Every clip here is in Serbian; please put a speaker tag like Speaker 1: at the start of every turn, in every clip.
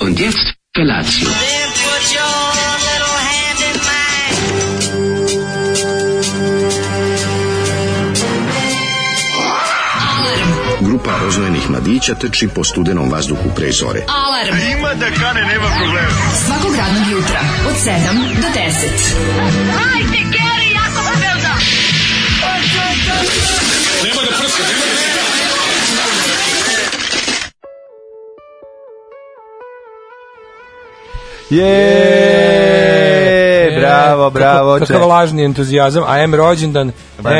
Speaker 1: Und jetzt Felatio.
Speaker 2: Then put your little hand in mine.
Speaker 3: Grupa roznojenih mladića teči po studenom vazduhu pre zore.
Speaker 4: Alarm. A ima da kane, nema problema. Svakog radnog jutra, od 7 do 10.
Speaker 5: Je, bravo, bravo.
Speaker 6: Kako, kakav
Speaker 5: čest-
Speaker 6: lažni entuzijazam. A em rođendan,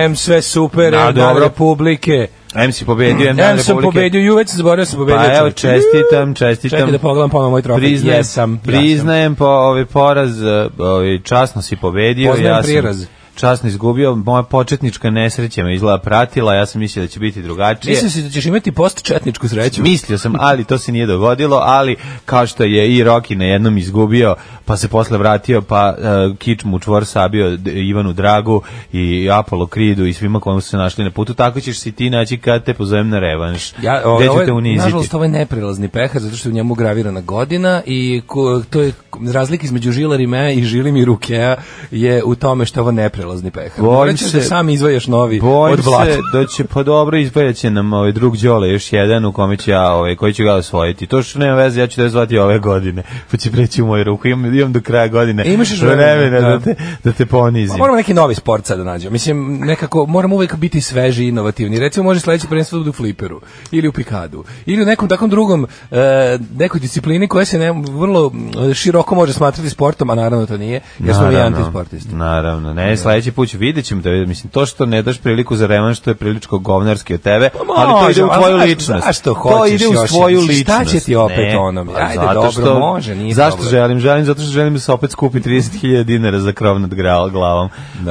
Speaker 6: em sve super,
Speaker 5: Na,
Speaker 6: em dan
Speaker 5: dobro.
Speaker 6: Republike.
Speaker 5: Em si pobedio, em Dan
Speaker 6: Em sam
Speaker 5: Republike.
Speaker 6: pobedio, ju već sam zaboravio da sam pobedio.
Speaker 5: Pa evo,
Speaker 6: čoveče.
Speaker 5: čestitam, čestitam.
Speaker 6: Čekaj da pogledam ponovno moj trofej.
Speaker 5: Priznajem,
Speaker 6: Jesam, ja
Speaker 5: priznajem po ovaj poraz, eh, ovaj časno si pobedio,
Speaker 6: Poznajem
Speaker 5: ja sam
Speaker 6: priraz.
Speaker 5: časno izgubio, moja početnička nesreća me izgleda pratila, ja sam mislio da će biti drugačije.
Speaker 6: Mislim si da ćeš imati post četničku sreću.
Speaker 5: Mislio sam, ali to se nije dogodilo, ali kao što je i Roki na jednom izgubio, pa se posle vratio, pa uh, Kič mu u čvor sabio D- Ivanu Dragu i Apollo Kridu i svima kojima su se našli na putu, tako ćeš si ti naći kad te pozovem na revanš.
Speaker 6: Ja,
Speaker 5: Gde
Speaker 6: ovo,
Speaker 5: ću
Speaker 6: ovo,
Speaker 5: te
Speaker 6: je-
Speaker 5: uniziti.
Speaker 6: nažalost, ovaj, ovo je neprelazni pehar, zato što je u njemu gravirana godina i ko, to je razlik između Žila Rimea i Žili mi Rukea je u tome što je ovo neprelazni pehar.
Speaker 5: Bojim
Speaker 6: Morat ćeš
Speaker 5: se-
Speaker 6: da sam izvajaš novi
Speaker 5: Bojim
Speaker 6: od blata.
Speaker 5: se da će pa dobro izbajaće nam ovaj drug Đole još jedan u kome ću ja ovaj koji ću ga osvojiti. To što nema veze ja ću da je zvati ove godine. Pa će preći u moju ruku. Imam, imam do kraja godine.
Speaker 6: E, imaš još
Speaker 5: vremena
Speaker 6: vremena,
Speaker 5: da
Speaker 6: da.
Speaker 5: te da te
Speaker 6: Pa
Speaker 5: ponizim.
Speaker 6: moramo neki novi sport sad da nađemo. Mislim, nekako, moramo uvek biti sveži i inovativni. Recimo, može sledeće prvenstvo da bude u fliperu, ili u pikadu, ili u nekom takvom drugom, e, nekoj disciplini koja se ne, vrlo e, široko može smatrati sportom, a naravno to nije, jer smo mi
Speaker 5: Naravno,
Speaker 6: antisportisti.
Speaker 5: Naravno, ne, sledeći put ću vidjet ćemo te, mislim, to što ne daš priliku za revanš, to je prilično govnarski od tebe, ali to ide u
Speaker 6: Pa može,
Speaker 5: tvoju
Speaker 6: ali znaš-
Speaker 5: ličnost.
Speaker 6: znaš što
Speaker 5: To
Speaker 6: hoćeš
Speaker 5: ide u
Speaker 6: još,
Speaker 5: tvoju
Speaker 6: mislim, šta
Speaker 5: ličnost.
Speaker 6: će ti opet
Speaker 5: Ne,
Speaker 6: ono,
Speaker 5: pa
Speaker 6: ajde,
Speaker 5: zato
Speaker 6: dobro,
Speaker 5: što-
Speaker 6: može, nije
Speaker 5: Zašto
Speaker 6: problem.
Speaker 5: želim? Želim zato što želim da se opet skupi 30.000 dinara za krov nad gra- glavom.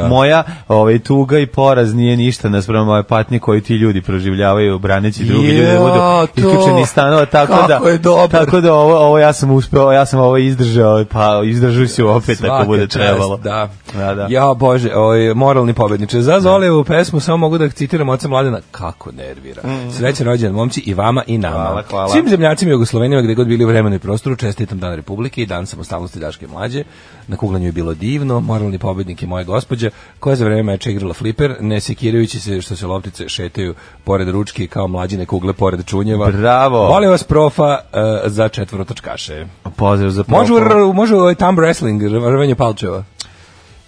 Speaker 5: Moja ovaj, tuga i poraz nije ništa naspram moje patnje koju ti ljudi proživljavaju braneći drugi ljudi da
Speaker 6: Ja,
Speaker 5: budu
Speaker 6: to-
Speaker 5: isključeni iz stanova, tako
Speaker 6: kako
Speaker 5: da...
Speaker 6: je dobar.
Speaker 5: Tako da ovo, ovo ja sam uspeo, ja sam ovo izdržao, pa izdržuj se opet
Speaker 6: Svaka
Speaker 5: ako bude
Speaker 6: čast,
Speaker 5: trebalo.
Speaker 6: Da.
Speaker 5: Da, da.
Speaker 6: Ja, bože, oj, moralni pobedniče. Za Zolijevu pesmu samo mogu da citiram oca Mladena. Kako nervira. Srećan rođendan momci i vama i nama.
Speaker 5: Mm. Hvala, hvala.
Speaker 6: Svim zemljacima i Jugoslovenima gde god bili u vremenu i prostoru, čestitam Dan Republike i Dan samostalnosti Daške mlađe. Na kuglanju je bilo divno, moralni pobednik je moja gospođa, koja za vreme meča igrala fliper, ne sekirajući se što se loptice šetaju pored ručki kao mlađine kugle pored čunjeva.
Speaker 5: Bravo.
Speaker 6: Molim vas profa eh, za četvorotočkaše.
Speaker 5: Pozdrav za
Speaker 6: Može, u
Speaker 5: Propo.
Speaker 6: r- može u thumb wrestling, r- rvanje palčeva.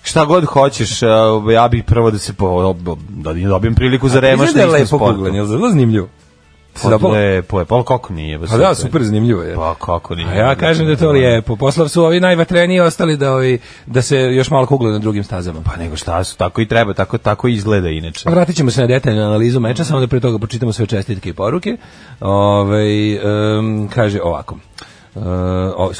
Speaker 5: Šta god hoćeš, eh, ja bih prvo da se po, da dobijem priliku za remaš.
Speaker 6: Znaš da je lepo kuglanje, jel' zelo zanimljivo? Se
Speaker 5: Lepo
Speaker 6: dopalo?
Speaker 5: je, pa lepo, ali kako nije?
Speaker 6: Pa da, super zanimljivo je.
Speaker 5: Pa kako nije?
Speaker 6: A ja kažem da je to lijepo. Poslav su ovi najvatreniji ostali da, ovi, da se još malo kugle na drugim stazama.
Speaker 5: Pa nego šta su, tako i treba, tako, tako i izgleda inače.
Speaker 6: Vratit ćemo se na detaljnu analizu meča, samo da pre toga pročitamo sve čestitke i poruke. Ove, kaže ovako. Uh,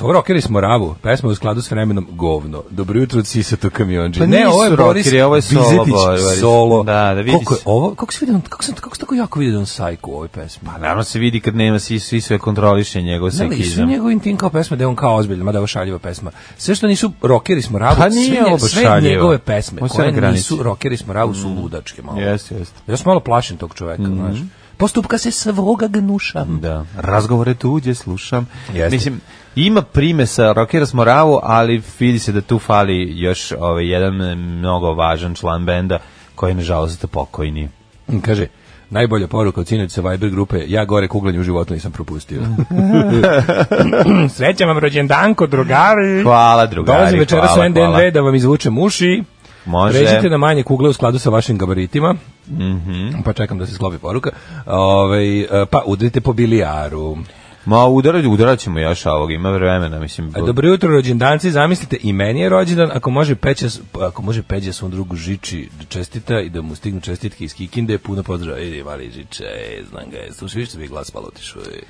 Speaker 6: ovo rokeri smo ravu, pesma u skladu s vremenom govno. Dobro jutro, Cisato kamionđi.
Speaker 5: Pa
Speaker 6: ne,
Speaker 5: nisu
Speaker 6: ovo je Boris
Speaker 5: rockeri, ovo je solo
Speaker 6: Bizetić,
Speaker 5: Boris.
Speaker 6: solo.
Speaker 5: Da, da vidi
Speaker 6: Koliko je
Speaker 5: se.
Speaker 6: ovo, kako se vidi, on- kako se, kako se tako jako vidi da on sajku u ovoj pesmi?
Speaker 5: Pa naravno se vidi kad nema svi, svi sve kontroliše njegov
Speaker 6: Da li su
Speaker 5: sekizam.
Speaker 6: njegovim tim kao pesme da je on kao ozbiljan, mada je ovo šaljiva pesma. Sve što nisu rockeri smo ravu,
Speaker 5: Pa
Speaker 6: sve,
Speaker 5: nije
Speaker 6: nje-
Speaker 5: ovo
Speaker 6: sve
Speaker 5: šaljivo.
Speaker 6: njegove pesme
Speaker 5: Ovo sve na
Speaker 6: koje
Speaker 5: granici. Mm.
Speaker 6: nisu rockeri smo ravu su ludačke malo.
Speaker 5: Jeste, jeste.
Speaker 6: Ja se malo plašim tog čoveka, znaš. Postupka se svoga gnušam.
Speaker 5: Da. Razgovore tuđe slušam.
Speaker 6: Jeste.
Speaker 5: Mislim, ima prime sa Rockera Smoravu, ali vidi se da tu fali još ovaj, jedan eh, mnogo važan član benda koji je nažalost pokojni.
Speaker 6: Kaže, najbolja poruka od sinoć sa Viber grupe, je, ja gore kuglanje u životu nisam propustio. Srećan vam rođendanko, drugari.
Speaker 5: Hvala drugari,
Speaker 6: Dolazim večeras
Speaker 5: hvala,
Speaker 6: u NDNV
Speaker 5: hvala.
Speaker 6: da vam izvučem uši.
Speaker 5: Može.
Speaker 6: Režite na manje kugle u skladu sa vašim gabaritima. Pa čekam da se sklopi poruka. Ove, pa udrite po bilijaru.
Speaker 5: Ma udarat, udarat ćemo još ovog, ima vremena, mislim.
Speaker 6: A, Dobro jutro rođendanci, zamislite i meni je rođendan, ako može Peđa, s- ako može Peđa svom drugu Žiči da čestita i da mu stignu čestitke iz Kikinde, puno pozdrava, idi mali Žiče, ej, znam ga, je, slušaj, više mi je glas malo otišao, ej.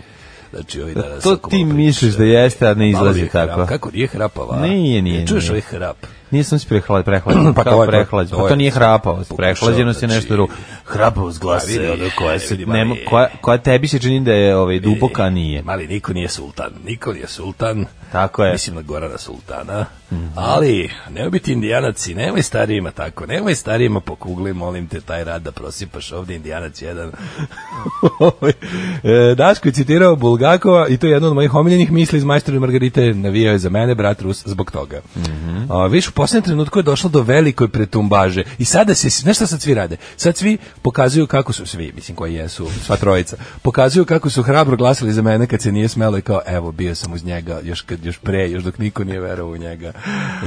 Speaker 6: Znači, ovaj danas...
Speaker 5: to
Speaker 6: ako
Speaker 5: ti
Speaker 6: malo
Speaker 5: misliš
Speaker 6: priča,
Speaker 5: da jeste, a ne
Speaker 6: malo
Speaker 5: izlazi
Speaker 6: je hrap,
Speaker 5: tako.
Speaker 6: Kako nije hrapava?
Speaker 5: Nije, nije,
Speaker 6: Čuješ
Speaker 5: nije.
Speaker 6: ovaj hrap?
Speaker 5: Nisam se prehlađen, prehlađen,
Speaker 6: Pa
Speaker 5: pa
Speaker 6: to
Speaker 5: to
Speaker 6: je-
Speaker 5: prehlađen.
Speaker 6: to
Speaker 5: Pa
Speaker 6: je-
Speaker 5: to nije hrapao,
Speaker 6: Pokušao,
Speaker 5: prehlađenost je
Speaker 6: znači-
Speaker 5: nešto drugo. Hrapavost glasa
Speaker 6: vidi,
Speaker 5: je ono koja se
Speaker 6: vidi,
Speaker 5: nema,
Speaker 6: mali.
Speaker 5: koja, koja tebi se čini da je ovaj duboka a nije.
Speaker 6: E, Mali niko nije sultan, niko nije sultan.
Speaker 5: Tako je. Mhm.
Speaker 6: Mislim na Gorana Sultana. Ali, nemoj biti indijanac i nemoj starijima tako, nemoj starijima po kugli, molim te, taj rad da prosipaš ovde indijanac jedan. E, Daško je citirao Bulgakova i to je jedno od mojih omiljenih misli iz Majstora i Margarite, navijao je za mene, brat Rus, zbog toga.
Speaker 5: Mhm.
Speaker 6: A, viš, u posljednjem trenutku je došlo do velikoj pretumbaže i sada se, znaš šta sad svi rade? Sad svi pokazuju kako su, svi, mislim koji jesu, sva trojica, pokazuju kako su hrabro glasali za mene kad se nije smelo i kao, evo, bio sam uz njega, još, kad, još pre, još dok niko nije verovao u njega.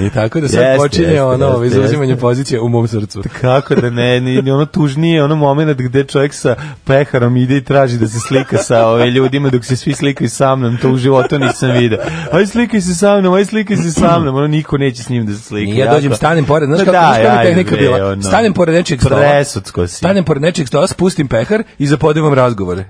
Speaker 6: I tako da sad
Speaker 5: Jeste,
Speaker 6: počinje
Speaker 5: jeste,
Speaker 6: ono,
Speaker 5: jeste,
Speaker 6: izuzimanje
Speaker 5: jeste.
Speaker 6: pozicije u mom srcu.
Speaker 5: Kako da ne, ni, ni ono tužnije, ono moment gde čovjek sa peharom ide i traži da se slika sa ove ljudima dok se svi slikaju sa mnom, to u životu nisam vidio. Aj slikaj se sa mnom, aj slikaj se sa mnom, ono niko neće s njim da se slika.
Speaker 6: Nije, ja dođem,
Speaker 5: Jako-
Speaker 6: stanem pored, znaš
Speaker 5: Ma
Speaker 6: kako,
Speaker 5: daj,
Speaker 6: znaš kako je
Speaker 5: ajde,
Speaker 6: tehnika
Speaker 5: bre,
Speaker 6: bila?
Speaker 5: ono,
Speaker 6: stanem pored nečijeg stola.
Speaker 5: Presocko si.
Speaker 6: Stanem pored nečijeg stola, spustim pehar i zapodevam razgovore.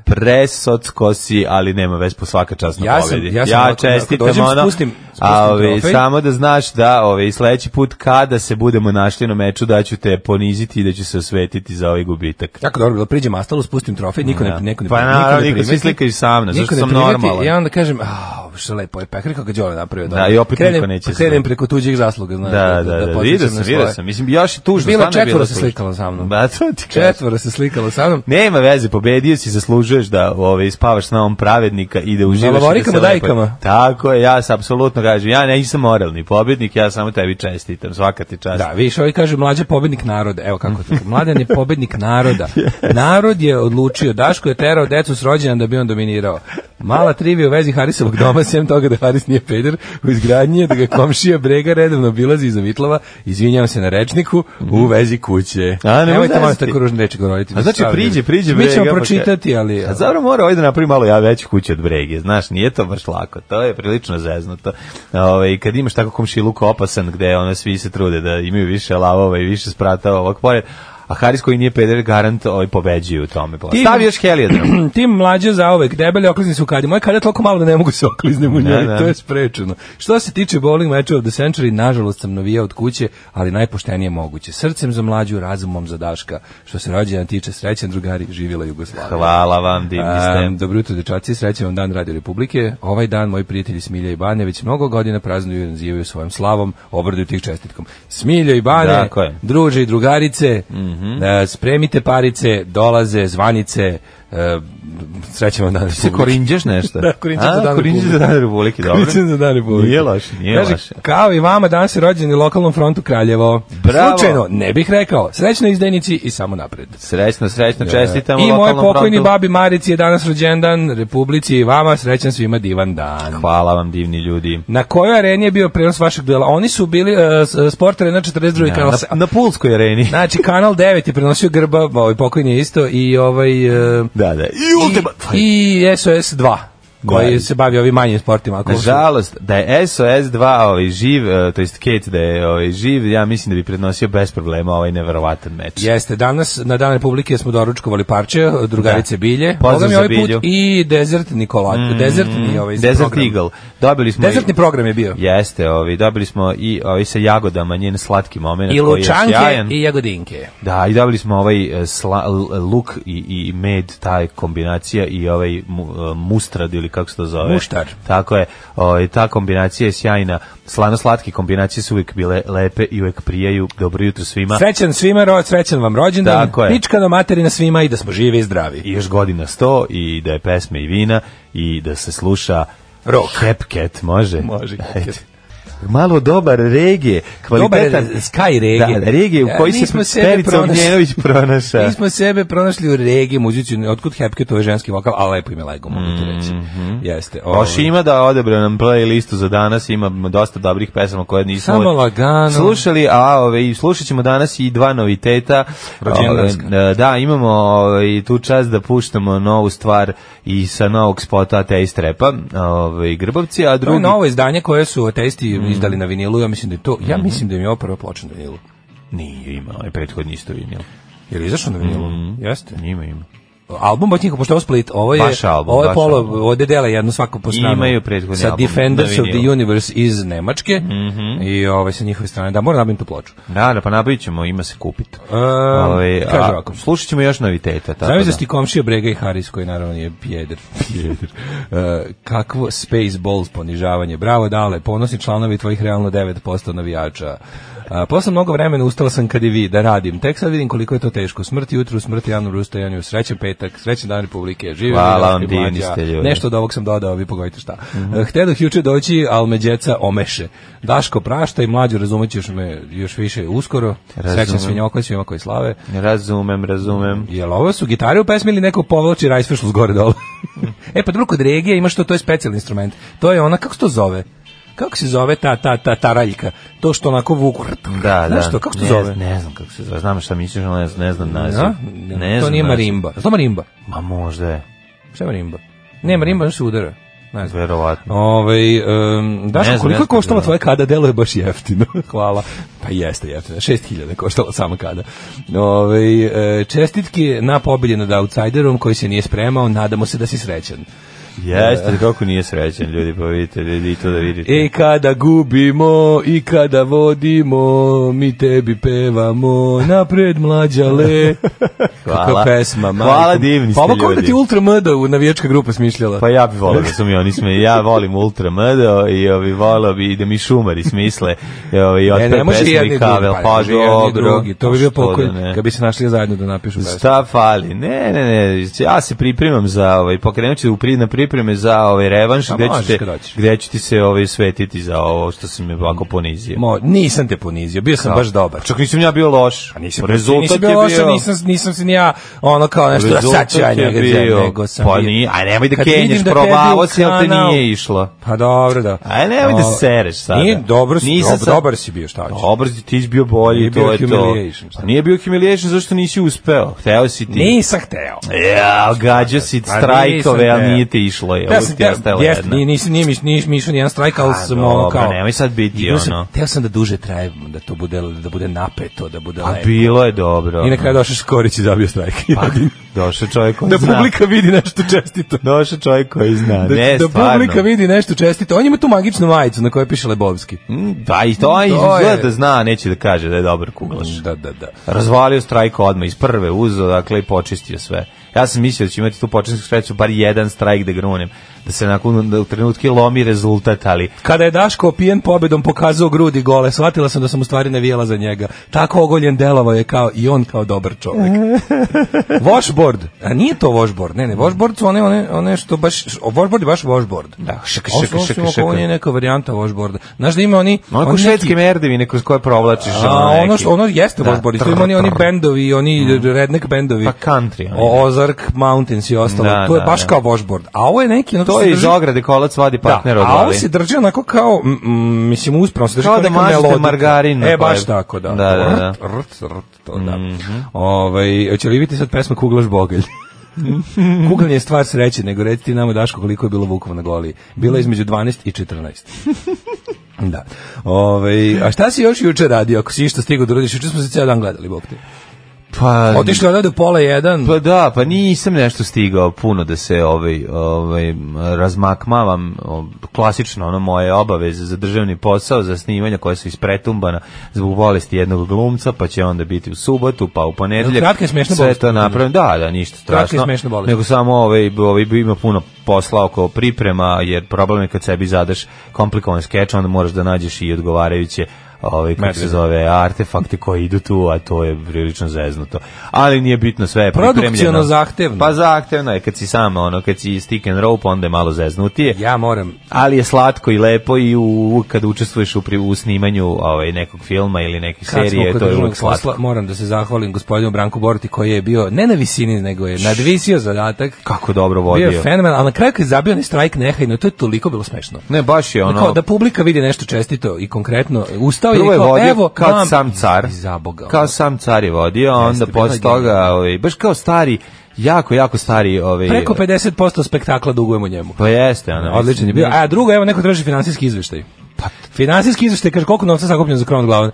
Speaker 5: presocko si, ali nema vez po svaka čast na
Speaker 6: Ja sam-
Speaker 5: pobedi.
Speaker 6: ja sam
Speaker 5: ja
Speaker 6: ovako,
Speaker 5: čestitam
Speaker 6: ako dođem,
Speaker 5: ono,
Speaker 6: spustim- spustim
Speaker 5: a ove,
Speaker 6: trofej.
Speaker 5: samo da znaš da ove, sledeći put kada se budemo našli na meču da ću te poniziti i da ću se osvetiti za ovaj gubitak.
Speaker 6: Jako dobro, bilo priđem astalu, spustim trofej, niko ne,
Speaker 5: Da.
Speaker 6: neko ne,
Speaker 5: Pa
Speaker 6: niko
Speaker 5: naravno,
Speaker 6: ne
Speaker 5: niko, svi
Speaker 6: primeti.
Speaker 5: slikaju sa mnom, zašto
Speaker 6: Niko ne
Speaker 5: sam
Speaker 6: primeti
Speaker 5: normalan.
Speaker 6: I onda kažem, a, što lepo je pehar, kako Đole napravio. dobro."
Speaker 5: Da, i opet
Speaker 6: krenem,
Speaker 5: niko
Speaker 6: pa
Speaker 5: neće se
Speaker 6: Krenem
Speaker 5: slikati.
Speaker 6: preko tuđih zasluga, znaš.
Speaker 5: Da, da, da, vidio
Speaker 6: podsjećam na
Speaker 5: sam, vidio
Speaker 6: svoje.
Speaker 5: sam. Mislim, još je tužno.
Speaker 6: Bilo
Speaker 5: stvarno je
Speaker 6: četvoro se
Speaker 5: tužno.
Speaker 6: slikalo sa mnom.
Speaker 5: Ba, to ti kažem.
Speaker 6: Četvoro se slikalo sa mnom.
Speaker 5: Nema veze, pobedio si, zaslužuješ da ove, spavaš na ovom pravednika i da uživaš. i da se
Speaker 6: lovorikama,
Speaker 5: lepo-
Speaker 6: dajkama.
Speaker 5: Tako je, ja se apsolutno kažem, ja nisam moralni pobednik, ja samo tebi čestitam, svaka ti čast.
Speaker 6: Da, viš, ovaj kaže mlađa pobednik naroda. Evo kako to. Mladen je pobednik naroda. Narod je odlučio. Daško je terao decu s rođendan da bi on dominirao. Mala trivija u vezi Harisovog doma, sem toga da Haris nije peder, u izgradnji je da ga komšija brega redovno obilazi iza Vitlova, izvinjavam se na rečniku, u vezi kuće.
Speaker 5: Mhm. A, nemoj
Speaker 6: Nemojte molim
Speaker 5: zezati.
Speaker 6: tako ružne reči govoriti.
Speaker 5: A znači
Speaker 6: Stvarno,
Speaker 5: priđe,
Speaker 6: ljudi.
Speaker 5: priđe
Speaker 6: Mi
Speaker 5: brega.
Speaker 6: ćemo
Speaker 5: pa ka-
Speaker 6: pročitati, ali...
Speaker 5: A zapravo mora ovaj da napravi malo ja veću kuću od brege, znaš, nije to baš lako, to je prilično zeznuto. Ove, kad imaš tako komšiluk opasan gde ono svi se trude da imaju više lavova i više sprata ovog pored, a Haris koji nije peder garant ovaj pobeđuje u tome. Pa.
Speaker 6: Ti-
Speaker 5: Stavi još heliodrom.
Speaker 6: tim mlađe zaovek, debeli oklizni su kadi. Moje kada je toliko malo da ne mogu se okliznem u
Speaker 5: Da,
Speaker 6: njoj,
Speaker 5: da.
Speaker 6: to je sprečeno. Što se tiče bowling meča of the century, nažalost sam novija od kuće, ali najpoštenije moguće. Srcem za mlađu, razumom za Daška. Što se rođena tiče, srećan drugari, živjela Jugoslavija.
Speaker 5: Hvala vam, divni ste.
Speaker 6: Em, dobro jutro dečaci, srećan vam dan Radio Republike. Ovaj dan moji prijatelji Smilja i Bane već mnogo godina praznuju i nazivaju svojom slavom, obraduju tih čestitkom. Smilja i Bane,
Speaker 5: Tako je. Mhm.
Speaker 6: druže i drugarice, e, spremite parice, dolaze zvanice, e, srećan vam dan
Speaker 5: Se
Speaker 6: Republike.
Speaker 5: korinđaš nešto?
Speaker 6: Da, korinđaš
Speaker 5: A,
Speaker 6: za dan
Speaker 5: korinđaš za
Speaker 6: Republike.
Speaker 5: dan Republike, dobro.
Speaker 6: Korinđaš za dan Republike.
Speaker 5: Nije loše, nije
Speaker 6: Kaže,
Speaker 5: loše.
Speaker 6: kao i vama, danas je rođen i lokalnom frontu Kraljevo.
Speaker 5: Bravo.
Speaker 6: Slučajno, ne bih rekao. Srećno izdenici i samo napred.
Speaker 5: Srećno, srećno, čestitamo
Speaker 6: I moj
Speaker 5: lokalnom
Speaker 6: pokojni
Speaker 5: frontu.
Speaker 6: babi Marici je danas rođendan, Republici i vama srećan svima divan dan.
Speaker 5: Hvala vam, divni ljudi.
Speaker 6: Na kojoj areni je bio prenos vašeg duela? Oni su bili uh, sport arena 42.
Speaker 5: Ja,
Speaker 6: kanal.
Speaker 5: na,
Speaker 6: se-
Speaker 5: na Pulskoj areni.
Speaker 6: Znači, kanal 9 je prenosio grba, ovaj pokojni je isto, i ovaj... uh,
Speaker 5: Da, da. I ultimat.
Speaker 6: I, i SOS 2 koji
Speaker 5: Da.
Speaker 6: se bavi ovim manjim sportima. Ako su-
Speaker 5: Nažalost, da je SOS 2 ovaj, živ, eh, to jest Kate da je ovaj, živ, ja mislim da bi prednosio bez problema ovaj neverovatan meč.
Speaker 6: Jeste, danas na Dan Republike smo doručkovali parče, drugarice
Speaker 5: Da.
Speaker 6: bilje,
Speaker 5: Pozdrav
Speaker 6: Boga mi
Speaker 5: za
Speaker 6: ovaj put
Speaker 5: Bilju. Mm.
Speaker 6: i Desert Nikolat, desertni ovaj
Speaker 5: Desert
Speaker 6: program.
Speaker 5: Eagle. Dobili smo
Speaker 6: Desertni
Speaker 5: i-
Speaker 6: program je bio.
Speaker 5: Jeste, ovaj, dobili smo i ovaj, sa jagodama, njen slatki moment
Speaker 6: I
Speaker 5: koji je
Speaker 6: lučanke
Speaker 5: sjajan.
Speaker 6: i jagodinke.
Speaker 5: Da, i dobili smo ovaj e, sla, l- luk i, i med, taj kombinacija i ovaj mu, e, mustrad ili kako se to zove.
Speaker 6: Muštar.
Speaker 5: Tako je. Ovaj ta kombinacija je sjajna. Slano-slatke kombinacije su uvijek bile lepe i uvijek prijaju. Dobro jutro svima.
Speaker 6: Srećan svima, ro, srećan vam rođendan,
Speaker 5: Tako je.
Speaker 6: pička na materina svima i da smo živi i zdravi.
Speaker 5: I još godina 100 i da je pesme i vina i da se sluša
Speaker 6: Rock.
Speaker 5: Hepcat, može?
Speaker 6: Može, Hep
Speaker 5: Ajde. Malo dobar regije, kvalitetan...
Speaker 6: Dobar Sky regije.
Speaker 5: Da, regije u
Speaker 6: Ja,
Speaker 5: koji
Speaker 6: nismo
Speaker 5: se
Speaker 6: sebe
Speaker 5: Perica
Speaker 6: pronašli.
Speaker 5: Ognjenović pronaša.
Speaker 6: Mi smo sebe pronašli u regiji muzici, otkud Hepke, to je ženski vokal, a lepo ime lego, mogu ti reći. Jeste. ovaj.
Speaker 5: Mhm. Baš ima da odebra nam playlistu za danas, ima dosta dobrih pesama koje nismo
Speaker 6: Samo lagano.
Speaker 5: slušali, a ove, i slušat ćemo danas i dva noviteta.
Speaker 6: Rođendanska.
Speaker 5: Ove, e, Da, imamo ove, tu čast da puštamo novu stvar i sa novog spota te Trepa, ove, Grbavci, a
Speaker 6: To je
Speaker 5: drugi... Mhm.
Speaker 6: novo izdanje koje su ateisti izdali na vinilu, ja mislim da je to, ja mislim da im je ovo prva ploča na vinilu.
Speaker 5: Nije, ima, onaj ovaj prethodni isto vinil. Mhm.
Speaker 6: Je li izašao na vinilu? Jeste.
Speaker 5: Ima, ima.
Speaker 6: album Botnjikov, pošto je ovo Split, ovo je,
Speaker 5: Baš album,
Speaker 6: ovo je
Speaker 5: baš
Speaker 6: polo,
Speaker 5: album.
Speaker 6: ovo dele jednu svako po stranu.
Speaker 5: Imaju prethodni
Speaker 6: Sa
Speaker 5: album
Speaker 6: Defenders
Speaker 5: na
Speaker 6: of the
Speaker 5: vinilu. Mhm.
Speaker 6: Universe iz Nemačke i ovaj, sa njihove strane. Da, moram nabavim tu ploču.
Speaker 5: Da, da, pa nabavit ćemo, ima se kupiti.
Speaker 6: E,
Speaker 5: Ovaj,
Speaker 6: kaže
Speaker 5: a,
Speaker 6: ovako.
Speaker 5: Slušat ćemo još noviteta. Tako
Speaker 6: Zamisli da
Speaker 5: da.
Speaker 6: ti komšija Brega i Haris koji naravno je pjeder. pjeder. E, kakvo Spaceballs ponižavanje. Bravo dale, ponosni članovi tvojih realno 9% navijača. E, posle mnogo vremena ustala sam kad i vi da radim. Tek sad vidim koliko je to teško. Smrt jutru, smrt javnom rustajanju, srećan petak, srećan dan Republike, živim
Speaker 5: Hvala vam, divni ste ljudi.
Speaker 6: Nešto od ovog sam dodao, vi pogodite šta. Mm -hmm. Htedoh juče doći, ali me djeca omeše. Daško prašta i mlađu razumećeš me još više uskoro. Srećan
Speaker 5: Razumem.
Speaker 6: svinjokoj svima koji slave.
Speaker 5: Razumem, razumem.
Speaker 6: Jel ovo su gitare u pesmi ili neko povlači rajsfešl s gore dole? e, pa drugo, kod regija imaš to, to je specijalni instrument. To je ona, kako se to zove? Kako se zove ta, ta, ta taraljka? To što onako vuku.
Speaker 5: Da,
Speaker 6: Znaš
Speaker 5: da.
Speaker 6: to, kako se to
Speaker 5: ne,
Speaker 6: zove?
Speaker 5: Ne znam kako se zove. Znam šta misliš, ali ne, znam- ne znam naziv.
Speaker 6: A?
Speaker 5: Ne
Speaker 6: to
Speaker 5: znam
Speaker 6: nije
Speaker 5: naziv.
Speaker 6: marimba. Zna marimba?
Speaker 5: Ma možda je,
Speaker 6: Šta je marimba? Ne, marimba se udara. Ne znam.
Speaker 5: verovatno.
Speaker 6: Ove, um, Daško,
Speaker 5: Ne znam,
Speaker 6: koliko
Speaker 5: ne
Speaker 6: je
Speaker 5: znam
Speaker 6: koštala
Speaker 5: da.
Speaker 6: tvoja kada? Delo je baš jeftino. Hvala. Pa jeste jeftino. 6000 je koštala sama kada. Ove, e, čestitke na pobedi nad outsiderom koji se nije spremao. Nadamo se da si srećan.
Speaker 5: Jeste, kako nije srećan, ljudi, pa vidite, ljudi, i to da vidite.
Speaker 6: E kada gubimo i kada vodimo, mi tebi pevamo, napred mlađale.
Speaker 5: Hvala.
Speaker 6: Kakva pesma, majko.
Speaker 5: Hvala, divni
Speaker 6: pa,
Speaker 5: ste
Speaker 6: ovo kao da
Speaker 5: ljudi.
Speaker 6: ti Ultra Mda u navijačka grupa smišljala.
Speaker 5: Pa ja bih volao da su mi oni sme, ja volim Ultra Mdo i ovi volao bi da mi šumari smisle i ovi
Speaker 6: Ne, E, ne,
Speaker 5: otpre
Speaker 6: može i
Speaker 5: pesme
Speaker 6: jedni
Speaker 5: i
Speaker 6: i
Speaker 5: kabel,
Speaker 6: drugi,
Speaker 5: pa
Speaker 6: može i jedni i
Speaker 5: dobro.
Speaker 6: drugi. To
Speaker 5: Pa
Speaker 6: bi bio
Speaker 5: što da
Speaker 6: pokoj,
Speaker 5: ne.
Speaker 6: kad bi se našli zajedno da napišu pesmu.
Speaker 5: Šta fali? Ne, ne, ne, ja se pripremam za ovaj, pokrenut ću u pri, na pripreme za ovaj revanš,
Speaker 6: A
Speaker 5: gde
Speaker 6: možeš
Speaker 5: ću, te,
Speaker 6: kad hoćeš.
Speaker 5: gde ću ti se ovaj, svetiti za ovo što si me ovako ponizio.
Speaker 6: Mo, nisam te ponizio, bio sam baš dobar.
Speaker 5: Čak nisam ja bio loš.
Speaker 6: Pa nisam,
Speaker 5: Rezultat
Speaker 6: nisam
Speaker 5: je
Speaker 6: bio
Speaker 5: bio...
Speaker 6: loš, nisam, nisam se ni ja ono kao nešto, da sad
Speaker 5: Rezultat
Speaker 6: ću ja
Speaker 5: je
Speaker 6: njega
Speaker 5: bio-
Speaker 6: zemlje, nego sam
Speaker 5: pa
Speaker 6: bio.
Speaker 5: nije, a nemoj da
Speaker 6: Kad
Speaker 5: kenješ,
Speaker 6: vidim da
Speaker 5: probavao
Speaker 6: tebi u
Speaker 5: si, ali te
Speaker 6: kanal-
Speaker 5: nije išlo.
Speaker 6: Pa dobro, da.
Speaker 5: A nemoj da
Speaker 6: O,
Speaker 5: sereš sada.
Speaker 6: Nije, dobro si,
Speaker 5: Nisam
Speaker 6: dobar,
Speaker 5: sad-
Speaker 6: dobar si bio, šta ćeš.
Speaker 5: Dobro, ti ti si bio bolji,
Speaker 6: Nije
Speaker 5: to
Speaker 6: bio
Speaker 5: je to.
Speaker 6: humiliation, šta?
Speaker 5: Pa Nije bio humiliation, zašto nisi uspeo? Hteo si ti. E,
Speaker 6: Nisam hteo.
Speaker 5: Ja, gađao si
Speaker 6: Pa
Speaker 5: strajkove,
Speaker 6: nisam
Speaker 5: ali
Speaker 6: te.
Speaker 5: nije te išlo. Je.
Speaker 6: Ja
Speaker 5: Ja
Speaker 6: sam
Speaker 5: sam
Speaker 6: teo,
Speaker 5: ostala
Speaker 6: jeste,
Speaker 5: jedna.
Speaker 6: nije, nisi, nije, miš- nije, mišao nijedan strajk, ali
Speaker 5: A,
Speaker 6: sam ono
Speaker 5: Pa dobro,
Speaker 6: kao...
Speaker 5: nemoj sad biti
Speaker 6: Igrao sam-
Speaker 5: ono.
Speaker 6: Teo sam da duže traje, da to bude, da bude napeto, da bude
Speaker 5: A
Speaker 6: lepo.
Speaker 5: bilo je dobro.
Speaker 6: I na kraju došao Škorić i zabio strajk.
Speaker 5: Pa, došao čovjek koji
Speaker 6: da
Speaker 5: zna.
Speaker 6: publika vidi nešto čestito.
Speaker 5: Došao čovjek koji zna.
Speaker 6: Da,
Speaker 5: ne,
Speaker 6: da
Speaker 5: stvarno.
Speaker 6: publika vidi nešto čestito. On ima tu magičnu majicu na kojoj piše Lebovski.
Speaker 5: Mm, Da, i to,
Speaker 6: To je-
Speaker 5: izgleda da zna, neće da kaže da je dobar kuglaš.
Speaker 6: Da, da, da.
Speaker 5: Razvalio strajk odmah iz prve, uzeo dakle i počistio sve. Ja sam mislio da će imati tu početnu sreću bar jedan strajk da grunem, da se nakon da u trenutke lomi rezultat, ali
Speaker 6: Kada je Daško opijen pobedom pokazao grudi gole, shvatila sam da sam u stvari navijela za njega. Tako ogoljen delovao je kao i on kao dobar čovjek. washboard. A nije to washboard. Ne, ne, washboard su one, one, one što baš... Washboard je baš washboard.
Speaker 5: da, šk,
Speaker 6: Ovo
Speaker 5: šk,
Speaker 6: su-
Speaker 5: šk,
Speaker 6: ovo
Speaker 5: šk.
Speaker 6: su- Ovo nije neka varijanta washboarda. Znaš da ima oni...
Speaker 5: Onako
Speaker 6: oni
Speaker 5: švedske merdevine kroz koje provlačiš.
Speaker 6: A,
Speaker 5: ono
Speaker 6: ono
Speaker 5: neki-
Speaker 6: što ono jeste da, Washboard, to ima oni oni bendovi, oni redneck bendovi.
Speaker 5: Pa country, ono.
Speaker 6: O, Ozark Mountains i ostalo.
Speaker 5: Da,
Speaker 6: to je
Speaker 5: da,
Speaker 6: baš
Speaker 5: da.
Speaker 6: kao Washboard. A ovo je neki onako
Speaker 5: To
Speaker 6: se
Speaker 5: je iz
Speaker 6: drži-
Speaker 5: ograde kolac vadi partner
Speaker 6: da,
Speaker 5: od
Speaker 6: a ovo se drži onako kao, mm, mm, mislim, uspravno se drži
Speaker 5: Kao da
Speaker 6: neka
Speaker 5: mažete
Speaker 6: melodika.
Speaker 5: margarin na
Speaker 6: E, baš
Speaker 5: koje-
Speaker 6: tako, da.
Speaker 5: Da, da, Mhm.
Speaker 6: Rt, rt, rt, to da. Ovaj, hoće li vidjeti sad pesmu Kuglaš Bogalj? Kuglanje je stvar sreće, nego reci ti nama, Daško, koliko je bilo vukova na goli. Bilo je između 12 i 14. Da. Ove, a šta si još juče radio, ako si išta stigao da radiš? Juče smo se cijel dan gledali, bog te.
Speaker 5: Pa,
Speaker 6: Otišli odavde u pola jedan.
Speaker 5: Pa da, pa nisam nešto stigao puno da se ovaj, ovaj, m, razmakmavam o, klasično ono moje obaveze za državni posao, za snimanja koje su ispretumbana zbog bolesti jednog glumca, pa će onda biti u subotu, pa u ponedeljak.
Speaker 6: Kratka i smešna
Speaker 5: Sve
Speaker 6: bolest?
Speaker 5: to napravim, da, da, ništa
Speaker 6: Kratka i
Speaker 5: strašno.
Speaker 6: smešna bolest.
Speaker 5: Nego samo ovaj, ovaj, ima puno posla oko priprema, jer problem je kad sebi zadaš komplikovan skeč, onda moraš da nađeš i odgovarajuće ovaj, kako se
Speaker 6: Medvede.
Speaker 5: zove, artefakte koji idu tu, a to je prilično zeznuto. Ali nije bitno, sve je
Speaker 6: Produkciono
Speaker 5: pripremljeno.
Speaker 6: zahtevno.
Speaker 5: Pa zahtevno je kad si sam, ono, kad si stick and rope, onda je malo zeznutije.
Speaker 6: Ja moram
Speaker 5: Ali je slatko i lepo i u, u- kad učestvuješ u, pri, u snimanju ovaj, nekog filma ili neke
Speaker 6: Kad smo
Speaker 5: serije,
Speaker 6: kod
Speaker 5: to je
Speaker 6: državnog
Speaker 5: uvijek slatko.
Speaker 6: posla, moram da se zahvalim gospodinu Branku Borti koji je bio ne na visini nego je nadvisio zadatak.
Speaker 5: Kako dobro
Speaker 6: Bio
Speaker 5: vodio.
Speaker 6: je fenomen, ali na kraju kad je zabio onaj strajk nehajno, to je toliko bilo smešno.
Speaker 5: Ne, baš je ono...
Speaker 6: Kao da publika vidi nešto čestito i konkretno. Ustao je i
Speaker 5: Prvo je
Speaker 6: kao,
Speaker 5: vodio
Speaker 6: evo,
Speaker 5: kao
Speaker 6: mam-
Speaker 5: sam car.
Speaker 6: I Zaboga. ono.
Speaker 5: Kao sam car je vodio, a onda
Speaker 6: bilo je
Speaker 5: posle toga, ovaj, baš kao stari, jako, jako stari... Ovaj,
Speaker 6: Preko 50% spektakla dugujemo njemu.
Speaker 5: Pa jeste, ono.
Speaker 6: Odličan je bio.
Speaker 5: mislim, Pa-
Speaker 6: A drugo, evo, neko traži finansijski izveštaj. Finansijski izveštaj kaže koliko novca sakupljeno za krov nad glavom.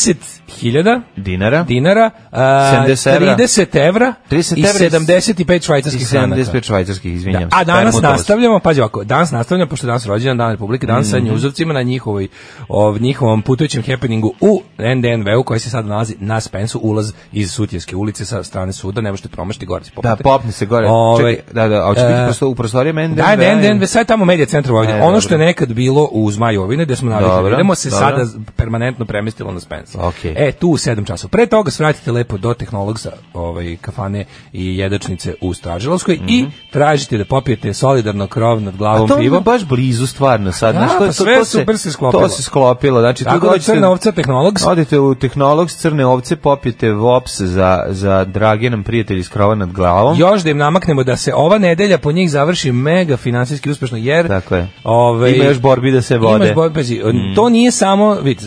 Speaker 6: 30.000
Speaker 5: Dinara.
Speaker 6: dinara, a,
Speaker 5: 70 evra.
Speaker 6: 30 evra
Speaker 5: 30
Speaker 6: i
Speaker 5: evra i
Speaker 6: 75
Speaker 5: I
Speaker 6: švajcarskih franaka.
Speaker 5: 75 švajcarskih, izvinjam
Speaker 6: Da,
Speaker 5: se.
Speaker 6: a danas
Speaker 5: Permutovao sam.
Speaker 6: nastavljamo, pazi ovako, danas nastavljamo, pošto je danas rođendan Dan Republike, danas
Speaker 5: Mhm.
Speaker 6: sa njuzovcima na njihovoj, ov, njihovom putujućem happeningu u NDNV-u, koji se sad nalazi na Spensu, ulaz iz Sutjeske ulice sa strane suda, ne možete promašiti gore. se
Speaker 5: Da,
Speaker 6: popnete.
Speaker 5: popni se gore.
Speaker 6: Ovaj,
Speaker 5: Čekaj, da, da, a hoće biti
Speaker 6: e,
Speaker 5: prosto u prostorije MNDV.
Speaker 6: Da, ne, ne, ne, sad je tamo medija centar Vojvodine.
Speaker 5: E,
Speaker 6: Ono
Speaker 5: dobro.
Speaker 6: što je nekad bilo u Zmajovine, gde smo navikli, da
Speaker 5: Dobro,
Speaker 6: idemo se
Speaker 5: dobro.
Speaker 6: sada permanentno premestilo na Spence.
Speaker 5: Okej.
Speaker 6: E, tu u 7 časova. Pre toga svratite lepo do tehnologza ovaj, kafane i jedačnice u Stražilovskoj i tražite da popijete solidarno krov
Speaker 5: Mhm.
Speaker 6: nad
Speaker 5: A
Speaker 6: glavom
Speaker 5: to
Speaker 6: pivo.
Speaker 5: je baš blizu stvarno sad.
Speaker 6: Da,
Speaker 5: znaš, to,
Speaker 6: pa
Speaker 5: to,
Speaker 6: sve
Speaker 5: to se,
Speaker 6: super se sklopilo.
Speaker 5: To se sklopilo. Znači, tu
Speaker 6: Tako da
Speaker 5: dođete-
Speaker 6: crna ovca tehnologs.
Speaker 5: Odete u tehnolog s crne ovce, popijete vops za, za drage nam prijatelji s krova nad glavom.
Speaker 6: Još da im namaknemo da se ova nedelja po njih završi mega finansijski uspešno, jer
Speaker 5: Tako je.
Speaker 6: ovaj,
Speaker 5: Ima još borbi da se vode.
Speaker 6: Imaš boj, pa, pazi, to nije samo, vidi,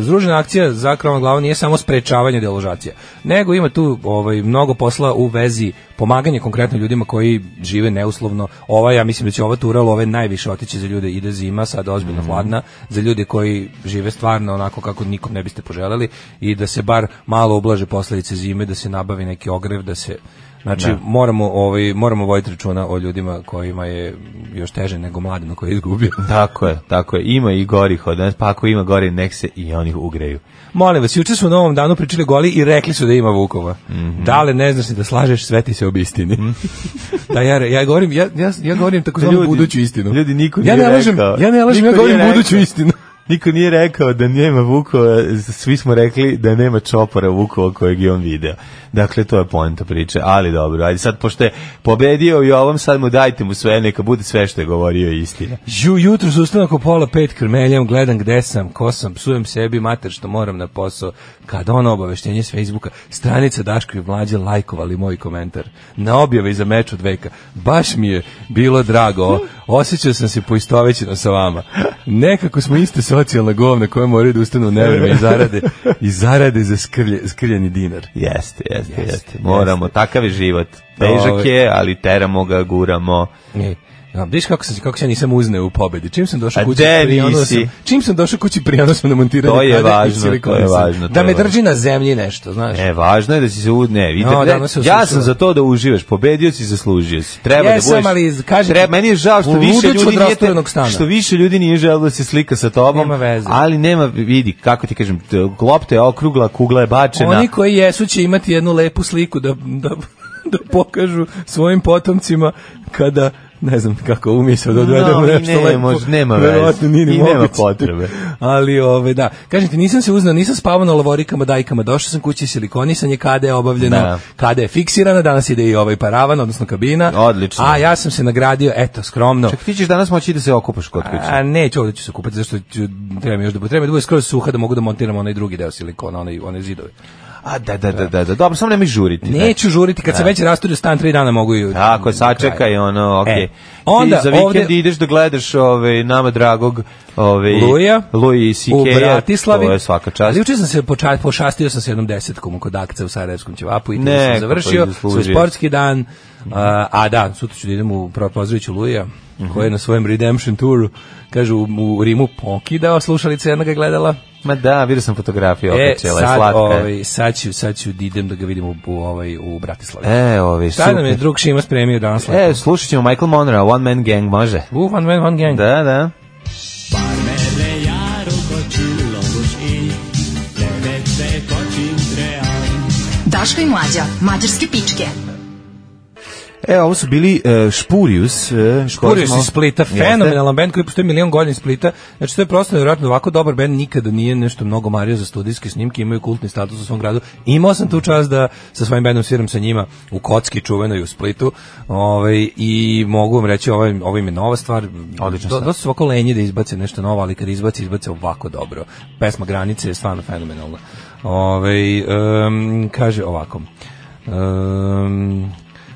Speaker 6: združena akcija za krovom glavu nije samo sprečavanje deložacija, nego ima tu ovaj, mnogo posla u vezi pomaganje konkretno ljudima koji žive neuslovno. Ova, ja mislim da će ova tura love najviše otići za ljude, ide zima, sad ozbiljno hladna, za ljude koji žive stvarno onako kako nikom ne biste poželjeli i da se bar malo ublaže posledice zime, da se nabavi neki ogrev, da se Znači, moramo, ovaj, moramo voditi računa o ljudima kojima je još teže nego mladima koji je izgubio.
Speaker 5: Tako je, tako je. Ima i gorih od nas, pa ako ima gori, nek se i oni ugreju.
Speaker 6: Molim vas, juče su u Novom danu pričali goli i rekli su da ima Vukova.
Speaker 5: Mhm.
Speaker 6: Da li ne znaš ni da slažeš, sve ti se obistini. da, ja, ja govorim, ja, ja, ja govorim tako
Speaker 5: Ljudi,
Speaker 6: buduću istinu.
Speaker 5: ljudi, niko
Speaker 6: ja ne
Speaker 5: nije
Speaker 6: lažem,
Speaker 5: rekao.
Speaker 6: Ja ne lažem,
Speaker 5: Niko
Speaker 6: ja govorim
Speaker 5: nije rekao.
Speaker 6: buduću istinu.
Speaker 5: Niko nije rekao da nema Vukova, svi smo rekli da nema čopora Vukova kojeg je on video. Dakle, to je poenta priče, ali dobro, ajde sad, pošto je pobedio i ovom, sad mu dajte mu sve, neka bude sve što je govorio istina.
Speaker 6: Ju, jutro su ustano oko pola pet krmeljam, gledam gde sam, ko sam, psujem sebi, mater što moram na posao. Kad ono obaveštenje s Facebooka, stranica Daško i Mlađe lajkovali moj komentar na objave iza meč od veka. Baš mi je bilo drago, o- osjećao sam se poistovećeno sa vama. Nekako smo iste socijalna govna koja moraju da ustanu u nevreme i zarade, i zarade za skrlje, skrljeni dinar.
Speaker 5: Jeste, jeste,
Speaker 6: Jeste, Ovaj-
Speaker 5: jeste. Moramo, takav je život. Težak
Speaker 6: Dobro.
Speaker 5: je, ali teramo ga, guramo.
Speaker 6: Ej, a, vidiš kako sam, kako se ja nisam uzneo u pobedi. Čim sam došao
Speaker 5: A
Speaker 6: kući,
Speaker 5: de
Speaker 6: prionuo sam,
Speaker 5: nisi?
Speaker 6: čim sam došao kući, prionuo sam na montiranje.
Speaker 5: To je
Speaker 6: kade i
Speaker 5: važno,
Speaker 6: silikone
Speaker 5: to je
Speaker 6: sam.
Speaker 5: važno, to
Speaker 6: Da
Speaker 5: je
Speaker 6: me
Speaker 5: važno.
Speaker 6: drži na zemlji nešto, znaš.
Speaker 5: E, važno je da si se u... Ne, vidite,
Speaker 6: No,
Speaker 5: ne,
Speaker 6: danas se
Speaker 5: ja
Speaker 6: osušila.
Speaker 5: sam za to da uživaš, pobedio si, zaslužio si. Treba
Speaker 6: Jesam,
Speaker 5: da budeš...
Speaker 6: ali, kažem,
Speaker 5: treba, meni je žao što
Speaker 6: ludač
Speaker 5: više
Speaker 6: od
Speaker 5: ljudi nije, te-
Speaker 6: rasturenog stana.
Speaker 5: što više ljudi nije želeo da se slika sa tobom,
Speaker 6: Nema veze.
Speaker 5: ali nema, vidi, kako ti kažem, t- lopta je okrugla, kugla je bačena.
Speaker 6: Oni koji jesu će imati jednu lepu sliku da, da, da pokažu svojim potomcima kada ne znam kako umisao da odvedemo
Speaker 5: No, i
Speaker 6: nešto
Speaker 5: ne,
Speaker 6: lepo.
Speaker 5: mož- nema veze.
Speaker 6: Verovatno nije ni
Speaker 5: I nema
Speaker 6: moguće.
Speaker 5: potrebe.
Speaker 6: Ali, ove, da. Kažem ti, nisam se uznao, nisam spavao na lavorikama, dajkama. Došao sam kući, silikonisanje, kada je obavljeno,
Speaker 5: Da.
Speaker 6: kada je fiksirana, danas ide i ovaj paravan, odnosno kabina.
Speaker 5: Odlično.
Speaker 6: A ja sam se nagradio, eto, skromno.
Speaker 5: Čak ti ćeš danas moći da se okupaš kod kuće.
Speaker 6: A neću ovdje ću se kupati, zašto ću, treba mi još da potrebam, da bude skroz suha da mogu da montiram onaj drugi deo silikona, onaj, onaj zidove.
Speaker 5: A, da, da, da, da, da, dobro, samo nemoj žuriti. da.
Speaker 6: Neću žuriti, kad sam već rasturio stan, tri dana mogu i...
Speaker 5: Tako, sačekaj, ono, okej.
Speaker 6: E, onda
Speaker 5: Ti za vikend
Speaker 6: ovde-
Speaker 5: ideš da gledaš ove, nama dragog ove,
Speaker 6: Luja,
Speaker 5: Luji i
Speaker 6: u
Speaker 5: Sikeja,
Speaker 6: Bratislavi.
Speaker 5: to je svaka čast.
Speaker 6: Ali juče sam se poča, pošastio sam se jednom desetkom kod akce u Sarajevskom ćevapu i tu
Speaker 5: Ne,
Speaker 6: sam
Speaker 5: kako
Speaker 6: završio. Svoj
Speaker 5: zaslužio.
Speaker 6: sportski dan. A, a da, sutra ću da idem u pro- pozdravit ću Luja,
Speaker 5: Mhm.
Speaker 6: koji je na svojem redemption touru, kaže, u, u Rimu pokidao slušalice, jedna ga je gledala.
Speaker 5: Ma da, vidio sam fotografiju,
Speaker 6: E,
Speaker 5: opet čela je
Speaker 6: sad,
Speaker 5: slatka. je.
Speaker 6: ovaj, sad, ću, sad ću da idem da ga vidim u, u, ovaj, u Bratislavi.
Speaker 5: E, ovi,
Speaker 6: Šta nam je
Speaker 5: super.
Speaker 6: drug Šima spremio danas? lepo?
Speaker 5: E, slušat ćemo Michael Monroe, One Man Gang, može?
Speaker 6: U, one man, one gang.
Speaker 5: Da, da.
Speaker 4: Daško i Mlađa, mađarske pičke.
Speaker 5: E, ovo su bili e, Špurius. E,
Speaker 6: Kurir iz Splita, fenomenalan bend koji postoji milion godina iz Splita. Znači to je prosto nevjerojatno ovako dobar bend nikada nije nešto mnogo mario za studijske snimke, imaju kultni status u svom gradu. Imao sam tu čast da sa svojim bendom sviram sa njima u Kocki čuvenoj u Splitu. Ovaj i mogu vam reći ovo im, ovo im je nova stvar.
Speaker 5: Odlična
Speaker 6: Do,
Speaker 5: stvar.
Speaker 6: dosta su ovako lenji da izbace nešto novo, ali kad izbace, izbace ovako dobro. Pesma Granice je stvarno fenomenalna. Ovaj em, kaže ovako. Em,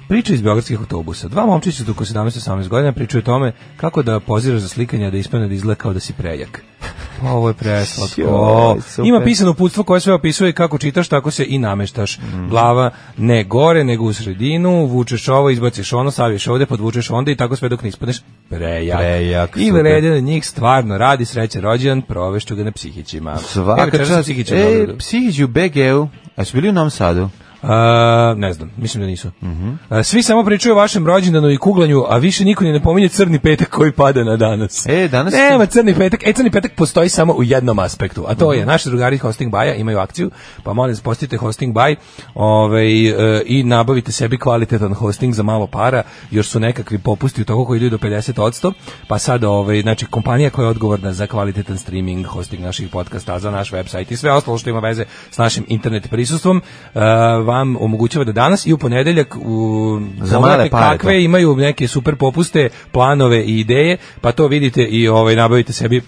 Speaker 6: Priča iz beogradskih autobusa. Dva momčića su oko 17-18 godina pričaju o tome kako da poziraš za slikanje, a da ispane da izgleda kao da si prejak. Pa ovo je preslatko.
Speaker 5: Sjoj, super.
Speaker 6: Ima pisano uputstvo koje sve opisuje kako čitaš, tako se i nameštaš.
Speaker 5: Mhm.
Speaker 6: Glava ne gore, nego u sredinu, vučeš ovo, izbaciš ono, saviš ovde, podvučeš onda i tako sve dok ne ispadneš. Prejak.
Speaker 5: Prejak,
Speaker 6: I
Speaker 5: super.
Speaker 6: Vredin od njih stvarno radi sreće rođendan, provešću ga na psihićima. Evo,
Speaker 5: Svaka
Speaker 6: večeras
Speaker 5: čast.
Speaker 6: psihića u
Speaker 5: E,
Speaker 6: Beogradu.
Speaker 5: psihić u BG-u. A su bili u Novom Sadu?
Speaker 6: A, ne znam, mislim da nisu. A, svi samo pričaju o vašem rođendanu i kuglanju, a više niko ni ne pominje crni petak koji pada na danas.
Speaker 5: E, danas-
Speaker 6: Nema crni petak. E, crni petak postoji samo u jednom aspektu, a to je,
Speaker 5: Mhm.
Speaker 6: naši drugari Hosting Baja imaju akciju, pa molim vas, postite Hosting Baj ovaj, e, i nabavite sebi kvalitetan hosting za malo para, još su nekakvi popusti u toku koji idu do 50%, pa sad, ovaj, znači, kompanija koja je odgovorna za kvalitetan streaming, hosting naših podcasta, za naš website i sve ostalo što ima veze s našim internet prisustvom, e, vam omogućava da danas i u ponedeljak u
Speaker 5: Za male
Speaker 6: pogledate
Speaker 5: pare,
Speaker 6: kakve
Speaker 5: to.
Speaker 6: imaju neke super popuste, planove i ideje, pa to vidite i ovaj nabavite sebi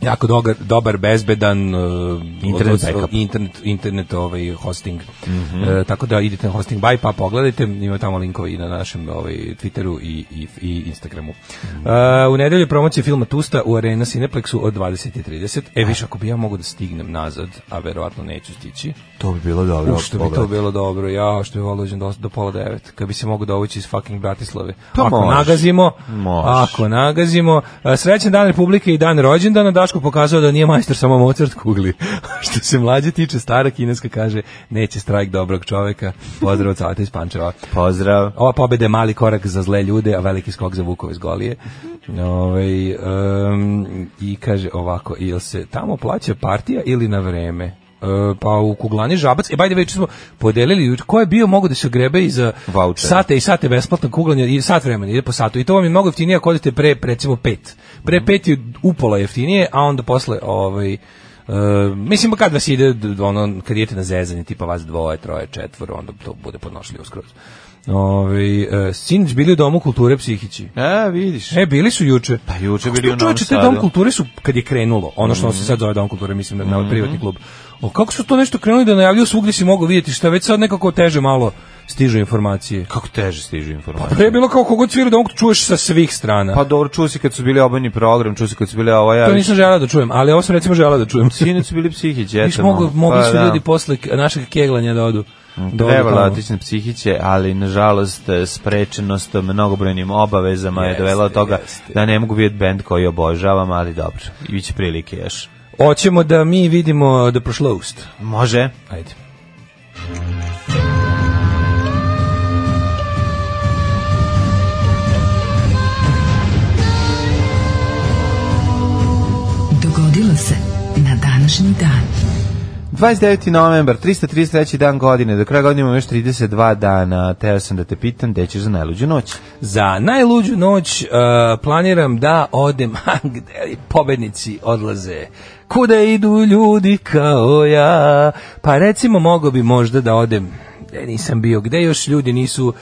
Speaker 6: jako dogar, dobar, bezbedan uh,
Speaker 5: Internet backup.
Speaker 6: internet, internet ovaj, hosting. E, tako da idite na hosting by, pa pogledajte, ima tamo linkovi i na našem ovaj, Twitteru i, i, i Instagramu. E, u nedelju je promocija filma Tusta u Arena Cineplexu od 20.30. E, više, ako bi ja mogu da stignem nazad, a verovatno neću stići,
Speaker 5: To bi bilo dobro.
Speaker 6: U, što bi to bilo dobro, ja što bi volio dođem do, do pola devet, kad bi se mogu dovući iz fucking Bratislave.
Speaker 5: Pa
Speaker 6: ako
Speaker 5: možeš.
Speaker 6: nagazimo,
Speaker 5: Možeš.
Speaker 6: ako nagazimo, a, srećan dan Republike i dan rođendana, Daško pokazao da nije majstor samo Mozart kugli. što se mlađe tiče, stara kineska kaže, neće strajk dobrog čoveka, pozdrav od Saveta iz Pančeva.
Speaker 5: Pozdrav.
Speaker 6: Ova pobeda je mali korak za zle ljude, a veliki skok za Vukove iz Golije. Ovaj, em, I kaže ovako, jel se tamo plaća partija ili na vreme? E, pa u Kuglani Žabac, e bajde već smo podelili, juč- ko je bio mogu da se grebe i za
Speaker 5: Vaučer.
Speaker 6: sate i sate besplatno kuglanje i sat vremena ide po satu i to vam je mnogo jeftinije ako odete pre recimo pet. Pre pet je upola jeftinije, a onda posle ovaj Uh, mislim, pa kad vas ide, d- ono, kad idete na zezanje, tipa vas dvoje, troje, četvoro, onda to bude podnošljivo skroz. Ovi, uh, sinoć bili u Domu kulture Psihići.
Speaker 5: E, vidiš.
Speaker 6: E, bili su juče.
Speaker 5: Pa juče
Speaker 6: Kako
Speaker 5: bili u Novom
Speaker 6: čoveče, taj
Speaker 5: Sadu. Mhm.
Speaker 6: Dom kulture su, kad je krenulo, ono što se sad zove Dom kulture, mislim, na, na privatni klub. O, kako su to nešto krenuli da najavljuju svugdje si mogu vidjeti, što već sad nekako teže malo stižu informacije.
Speaker 5: Kako teže stižu informacije.
Speaker 6: Pre Pa je bilo kao kogod svira Dom čuješ sa svih strana.
Speaker 5: Pa dobro, čuo si kad su bili obojni program, čuo si kad su bili ovo ja.
Speaker 6: to nisam želeo da čujem, ali ovo sam recimo želeo da čujem.
Speaker 5: Sinoć su bili psihići, eto.
Speaker 6: Viš, mogu,
Speaker 5: no.
Speaker 6: mogli
Speaker 5: Pa
Speaker 6: su
Speaker 5: da.
Speaker 6: ljudi posle k- našeg keglanja da odu. da odu
Speaker 5: Trebala
Speaker 6: tamo.
Speaker 5: otići na psihiće, ali nažalost e, sprečenost mnogobrojnim obavezama je
Speaker 6: Jeste,
Speaker 5: dovela do toga
Speaker 6: jeste.
Speaker 5: da ne mogu vidjeti bend koji obožavam, ali dobro, ići prilike još.
Speaker 6: Hoćemo da mi vidimo The Prošlost.
Speaker 5: Može?
Speaker 6: Ajde.
Speaker 4: Dogodilo se na današnji dan.
Speaker 5: 29. novembar, 333. dan godine, do kraja godine imamo još 32 dana, teo sam da te pitam, gde ćeš za najluđu noć?
Speaker 6: Za najluđu noć e, planiram da odem a, gde pobednici odlaze. Kuda idu ljudi kao ja? Pa recimo mogo bi možda da odem gde nisam bio, gde još ljudi nisu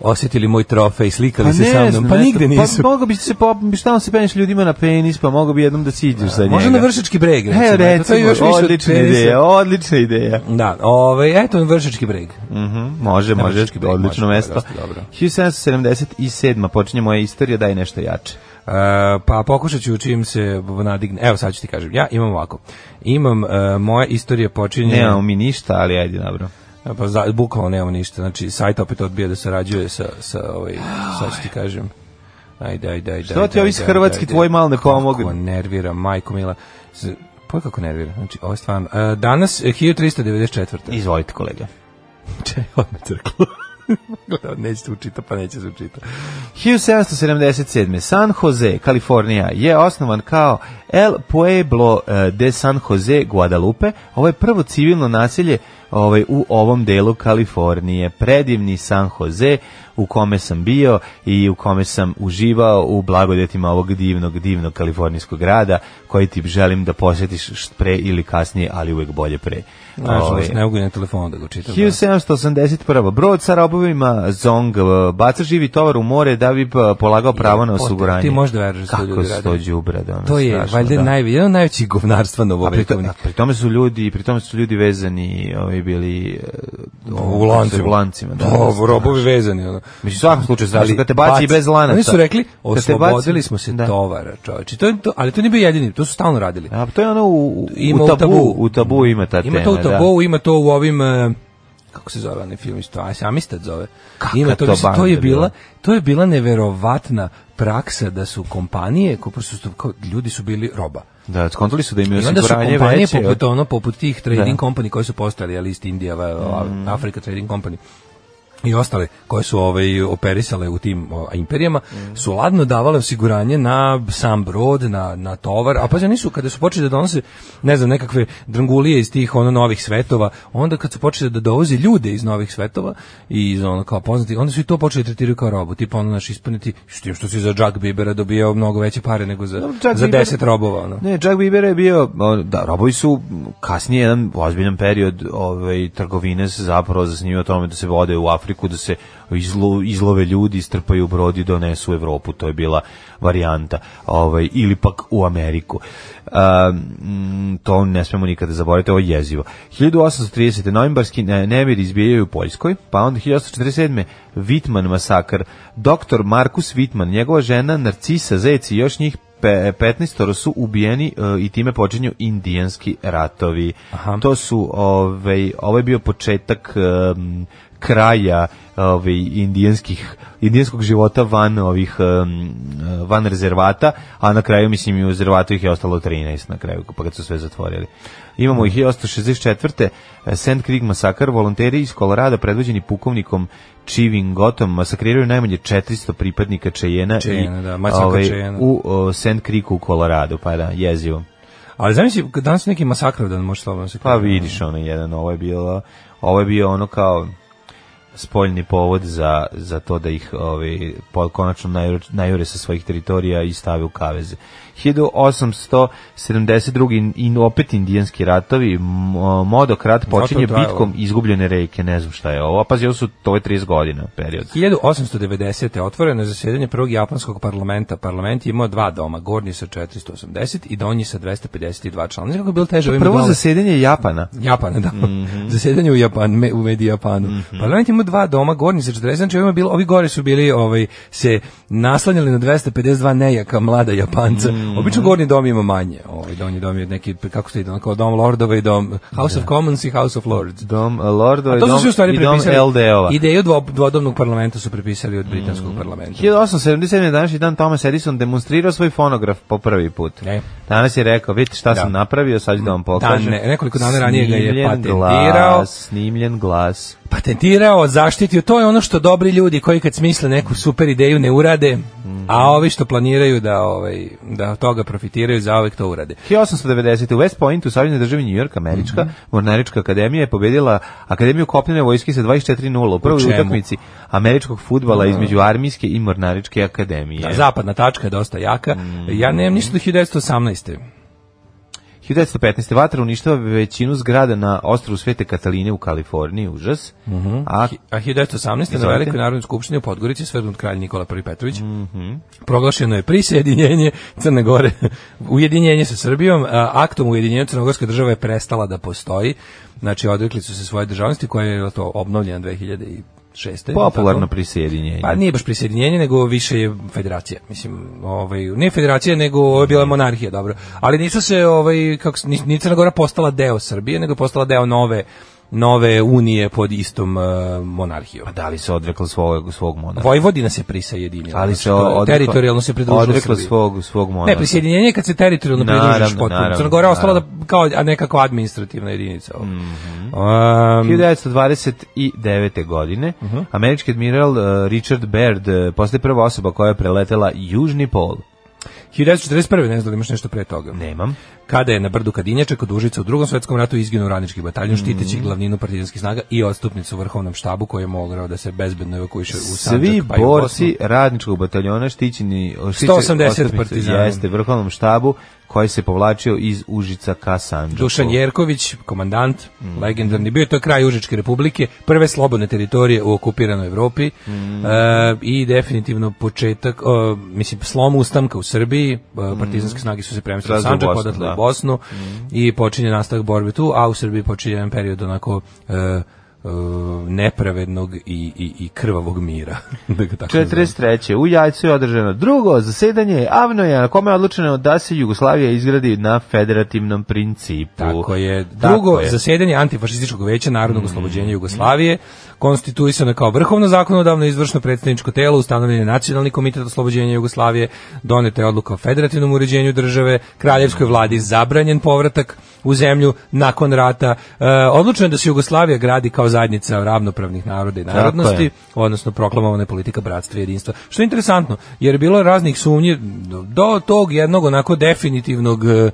Speaker 6: osjetili moj trofej, slikali se sa mnom, pa
Speaker 5: eto,
Speaker 6: nigde nisu.
Speaker 5: Pa mogo bi se, pop, šta on se penješ ljudima na penis, pa mogo bi jednom da siđeš sa njega.
Speaker 6: Možda na Vršački breg, recimo.
Speaker 5: E,
Speaker 6: eto, to
Speaker 5: recimo,
Speaker 6: je još više od
Speaker 5: odlična
Speaker 6: penisa.
Speaker 5: ideja, odlična ideja.
Speaker 6: Da, ovaj, eto na Vršački breg. E,
Speaker 5: Mhm, može, može,
Speaker 6: Vršački breg,
Speaker 5: odlično
Speaker 6: može,
Speaker 5: mesto.
Speaker 6: dosta dobro.
Speaker 5: 1777. počinje moja istorija, daj nešto jače.
Speaker 6: E, pa pokušat ću čim se nadigne. Evo sad ću ti kažem. Ja imam ovako. Imam, e, moja istorija počinje...
Speaker 5: Nemamo mi ništa, ali ajde, dobro.
Speaker 6: E, Pa za, bukvalno nemamo ništa. Znači, sajt opet odbija da sarađuje sa, sa ovaj, sad ću ti kažem. Ajde, ajde, ajde.
Speaker 5: Što
Speaker 6: ajde,
Speaker 5: ti ovi
Speaker 6: ajde,
Speaker 5: iz
Speaker 6: ajde,
Speaker 5: Hrvatske
Speaker 6: ajde.
Speaker 5: tvoji malo ne
Speaker 6: Kako
Speaker 5: pomogli?
Speaker 6: nervira, majko mila. Z- Pa kako nervira? Znači, ovo je stvarno. E, danas, e, 1394.
Speaker 5: Izvolite, kolega.
Speaker 6: Čekaj, odme crklo. neće se učita, pa neće se učita.
Speaker 5: 1777. San Jose, Kalifornija je osnovan kao El Pueblo eh, de San Jose, Guadalupe. Ovo je prvo civilno naselje ovaj, u ovom delu Kalifornije. Predivni San Jose u kome sam bio i u kome sam uživao u blagodetima ovog divnog, divnog kalifornijskog grada koji ti želim da posjetiš št- pre ili kasnije, ali uvek bolje pre. Ovaj,
Speaker 6: Nažalost, ne mogu i na telefonu da ga čitam.
Speaker 5: 1781. Brod sa robovima Zong eh, baca živi tovar u more da bi eh, polagao pravo na
Speaker 6: Potem,
Speaker 5: osiguranje.
Speaker 6: ti možeš da veruješ da su to
Speaker 5: Kako
Speaker 6: ljudi
Speaker 5: su to
Speaker 6: radili.
Speaker 5: đubrad, ono,
Speaker 6: To je,
Speaker 5: strašno,
Speaker 6: valjda,
Speaker 5: da.
Speaker 6: najve, jedan od najvećih govnarstva
Speaker 5: A pri, to-
Speaker 6: novovekovnih.
Speaker 5: a pri tome su ljudi, pri tome su ljudi vezani, ovi bili eh,
Speaker 6: u lancima.
Speaker 5: u lancima, da.
Speaker 6: Da, robovi vezani. Ono.
Speaker 5: Mislim, u svakom slučaju strašno, kad te baci i bez lanaca.
Speaker 6: Oni su rekli,
Speaker 5: Kad te baci-
Speaker 6: oslobodili smo se
Speaker 5: Da.
Speaker 6: tovara, čoveče. To, je- to, ali to nije bio jedini, to su stalno radili.
Speaker 5: A to je ono u, u,
Speaker 6: Ima
Speaker 5: u
Speaker 6: u
Speaker 5: tabu,
Speaker 6: tabu.
Speaker 5: u tabu ima ta tema.
Speaker 6: Ima to u
Speaker 5: da.
Speaker 6: Tabou, ima to u ovim e, kako se zove onaj film isto, a Amistad zove.
Speaker 5: Kakva
Speaker 6: ima to,
Speaker 5: to
Speaker 6: mislim, to je
Speaker 5: banda bila?
Speaker 6: bila, to je bila neverovatna praksa da su kompanije, ko prosto su, kao, ljudi su bili roba.
Speaker 5: Da, skontali su da imaju
Speaker 6: I onda su
Speaker 5: osiguranje
Speaker 6: kompanije
Speaker 5: veće.
Speaker 6: poput ono, poput tih trading
Speaker 5: Da.
Speaker 6: company koji su postali, ali East India, mm. Africa Trading Company i ostale koje su ovaj operisale u tim o, imperijama
Speaker 5: Mm.
Speaker 6: su ladno davale osiguranje na sam brod, na, na tovar, a pa nisu kada su počeli da donose ne znam nekakve drangulije iz tih ono novih svetova, onda kad su počeli da dovoze ljude iz novih svetova i iz ono kao poznati, onda su i to počeli tretirati kao robu, tipa ono naš ispaniti s tim što si za Jack Bibera dobijao mnogo veće pare nego za,
Speaker 5: Dobro, Jack
Speaker 6: za
Speaker 5: Bieber-
Speaker 6: 10 robova. Ono.
Speaker 5: Ne, Jack Bieber je bio, o, da, robovi su kasnije jedan ozbiljan period ovaj, trgovine se zapravo zasnio o tome da se vode u Afriku, da se izlo, izlove ljudi, strpaju u brod i donesu u Evropu, to je bila varijanta, ovaj, ili pak u Ameriku. A, mm, to ne smemo nikada zaboraviti, ovo je jezivo. 1830. novembarski ne- nemiri izbijaju u Poljskoj, pa onda 1847. Vitman masakar, doktor Markus Vitman, njegova žena Narcisa Zeci i još njih pe, 15 su ubijeni e, i time počinju indijanski ratovi.
Speaker 6: Aha.
Speaker 5: To su ovaj ovaj je bio početak em, kraja ovaj indijanskih indijanskog života van ovih em, van rezervata, a na kraju mislim i u rezervatu ih je ostalo 13 na kraju pa kad su sve zatvorili. Imamo ih 1864. e, Sand Creek masakar, volonteri iz Kolorada predvođeni pukovnikom Chivingotom masakriraju najmanje 400 pripadnika Čejena,
Speaker 6: Čejena,
Speaker 5: i
Speaker 6: da, masakr
Speaker 5: ovaj,
Speaker 6: Čejena.
Speaker 5: u o, Sand Creeku u Koloradu, pa da, jezivo.
Speaker 6: Ali zamisli, kad danas je neki masakr dan može slobodno se
Speaker 5: Pa
Speaker 6: kaže.
Speaker 5: vidiš ono jedan, ovo je bilo, ovo je bio ono kao spoljni povod za, za to da ih ovi, po, konačno najure, najure sa svojih teritorija i stave u kaveze. 1872. i opet indijanski ratovi, M- Modok rat počinje
Speaker 6: Zato je
Speaker 5: bitkom izgubljene reke, ne znam šta je ovo, a pazi, ovo su, to je 30 godina period.
Speaker 6: 1890. otvoreno je zasjedanje prvog japanskog parlamenta. Parlament je imao dva doma, gornji sa 480 i donji sa 252 člana. Znaš kako je bilo teže ovim
Speaker 5: Prvo
Speaker 6: dole?
Speaker 5: zasedanje Mhm. Japana.
Speaker 6: Japana, da. Zasedanje u Japan, me, u Medijapanu.
Speaker 5: Mhm.
Speaker 6: Parlament je imao dva doma, gornji sa 40, znači ovima je bilo, ovi gore su bili, ovaj, se naslanjali na 252 nejaka mlada Japanca.
Speaker 5: Mhm.
Speaker 6: Obično gornji dom ima manje. Ovaj donji dom je neki, kako se ide, ono kao dom Lordova i dom House of Commons i House of Lords.
Speaker 5: Dom Lordova i
Speaker 6: To su
Speaker 5: dom,
Speaker 6: svi u stvari
Speaker 5: i dom
Speaker 6: prepisali.
Speaker 5: LDO-va.
Speaker 6: Ideju dvo, dvodomnog parlamenta su prepisali od britanskog parlamenta.
Speaker 5: 1877. današnji dan Thomas Edison demonstrirao svoj fonograf po prvi put.
Speaker 6: E.
Speaker 5: Danas je rekao, vidite šta
Speaker 6: Da.
Speaker 5: sam napravio, sad ću da vam pokažem.
Speaker 6: Dan- ne, nekoliko dana ranije ga je
Speaker 5: Snimljen
Speaker 6: patentirao.
Speaker 5: Glas, snimljen glas.
Speaker 6: Patentirao, zaštitio, to je ono što dobri ljudi koji kad smisle neku super ideju ne urade, a ovi što planiraju da ovaj da od toga profitiraju zaovek to urade.
Speaker 5: 1890. U West Pointu, u Savjeznoj državi New York, američka
Speaker 6: Mhm.
Speaker 5: mornarička akademija je pobedila Akademiju kopnene vojske sa 24-0 u prvoj
Speaker 6: U čemu? Mhm.
Speaker 5: utakmici američkog futbala između armijske i mornaričke akademije.
Speaker 6: A zapadna tačka je dosta jaka. Ja nemam ništa do 1918.
Speaker 5: 1915. vatra uništava većinu zgrada na ostrvu Svete Kataline u Kaliforniji, užas.
Speaker 6: Mhm.
Speaker 5: A
Speaker 6: A 1918. na
Speaker 5: Izvolite.
Speaker 6: Velikoj narodnoj skupštini u Podgorici je svrgnut kralj Nikola I Petrović.
Speaker 5: Mhm.
Speaker 6: Proglašeno je prisjedinjenje Crne Gore, ujedinjenje sa Srbijom. A, aktom ujedinjenja Crnogorska država je prestala da postoji. Znači, odrekli su se svoje državnosti koja je jel to obnovljena 2006.
Speaker 5: popularno
Speaker 6: tako?
Speaker 5: prisjedinjenje.
Speaker 6: Pa nije baš prisjedinjenje, nego više je federacija. Mislim, ovaj, nije federacija, nego ovo je bila monarhija, dobro. Ali nisu se, ovaj, kako, se- ni, ni Crna Gora postala deo Srbije, nego je postala deo nove nove unije pod istom eh, monarhijom.
Speaker 5: Pa da li se odrekla svog, svog monarha?
Speaker 6: Vojvodina se prisjedinila.
Speaker 5: Ali
Speaker 6: znači,
Speaker 5: se
Speaker 6: kao
Speaker 5: odrekla,
Speaker 6: teritorijalno se pridružila
Speaker 5: odrekla
Speaker 6: Srbiji.
Speaker 5: svog, svog monarha.
Speaker 6: Ne, prisjedinjenje je kad se teritorijalno pridružiš
Speaker 5: Naravno,
Speaker 6: potpuno.
Speaker 5: naravno, Mhm.
Speaker 6: Crna Gora je ostala da, kao a nekako administrativna jedinica. ovo. Um,
Speaker 5: 1929. godine
Speaker 6: Mhm.
Speaker 5: američki admiral eh, Richard Baird eh, postaje prva osoba koja je preletela južni pol.
Speaker 6: 1941. ne znam da li imaš nešto pre toga.
Speaker 5: Nemam.
Speaker 6: Kada je na brdu Kadinjača kod Užica u drugom svetskom ratu izginuo radnički
Speaker 5: Mm.
Speaker 6: bataljon štiteći glavninu partizanskih snaga i odstupnicu u vrhovnom štabu koji je mogao da se bezbedno evakuiše u Sandžak.
Speaker 5: Svi
Speaker 6: pa i u
Speaker 5: borci
Speaker 6: Bosnu.
Speaker 5: radničkog bataljona štićeni
Speaker 6: 180 partizana.
Speaker 5: jeste vrhovnom štabu koji se povlačio iz Užica ka Sandžaku.
Speaker 6: Dušan Jerković, komandant, legendarni, bio je to kraj Užičke republike, prve slobodne teritorije u okupiranoj Evropi
Speaker 5: Mm.
Speaker 6: e, i definitivno početak, e, mislim, slom ustanka u Srbiji, e, partizanske snage su se premestile u
Speaker 5: Mm. Razvoj
Speaker 6: Sanđak,
Speaker 5: Bosne,
Speaker 6: odatle
Speaker 5: da. Mm.
Speaker 6: u Bosnu i počinje nastavak borbe tu, a u Srbiji počinje jedan period onako e, e, nepravednog i, i, i krvavog mira. da ga tako nazovem.
Speaker 5: 43. U Jajcu je održano drugo zasedanje Avnoja, na kome je odlučeno da se Jugoslavija izgradi na federativnom principu.
Speaker 6: Tako je.
Speaker 5: Tako
Speaker 6: Drugo
Speaker 5: je. Mm.
Speaker 6: zasedanje antifašističkog veća Narodnog oslobođenja Jugoslavije konstituisano je kao vrhovno zakonodavno i izvršno predstavničko telo, ustanovljen je Nacionalni komitet oslobođenja Jugoslavije, doneta je odluka o federativnom uređenju države, kraljevskoj vladi zabranjen povratak u zemlju nakon rata. E, odlučeno je da se Jugoslavija gradi kao zajednica ravnopravnih naroda i
Speaker 5: je.
Speaker 6: narodnosti odnosno proklamovana je politika bratstva i jedinstva. Što je interesantno, jer je bilo raznih sumnji do- do tog jednog onako definitivnog e,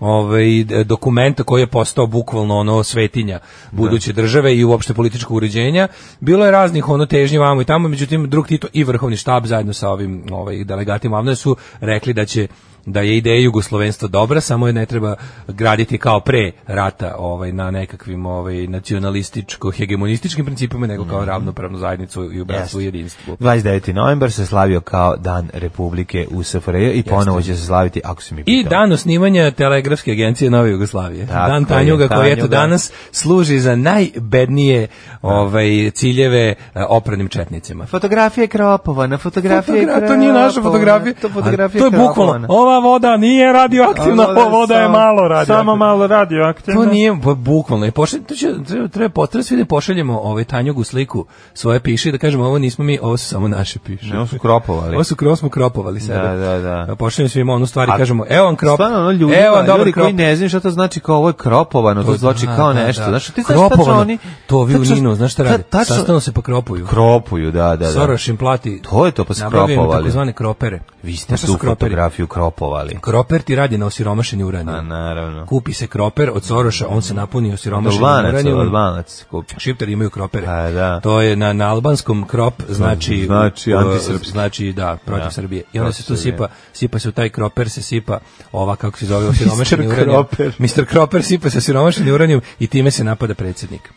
Speaker 6: ovaj d- dokumenta koji je postao bukvalno ono svetinja buduće države i uopšte političkog uređenja. Bilo je raznih ono težnji vamo i tamo, međutim drug Tito i vrhovni štab zajedno sa ovim ovaj delegatima Avnoja su rekli da će da je ideja jugoslovenstva dobra, samo je ne treba graditi kao pre rata ovaj na nekakvim ovaj nacionalističko hegemonističkim principima nego kao ravnopravnu zajednicu i u bratstvu Mhm. i jedinstvu.
Speaker 5: 29. novembar se slavio kao dan Republike u SFRJ i ponovo će se slaviti ako se mi
Speaker 6: I
Speaker 5: pitao.
Speaker 6: dan osnivanja telegrafske agencije Nove Jugoslavije.
Speaker 5: Tako
Speaker 6: dan
Speaker 5: je,
Speaker 6: Tanjuga koji eto
Speaker 5: Tanjuga.
Speaker 6: danas služi za najbednije ovaj ciljeve eh, opranim četnicima.
Speaker 5: Fotografije Kropova, na fotografije
Speaker 6: Fotogra- to nije naša
Speaker 5: Kropova,
Speaker 6: fotografija.
Speaker 5: To, fotografija
Speaker 6: A, to je bukvalno.
Speaker 5: Kropova.
Speaker 6: Ova voda nije radioaktivna,
Speaker 5: Ono da
Speaker 6: ova voda je
Speaker 5: samo-
Speaker 6: malo radioaktivna.
Speaker 5: Samo malo radioaktivna.
Speaker 6: To nije bu- bukvalno. I pošalj, to će, treba, treba potreba svi da pošaljemo ovaj Tanjugu sliku svoje piše i da kažemo ovo nismo mi, ovo su samo naše piše.
Speaker 5: Ne, ovo su kropovali.
Speaker 6: Ovo su kro, ovo smo kropovali sebe. Pa
Speaker 5: Da, da, da.
Speaker 6: Pošaljemo svima onu stvar i
Speaker 5: A-
Speaker 6: kažemo, evo vam krop. E,
Speaker 5: Stvarno, ono ljudi,
Speaker 6: evo vam dobar
Speaker 5: ljudi koji
Speaker 6: krop.
Speaker 5: ne znaju šta to znači kao ovo je kropovano, to,
Speaker 6: To-
Speaker 5: znači
Speaker 6: da,
Speaker 5: kao
Speaker 6: da,
Speaker 5: nešto.
Speaker 6: da.
Speaker 5: Znaš, ti znaš šta će
Speaker 6: Kropovano.
Speaker 5: oni...
Speaker 6: To ovi u
Speaker 5: tačno-
Speaker 6: Ninu, znaš šta
Speaker 5: ta-
Speaker 6: rade?
Speaker 5: tačno-
Speaker 6: Sastanu se pa kropuju.
Speaker 5: ono Kropuju, da, da, da.
Speaker 6: Soroš im plati.
Speaker 5: To je to, pa su
Speaker 6: Nabavio im
Speaker 5: kropovali.
Speaker 6: takozvane kropere.
Speaker 5: Vi ste
Speaker 6: Znaš šta
Speaker 5: tu
Speaker 6: su kroperi?
Speaker 5: fotografiju kropovali.
Speaker 6: Kroper ti radi na osiromašenju uranijuma.
Speaker 5: A, naravno.
Speaker 6: Kupi se kroper od Soroša, on se napuni osiromašenju
Speaker 5: Albanac,
Speaker 6: uranijuma.
Speaker 5: albanac kupi.
Speaker 6: Šiptari imaju kropere.
Speaker 5: A, da.
Speaker 6: To je na, na albanskom krop znači
Speaker 5: Znači
Speaker 6: u-
Speaker 5: antisrpski.
Speaker 6: Znači da, protiv
Speaker 5: Da,
Speaker 6: Srbije. I onda
Speaker 5: protiv
Speaker 6: se tu
Speaker 5: Srbije.
Speaker 6: sipa, sipa se u taj kroper se sipa ova kako se zove osiromašeni
Speaker 5: Mr.
Speaker 6: uranijum.
Speaker 5: Kroper.
Speaker 6: Mr. Kroper sipa se osiromašeni uranijum i time se napada predsjednik.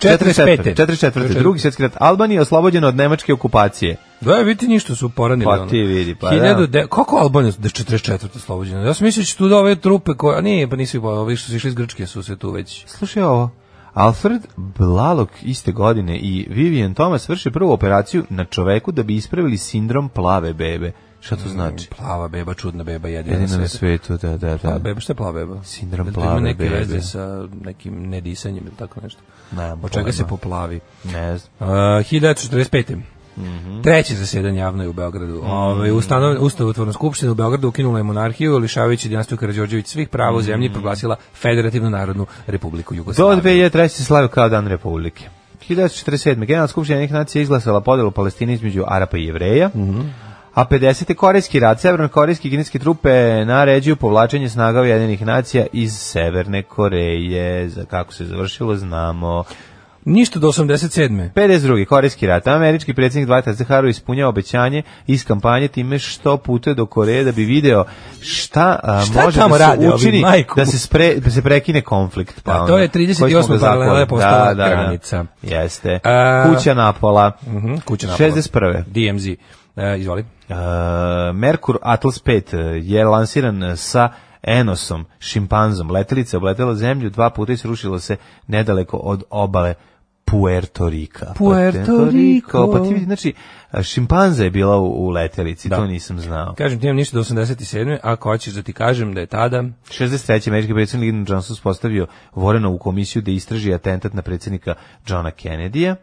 Speaker 5: 44.
Speaker 6: 45.
Speaker 5: 44. Drugi svjetski rat. Albanija je oslobođena od nemačke okupacije.
Speaker 6: Da, vidite ništa su poranili.
Speaker 5: Pa ti vidi, pa da.
Speaker 6: 1000 de- kako Albanija da je 44. slobođena? Ja sam mislio da će tu da ove trupe koje... A nije, pa nisu ih bojali, ovi što su išli iz Grčke su se tu već.
Speaker 5: Slušaj ovo. Alfred Blalog iste godine i Vivian Thomas vrše prvu operaciju na čoveku da bi ispravili sindrom plave bebe. Šta to znači?
Speaker 6: Plava beba, čudna beba, jedina,
Speaker 5: Jedino
Speaker 6: na
Speaker 5: na
Speaker 6: svetu.
Speaker 5: svetu, da, da,
Speaker 6: Plava
Speaker 5: da.
Speaker 6: beba, šta je plava beba?
Speaker 5: Sindrom
Speaker 6: Jel to
Speaker 5: plave
Speaker 6: ima neke
Speaker 5: bebe.
Speaker 6: veze sa nekim nedisanjem ili tako nešto.
Speaker 5: Nemam
Speaker 6: Od čega
Speaker 5: pojma.
Speaker 6: se poplavi?
Speaker 5: Ne znam.
Speaker 6: Uh, 1945.
Speaker 5: Mhm.
Speaker 6: Treće zasjedanje javno je u Beogradu. Ovaj ustanov ustavotvorna skupština u Beogradu ukinula je monarhiju, lišavajući dinastiju Karađorđević svih prava u zemlji i proglasila Federativnu narodnu republiku
Speaker 5: Mhm. Do
Speaker 6: Jugoslaviju.
Speaker 5: 2003. se slavio kao dan Republike. 1947. Generalna skupština jednih nacija izglasala podelu Palestine između Arapa i Jevreja. A 50. korejski rat, severnokorejski i kineske trupe naređuju povlačenje snaga Ujedinjenih nacija iz Severne Koreje. Za kako se završilo znamo.
Speaker 6: Ništa do 87.
Speaker 5: 52. Korejski rat. Američki predsjednik Dwight Eisenhower ispunjao obećanje iz kampanje time što putuje do Koreje da bi video šta, a,
Speaker 6: Šta
Speaker 5: može
Speaker 6: tamo
Speaker 5: da
Speaker 6: rade
Speaker 5: se
Speaker 6: ovi,
Speaker 5: učini
Speaker 6: majku
Speaker 5: da
Speaker 6: mu?
Speaker 5: se, spre, da se prekine konflikt. Pa
Speaker 6: Da, to
Speaker 5: ono,
Speaker 6: je 38.
Speaker 5: koji smo ga
Speaker 6: paralela
Speaker 5: zaklali.
Speaker 6: postala granica.
Speaker 5: Jeste.
Speaker 6: A-
Speaker 5: Kuća napola.
Speaker 6: Mhm, kuća napada.
Speaker 5: 61.
Speaker 6: DMZ. E, izvoli.
Speaker 5: E, Merkur Atlas 5 je lansiran sa Enosom, šimpanzom. Letelica je obletela zemlju dva puta i srušila se nedaleko od obale Puerto Rika.
Speaker 6: Puerto Rico.
Speaker 5: Pa ti vidi, znači, šimpanza je bila u, u letelici,
Speaker 6: Da.
Speaker 5: to nisam znao.
Speaker 6: Kažem ti imam ništa do 87. Ako hoćeš da ti kažem da je tada
Speaker 5: 63. američki predsjednik Lyndon Johnson spostavio Vorenovu komisiju da istraži atentat na predsjednika Johna Kennedy-a.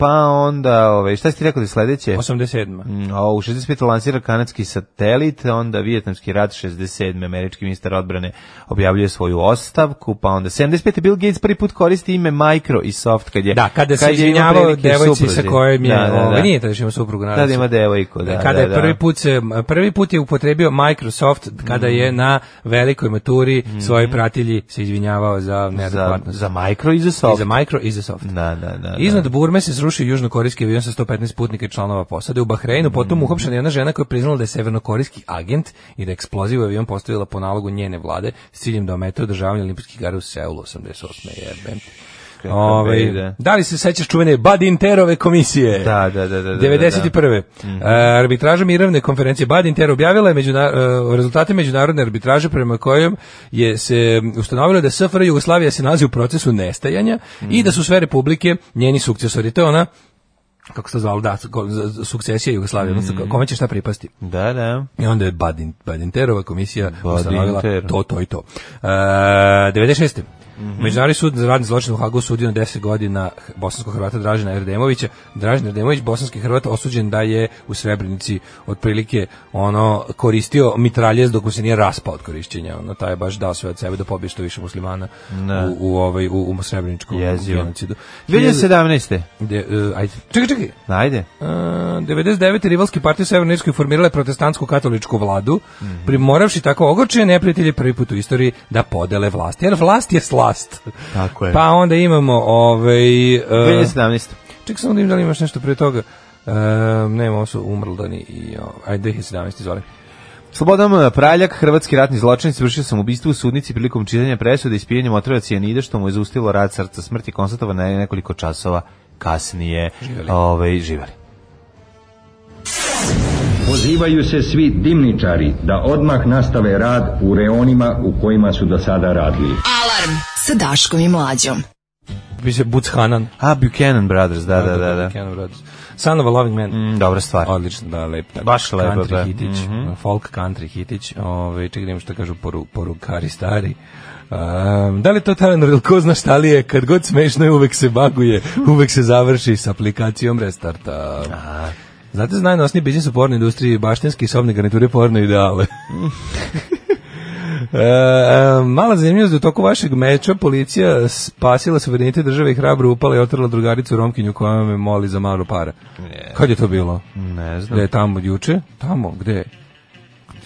Speaker 5: Pa onda, ove, šta si ti rekao da je sledeće?
Speaker 6: 87.
Speaker 5: Mm, A u 65. lansira kanadski satelit, onda vijetnamski rat 67. američki ministar odbrane objavljuje svoju ostavku, pa onda 75. Bill Gates prvi put koristi ime Micro i Soft kad je
Speaker 6: E Da, kada se
Speaker 5: kad je imao
Speaker 6: izvinjavao
Speaker 5: prilike
Speaker 6: devojci sa
Speaker 5: supruzi.
Speaker 6: kojom je,
Speaker 5: Da, da,
Speaker 6: ovaj,
Speaker 5: da.
Speaker 6: nije tada što ima suprugu naravno. E,
Speaker 5: Tada ima devojku, da,
Speaker 6: kada
Speaker 5: da,
Speaker 6: je
Speaker 5: da.
Speaker 6: prvi put se prvi put je upotrebio Microsoft kada
Speaker 5: Mm.
Speaker 6: je na velikoj maturi svoje pratilji se izvinjavao za
Speaker 5: za,
Speaker 6: neadekvatnost.
Speaker 5: za Micro i za
Speaker 6: I
Speaker 5: Soft.
Speaker 6: za Micro i za Soft.
Speaker 5: Da, da, da.
Speaker 6: Iznad Burme se srušio južnokorejski avion sa 115 putnika i članova posade u Bahreinu,
Speaker 5: Mm.
Speaker 6: potom uhapšena je jedna žena koja je priznala da je severnokorejski agent i da je eksploziv u avion postavila po nalogu njene vlade s ciljem da omete održavanje olimpijskih igara u Seulu 88. jebem. Ovaj,
Speaker 5: beda.
Speaker 6: da li se sećaš čuvene Badinterove komisije?
Speaker 5: Da, da, da, Mhm. da, da, da.
Speaker 6: 91. E, arbitraža mirovne konferencije Badinter objavila je međuna, e, rezultate međunarodne arbitraže prema kojom je se ustanovilo da SFRJ Jugoslavija se nalazi u procesu nestajanja
Speaker 5: Mhm.
Speaker 6: i da su sve republike njeni sukcesori. To je ona kako se to zvalo, da, ko- z- z- sukcesija Jugoslavije,
Speaker 5: Mhm.
Speaker 6: odnosno kome će šta pripasti.
Speaker 5: Da, da.
Speaker 6: I onda je Badin, Badinterova komisija ustanovila
Speaker 5: Badinter.
Speaker 6: to, to i to. E, 96.
Speaker 5: Mhm.
Speaker 6: Međunarodni sud za radni zločin u Hagu sudio na 10 godina bosanskog Hrvata Dražena Erdemovića. Dražen Erdemović, bosanski Hrvat, osuđen da je u Srebrenici otprilike ono koristio mitraljez dok mu se nije raspao od korišćenja. Ono, taj je baš dao sve od sebe da pobije što više muslimana u, u, ovaj, u, u Srebreničkom
Speaker 5: Jezivo.
Speaker 6: genocidu.
Speaker 5: 2017.
Speaker 6: De, e, ajde. Čekaj, čekaj.
Speaker 5: Najde.
Speaker 6: E, 99. rivalski partije u Severnoj Irskoj formirale protestantsku katoličku vladu,
Speaker 5: Mhm.
Speaker 6: primoravši tako ogorčene neprijatelje prvi put u istoriji da podele vlast. Jer vlast je slast.
Speaker 5: Tako je.
Speaker 6: Pa onda imamo ovaj... e,
Speaker 5: 2017.
Speaker 6: čekaj samo da im da li imaš nešto prije toga. E, ne, ovo su umrldani i... ovaj, o, Ajde, 2017, izvoli.
Speaker 5: Slobodan Praljak, hrvatski ratni zločinac, vršio sam ubistvo u sudnici prilikom čitanja presude i spijenjem otrova cijanida, što mu je zaustilo rad srca smrti, konstatovano je nekoliko časova kasnije živeli. Ovaj, živeli.
Speaker 1: Pozivaju se svi dimničari da odmah nastave rad u reonima u kojima su do sada radili.
Speaker 4: Alarm sa Daškom i Mlađom.
Speaker 6: Biće Buc Hanan.
Speaker 5: A, Buchanan Brothers, da, da, da. da.
Speaker 6: Keanu Reeves. Son of a loving man.
Speaker 5: Mm, dobra stvar.
Speaker 6: Odlično, da, lep. tako,
Speaker 5: Baš lepo,
Speaker 6: country
Speaker 5: da. Mhm.
Speaker 6: hitić, folk country hitić. Ovaj čekaj, da vidim šta kažu poru, porukari stari. Um, da li je to Tanner ili ko zna šta li je kad god smešno je uvek se baguje uvek se završi s aplikacijom restarta znate za najnosniji biznis u pornoj industriji baštinski i sobne garniture porno ideale E, e, mala zanimljivost da u toku vašeg meča policija spasila suverenitet države i hrabro upala i otrla drugaricu Romkinju koja me moli za malo para. Kad je to bilo?
Speaker 5: Ne znam.
Speaker 6: Da je tamo juče? Tamo, gde?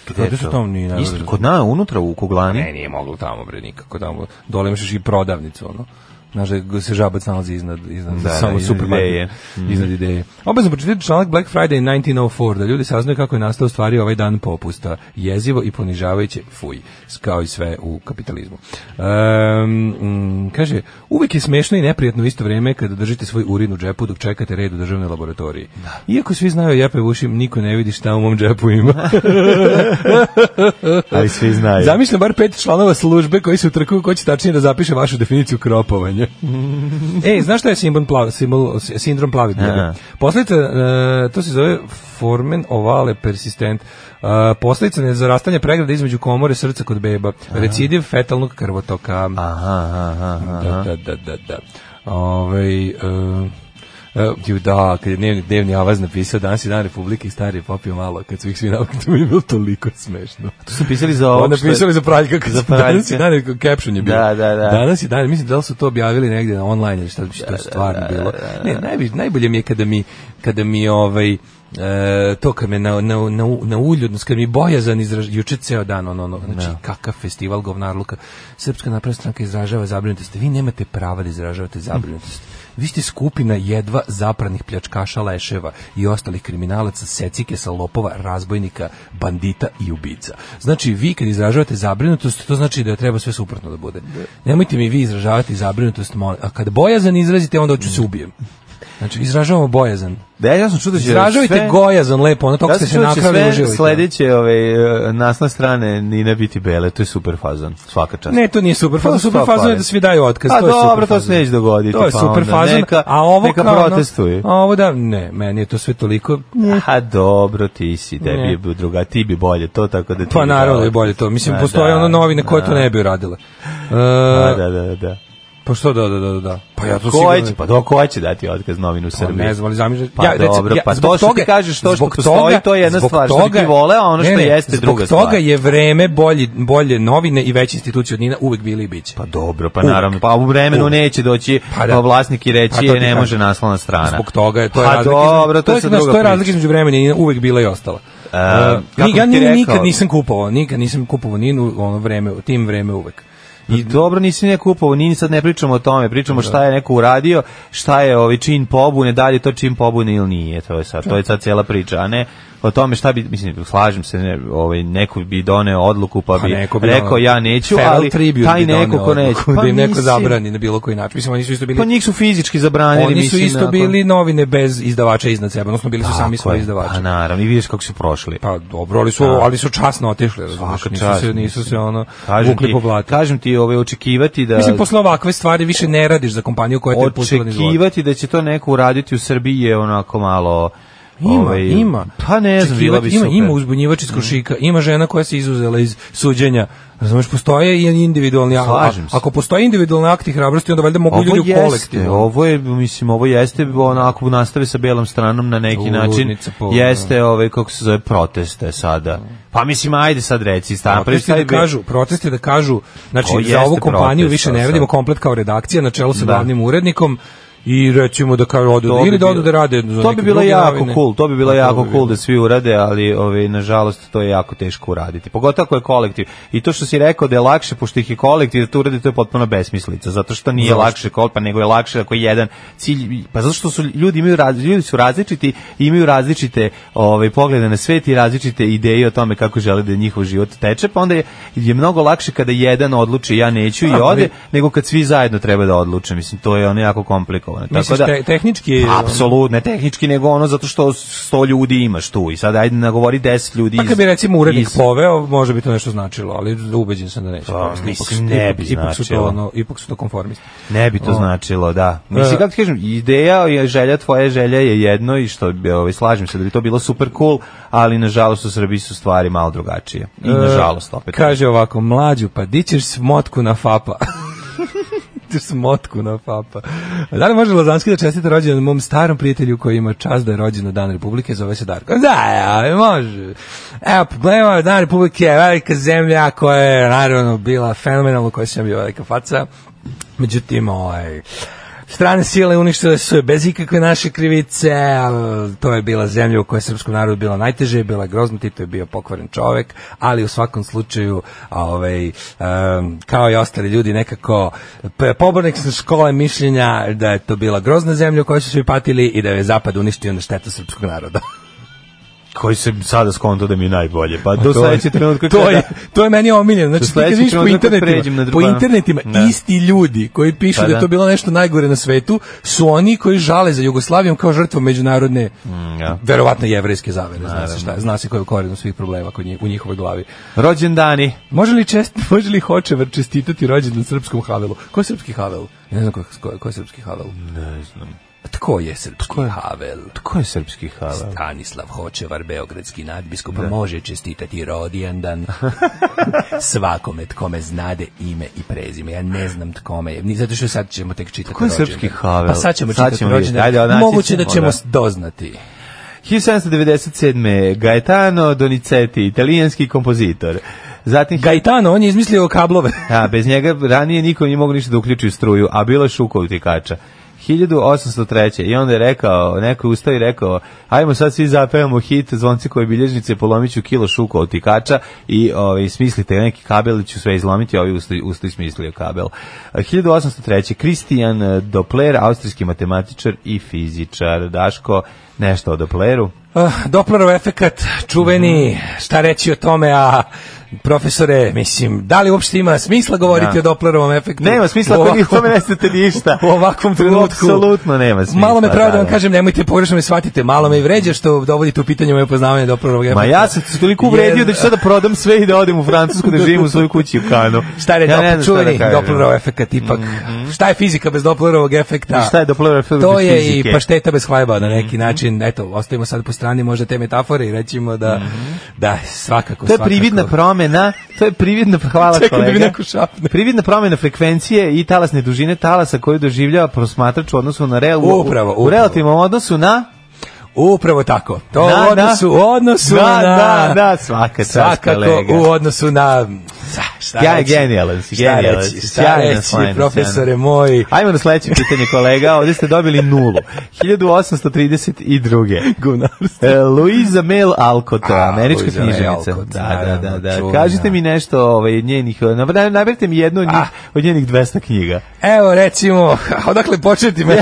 Speaker 5: Gde je
Speaker 6: Gde su
Speaker 5: to?
Speaker 6: tamo ni ne
Speaker 5: Isto,
Speaker 6: znam.
Speaker 5: kod nas, unutra u Kuglani.
Speaker 6: Ne, nije moglo tamo bre nikako tamo. Dole imaš i prodavnicu ono. Znaš da se žabac nalazi iznad, iznad
Speaker 5: Da,
Speaker 6: samo Mm.
Speaker 5: iznad
Speaker 6: supermarketa.
Speaker 5: ideje.
Speaker 6: Iznad ideje. Obavezno pročitati članak Black Friday 1904, da ljudi saznaju kako je nastao u stvari ovaj dan popusta. Jezivo i ponižavajuće, fuj, kao i sve u kapitalizmu. Ehm, mm, kaže, uvek je smešno i neprijatno u isto vrijeme kada držite svoj urin u džepu dok čekate red u državnoj laboratoriji. Iako svi znaju jepe u ušim, niko ne vidi šta u mom džepu ima.
Speaker 5: Ali svi znaju.
Speaker 6: Zamišljam bar pet članova službe koji se utrkuju ko će tačnije da zapiše vašu definiciju kropovanja. Ej, znaš šta je simbol plav, simbol, sindrom plavi
Speaker 5: Aha.
Speaker 6: dnevni? Posledica, e, to se zove formen ovale persistent. E, posledica nezarastanja pregrada između komore srca kod beba. Recidiv fetalnog krvotoka.
Speaker 5: Aha, aha, aha.
Speaker 6: Da, da, da, da, da. Ovaj, e, e, ju da, kad je dnevni, dnevni avaz napisao danas je dan Republike i stari je popio malo kad su ih svi navikli, to mi je bilo toliko smešno.
Speaker 5: Tu su pisali za ovo
Speaker 6: Onda
Speaker 5: što je-
Speaker 6: pisali za praljka kad
Speaker 5: Za
Speaker 6: za danas
Speaker 5: praljka.
Speaker 6: je dan, je- caption je bio.
Speaker 5: Da, da, da.
Speaker 6: Danas je dan, mislim da li su to objavili negde na online ili šta bi što je stvarno bilo. Ne, najbolje, najbolje mi je kada mi, kada mi ovaj, e, to kad me na, na, na, na ulju, odnosno kad mi bojazan izraž, juče ceo dan, ono, ono, znači kakav festival govnarluka. Srpska napravna stranka izražava zabrinutost. Vi nemate prava da izražavate zabrinutost. Vi ste skupina jedva zapranih pljačkaša leševa i ostalih kriminalaca, secike sa lopova, razbojnika, bandita i ubica. Znači, vi kad izražavate zabrinutost, to znači da treba sve suprotno da bude. Nemojte mi vi izražavati zabrinutost, molim. a kad bojazan izrazite, onda hoću se ubijem. Znači, izražavamo bojazan.
Speaker 5: Da, ja sam čuo da će
Speaker 6: Izražavajte
Speaker 5: sve-
Speaker 6: gojazan lepo, ono toliko
Speaker 5: Ja
Speaker 6: ste
Speaker 5: sam
Speaker 6: se
Speaker 5: čuo da će
Speaker 6: nakrali i
Speaker 5: sve
Speaker 6: uživajte.
Speaker 5: sledeće ove, e, nasna strane Nina biti bele, to je super fazan, svaka čast.
Speaker 6: Ne, to nije super
Speaker 5: Pa,
Speaker 6: fazon. Super fazon je da svi daju otkaz.
Speaker 5: A
Speaker 6: to je super
Speaker 5: Pa dobro, to se
Speaker 6: fazon.
Speaker 5: neće dogoditi,
Speaker 6: To je
Speaker 5: pa
Speaker 6: super
Speaker 5: onda
Speaker 6: fazon.
Speaker 5: neka-
Speaker 6: a ovo
Speaker 5: neka
Speaker 6: kao ono-
Speaker 5: protestuje.
Speaker 6: a ovo da, ne, meni je to sve toliko...
Speaker 5: A Pa dobro, ti si, tebi
Speaker 6: Ne.
Speaker 5: je bio druga, ti bi bolje to, tako da ti
Speaker 6: Pa
Speaker 5: bi
Speaker 6: naravno
Speaker 5: dao.
Speaker 6: je bolje to. Mislim,
Speaker 5: Ma
Speaker 6: postoje
Speaker 5: da,
Speaker 6: ono novine koje
Speaker 5: da.
Speaker 6: to ne bi uradile. E,
Speaker 5: Da, da, da, da.
Speaker 6: Pa što da, da, da, da. Pa ja to
Speaker 5: Ko
Speaker 6: sigurno...
Speaker 5: će, pa do ko će dati otkaz novinu u
Speaker 6: Pa
Speaker 5: Srbiji?
Speaker 6: ne znam, ali zamišljam.
Speaker 5: Pa dobro, pa
Speaker 6: zbog
Speaker 5: to što ti kažeš, to što
Speaker 6: zbog
Speaker 5: postoji, to je jedna
Speaker 6: zbog
Speaker 5: stvar, što bi ti voleo, a ono što jeste
Speaker 6: zbog
Speaker 5: druga
Speaker 6: toga
Speaker 5: stvar.
Speaker 6: je vreme bolje, bolje novine i veće institucije od Nina uvek bili i biće.
Speaker 5: Pa dobro, pa
Speaker 6: Uvek.
Speaker 5: naravno, pa u vremenu
Speaker 6: Uvek.
Speaker 5: neće doći
Speaker 6: Pa
Speaker 5: pa,
Speaker 6: da.
Speaker 5: vlasnik i reći
Speaker 6: Pa to ti
Speaker 5: je, ne
Speaker 6: kažem.
Speaker 5: može naslovna strana.
Speaker 6: Zbog toga je to je
Speaker 5: Pa
Speaker 6: razlika.
Speaker 5: dobro, to je sad
Speaker 6: znaš,
Speaker 5: druga
Speaker 6: to je
Speaker 5: priča.
Speaker 6: razlika između vremena i Nina uvek bila i ostala.
Speaker 5: E,
Speaker 6: E,
Speaker 5: kako
Speaker 6: ni- ja
Speaker 5: bih ti
Speaker 6: ni-
Speaker 5: rekao?
Speaker 6: nikad nisam kupovao, nikad nisam kupovao Ninu ono vreme, tim vreme uvek.
Speaker 5: I dobro nisi ne kupovao, ni sad ne pričamo o tome, pričamo šta je neko uradio, šta je ovaj čin pobune, da li je to čin pobune ili nije, to je sad, to je sad cijela priča, a ne o tome šta bi, mislim, slažem se, ne, ovaj, neko bi doneo odluku pa
Speaker 6: Pa
Speaker 5: bi,
Speaker 6: neko bi
Speaker 5: rekao
Speaker 6: doneo-
Speaker 5: ja neću,
Speaker 6: Feral
Speaker 5: ali
Speaker 6: Tribune
Speaker 5: taj
Speaker 6: bi doneo
Speaker 5: neko ko neće.
Speaker 6: odluku da im neko
Speaker 5: nisi-
Speaker 6: zabrani na bilo koji način. Mislim, oni su isto bili
Speaker 5: Pa njih su fizički zabranili.
Speaker 6: Oni su
Speaker 5: mislim,
Speaker 6: isto
Speaker 5: nakon-
Speaker 6: bili novine bez izdavača iznad sebe, odnosno bili su sami
Speaker 5: Tako
Speaker 6: svoji
Speaker 5: je.
Speaker 6: izdavači.
Speaker 5: Pa naravno, i vidiš kako su prošli.
Speaker 6: Pa dobro, ali su, ali su časno otišli, razumiješ,
Speaker 5: Svaka
Speaker 6: nisu
Speaker 5: čast,
Speaker 6: se, nisu
Speaker 5: mislim.
Speaker 6: se ono
Speaker 5: Kažem
Speaker 6: vukli
Speaker 5: ti-
Speaker 6: po blatu.
Speaker 5: Kažem ti, ovaj, očekivati da...
Speaker 6: Mislim, posle ovakve stvari više ne radiš za kompaniju koja te je pustila niz vodu.
Speaker 5: očekivati da će to neko uraditi u Srbiji je onako malo
Speaker 6: Ima,
Speaker 5: ovaj,
Speaker 6: ima.
Speaker 5: pa ne znam bilo bi
Speaker 6: ima,
Speaker 5: super Mhm.
Speaker 6: ima uzbunjivač iz krušika, ima žena koja se izuzela iz suđenja. Razumeš, postoje i individualni akt.
Speaker 5: Slažem se.
Speaker 6: Ako postoji individualni akti hrabrosti, onda valjda mogu ljudi u
Speaker 5: jeste,
Speaker 6: kolektivu.
Speaker 5: ovo je, mislim, ovo jeste, onako nastave sa belom stranom na neki
Speaker 6: Ludnica
Speaker 5: način,
Speaker 6: polna.
Speaker 5: jeste, ovaj, kako se zove, proteste sada. Pa mislim, ajde sad reci, stavno,
Speaker 6: Protesti da kažu, protesti da kažu, znači
Speaker 5: To
Speaker 6: za
Speaker 5: jeste
Speaker 6: ovu kompaniju
Speaker 5: protest,
Speaker 6: više
Speaker 5: ali
Speaker 6: ne radimo
Speaker 5: sad.
Speaker 6: komplet kao redakcija na čelu sa
Speaker 5: Da.
Speaker 6: glavnim urednikom i rećemo da kao odu
Speaker 5: To bi
Speaker 6: ili da
Speaker 5: bilo-
Speaker 6: odu da rade za
Speaker 5: To
Speaker 6: neke
Speaker 5: bi bilo
Speaker 6: druge
Speaker 5: jako
Speaker 6: novine.
Speaker 5: cool, to bi bilo
Speaker 6: Pa,
Speaker 5: jako
Speaker 6: bi
Speaker 5: cool
Speaker 6: bilo.
Speaker 5: da svi urade, ali ovaj nažalost to je jako teško uraditi. Pogotovo ako je kolektiv. I to što si rekao da je lakše pošto ih je kolektiv da to uradi, to je potpuno besmislica, zato što nije
Speaker 6: Zašto?
Speaker 5: lakše kol, pa nego je lakše ako je jedan cilj, pa zato što su ljudi imaju raz- ljudi su različiti, i imaju različite ovaj poglede na svet i različite ideje o tome kako žele da njihov život teče, pa onda je, je mnogo lakše kada jedan odluči ja neću i
Speaker 6: Ali-
Speaker 5: ode, nego kad svi zajedno treba da odluče. Mislim to je ono jako komplikovano.
Speaker 6: Misliš,
Speaker 5: da Pa,
Speaker 6: te- tehnički ono. je-
Speaker 5: apsolutno ne tehnički nego ono zato što 100 ljudi imaš tu i sad ajde nagovori 10 ljudi
Speaker 6: Pa kad bi recimo urednik
Speaker 5: iz-
Speaker 6: poveo, može bi to nešto značilo, ali ubeđen sam da neće.
Speaker 5: Pa,
Speaker 6: Ipak-
Speaker 5: mislim, ne bi
Speaker 6: ipak su to,
Speaker 5: značilo.
Speaker 6: ono, ipak su to konformisti.
Speaker 5: ne bi to značilo da mislim
Speaker 6: E.
Speaker 5: kako ti kažem ideja je želja tvoja želja je jedno i što bi ovaj slažem se da bi to bilo super cool ali nažalost u Srbiji su stvari malo drugačije i nažalost opet
Speaker 6: E, Kaže ovako, mlađu, pa di ćeš smotku na fapa? Ti smotku na fapa. Da li može Lazanski da čestite rođendan mom starom prijatelju koji ima čast da je rođen na Dan Republike, zove se Darko. Da, ali može. Evo, pogledajmo, Dan Republike je velika zemlja koja je naravno bila fenomenalna, koja sam bio velika faca. Međutim, ovaj, Strane sile uništile su je bez ikakve naše krivice, ali to je bila zemlja u kojoj je srpskom narodu bilo najteže, bila je grozna, Tito je bio pokvaren čovek, ali u svakom slučaju, ovaj, em, kao i ostali ljudi, nekako p- pobornik sa škole mišljenja da je to bila grozna zemlja u kojoj su svi patili i da je Zapad uništio na štetu srpskog naroda.
Speaker 5: koji se sada skonto da mi je najbolje pa do
Speaker 6: To je-
Speaker 5: sledećeg trenutka
Speaker 6: to je,
Speaker 5: kada-
Speaker 6: to je meni omiljeno.
Speaker 5: Do
Speaker 6: Znači, ti kad
Speaker 5: sledećeg
Speaker 6: vidiš po
Speaker 5: trenutka kad pređem
Speaker 6: internetima,
Speaker 5: na
Speaker 6: po
Speaker 5: drugo-
Speaker 6: internetima
Speaker 5: Da.
Speaker 6: isti ljudi koji pišu
Speaker 5: Pa
Speaker 6: da je
Speaker 5: da.
Speaker 6: to bilo nešto najgore na svetu su oni koji žale za Jugoslavijom kao žrtvu međunarodne
Speaker 5: Mm, ja.
Speaker 6: verovatno jevrejske zavere, zna se šta, zna se koji je koren svih problema kod njih, u njihovoj glavi.
Speaker 5: rođendani
Speaker 6: Može li čest, može li Hočevar čestitati rođendan srpskom Havelu? Ko je srpski Havel? Ja ne znam ko, ko, ko je srpski Havel.
Speaker 5: ne znam
Speaker 6: Pa Tko je srpski Havel?
Speaker 5: ko je srpski hala
Speaker 6: Stanislav Hočevar, beogradski nadbiskup, može čestitati rodijandan svakome tkome znade ime i prezime. Ja ne znam tkome je, ni zato što sad ćemo tek čitati
Speaker 5: Ko je
Speaker 6: rođendan.
Speaker 5: srpski Havel?
Speaker 6: Pa sad ćemo
Speaker 5: Sad
Speaker 6: čitati
Speaker 5: ćemo vidjeti.
Speaker 6: rođendan.
Speaker 5: Ajde, odnaći
Speaker 6: Moguće da
Speaker 5: ćemo,
Speaker 6: ćemo
Speaker 5: da.
Speaker 6: s- doznati.
Speaker 5: 1797. Gaetano Donizetti, italijanski kompozitor. Zatim
Speaker 6: Gaetano, on je izmislio kablove.
Speaker 5: A, bez njega ranije niko nije mogao ništa da uključi u struju, a bilo je šuka utikača. 1803. I onda je rekao, neko je ustao i rekao, ajmo sad svi zapevamo hit zvonci koje bilježnice, polomiću kilo šuka utikača i ovaj, smislite neki kabel, ću sve izlomiti, a ovi ustao usta i smislio kabel. A, 1803. Kristijan eh, Doppler, austrijski matematičar i fizičar. Daško, nešto o Doppleru?
Speaker 6: Ah, Dopplerov efekat, čuveni,
Speaker 5: Mhm.
Speaker 6: šta reći o tome, a profesore, mislim, da li uopšte ima smisla govoriti
Speaker 5: Da.
Speaker 6: o Dopplerovom efektu?
Speaker 5: Nema smisla ako vi
Speaker 6: Ovako-
Speaker 5: o tome ne znate ništa.
Speaker 6: u ovakvom trenutku.
Speaker 5: Apsolutno nema smisla.
Speaker 6: Malo me pravo da vam
Speaker 5: da.
Speaker 6: kažem, nemojte pogrešno me shvatite, malo me i vređa što dovodite u pitanje moje poznavanje Dopplerovog efekta.
Speaker 5: Ma ja sam se toliko uvredio da ću sada prodam sve i da odem u Francusku da živim u svojoj kući u Kanu.
Speaker 6: Šta je
Speaker 5: ja ne
Speaker 6: ja
Speaker 5: znam šta
Speaker 6: čuveni ovaj-
Speaker 5: da kažem. Mhm.
Speaker 6: Dopplerov efekat ipak? Šta je fizika bez Dopplerovog efekta?
Speaker 5: I šta je Dopplerov efekt
Speaker 6: To
Speaker 5: bez
Speaker 6: je
Speaker 5: fizike? Mhm.
Speaker 6: i pašteta bez hleba na neki način. Eto, ostavimo sad po strani možda te metafore i rećemo da, da svakako,
Speaker 5: Mhm. To je
Speaker 6: svakako.
Speaker 5: prividna promena, to je prividna, hvala
Speaker 6: Čekaj da mi
Speaker 5: kolega.
Speaker 6: neko šapne.
Speaker 5: Prividna promena frekvencije i talasne dužine talasa koju doživljava prosmatrač u odnosu na real,
Speaker 6: Upravo,
Speaker 5: u- u
Speaker 6: upravo.
Speaker 5: relativnom odnosu na
Speaker 6: Upravo tako. To
Speaker 5: Na,
Speaker 6: u odnosu,
Speaker 5: na.
Speaker 6: u odnosu
Speaker 5: Da,
Speaker 6: na...
Speaker 5: da, da, svaka čast,
Speaker 6: Svakako
Speaker 5: kolega.
Speaker 6: u odnosu na... Sa, šta
Speaker 5: Ja,
Speaker 6: reći?
Speaker 5: genijalan si,
Speaker 6: Šta
Speaker 5: genijalan
Speaker 6: reći,
Speaker 5: si,
Speaker 6: šta
Speaker 5: sjajna
Speaker 6: reći,
Speaker 5: slajna,
Speaker 6: profesore
Speaker 5: sjajna.
Speaker 6: moj.
Speaker 5: Ajmo na sledeće pitanje kolega, ovdje ste dobili nulu. 1832.
Speaker 6: Gunarstvo.
Speaker 5: E, Luisa Mel Alcott,
Speaker 6: A,
Speaker 5: američka
Speaker 6: Louisa May
Speaker 5: književnica.
Speaker 6: Alcott,
Speaker 5: Da, da, da, da.
Speaker 6: naravno,
Speaker 5: Kažite
Speaker 6: čuvena.
Speaker 5: mi nešto ovaj, njenih, nab- naberite mi jednu od
Speaker 6: Ah.
Speaker 5: njih, od njenih 200 knjiga.
Speaker 6: Evo recimo, odakle početi me?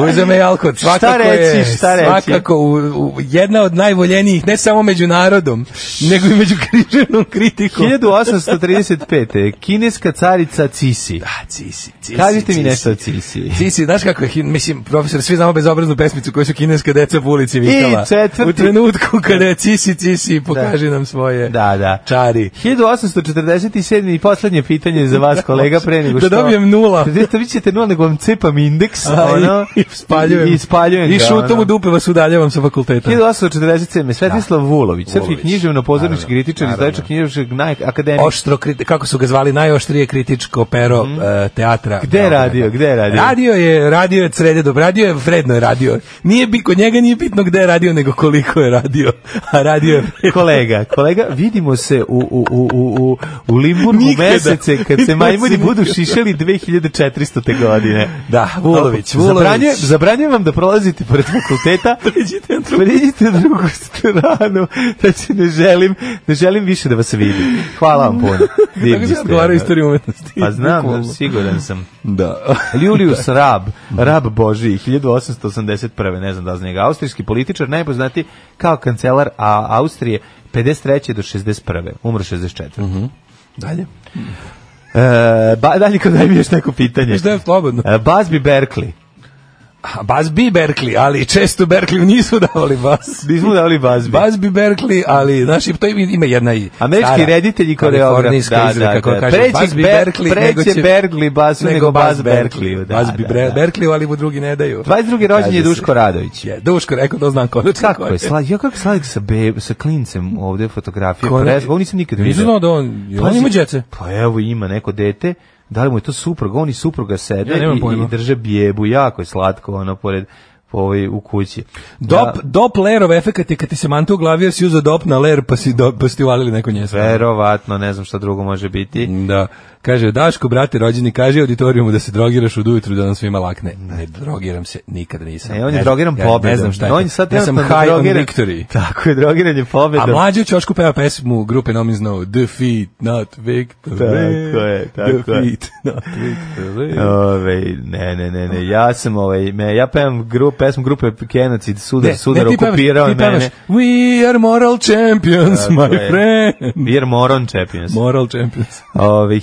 Speaker 6: Luisa May Alcott, svakako je,
Speaker 5: reći, šta reći?
Speaker 6: svakako u, u, jedna od najvoljenijih, ne samo među narodom, nego i među križevnom kritikom.
Speaker 5: 1835. Kineska carica Cisi.
Speaker 6: Da, Cisi, Cisi.
Speaker 5: Kažite mi
Speaker 6: Cisi.
Speaker 5: nešto o Cisi.
Speaker 6: Cisi, znaš kako je, hin- mislim, profesor, svi znamo bezobraznu pesmicu koju su kineska deca po ulici vikala.
Speaker 5: četvrti-
Speaker 6: U trenutku kada je Cisi, Cisi, pokaži nam svoje
Speaker 5: Da, da.
Speaker 6: čari.
Speaker 5: 1847. i poslednje pitanje za vas, kolega, pre nego
Speaker 6: Da
Speaker 5: što...
Speaker 6: dobijem nula.
Speaker 5: Da, da vi ćete nula, nego vam cepam indeks,
Speaker 6: A, i-
Speaker 5: ono...
Speaker 6: I spaljujem.
Speaker 5: I spaljujem
Speaker 6: I
Speaker 5: ga,
Speaker 6: šutom
Speaker 5: ono.
Speaker 6: u dupe vas udaljavam sa fakulteta.
Speaker 5: 1847. Svetislav Vulović, srpski
Speaker 6: Vulović.
Speaker 5: književno pozornički
Speaker 6: Naravno,
Speaker 5: kritičar i
Speaker 6: naravno.
Speaker 5: zdajčak književnog najakademija.
Speaker 6: Oštro, kriti- kako su ga zvali, najoštrije kritičko pero e, teatra.
Speaker 5: Mhm. Gde je
Speaker 6: Beograda.
Speaker 5: radio, gde je radio?
Speaker 6: Radio je, radio je od srede do radio je, vredno je radio. Nije bi, kod njega nije bitno gde je radio, nego koliko je radio. A radio je
Speaker 5: kolega, kolega, vidimo se u, u, u, u, u, u Limburgu
Speaker 6: Nikada.
Speaker 5: mesece kad se
Speaker 6: Vidimo
Speaker 5: majmuni
Speaker 6: se
Speaker 5: budu
Speaker 6: nikada.
Speaker 5: šišali 2400. godine.
Speaker 6: Da, Vulović, Vulović.
Speaker 5: Zabranjujem, zabranjujem vam da prolazite pored fakulteta.
Speaker 6: Pređite na drugu-
Speaker 5: Pređite na drugu stranu. Znači, ne želim, ne želim više da vas vidim. Hvala vam puno.
Speaker 6: Tako se odgovara istoriju umetnosti.
Speaker 5: Pa znam,
Speaker 6: Bukvalno.
Speaker 5: da, siguran sam.
Speaker 6: Da.
Speaker 5: Julius Rab, Rab Božiji, 1881. ne znam da li zna njega, austrijski političar, najpoznati kao kancelar a, Austrije, 53. do 61. Umro 64.
Speaker 6: Mhm. Dalje.
Speaker 5: e, ba, dalje kad daj mi još neko pitanje.
Speaker 6: Šta je slobodno?
Speaker 5: E, Busby Berkeley.
Speaker 6: A, Bas bi Berkeley, ali često Berkeley nisu davali bas.
Speaker 5: Nismo dali Busby.
Speaker 6: Bas bi Berkeley, ali, znaš, i to ima- ima jedna i...
Speaker 5: Američki
Speaker 6: stara
Speaker 5: reditelj i koreograf.
Speaker 6: kalifornijska izreka koja kaže,
Speaker 5: Preći
Speaker 6: Bas bi
Speaker 5: Ber-
Speaker 6: Berkeley, nego
Speaker 5: preće
Speaker 6: će-
Speaker 5: Berkeley basu nego, Bas Berkeley.
Speaker 6: Berkeley. Bas bi Bre- Berkeley, ali mu drugi ne daju.
Speaker 5: 22. rođen je
Speaker 6: Kaže se.
Speaker 5: Duško Radović.
Speaker 6: Je, Duško, rekao da znam konačno.
Speaker 5: Kako je sla, ja kako sladak sa be, sa klincem ovde fotografije,
Speaker 6: Ko ne-
Speaker 5: prez, ovo nisam nikad
Speaker 6: Nisam
Speaker 5: vidio.
Speaker 6: znao da on- je on
Speaker 5: Pazi,
Speaker 6: ima djece?
Speaker 5: Pa evo ima neko dete, da li mu je to supruga, oni supruga sede
Speaker 6: Ja nemam
Speaker 5: i,
Speaker 6: pojma.
Speaker 5: i drže bijebu, jako je slatko ono pored po ovaj u kući.
Speaker 6: Dop, dop lerov efekat je kad ti se manta u glavi, jer si uzao dop na ler, pa si, do, pa si ti uvalili neko nje sve.
Speaker 5: Verovatno, ne znam šta drugo može biti.
Speaker 6: Da. Kaže, Daško, brate, rođeni, kaže auditorijumu da se drogiraš od ujutru da nam svima lakne. Ne, drogiram se, nikad nisam.
Speaker 5: E, on
Speaker 6: Ne
Speaker 5: je
Speaker 6: znam-
Speaker 5: drogiran
Speaker 6: ja
Speaker 5: pobedom.
Speaker 6: Ne znam šta je.
Speaker 5: On je
Speaker 6: to.
Speaker 5: sad
Speaker 6: ja sam
Speaker 5: trenutno
Speaker 6: high on
Speaker 5: drogiran-
Speaker 6: victory.
Speaker 5: Tako je, drogiran je pobedom.
Speaker 6: A mlađi u Ćošku peva pesmu grupe Nomin Snow, Defeat, not victory.
Speaker 5: Tako je, tako je.
Speaker 6: Defeat, not victory.
Speaker 5: Ove, ne, ne, ne, ne, ja sam, ovaj, me, ja pevam grup, pesmu grupe Genocid, sudar, sudar
Speaker 6: ti pevaš,
Speaker 5: okupirao je
Speaker 6: ti pevaš,
Speaker 5: mene.
Speaker 6: We are moral champions, my
Speaker 5: je.
Speaker 6: friend.
Speaker 5: Vir Moron Champions.
Speaker 6: Moral champions.
Speaker 5: Ove,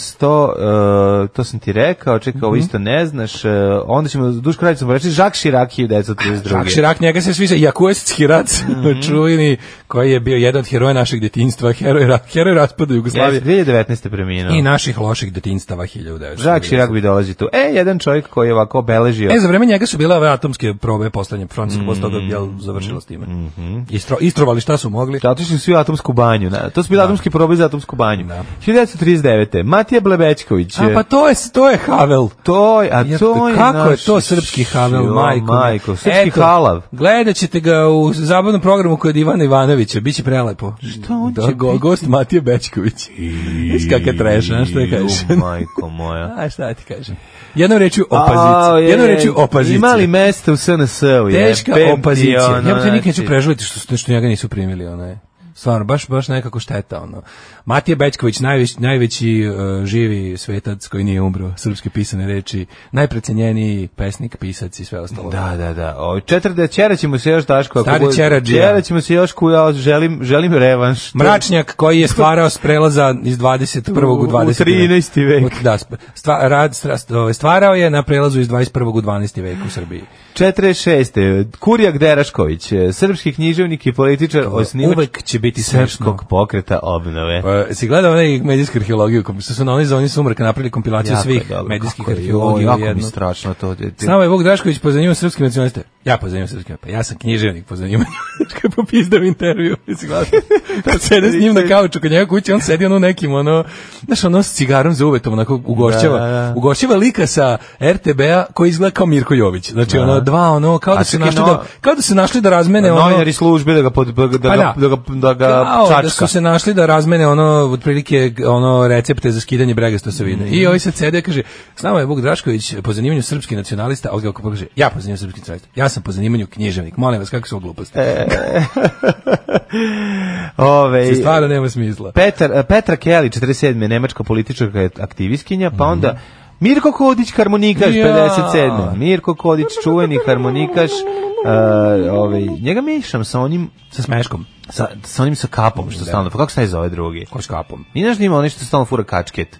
Speaker 5: 1800, uh, to sam ti rekao, čekaj,
Speaker 6: Mhm.
Speaker 5: ovo isto ne znaš, uh, onda ćemo, Duško Radić sam reći, Žak Širak 1932.
Speaker 6: Jacques Chirac, njega se sviđa, Jakuest Hirac, čuveni, koji je bio jedan od heroja našeg detinjstva, heroj, ra- heroj raspada Jugoslavije
Speaker 5: Jeste, 2019. preminuo.
Speaker 6: i naših loših detinjstava 1900.
Speaker 5: Žak Širak bi dolazi tu. E, jedan čovjek koji je ovako obeležio.
Speaker 6: E, za vreme njega su bile ove atomske probe poslednje, Francuska mm posle toga jel, završila s time. Istro, istrovali Mhm. šta su mogli.
Speaker 5: Zato što su svi u atomsku banju. Na, to su bili atomski probaj za atomsku banju. 1939. Matija Blebečković.
Speaker 6: A pa to je, to je Havel.
Speaker 5: To je, a
Speaker 6: Jer
Speaker 5: Pa to je
Speaker 6: kako
Speaker 5: naš-
Speaker 6: je to srpski Havel,
Speaker 5: Jo,
Speaker 6: majko? moja.
Speaker 5: majko, srpski halav.
Speaker 6: Gledat ćete ga u zabavnom programu kod Ivana Ivanovića, biće prelepo. Što
Speaker 5: on
Speaker 6: da,
Speaker 5: će
Speaker 6: go, Gost Matija Bečković. Viš kakav treš, a što je kažeš?
Speaker 5: Ju, majko moja.
Speaker 6: A šta ti kažem? Jednom rečju opozicija.
Speaker 5: Au, je,
Speaker 6: Jednom
Speaker 5: je.
Speaker 6: rečju opozicija.
Speaker 5: Ima li mesta u SNS-u?
Speaker 6: Teška
Speaker 5: jebem ti,
Speaker 6: opozicija.
Speaker 5: ono,
Speaker 6: ja te nikad neću
Speaker 5: znači.
Speaker 6: preživjeti što, što, što njega nisu primili, ono je. Stvarno, baš, baš nekako šteta, ono. Matija Bečković, najveći, najveći uh, živi svetac koji nije umro, srpske pisane reči, najprecenjeniji pesnik, pisac i sve ostalo.
Speaker 5: Da, da, da. O, četvrde, čera ćemo se još, Daško. ako
Speaker 6: Stari
Speaker 5: bude-
Speaker 6: čerađija.
Speaker 5: Čera ćemo se još, kuja, želim, želim revanš.
Speaker 6: Mračnjak koji je stvarao s prelaza iz 21. u
Speaker 5: U
Speaker 6: 20.
Speaker 5: 13. vek.
Speaker 6: Da, sp- stva, rad, stra- st- ovaj, stvarao je na prelazu iz 21. u 12. vek u Srbiji.
Speaker 5: 46. Kurijak Derašković, eh, srpski književnik i političar, osnivač
Speaker 6: Uvek će biti
Speaker 5: srpskog pokreta obnove.
Speaker 6: Pa, si gledao onaj medijsku arheologiju, kom su se na onoj zoni sumraka napravili kompilaciju
Speaker 5: Jako je
Speaker 6: svih
Speaker 5: dobro.
Speaker 6: medijskih
Speaker 5: Kako je,
Speaker 6: arheologija.
Speaker 5: joj,
Speaker 6: u
Speaker 5: Jako mi
Speaker 6: jednu.
Speaker 5: strašno to.
Speaker 6: S nama je Vuk Drašković pozanimao srpske nacionaliste. Ja pozanimam srpske, pa ja sam književnik pozanimao. Kad je popizdao intervju, jesi gledao? Kad Pa sede s njim na kauču, kod njega kuće, on sedi ono u nekim, ono, znaš, ono s cigarom za uvetom, onako ugošćava.
Speaker 5: Da, da.
Speaker 6: Ugošćava lika sa RTB-a koji izgleda kao Mirko Jović. Znači, ono, dva, ono, kao
Speaker 5: A
Speaker 6: da su
Speaker 5: čekaj,
Speaker 6: našli
Speaker 5: no-
Speaker 6: da, kao da su našli da razmene, ono,
Speaker 5: Novinari službe da ga, pod, da, ga- da,
Speaker 6: Pa
Speaker 5: ga, da, ga,
Speaker 6: da.
Speaker 5: da ga
Speaker 6: Kao
Speaker 5: čačka.
Speaker 6: da su se našli da razmene ono otprilike ono recepte za skidanje bregasto se vidi.
Speaker 5: Mhm.
Speaker 6: I ovi sad sede i kaže s nama je Vuk Drašković eh, po zanimanju srpski nacionalista, a ovdje kako kaže ja po zanimanju srpski nacionalista. Ja sam po zanimanju književnik. Molim vas kako su ovo gluposti.
Speaker 5: Ove,
Speaker 6: Se stvarno nema smisla.
Speaker 5: e, Petar, eh, Petra Kelly, 47. nemačka politička aktivistkinja, pa onda Mirko Kodić, harmonikaš,
Speaker 6: Ja.
Speaker 5: 57. Mirko Kodić, čuveni harmonikaš. Uh, ovaj, njega mišam sa onim
Speaker 6: Sa smeškom.
Speaker 5: sa, sa onim sa kapom što stalno, pa kako se taj zove drugi?
Speaker 6: Ko s kapom?
Speaker 5: Mi znaš da ima onaj što stalno fura kačket.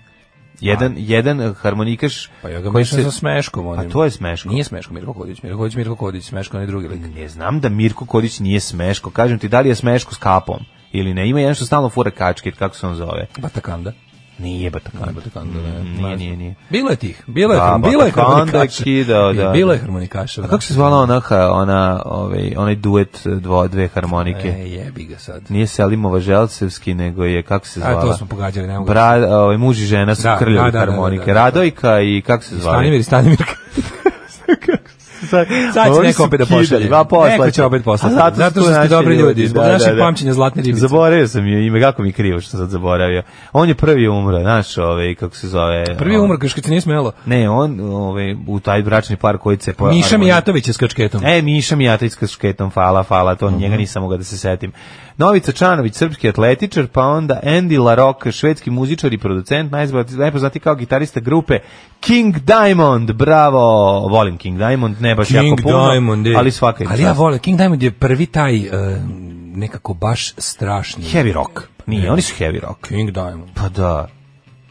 Speaker 5: Jedan, jedan eh, harmonikaš
Speaker 6: Pa ja ga
Speaker 5: koji
Speaker 6: mešam
Speaker 5: se-
Speaker 6: sa smeškom. Onim.
Speaker 5: A to je smeško.
Speaker 6: Nije smeško Mirko Kodić. Mirko Kodić, Mirko Kodić, smeško onaj drugi lik.
Speaker 5: Ne znam da Mirko Kodić nije smeško. Kažem ti, da li je smeško s kapom? Ili ne, ima jedan što stalno fura kačket, kako se on zove?
Speaker 6: Batakanda.
Speaker 5: Nije Batakan.
Speaker 6: Ne, Batakanda, ne.
Speaker 5: Mm, Nije, nije, nije.
Speaker 6: Bilo je tih. Bilo je,
Speaker 5: Da,
Speaker 6: harm- bilo je
Speaker 5: Batakanda je
Speaker 6: harmonikaša.
Speaker 5: kidao, da.
Speaker 6: Bilo je harmonikaša.
Speaker 5: A kako se zvala ona, ona, ovaj, onaj duet eh, dvo, dve harmonike?
Speaker 6: E, jebi ga sad.
Speaker 5: Nije Selimova Želcevski, nego je, kako se zvala?
Speaker 6: A to smo pogađali, ne mogu.
Speaker 5: Bra, ovaj, muž i žena su
Speaker 6: Da,
Speaker 5: krljavi
Speaker 6: da, da,
Speaker 5: harmonike.
Speaker 6: da, da, da.
Speaker 5: Radojka i kako se zvala?
Speaker 6: Stanimir, i Stanimir.
Speaker 5: Sad,
Speaker 6: Sad će neko opet da pošalje.
Speaker 5: Va, poslaće.
Speaker 6: Neko će opet poslati. Zato što
Speaker 5: tu
Speaker 6: ste
Speaker 5: naši
Speaker 6: dobri ljudi, zbog našeg pamćenja zlatne ribice.
Speaker 5: Zaboravio sam je ime, kako mi je krivo što sam sad zaboravio. On je prvi umro, znaš, ovaj, kako se zove.
Speaker 6: Prvi je
Speaker 5: on-
Speaker 6: umro, kaš kad se nije smelo.
Speaker 5: Ne, on ovaj, u taj bračni par koji se... po-
Speaker 6: Miša Mijatović je s kačketom.
Speaker 5: E, Miša Mijatović s šketom, fala, fala, to njega nisam mogao da se setim. Novica Čanović, srpski atletičar, pa onda Andy LaRocque, švedski muzičar i producent, najzbati- najpoznati kao gitarista grupe King Diamond, bravo, volim King Diamond, ne baš jako puno,
Speaker 6: je-
Speaker 5: e. ali svaka je
Speaker 6: Ali ja
Speaker 5: čast.
Speaker 6: volim, King Diamond je prvi taj e, nekako baš strašni.
Speaker 5: Heavy rock, nije, oni su heavy rock.
Speaker 6: King Diamond.
Speaker 5: Pa da,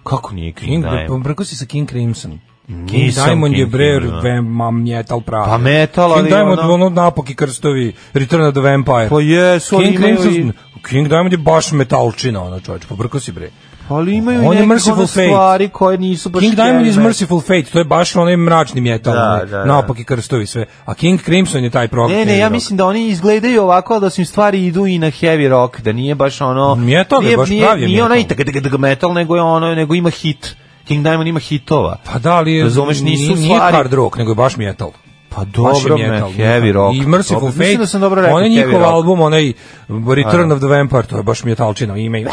Speaker 5: kako nije King,
Speaker 6: King,
Speaker 5: Diamond?
Speaker 6: Preko si sa King Crimson. King
Speaker 5: Nisam
Speaker 6: Diamond
Speaker 5: King
Speaker 6: je bre
Speaker 5: Crimson, da.
Speaker 6: vema metal pravi.
Speaker 5: Pa metal, ali
Speaker 6: King Diamond
Speaker 5: ono-
Speaker 6: ono, ono napoki krstovi, Return of the Vampire.
Speaker 5: Pa jesu, ali
Speaker 6: King
Speaker 5: imaju i-
Speaker 6: Crimson, King Diamond je baš metalčina, ono čovječe, pobrko si bre.
Speaker 5: pa Ali imaju i
Speaker 6: On je
Speaker 5: nekih
Speaker 6: Merciful
Speaker 5: ono
Speaker 6: Fate.
Speaker 5: stvari koje nisu baš
Speaker 6: King Diamond
Speaker 5: heavy
Speaker 6: is
Speaker 5: metal.
Speaker 6: Merciful Fate, to je baš onaj mračni metal,
Speaker 5: Da,
Speaker 6: onaj
Speaker 5: da, da.
Speaker 6: naopaki krstovi sve. A King Crimson je taj prog.
Speaker 5: Ne, ne, ja mislim da oni izgledaju ovako, ali da su im stvari idu i na heavy rock, da nije baš ono...
Speaker 6: Metal je,
Speaker 5: nije,
Speaker 6: baš
Speaker 5: nije,
Speaker 6: pravi je
Speaker 5: Nije onaj
Speaker 6: metal.
Speaker 5: tak, tak, tak, metal, nego, je ono, nego ima hit. King Diamond ima hitova.
Speaker 6: Pa da, ali je,
Speaker 5: Razumeš, nisu
Speaker 6: nije, nije
Speaker 5: stvari-
Speaker 6: hard rock, nego je baš metal.
Speaker 5: Pa
Speaker 6: Baš je
Speaker 5: dobro, me,
Speaker 6: metal,
Speaker 5: heavy rock.
Speaker 6: I Merciful
Speaker 5: Dobro,
Speaker 6: Fate,
Speaker 5: Mislim da sam dobro rekao,
Speaker 6: onaj
Speaker 5: heavy
Speaker 6: njihov
Speaker 5: rock.
Speaker 6: album, onaj Return of the Vampire, to je baš metalčina, ime i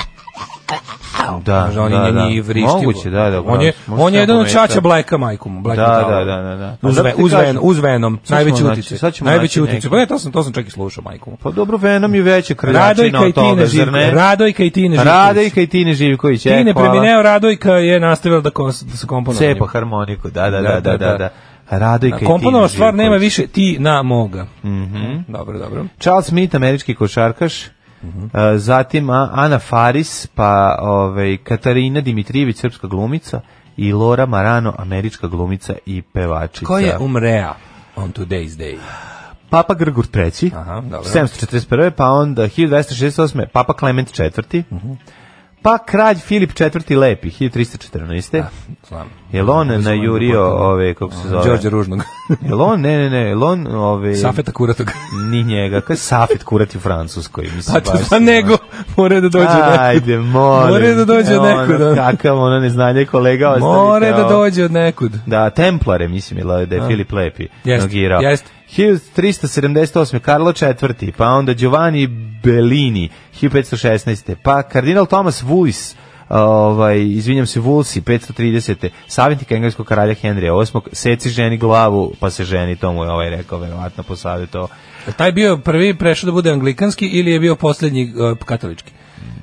Speaker 6: Pa,
Speaker 5: Da,
Speaker 6: Kaže, on
Speaker 5: da,
Speaker 6: je
Speaker 5: da.
Speaker 6: nije vrištivo.
Speaker 5: Moguće, da, da.
Speaker 6: On je,
Speaker 5: možda
Speaker 6: on je
Speaker 5: sam
Speaker 6: jedan od
Speaker 5: pometao.
Speaker 6: čača Blacka majkom, Black
Speaker 5: Da,
Speaker 6: metala.
Speaker 5: da, da, da, da. A
Speaker 6: Uz,
Speaker 5: zato
Speaker 6: Ve-
Speaker 5: ti
Speaker 6: uz,
Speaker 5: kažem,
Speaker 6: Ven, uz Venom,
Speaker 5: sad ćemo
Speaker 6: najveći
Speaker 5: naći-
Speaker 6: utjecaj.
Speaker 5: sad ćemo
Speaker 6: Najveći
Speaker 5: naći
Speaker 6: utjecaj.
Speaker 5: neki.
Speaker 6: Pa ne, to sam, to sam čak i slušao majkom.
Speaker 5: Pa dobro, Venom je veće kraljačina
Speaker 6: Radojka i
Speaker 5: od toga,
Speaker 6: Tine
Speaker 5: zar
Speaker 6: Živković.
Speaker 5: ne?
Speaker 6: Radojka i Tine Živković.
Speaker 5: Radojka i Tine Živković, e,
Speaker 6: Tine
Speaker 5: hvala.
Speaker 6: premineo, Radojka je nastavila da, kons, da se komponova.
Speaker 5: Cepa harmoniku, da, da, da, da, da. da. Radojka i Tine
Speaker 6: Komponova stvar
Speaker 5: Živković. Mhm.
Speaker 6: nema više ti na moga. Mm, Dobro, dobro.
Speaker 5: Charles Smith, američki košarkaš,
Speaker 6: Mhm.
Speaker 5: e, zatim a, Ana Faris, pa ovaj, Katarina Dimitrijević, srpska glumica, i Lora Marano, američka glumica i pevačica.
Speaker 6: Ko je umrea on today's day?
Speaker 5: Papa Grgur III,
Speaker 6: Aha, dobro.
Speaker 5: 741. pa onda 1268. Papa Clement IV,
Speaker 6: Mhm.
Speaker 5: pa kralj Filip IV Lepi, 1314.
Speaker 6: Znam.
Speaker 5: Jel on
Speaker 6: Znam,
Speaker 5: najurio
Speaker 6: potpuno.
Speaker 5: ove, kako se zove?
Speaker 6: Đorđe Ružnog.
Speaker 5: Jel on, ne, ne, ne, jel on, ove,
Speaker 6: Safeta Kuratog.
Speaker 5: ni njega, kaj Safet kurati u Francuskoj, mislim,
Speaker 6: Pa to
Speaker 5: baš
Speaker 6: da
Speaker 5: je,
Speaker 6: nego, mora da dođe neko.
Speaker 5: Ajde, molim.
Speaker 6: More da dođe
Speaker 5: Evo,
Speaker 6: neko,
Speaker 5: ono,
Speaker 6: da.
Speaker 5: Kakav ono neznanje kolega ostavite.
Speaker 6: More da
Speaker 5: ovo.
Speaker 6: dođe od nekud.
Speaker 5: Da, Templare, mislim, ili da je Filip Lepi
Speaker 6: Jest,
Speaker 5: nogirao.
Speaker 6: jest.
Speaker 5: 1378. Karlo IV. Pa onda Giovanni Bellini, 1516. Pa kardinal Thomas Wallis, ovaj, izvinjam se, Vulsi, 530. Savjetnik engleskog kralja Henrija VIII. Seci ženi glavu, pa se ženi, to mu je ovaj rekao, verovatno po savjetu.
Speaker 6: Jel Taj bio prvi prešao da bude anglikanski ili je bio posljednji uh, katolički?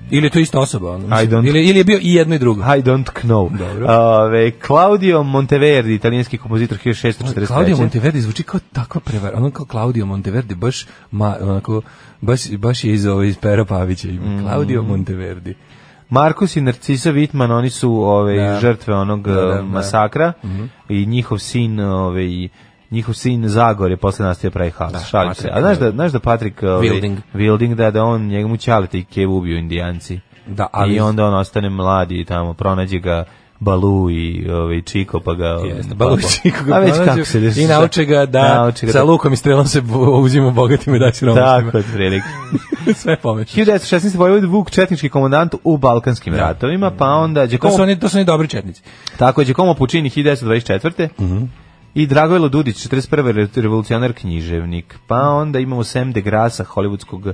Speaker 6: Ili je to ista osoba? Ono, mislim.
Speaker 5: I don't-
Speaker 6: ili, ili je bio i jedno i drugo?
Speaker 5: I don't know.
Speaker 6: Dobro.
Speaker 5: Ove, Claudio Monteverdi, italijanski kompozitor 1643.
Speaker 6: Claudio Monteverdi zvuči kao takva prevara. Ono kao Claudio Monteverdi, baš, ma, onako, baš, baš je iz, ove, iz Pera Pavića ime. Claudio Monteverdi.
Speaker 5: Markus i Narcisa Wittmann, oni su ove,
Speaker 6: Da.
Speaker 5: žrtve onog
Speaker 6: Da, da, Mhm.
Speaker 5: e,
Speaker 6: da.
Speaker 5: masakra i njihov sin ove, i njihov sin Zagor je posle nastavio pravi haos. Da, Šalim se.
Speaker 6: Patrick,
Speaker 5: A znaš
Speaker 6: da.
Speaker 5: da, znaš da Patrik ove,
Speaker 6: Wilding.
Speaker 5: Wilding, da, da on njegov čalete i kevu ubiju indijanci.
Speaker 6: Da, ali-
Speaker 5: I onda on ostane mladi i tamo, pronađe ga Balu i ovaj Čiko pa ga
Speaker 6: Jeste,
Speaker 5: pa-
Speaker 6: Balući koga
Speaker 5: A već
Speaker 6: pronađu
Speaker 5: kako se desi-
Speaker 6: I nauče ga da
Speaker 5: Nauče ga
Speaker 6: sa
Speaker 5: da-
Speaker 6: lukom i strelom se bu- uzima bogatim i da će
Speaker 5: Tako, otprilike.
Speaker 6: Sve pomeša.
Speaker 5: 1916. Vojvod Vuk, četnički komandant u Balkanskim ratovima, pa onda
Speaker 6: To su
Speaker 5: Đakomo,
Speaker 6: oni, to su oni Mhm. dobri četnici.
Speaker 5: tako je Đakomo Pučini 1924. I Dragojlo Dudić, 41. re- revolucionar književnik. Pa onda imamo Sam de Grasa, hollywoodskog,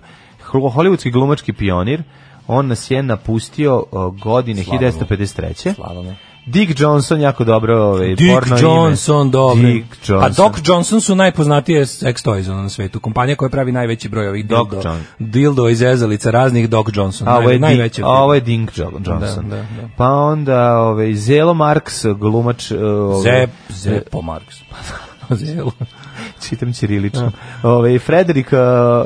Speaker 5: hlo- hollywoodski glumački pionir. On nas je napustio o, godine
Speaker 6: Slavno.
Speaker 5: 1953.
Speaker 6: Slavno.
Speaker 5: Dick Johnson jako dobro, ovaj
Speaker 6: Dick
Speaker 5: porno ime.
Speaker 6: Johnson, dobro. Pa
Speaker 5: Dick Johnson.
Speaker 6: A Doc Johnson su najpoznatije sex toys ono na svetu. Kompanija koja pravi najveći broj ovih
Speaker 5: Doc
Speaker 6: dildo,
Speaker 5: John.
Speaker 6: dildo iz ezalica raznih Doc Johnson.
Speaker 5: A ovo je,
Speaker 6: Naj,
Speaker 5: Dick,
Speaker 6: najveće.
Speaker 5: a ovo je Dink Jo- Johnson.
Speaker 6: Da, da, da.
Speaker 5: Pa onda ovaj, Zelo Marks, glumač... eh, ovaj,
Speaker 6: Zep, Pa Zepo Marks. Zelo.
Speaker 5: čitam ćirilično. Ovaj Frederik eh,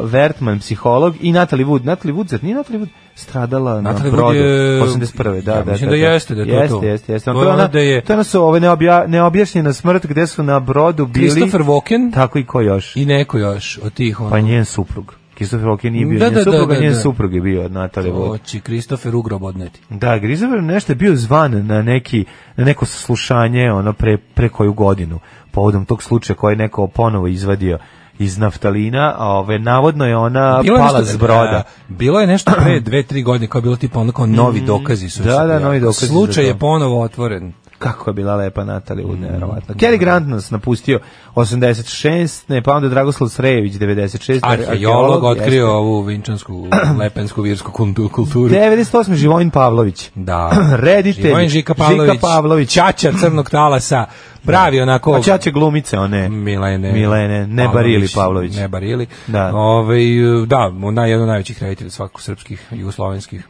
Speaker 5: Vertman, psiholog i Natalie Wood. Natalie Wood, zar nije Natalie Wood stradala
Speaker 6: Natalie
Speaker 5: na
Speaker 6: Wood
Speaker 5: brodu
Speaker 6: je-
Speaker 5: 81. Da,
Speaker 6: ja
Speaker 5: da,
Speaker 6: mislim
Speaker 5: da,
Speaker 6: da jeste, da je to
Speaker 5: jeste,
Speaker 6: to.
Speaker 5: Jeste, jeste.
Speaker 6: To
Speaker 5: To,
Speaker 6: je
Speaker 5: je ona,
Speaker 6: ono da je-
Speaker 5: to je ona su ove neobja, neobjašnjena smrt gde su na brodu bili...
Speaker 6: Christopher Walken
Speaker 5: Tako i ko još?
Speaker 6: i neko još od tih ono.
Speaker 5: Pa njen suprug. Christopher Walken nije bio
Speaker 6: Da,
Speaker 5: njen
Speaker 6: da, da,
Speaker 5: suprug, a
Speaker 6: da,
Speaker 5: njen
Speaker 6: da.
Speaker 5: suprug je bio Natalie Wood.
Speaker 6: Oči, Kristofer Ugrob odneti.
Speaker 5: Da, Grizever nešto je bio zvan na neki na neko saslušanje ono pre pre koju godinu povodom tog slučaja koji je neko ponovo izvadio iz naftalina, a ove navodno je ona
Speaker 6: Bilo je
Speaker 5: Pa pala
Speaker 6: nešto-
Speaker 5: s broda.
Speaker 6: da, bilo je nešto pre dve, tri godine kao je bilo tipa onako novi dokazi su.
Speaker 5: Mm. da,
Speaker 6: se
Speaker 5: da,
Speaker 6: pojavili.
Speaker 5: novi dokazi za
Speaker 6: Slučaj
Speaker 5: to.
Speaker 6: je ponovo otvoren.
Speaker 5: Kako je bila lepa Natalija Wood,
Speaker 6: Mm,
Speaker 5: nevjerovatno. Cary Grant nas napustio 86, ne, pa onda Dragoslav Srejević 96,
Speaker 6: Arheolog otkrio
Speaker 5: jeste.
Speaker 6: ovu vinčansku, lepensku, virsku kultu- kulturu.
Speaker 5: 98 Živojin Pavlović.
Speaker 6: Da.
Speaker 5: Reditelj,
Speaker 6: Živojin Žika Pavlović.
Speaker 5: Žika Pavlović. Pa
Speaker 6: Ćaća crnog talasa. Pravi onako...
Speaker 5: A ćaće glumice one.
Speaker 6: Milene.
Speaker 5: Milene, ne Barili Pavlović.
Speaker 6: Ne Barili.
Speaker 5: Da.
Speaker 6: Ovaj, da, naj, jedan od najvećih reditelja svakog srpskih, jugoslovenskih.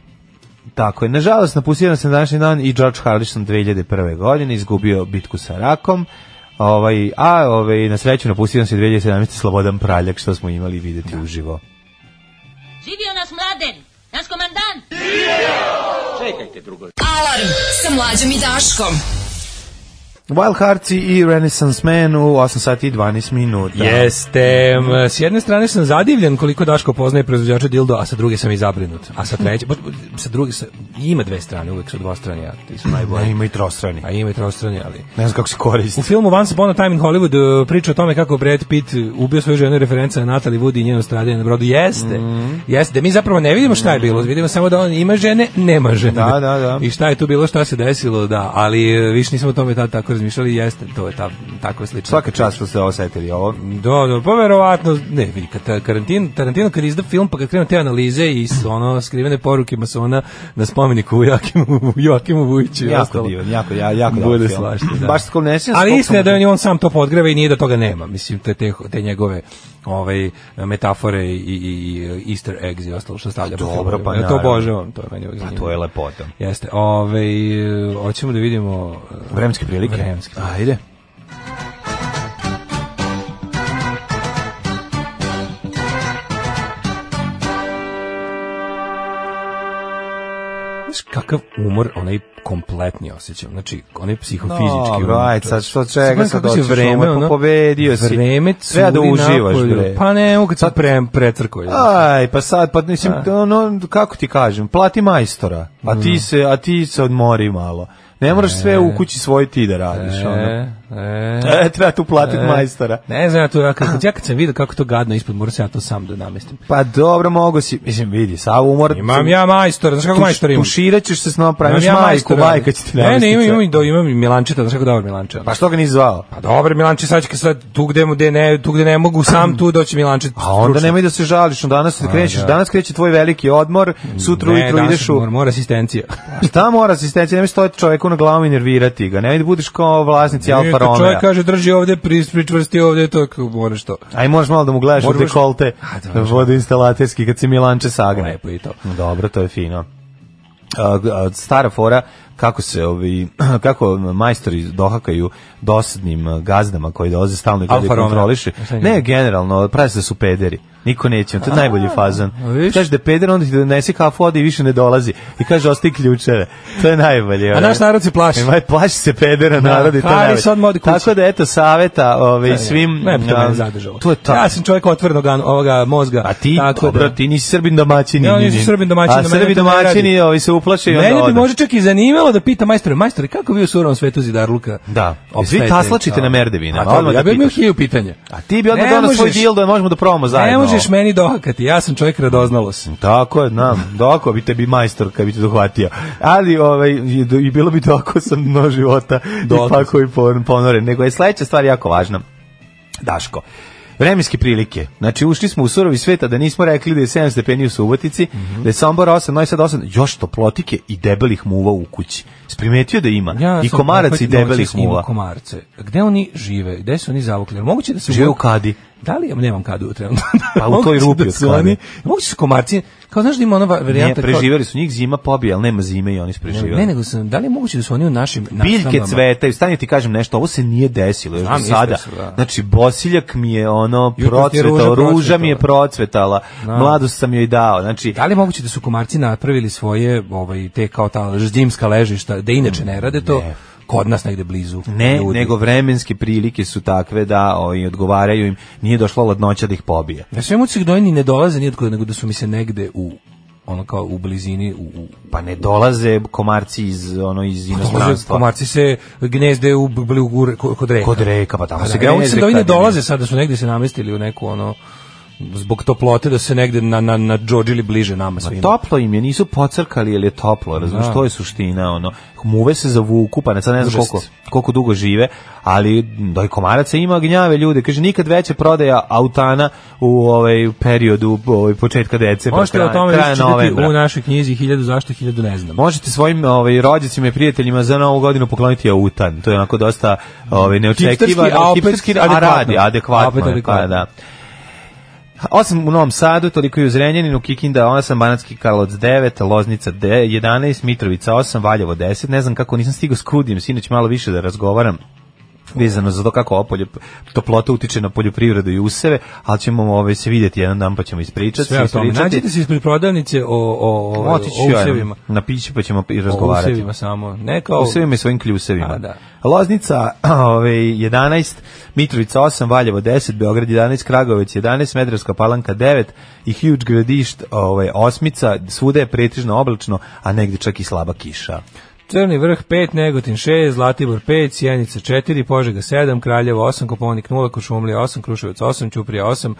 Speaker 5: Tako je. Nažalost, napustio nas je na današnji dan i George Harrison 2001. godine, izgubio bitku sa rakom. Ovaj, a ovaj, na sreću napustio nas je 2017. Slobodan Praljak, što smo imali videti uživo.
Speaker 4: Živio nas mladen, naš komandant.
Speaker 7: Alarm sa mlađom i Daškom.
Speaker 5: Wild Hearts i Renaissance Man u 8 sati i 12 minuta.
Speaker 6: Jeste, m, s jedne strane sam zadivljen koliko Daško poznaje proizvođača dildo, a sa druge sam i zabrinut. A sa treće, baš- sa druge, sa, ima dve strane, uvek su dvostrane, a ti su
Speaker 5: A
Speaker 6: najbolji.
Speaker 5: ima i trostrani.
Speaker 6: A ima i trostrane, ali...
Speaker 5: Ne znam kako se
Speaker 6: U
Speaker 5: koristi.
Speaker 6: filmu Once Upon a Time in Hollywood e, priča o tome kako Brad Pitt ubio svoju ženu referenca na Natalie Wood i njeno stradanje na brodu. Jeste,
Speaker 5: Mhm.
Speaker 6: jeste. Da mi zapravo ne vidimo šta je bilo. Vidimo samo da on ima žene, nema žene.
Speaker 5: Da, da, da.
Speaker 6: I šta je tu bilo, šta se desilo, da. Ali e, više nismo o tome tad tako razmišljali. Jeste, to je ta, tako slično.
Speaker 5: Svaka čast što ste osetili ovo.
Speaker 6: Da, da, pa verovatno, ne, vidi, kad ta- karantin, Tarantino kad izda film, pa kad krenu te analize i s- ono, skrivene poruke masona na spomeniku u Joakimu, Joakimu Vujiću i
Speaker 5: Jako
Speaker 6: ostalo.
Speaker 5: divan, jako, ja, jako dobar
Speaker 6: Bude
Speaker 5: film.
Speaker 6: svašta, da.
Speaker 5: Baš skoro ne sjećam se
Speaker 6: Ali
Speaker 5: koliko
Speaker 6: istina je
Speaker 5: sam-
Speaker 6: da je on sam to podgreva i nije da toga nema. Mislim, te, te, te njegove ovaj, metafore i, i, i easter eggs i ostalo što stavlja. po
Speaker 5: Dobro,
Speaker 6: filmovima.
Speaker 5: pa
Speaker 6: Ja To
Speaker 5: naravno.
Speaker 6: obožavam, to je meni uvijek
Speaker 5: A
Speaker 6: zanimljivo.
Speaker 5: to je lepota.
Speaker 6: Jeste, ovaj, e, hoćemo da vidimo...
Speaker 5: Vremenske prilike?
Speaker 6: e, Vremenske prilike.
Speaker 5: Ajde.
Speaker 6: Znaš kakav umor onaj kompletni osjećam. Znači, onaj psihofizički
Speaker 5: Dobro,
Speaker 6: umor.
Speaker 5: ajde, sad što čega
Speaker 6: Pogledaj
Speaker 5: sad
Speaker 6: kako si
Speaker 5: hoćeš, vreme, ono, pobedio si.
Speaker 6: Vreme curi
Speaker 5: Treba da uživaš,
Speaker 6: napolju.
Speaker 5: bre.
Speaker 6: Pa ne, mogu kad sam pre, precrkoj.
Speaker 5: Aj, pa sad, pa mislim, ono, kako ti kažem, plati majstora, a
Speaker 6: Mm.
Speaker 5: ti se, a ti se odmori malo. Ne moraš sve u kući svoj ti da radiš, ono.
Speaker 6: E, e.
Speaker 5: E, treba tu platiti majstora.
Speaker 6: Ne znam, ja to ja kad, ja kad sam vidio kako to gadno ispod mora se ja to sam da namestim.
Speaker 5: Pa dobro, mogo si, mislim, vidi, sav umor...
Speaker 6: Imam ja majstor, znaš kako majstor imam?
Speaker 5: Tuširat ćeš se s nama,
Speaker 6: Imam
Speaker 5: praviš majku,
Speaker 6: majstora.
Speaker 5: majka će ti
Speaker 6: Ne,
Speaker 5: navesti
Speaker 6: ne, imam,
Speaker 5: sve.
Speaker 6: imam, i do, imam i Milančeta, znaš kako dobar Milančet.
Speaker 5: Pa što ga nisi zvao?
Speaker 6: Pa dobro, Milančet, sad će sad tu gde, mu- gde ne, tu gde ne mogu sam tu doći Milančet.
Speaker 5: A Pa onda nemoj da se žališ, onda danas krećeš,
Speaker 6: Pa da. Mm,
Speaker 5: danas kreće tvoj veliki odmor, sutra ujutru ideš u...
Speaker 6: Mora, mora asistencija.
Speaker 5: Šta mora asistencija, nemoj stojati čoveku na glavu i nervirati ga, nemoj da budeš kao vlasnici Alfa
Speaker 6: Kad Čovjek
Speaker 5: Romeo.
Speaker 6: kaže drži ovde, pri- pričvrsti ovde, to kao moraš to.
Speaker 5: Aj možeš malo da mu gledaš u
Speaker 6: Moraš-
Speaker 5: dekolte
Speaker 6: A, da, možda.
Speaker 5: vodoinstalaterski kad si Milanče sagne.
Speaker 6: Lepo i to.
Speaker 5: Dobro, to je fino. A, a, stara fora kako se ovi kako majstori dohakaju dosadnim a, gazdama koji dolaze stalno i gledaju
Speaker 6: Alfa
Speaker 5: i
Speaker 6: Romeo.
Speaker 5: kontroliše.
Speaker 6: Šta je
Speaker 5: Ne, generalno, pravi se da su pederi. Niko neće, to je najbolji fazan.
Speaker 6: a vidiš?
Speaker 5: Kaže da je peder, onda ti donese kafu, ode i više ne dolazi. I kaže, ostaje ključeve. To je najbolje.
Speaker 6: A
Speaker 5: ono.
Speaker 6: naš narod se plaši.
Speaker 5: Maj plaši se pedera narod i to
Speaker 6: Harry
Speaker 5: najbolje.
Speaker 6: sad odi kući.
Speaker 5: Tako da eto saveta ovaj svim
Speaker 6: Ne bi to
Speaker 5: a,
Speaker 6: mene zadržalo.
Speaker 5: To je to.
Speaker 6: Ja sam čovjek otvorenog an- ovoga mozga.
Speaker 5: A ti,
Speaker 6: tako
Speaker 5: dobro,
Speaker 6: da.
Speaker 5: ti nisi srbin domaćini.
Speaker 6: Ja
Speaker 5: ni-
Speaker 6: nisam
Speaker 5: ni-
Speaker 6: Srbin domaćin,
Speaker 5: A
Speaker 6: na mene
Speaker 5: srbi
Speaker 6: to ne radi.
Speaker 5: domaćini ovi se uplaše i onda
Speaker 6: Mene bi
Speaker 5: ode.
Speaker 6: možda čak i zanimalo da pita majstore, majstore, kako vi u surovom svetu zidarluka?
Speaker 5: Da.
Speaker 6: opstajete?"
Speaker 5: Svi taslačite
Speaker 6: Kao.
Speaker 5: na merdevine,
Speaker 6: A to
Speaker 5: odmah
Speaker 6: bi-
Speaker 5: da
Speaker 6: ja bih imao
Speaker 5: pitaš.
Speaker 6: hilju pitanja.
Speaker 5: A ti bi odmah
Speaker 6: Ne
Speaker 5: donao svoj
Speaker 6: možeš-
Speaker 5: dildo da možemo da probamo zajedno.
Speaker 6: Ne možeš
Speaker 5: ovo.
Speaker 6: meni dohakati, ja sam čovjek radoznalost.
Speaker 5: Tako je, znam. Doko bi te bi majstor kad bi te dohvatio. Ali ovaj, i do- i bilo bi doko sam mnogo života i
Speaker 6: Doko
Speaker 5: pako i pon- ponore. Nego je sledeća stvar jako važna. Daško. vremenske prilike. Znači, ušli smo u surovi sveta da nismo rekli da je 7 stepeni u Subotici,
Speaker 6: Mhm.
Speaker 5: da je Sombor 8, Novi Sad 8, još toplotike i debelih muva u kući. Sprimetio da ima. I
Speaker 6: sam
Speaker 5: komarac i
Speaker 6: opet
Speaker 5: debelih
Speaker 6: noćas imao
Speaker 5: muva.
Speaker 6: Komarce. Gde oni žive? Gde su oni zavukli? Jer Moguće da su
Speaker 5: Žive u kadi.
Speaker 6: Da li ja nemam kadu trenutno?
Speaker 5: Pa u toj
Speaker 6: Moguće
Speaker 5: rupi
Speaker 6: da
Speaker 5: od
Speaker 6: su
Speaker 5: kade.
Speaker 6: oni, moguće su komarci, kao znaš da ima ona va-
Speaker 5: Ne,
Speaker 6: varijanta kao-
Speaker 5: preživeli su njih zima pobija, ali nema zime i oni su preživeli.
Speaker 6: Ne, nego sam, da li je moguće da su oni u našim
Speaker 5: biljke
Speaker 6: nastavama?
Speaker 5: cvetaju, stani ti kažem nešto, ovo se nije desilo još
Speaker 6: Znam,
Speaker 5: do sada.
Speaker 6: isto se, da.
Speaker 5: Znači, bosiljak mi je ono
Speaker 6: Jutros ti je
Speaker 5: procvetao,
Speaker 6: ruža
Speaker 5: ruža mi je procvetala, mladost sam joj dao, znači,
Speaker 6: Da li je moguće da su komarci napravili svoje, ovaj, te kao ta zimska ležišta, da inače ne rade to, kod nas negde blizu
Speaker 5: Mm, ne,
Speaker 6: ljudi?
Speaker 5: nego vremenske prilike su takve da ovaj, odgovaraju im, nije došla ladnoća da ih pobije.
Speaker 6: Ja sve muci dojni ne dolaze nijetko, nego da su mi se negde u ono kao u blizini u, u
Speaker 5: Pa ne dolaze komarci iz, ono, iz
Speaker 6: Pa Dolaze,
Speaker 5: inostranstva.
Speaker 6: komarci se gnezde u bli u gure, ko- kod reka.
Speaker 5: Kod reka, pa tamo
Speaker 6: A
Speaker 5: se
Speaker 6: da,
Speaker 5: gnezde
Speaker 6: oni se da oni
Speaker 5: kad je-
Speaker 6: dolaze sad da su negde se namestili u neku ono zbog toplote da se negde na na na džodžili bliže nama svima.
Speaker 5: Toplo im je, nisu pocrkali, jer je toplo, razumiješ,
Speaker 6: Da.
Speaker 5: to je suština, ono. Muve se zavuku, pa ne sad ne znam
Speaker 6: Užas.
Speaker 5: koliko, koliko dugo žive, ali doj komaraca ima gnjave ljude, kaže, nikad veća prodaja autana u ovaj periodu ovaj, početka decembra,
Speaker 6: Možete o
Speaker 5: kraja-
Speaker 6: tome
Speaker 5: kraja
Speaker 6: više čitati
Speaker 5: novembra.
Speaker 6: u našoj knjizi 1000 zašto 1000 ne znam.
Speaker 5: Možete svojim ovaj, rođacima i prijateljima za novu godinu pokloniti autan. To je onako dosta ovaj,
Speaker 6: Hipsterski, a
Speaker 5: neočekivano.
Speaker 6: opet
Speaker 5: a
Speaker 6: adekvatno.
Speaker 5: radi, adekvatno.
Speaker 6: Opet
Speaker 5: je,
Speaker 6: adekvatno.
Speaker 5: Pa, da. Osam u Novom Sadu, toliko i u Zrenjaninu, Kikinda 8, Banatski Karlovac 9, Loznica de- 11, Mitrovica 8, Valjevo 10. Ne znam kako, nisam stigao s Kudijem, sinoć malo više da razgovaram vezano za to kako ova polje, toplota utiče na poljoprivredu i useve, ali ćemo ovaj, se vidjeti jedan dan pa ćemo ispričati.
Speaker 6: Sve o tome.
Speaker 5: ispričati.
Speaker 6: Nađite se ispred prodavnice o o o, o,
Speaker 5: Otići ću ja
Speaker 6: usevima.
Speaker 5: na piće pa ćemo i
Speaker 6: O
Speaker 5: razgovarati.
Speaker 6: usevima samo. Ne kao
Speaker 5: O Pa svim i svojim kljusevima.
Speaker 6: A, da.
Speaker 5: Loznica ovaj, 11, Mitrovica 8, Valjevo 10, Beograd 11, Kragovec 11, Medraska palanka 9 i Huge gradišt ovaj, osmica, svuda je pretežno oblačno, a negde čak i slaba kiša.
Speaker 6: Crni vrh 5, Negotin 6, Zlatibor 5, Sjenica 4, Požega 7, Kraljevo 8, Koponik 0, Košumlija 8, Kruševac 8, Ćuprija 8,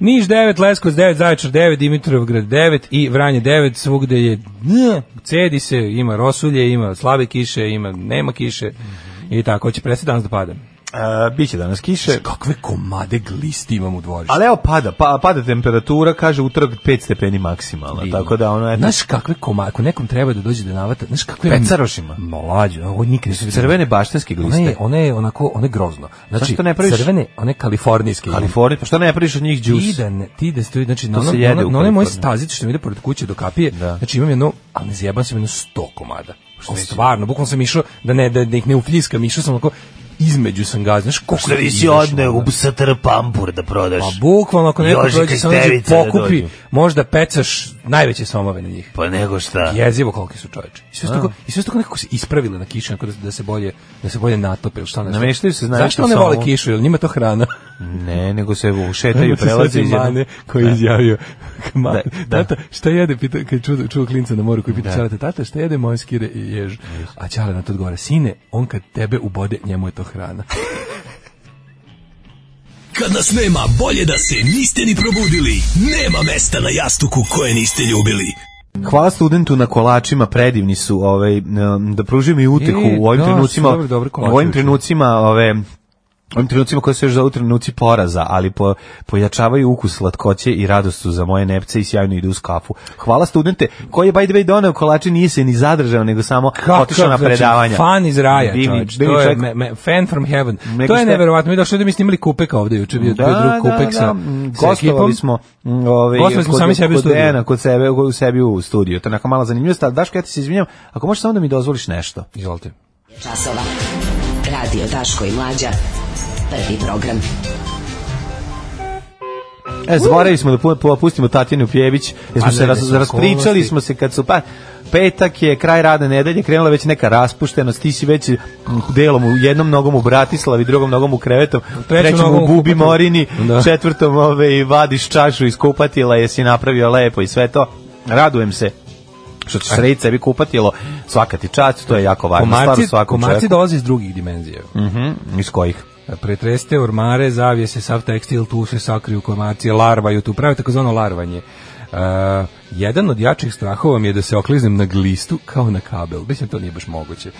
Speaker 6: Niš 9, Leskovac 9, Zaječar 9, Dimitrovgrad 9 i Vranje 9, svugde je n, cedi se, ima rosulje, ima slabe kiše, ima nema kiše i tako će prestati danas da pada.
Speaker 5: E, biće danas kiše.
Speaker 6: Kakve komade glisti imam u dvorištu.
Speaker 5: Ali evo pada, pa, pada temperatura, kaže utorak 5 stepeni maksimalno,
Speaker 6: Divno.
Speaker 5: tako da ono, eto,
Speaker 6: Znaš kakve komade, ako nekom treba da dođe da navata, znaš kakve... ono
Speaker 5: Pecarošima.
Speaker 6: Mlađe, ovo nikad nisu vidio.
Speaker 5: crvene baštanske
Speaker 6: Ona
Speaker 5: gliste.
Speaker 6: je, ona je onako, ona je grozno. Znači,
Speaker 5: Zašto ne praviš-
Speaker 6: crvene, one kalifornijske. ono,
Speaker 5: Kalifornija, pa što ne priš od njih
Speaker 6: Ti
Speaker 5: džus?
Speaker 6: da, ne, ti da stoji, znači, na
Speaker 5: To se
Speaker 6: onom,
Speaker 5: jede
Speaker 6: na onom,
Speaker 5: u
Speaker 6: na onoj moj
Speaker 5: Kaliforniji.
Speaker 6: stazici što mi ide pored kuće do kapije,
Speaker 5: Da. Pa
Speaker 6: znači imam jedno, ali ne zjebam sam jedno sto komada. Što stvarno, bukvalno sam išao, da ne, da, da ih ne upljiskam, išao sam onako, između sam ga, znaš, koliko
Speaker 5: Što
Speaker 6: ti
Speaker 5: nisi
Speaker 6: ideš,
Speaker 5: odneo
Speaker 6: ono?
Speaker 5: u satr pampur da prodaš?
Speaker 6: Pa bukvalno, ako neko
Speaker 5: Jožika
Speaker 6: prođe,
Speaker 5: iz
Speaker 6: samo dođe,
Speaker 5: Devica da
Speaker 6: pokupi,
Speaker 5: dođu.
Speaker 6: možda pecaš najveće somove na njih.
Speaker 5: Pa nego šta?
Speaker 6: Jezivo koliki su čoveče. I sve su tako, i sve su tako nekako se ispravile na kiši, onako da, da se bolje, da se bolje natope ili šta ne znam.
Speaker 5: Nameštaju se, znaš,
Speaker 6: Zašto
Speaker 5: na
Speaker 6: one vole
Speaker 5: somu.
Speaker 6: kišu, jel njima to hrana?
Speaker 5: Ne, nego se šetaju,
Speaker 6: Ajmo se
Speaker 5: prelaze
Speaker 6: setim
Speaker 5: iz jednog...
Speaker 6: Mane koji je izjavio. Ma,
Speaker 5: Da, da.
Speaker 6: Tata, šta jede, pita, kad čuo, čuo klinca na moru koji pita Ćaleta, tata, šta jede moje skire i jež? A Ćale na to odgovara, sine, on kad tebe ubode, njemu je to hrana.
Speaker 8: Kad nas nema, bolje da se niste ni probudili. Nema mesta na jastuku koje niste ljubili.
Speaker 5: Hvala studentu na kolačima, predivni su, ovaj em, da pružim i utehu
Speaker 6: E,
Speaker 5: u ovim
Speaker 6: da, su
Speaker 5: trenucima.
Speaker 6: dobri, dobri kolači
Speaker 5: u ovim
Speaker 6: juče.
Speaker 5: trenucima, ove u ovim trenucima koje se još zovu trenuci poraza, ali po, pojačavaju ukus slatkoće i radostu za moje nepce i sjajno idu uz kafu. Hvala studente koji je by the way doneo kolače, nije se ni zadržao, nego samo otišao na
Speaker 6: znači,
Speaker 5: predavanja.
Speaker 6: Fan iz raja,
Speaker 5: Divni-
Speaker 6: čoveč,
Speaker 5: divni
Speaker 6: to je
Speaker 5: čovjek.
Speaker 6: me, me, fan from heaven.
Speaker 5: Nego
Speaker 6: to je
Speaker 5: šta-
Speaker 6: neverovatno. Mi došli da mi snimali kupek ovde juče, bio, bio drug kupek sa,
Speaker 5: mm,
Speaker 6: sa ekipom.
Speaker 5: Gostovali smo, mm, ovaj,
Speaker 6: Gostovali smo
Speaker 5: kod-
Speaker 6: sami sebi u
Speaker 5: kod
Speaker 6: studiju.
Speaker 5: Dejana, kod sebe, u sebi u studiju. To je neka mala zanimljivost, ali Daško, ja ti se izvinjam, ako možeš samo da mi dozvoliš nešto.
Speaker 6: Izvolite.
Speaker 4: Časova. Radio Daško i Mlađa. Prvi program.
Speaker 5: E, zaboravili smo da pu- pu- pustimo Tatjanu Pjević, jer smo
Speaker 6: A
Speaker 5: se
Speaker 6: Pa ne, ne,
Speaker 5: raz-
Speaker 6: su
Speaker 5: raspričali
Speaker 6: okolnosti.
Speaker 5: smo se kad su pa petak je kraj rada nedelje, krenula je već neka raspuštenost, ti si već mm, delom u jednom nogom u Bratislavi, drugom nogom u krevetom, trećom
Speaker 6: nogom
Speaker 5: u
Speaker 6: u
Speaker 5: Bubi
Speaker 6: kupatilu.
Speaker 5: Morini,
Speaker 6: Da.
Speaker 5: četvrtom ove, i vadiš čašu iz kupatila, jesi napravio lepo i sve to. Radujem se što ćeš srediti sebi kupatilo, svaka ti čast, to je jako važno, stvar
Speaker 6: E. Komarci,
Speaker 5: u svakom
Speaker 6: komarci
Speaker 5: čovjeku.
Speaker 6: dolaze iz drugih dimenzija.
Speaker 5: Mhm, iz kojih?
Speaker 6: Pretreste ormare, zavije se sav tekstil, tu se sakriju komarci, larvaju tu, pravi takozvano larvanje. Uh, Jedan od jačih strahova mi je da se okliznem na glistu kao na kabel. Mislim, to nije baš moguće.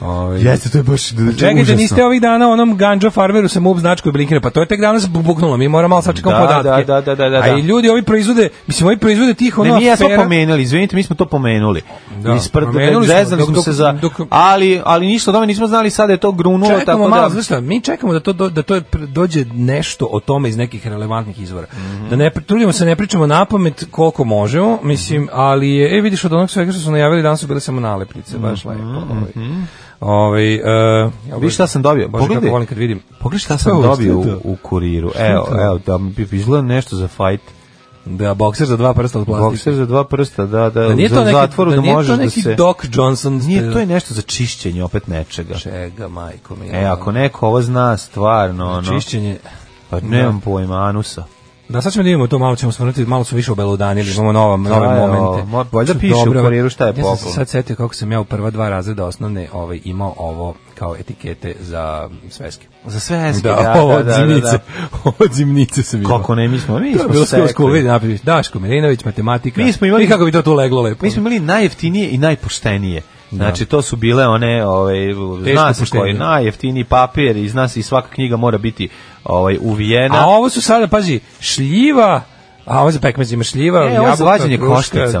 Speaker 6: Ove,
Speaker 5: Jeste, to je baš da,
Speaker 6: Čekajte, niste ovih dana onom ganđo farmeru sa MUB značku i blinkira, pa to je tek danas bu- buknulo, mi moramo malo sačekamo
Speaker 5: Da,
Speaker 6: podatke.
Speaker 5: da, da, da, da,
Speaker 6: A i
Speaker 5: da.
Speaker 6: ljudi ovi proizvode, mislim, ovi proizvode tih ono
Speaker 5: Ne, mi ja smo
Speaker 6: afera-
Speaker 5: pomenuli, izvinite, mi smo to pomenuli.
Speaker 6: Da,
Speaker 5: Da, Isprt,
Speaker 6: pomenuli
Speaker 5: pomenuli
Speaker 6: smo,
Speaker 5: zezali
Speaker 6: dok-
Speaker 5: smo
Speaker 6: dok-
Speaker 5: se za...
Speaker 6: dok-
Speaker 5: ali, ali ništa od tome nismo znali, sada je to grunulo,
Speaker 6: Čekamo
Speaker 5: tako
Speaker 6: malo,
Speaker 5: da...
Speaker 6: znaš šta, mi čekamo da to, do- da to je pr- dođe nešto o tome iz nekih relevantnih izvora. Da ne, pri- trudimo se, ne pričamo na pamet koliko možemo, mislim, ali je, e, vidiš, od onog svega što su najavili, danas su bile samo nalepnice, baš lepo. Ovaj, ovaj, e, ja
Speaker 5: Viš Mhm, šta sam dobio?
Speaker 6: Bože, kako
Speaker 5: Pogledaj.
Speaker 6: volim kad vidim.
Speaker 5: Pogledaj šta
Speaker 6: Evo,
Speaker 5: sam
Speaker 6: šta
Speaker 5: dobio
Speaker 6: je
Speaker 5: u,
Speaker 6: to?
Speaker 5: u kuriru.
Speaker 6: je
Speaker 5: Evo,
Speaker 6: to?
Speaker 5: evo, da mi izgleda nešto za fight.
Speaker 6: Da, bokser za dva prsta od plastika.
Speaker 5: Bokser za dva prsta, da, da,
Speaker 6: Da nije
Speaker 5: za
Speaker 6: to neki,
Speaker 5: zatvoru da,
Speaker 6: da nije to
Speaker 5: možeš da
Speaker 6: neki
Speaker 5: se...
Speaker 6: Doc Johnson.
Speaker 5: Nije, to je nešto za čišćenje opet nečega.
Speaker 6: Čega, majko mi. ono?
Speaker 5: E, ako neko ovo zna stvarno, ono,
Speaker 6: Čišćenje.
Speaker 5: pa nemam pojma, anusa.
Speaker 6: Da, sad ćemo da vidimo to, malo ćemo svrnuti, malo su više obelodanili, imamo nova, nove
Speaker 5: je
Speaker 6: momente.
Speaker 5: ovo? Mor- valjda
Speaker 6: Su
Speaker 5: piše u
Speaker 6: dobra-
Speaker 5: kuriru šta je
Speaker 6: Ja sam
Speaker 5: poklon.
Speaker 6: se sad setio kako sam ja u prva dva razreda osnovne ovaj, imao ovo kao etikete za sveske.
Speaker 5: Za sve eske,
Speaker 6: Da,
Speaker 5: da,
Speaker 6: ovo
Speaker 5: da,
Speaker 6: od
Speaker 5: da, da,
Speaker 6: zimnice.
Speaker 5: da.
Speaker 6: Ovo od zimnice sam imao.
Speaker 5: Kako ne, mi smo, mi
Speaker 6: To je
Speaker 5: smo
Speaker 6: bilo skroz
Speaker 5: sekli.
Speaker 6: cool, vidi, napraviš Daško Milinović, matematika.
Speaker 5: Mi smo imali-
Speaker 6: Vidi kako bi to tu leglo lepo.
Speaker 5: Mi smo imali najjeftinije i najpoštenije. Znači, to su bile one, ovaj, zna se
Speaker 6: poštenije.
Speaker 5: koji, najjeftiniji papir i zna se i svaka knjiga mora biti ovaj, uvijena.
Speaker 6: A ovo su sada, pazi, šljiva, a ovo za pekmez ima šljiva,
Speaker 5: E, ovo je za
Speaker 6: jabuka,
Speaker 5: vađenje
Speaker 6: kruška,
Speaker 5: koštica možda.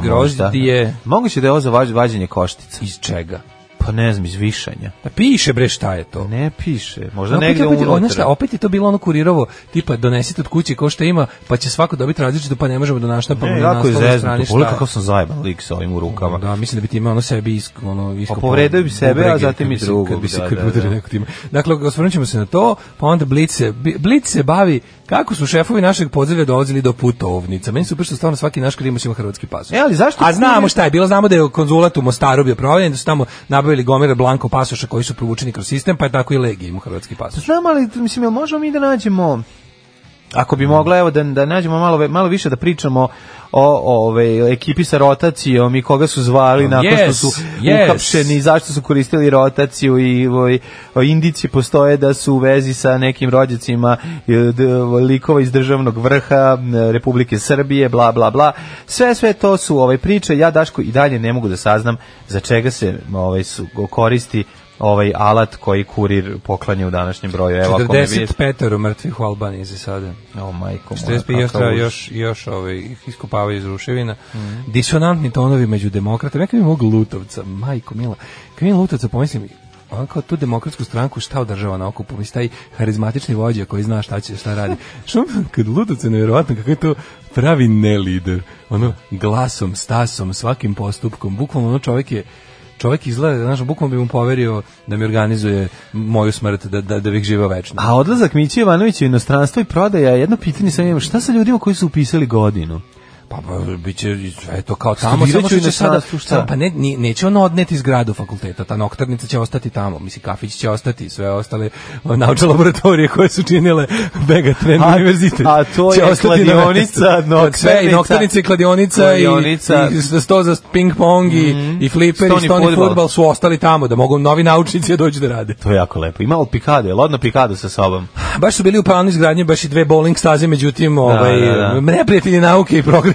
Speaker 6: grožđe,
Speaker 5: Moguće da je ovo za vađ- vađenje koštica.
Speaker 6: iz čega?
Speaker 5: Pa ne znam, iz višanja.
Speaker 6: Da piše bre šta je to.
Speaker 5: Ne piše, možda
Speaker 6: Opet,
Speaker 5: negde
Speaker 6: opet, ono šta,
Speaker 5: unutra.
Speaker 6: opet je to bilo ono kurirovo, tipa donesite od kuće ko šta ima, pa će svako dobiti različito, pa ne možemo da naštampamo
Speaker 5: Ne,
Speaker 6: na
Speaker 5: E, jako je
Speaker 6: naslovnoj
Speaker 5: zezno,
Speaker 6: strani šta.
Speaker 5: pogledaj kako sam zajeban lik sa ovim u rukama.
Speaker 6: Da, mislim da bi ti imao ono sebi isk, ono iskopao.
Speaker 5: Pa povredio bi sebe,
Speaker 6: bubrege
Speaker 5: a zatim
Speaker 6: kad
Speaker 5: i
Speaker 6: bi se-
Speaker 5: drugog,
Speaker 6: Kad bi se
Speaker 5: da,
Speaker 6: kad
Speaker 5: da,
Speaker 6: bi udario
Speaker 5: da.
Speaker 6: neko time. Dakle, osvrnut ćemo se na to, pa onda Blitz se, Bi- Blitz se bavi kako su šefovi našeg podzemlja dolazili do putovnica. Meni su što stvarno svaki naš krimus ima hrvatski pasoš.
Speaker 5: E, ali zašto
Speaker 6: A
Speaker 5: kurir-
Speaker 6: znamo šta je bilo, znamo da je konzulat u Mostaru bio provaljen, da su tamo nabavili gomere blanko pasoša koji su provučeni kroz sistem, pa je tako i Legija ima hrvatski pasoš.
Speaker 5: Znam, ali mislim, jel možemo mi da nađemo Ako bi mogla, evo, da, da nađemo malo, ve- malo više da pričamo o, o ove, ekipi sa rotacijom i koga su zvali nakon
Speaker 6: Yes,
Speaker 5: što su
Speaker 6: yes.
Speaker 5: ukapšeni, zašto su koristili rotaciju i ovaj, indici postoje da su u vezi sa nekim rođacima e, d- likova iz državnog vrha e, Republike Srbije, bla, bla, bla. Sve, sve to su ove priče. Ja, Daško, i dalje ne mogu da saznam za čega se ovaj, su, koristi ovaj alat koji kurir poklanja u današnjem broju. Evo, ako me vidiš-
Speaker 6: 45 mrtvih u Albaniji za sada.
Speaker 5: O majko moja,
Speaker 6: 45 još,
Speaker 5: kakav
Speaker 6: treba
Speaker 5: užas.
Speaker 6: još, još ovaj, ih iskopavaju iz ruševina.
Speaker 5: Mhm.
Speaker 6: Disonantni tonovi među demokratama. Ja kad vidim ovog Lutovca, majko mila, kad vidim Lutovca pomislim, on kao tu demokratsku stranku šta održava na okupu, mislim taj harizmatični vođa koji zna šta će, šta radi. Što kad Lutovca je nevjerovatno kako je to pravi ne lider, ono glasom, stasom, svakim postupkom, bukvalno ono čovjek je čovjek izgleda, znaš, bukvalno bi mu poverio da mi organizuje moju smrt, da, da, da bih živeo večno.
Speaker 5: A odlazak Miće Ivanovića u inostranstvo i prodaja, jedno pitanje sam imam, šta sa ljudima koji su upisali godinu?
Speaker 6: Pa, pa biće sve to kao tamo,
Speaker 5: Studirat
Speaker 6: samo
Speaker 5: ću
Speaker 6: što će sada,
Speaker 5: inostranstvu, šta?
Speaker 6: sada, pa ne, ni- neće ono odneti zgradu fakulteta, ta noktarnica će ostati tamo, mislim, kafić će ostati, sve ostale o, naučne laboratorije koje su činile Begatren
Speaker 5: A-
Speaker 6: univerzitet.
Speaker 5: a to je
Speaker 6: na
Speaker 5: kladionica,
Speaker 6: mestu. Sve, i
Speaker 5: noktarnica,
Speaker 6: noktarnica, i kladionica,
Speaker 5: kladionica. Mhm.
Speaker 6: i, i sto za ping pong, i, i fliper,
Speaker 5: Stoni
Speaker 6: i stoni
Speaker 5: fudbal.
Speaker 6: fudbal su ostali tamo, da mogu novi naučnici da dođu da rade.
Speaker 5: To je jako lepo. I malo pikado, je lodno pikado sa sobom.
Speaker 6: Baš su bili u planu izgradnje, baš i dve bowling staze, međutim, ovaj,
Speaker 5: da, da.
Speaker 6: neprijatelji nauke i progres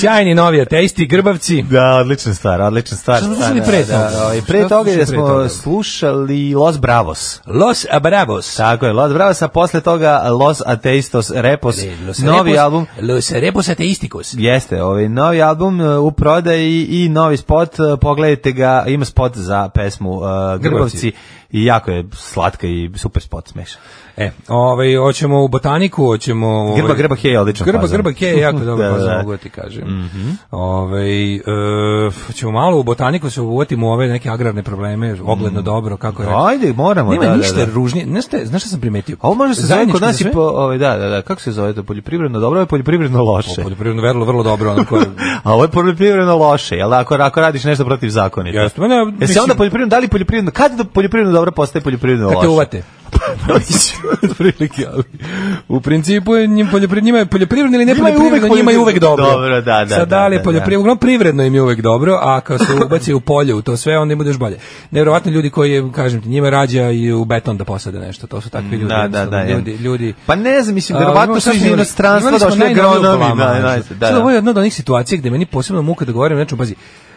Speaker 6: Sjajni novi ateisti, grbavci.
Speaker 5: Da, odlična stvar, odlična stvar.
Speaker 6: Šta smo
Speaker 5: Da,
Speaker 6: slušali pre
Speaker 5: da, da,
Speaker 6: toga?
Speaker 5: da, i
Speaker 6: Šta
Speaker 5: pre toga
Speaker 6: smo
Speaker 5: je
Speaker 6: slušali pre toga?
Speaker 5: smo slušali Los Bravos.
Speaker 6: Los Bravos.
Speaker 5: Tako je, Los Bravos, a posle toga Los Ateistos Repos, novi album.
Speaker 6: Los Repos Ateisticos.
Speaker 5: Jeste, ovaj novi album e, u prodaji i novi spot, e, pogledajte ga, ima spot za pesmu e, Grbavci i jako je slatka i super spot smešan.
Speaker 6: E, ovaj, hoćemo u botaniku, hoćemo... Ovaj,
Speaker 5: Grba, grba, hej, odličan
Speaker 6: Grba,
Speaker 5: fazon.
Speaker 6: grba, hej, jako dobro,
Speaker 5: Da,
Speaker 6: da,
Speaker 5: da. Mhm.
Speaker 6: mogu da ti kažem. ovaj, e, hoćemo malo u botaniku se uvotim u ove neke agrarne probleme, ogledno dobro, kako je rekao.
Speaker 5: Mhm. Ajde, moramo,
Speaker 6: Nema
Speaker 5: da, da,
Speaker 6: ništa
Speaker 5: da.
Speaker 6: ružnije, znaš, šta je- znaš šta sam primetio?
Speaker 5: A ovo može se zove
Speaker 6: Zajedničko
Speaker 5: kod nas
Speaker 6: za
Speaker 5: i
Speaker 6: sve?
Speaker 5: po, ovaj, da, da, da, kako se zove to, poljoprivredno dobro, ovo je poljoprivredno loše.
Speaker 6: O, Poljoprivredno verlo, vrlo dobro, ono koje...
Speaker 5: A ovo je poljoprivredno loše, jel da, ako, ako radiš nešto protiv zakonita.
Speaker 6: Jeste, ma ne,
Speaker 5: Jesi
Speaker 6: mislim-
Speaker 5: onda poljoprivredno, da li poljoprivredno, kad do poljoprivredno dobro postaje poljoprivredno
Speaker 6: Kad te
Speaker 5: loše? Pa,
Speaker 6: uvate. Otprilike, ali u principu je njim poljopriv, njima je poljoprivredno ili ne
Speaker 5: Njima je uvek
Speaker 6: poljoprivredno, njima je uvek dobro.
Speaker 5: dobro, da, da,
Speaker 6: Sad da li
Speaker 5: da,
Speaker 6: je
Speaker 5: da.
Speaker 6: poljoprivredno, uglavnom privredno im je uvek dobro, a kad se ubaci u polje u to sve, onda im budeš bolje. Nevjerovatno ljudi koji, kažem ti, njima rađa i u beton da posade nešto, to su takvi ljudi.
Speaker 5: Da, da, da.
Speaker 6: jednostavno,
Speaker 5: ja.
Speaker 6: Ljudi, ljudi,
Speaker 5: Pa ne znam, mislim,
Speaker 6: A,
Speaker 5: verovatno su
Speaker 6: imamo šta
Speaker 5: iz
Speaker 6: smo imali?
Speaker 5: inostranstva
Speaker 6: Imali smo
Speaker 5: došli
Speaker 6: najnoviju
Speaker 5: agronomi.
Speaker 6: plamažu.
Speaker 5: Da, najzad, da,
Speaker 6: Sad,
Speaker 5: da.
Speaker 6: Ovo je jedna od onih situacija gde meni posebno muka da govorim o nečemu, pazi,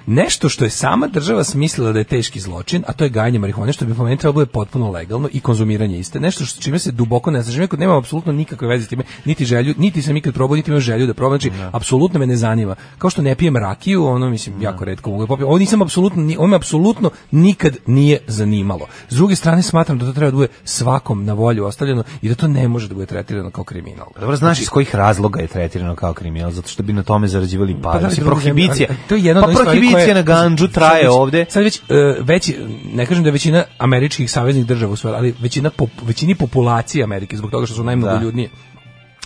Speaker 6: nešto što je sama država smislila da je teški zločin, a to je gajanje marihuane, što bi po meni trebalo bude potpuno legalno i konzumiranje iste. Nešto što čime se duboko ne znažem, kod nemam apsolutno nikakve veze s time, niti želju, niti sam ikad probao, niti imam želju da probam, znači apsolutno me ne zanima. Kao što ne pijem rakiju, ono mislim jako retko mogu da popijem. Ovo nisam apsolutno, ni- ovo me apsolutno nikad nije zanimalo. S druge strane smatram da to treba da bude svakom na volju ostavljeno i da to ne može da bude tretirano kao kriminal.
Speaker 5: Pa Dobro, znaš iz kojih razloga je tretirano kao kriminal, zato što bi na tome zarađivali pare.
Speaker 6: da,
Speaker 5: Pa,
Speaker 6: druge
Speaker 5: prohibicija.
Speaker 6: zemlje, ali To je jedna od
Speaker 5: pa
Speaker 6: onih stvari
Speaker 5: prohibicija
Speaker 6: koje-
Speaker 5: na ganđu traje
Speaker 6: sad već-
Speaker 5: ovde.
Speaker 6: Sad već e, veći ne kažem da je većina američkih saveznih država usvojila, ali većina pop, većini populacije Amerike zbog toga što su najmnogoljudnije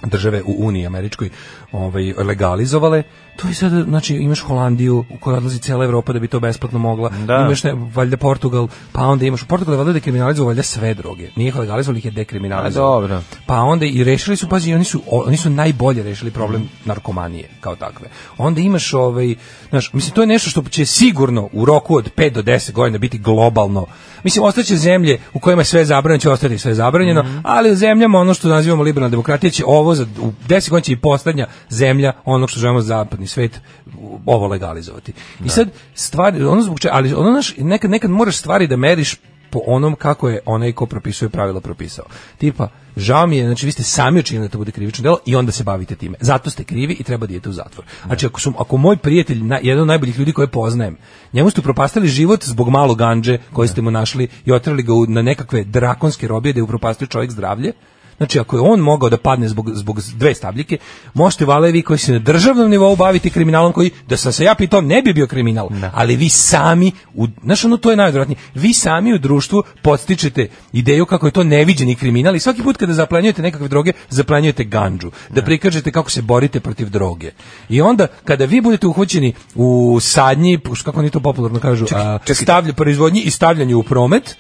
Speaker 6: države u Uniji američkoj ovaj, legalizovale, to je sad, znači, imaš Holandiju u kojoj odlazi cela Evropa da bi to besplatno mogla,
Speaker 5: Da.
Speaker 6: imaš ne, valjda Portugal, pa onda imaš, Portugal je valjda dekriminalizovao valjda sve droge, nije ih legalizovao, ih je dekriminalizovao.
Speaker 5: A, dobro.
Speaker 6: Pa onda i rešili su, pazi, oni su, o- oni su najbolje rešili problem narkomanije, kao takve. Onda imaš, ovaj, znaš, mislim, to je nešto što će sigurno u roku od 5 do 10 godina biti globalno. Mislim, ostaće zemlje u kojima je sve zabranjeno, će ostati sve zabranjeno, ali u zemljama ono što nazivamo liberalna demokratija će ovo, za, u 10 godina će i poslednja zemlja onog što želimo zapadni svet u- ovo legalizovati. I sad, stvari, ono zbog čega, ali ono, znaš, nekad, nekad moraš stvari da meriš po onom kako je onaj ko propisuje pravila propisao. Tipa, žao mi je, znači vi ste sami učinili da to bude krivično delo i onda se bavite time. Zato ste krivi i treba da idete u zatvor. Znači, ako, su, ako moj prijatelj, na, jedan od najboljih ljudi koje poznajem, njemu ste upropastili život zbog malo ganđe koje ste mu našli i otrali ga u, na nekakve drakonske robije da je upropastio čovjek zdravlje, Znači, ako je on mogao da padne zbog, zbog dve stabljike, možete vale vi koji se na državnom nivou baviti kriminalom koji, da sam se ja pitao, ne bi bio kriminal. Ali vi sami, u, znaš ono, to je najodvratnije, vi sami u društvu podstičete ideju kako je to neviđeni kriminal i svaki put kada zaplanjujete nekakve droge, zaplanjujete ganđu, da prikažete kako se borite protiv droge. I onda, kada vi budete uhvaćeni u sadnji, kako oni to popularno kažu, a, stavlje proizvodnji i stavljanju u promet,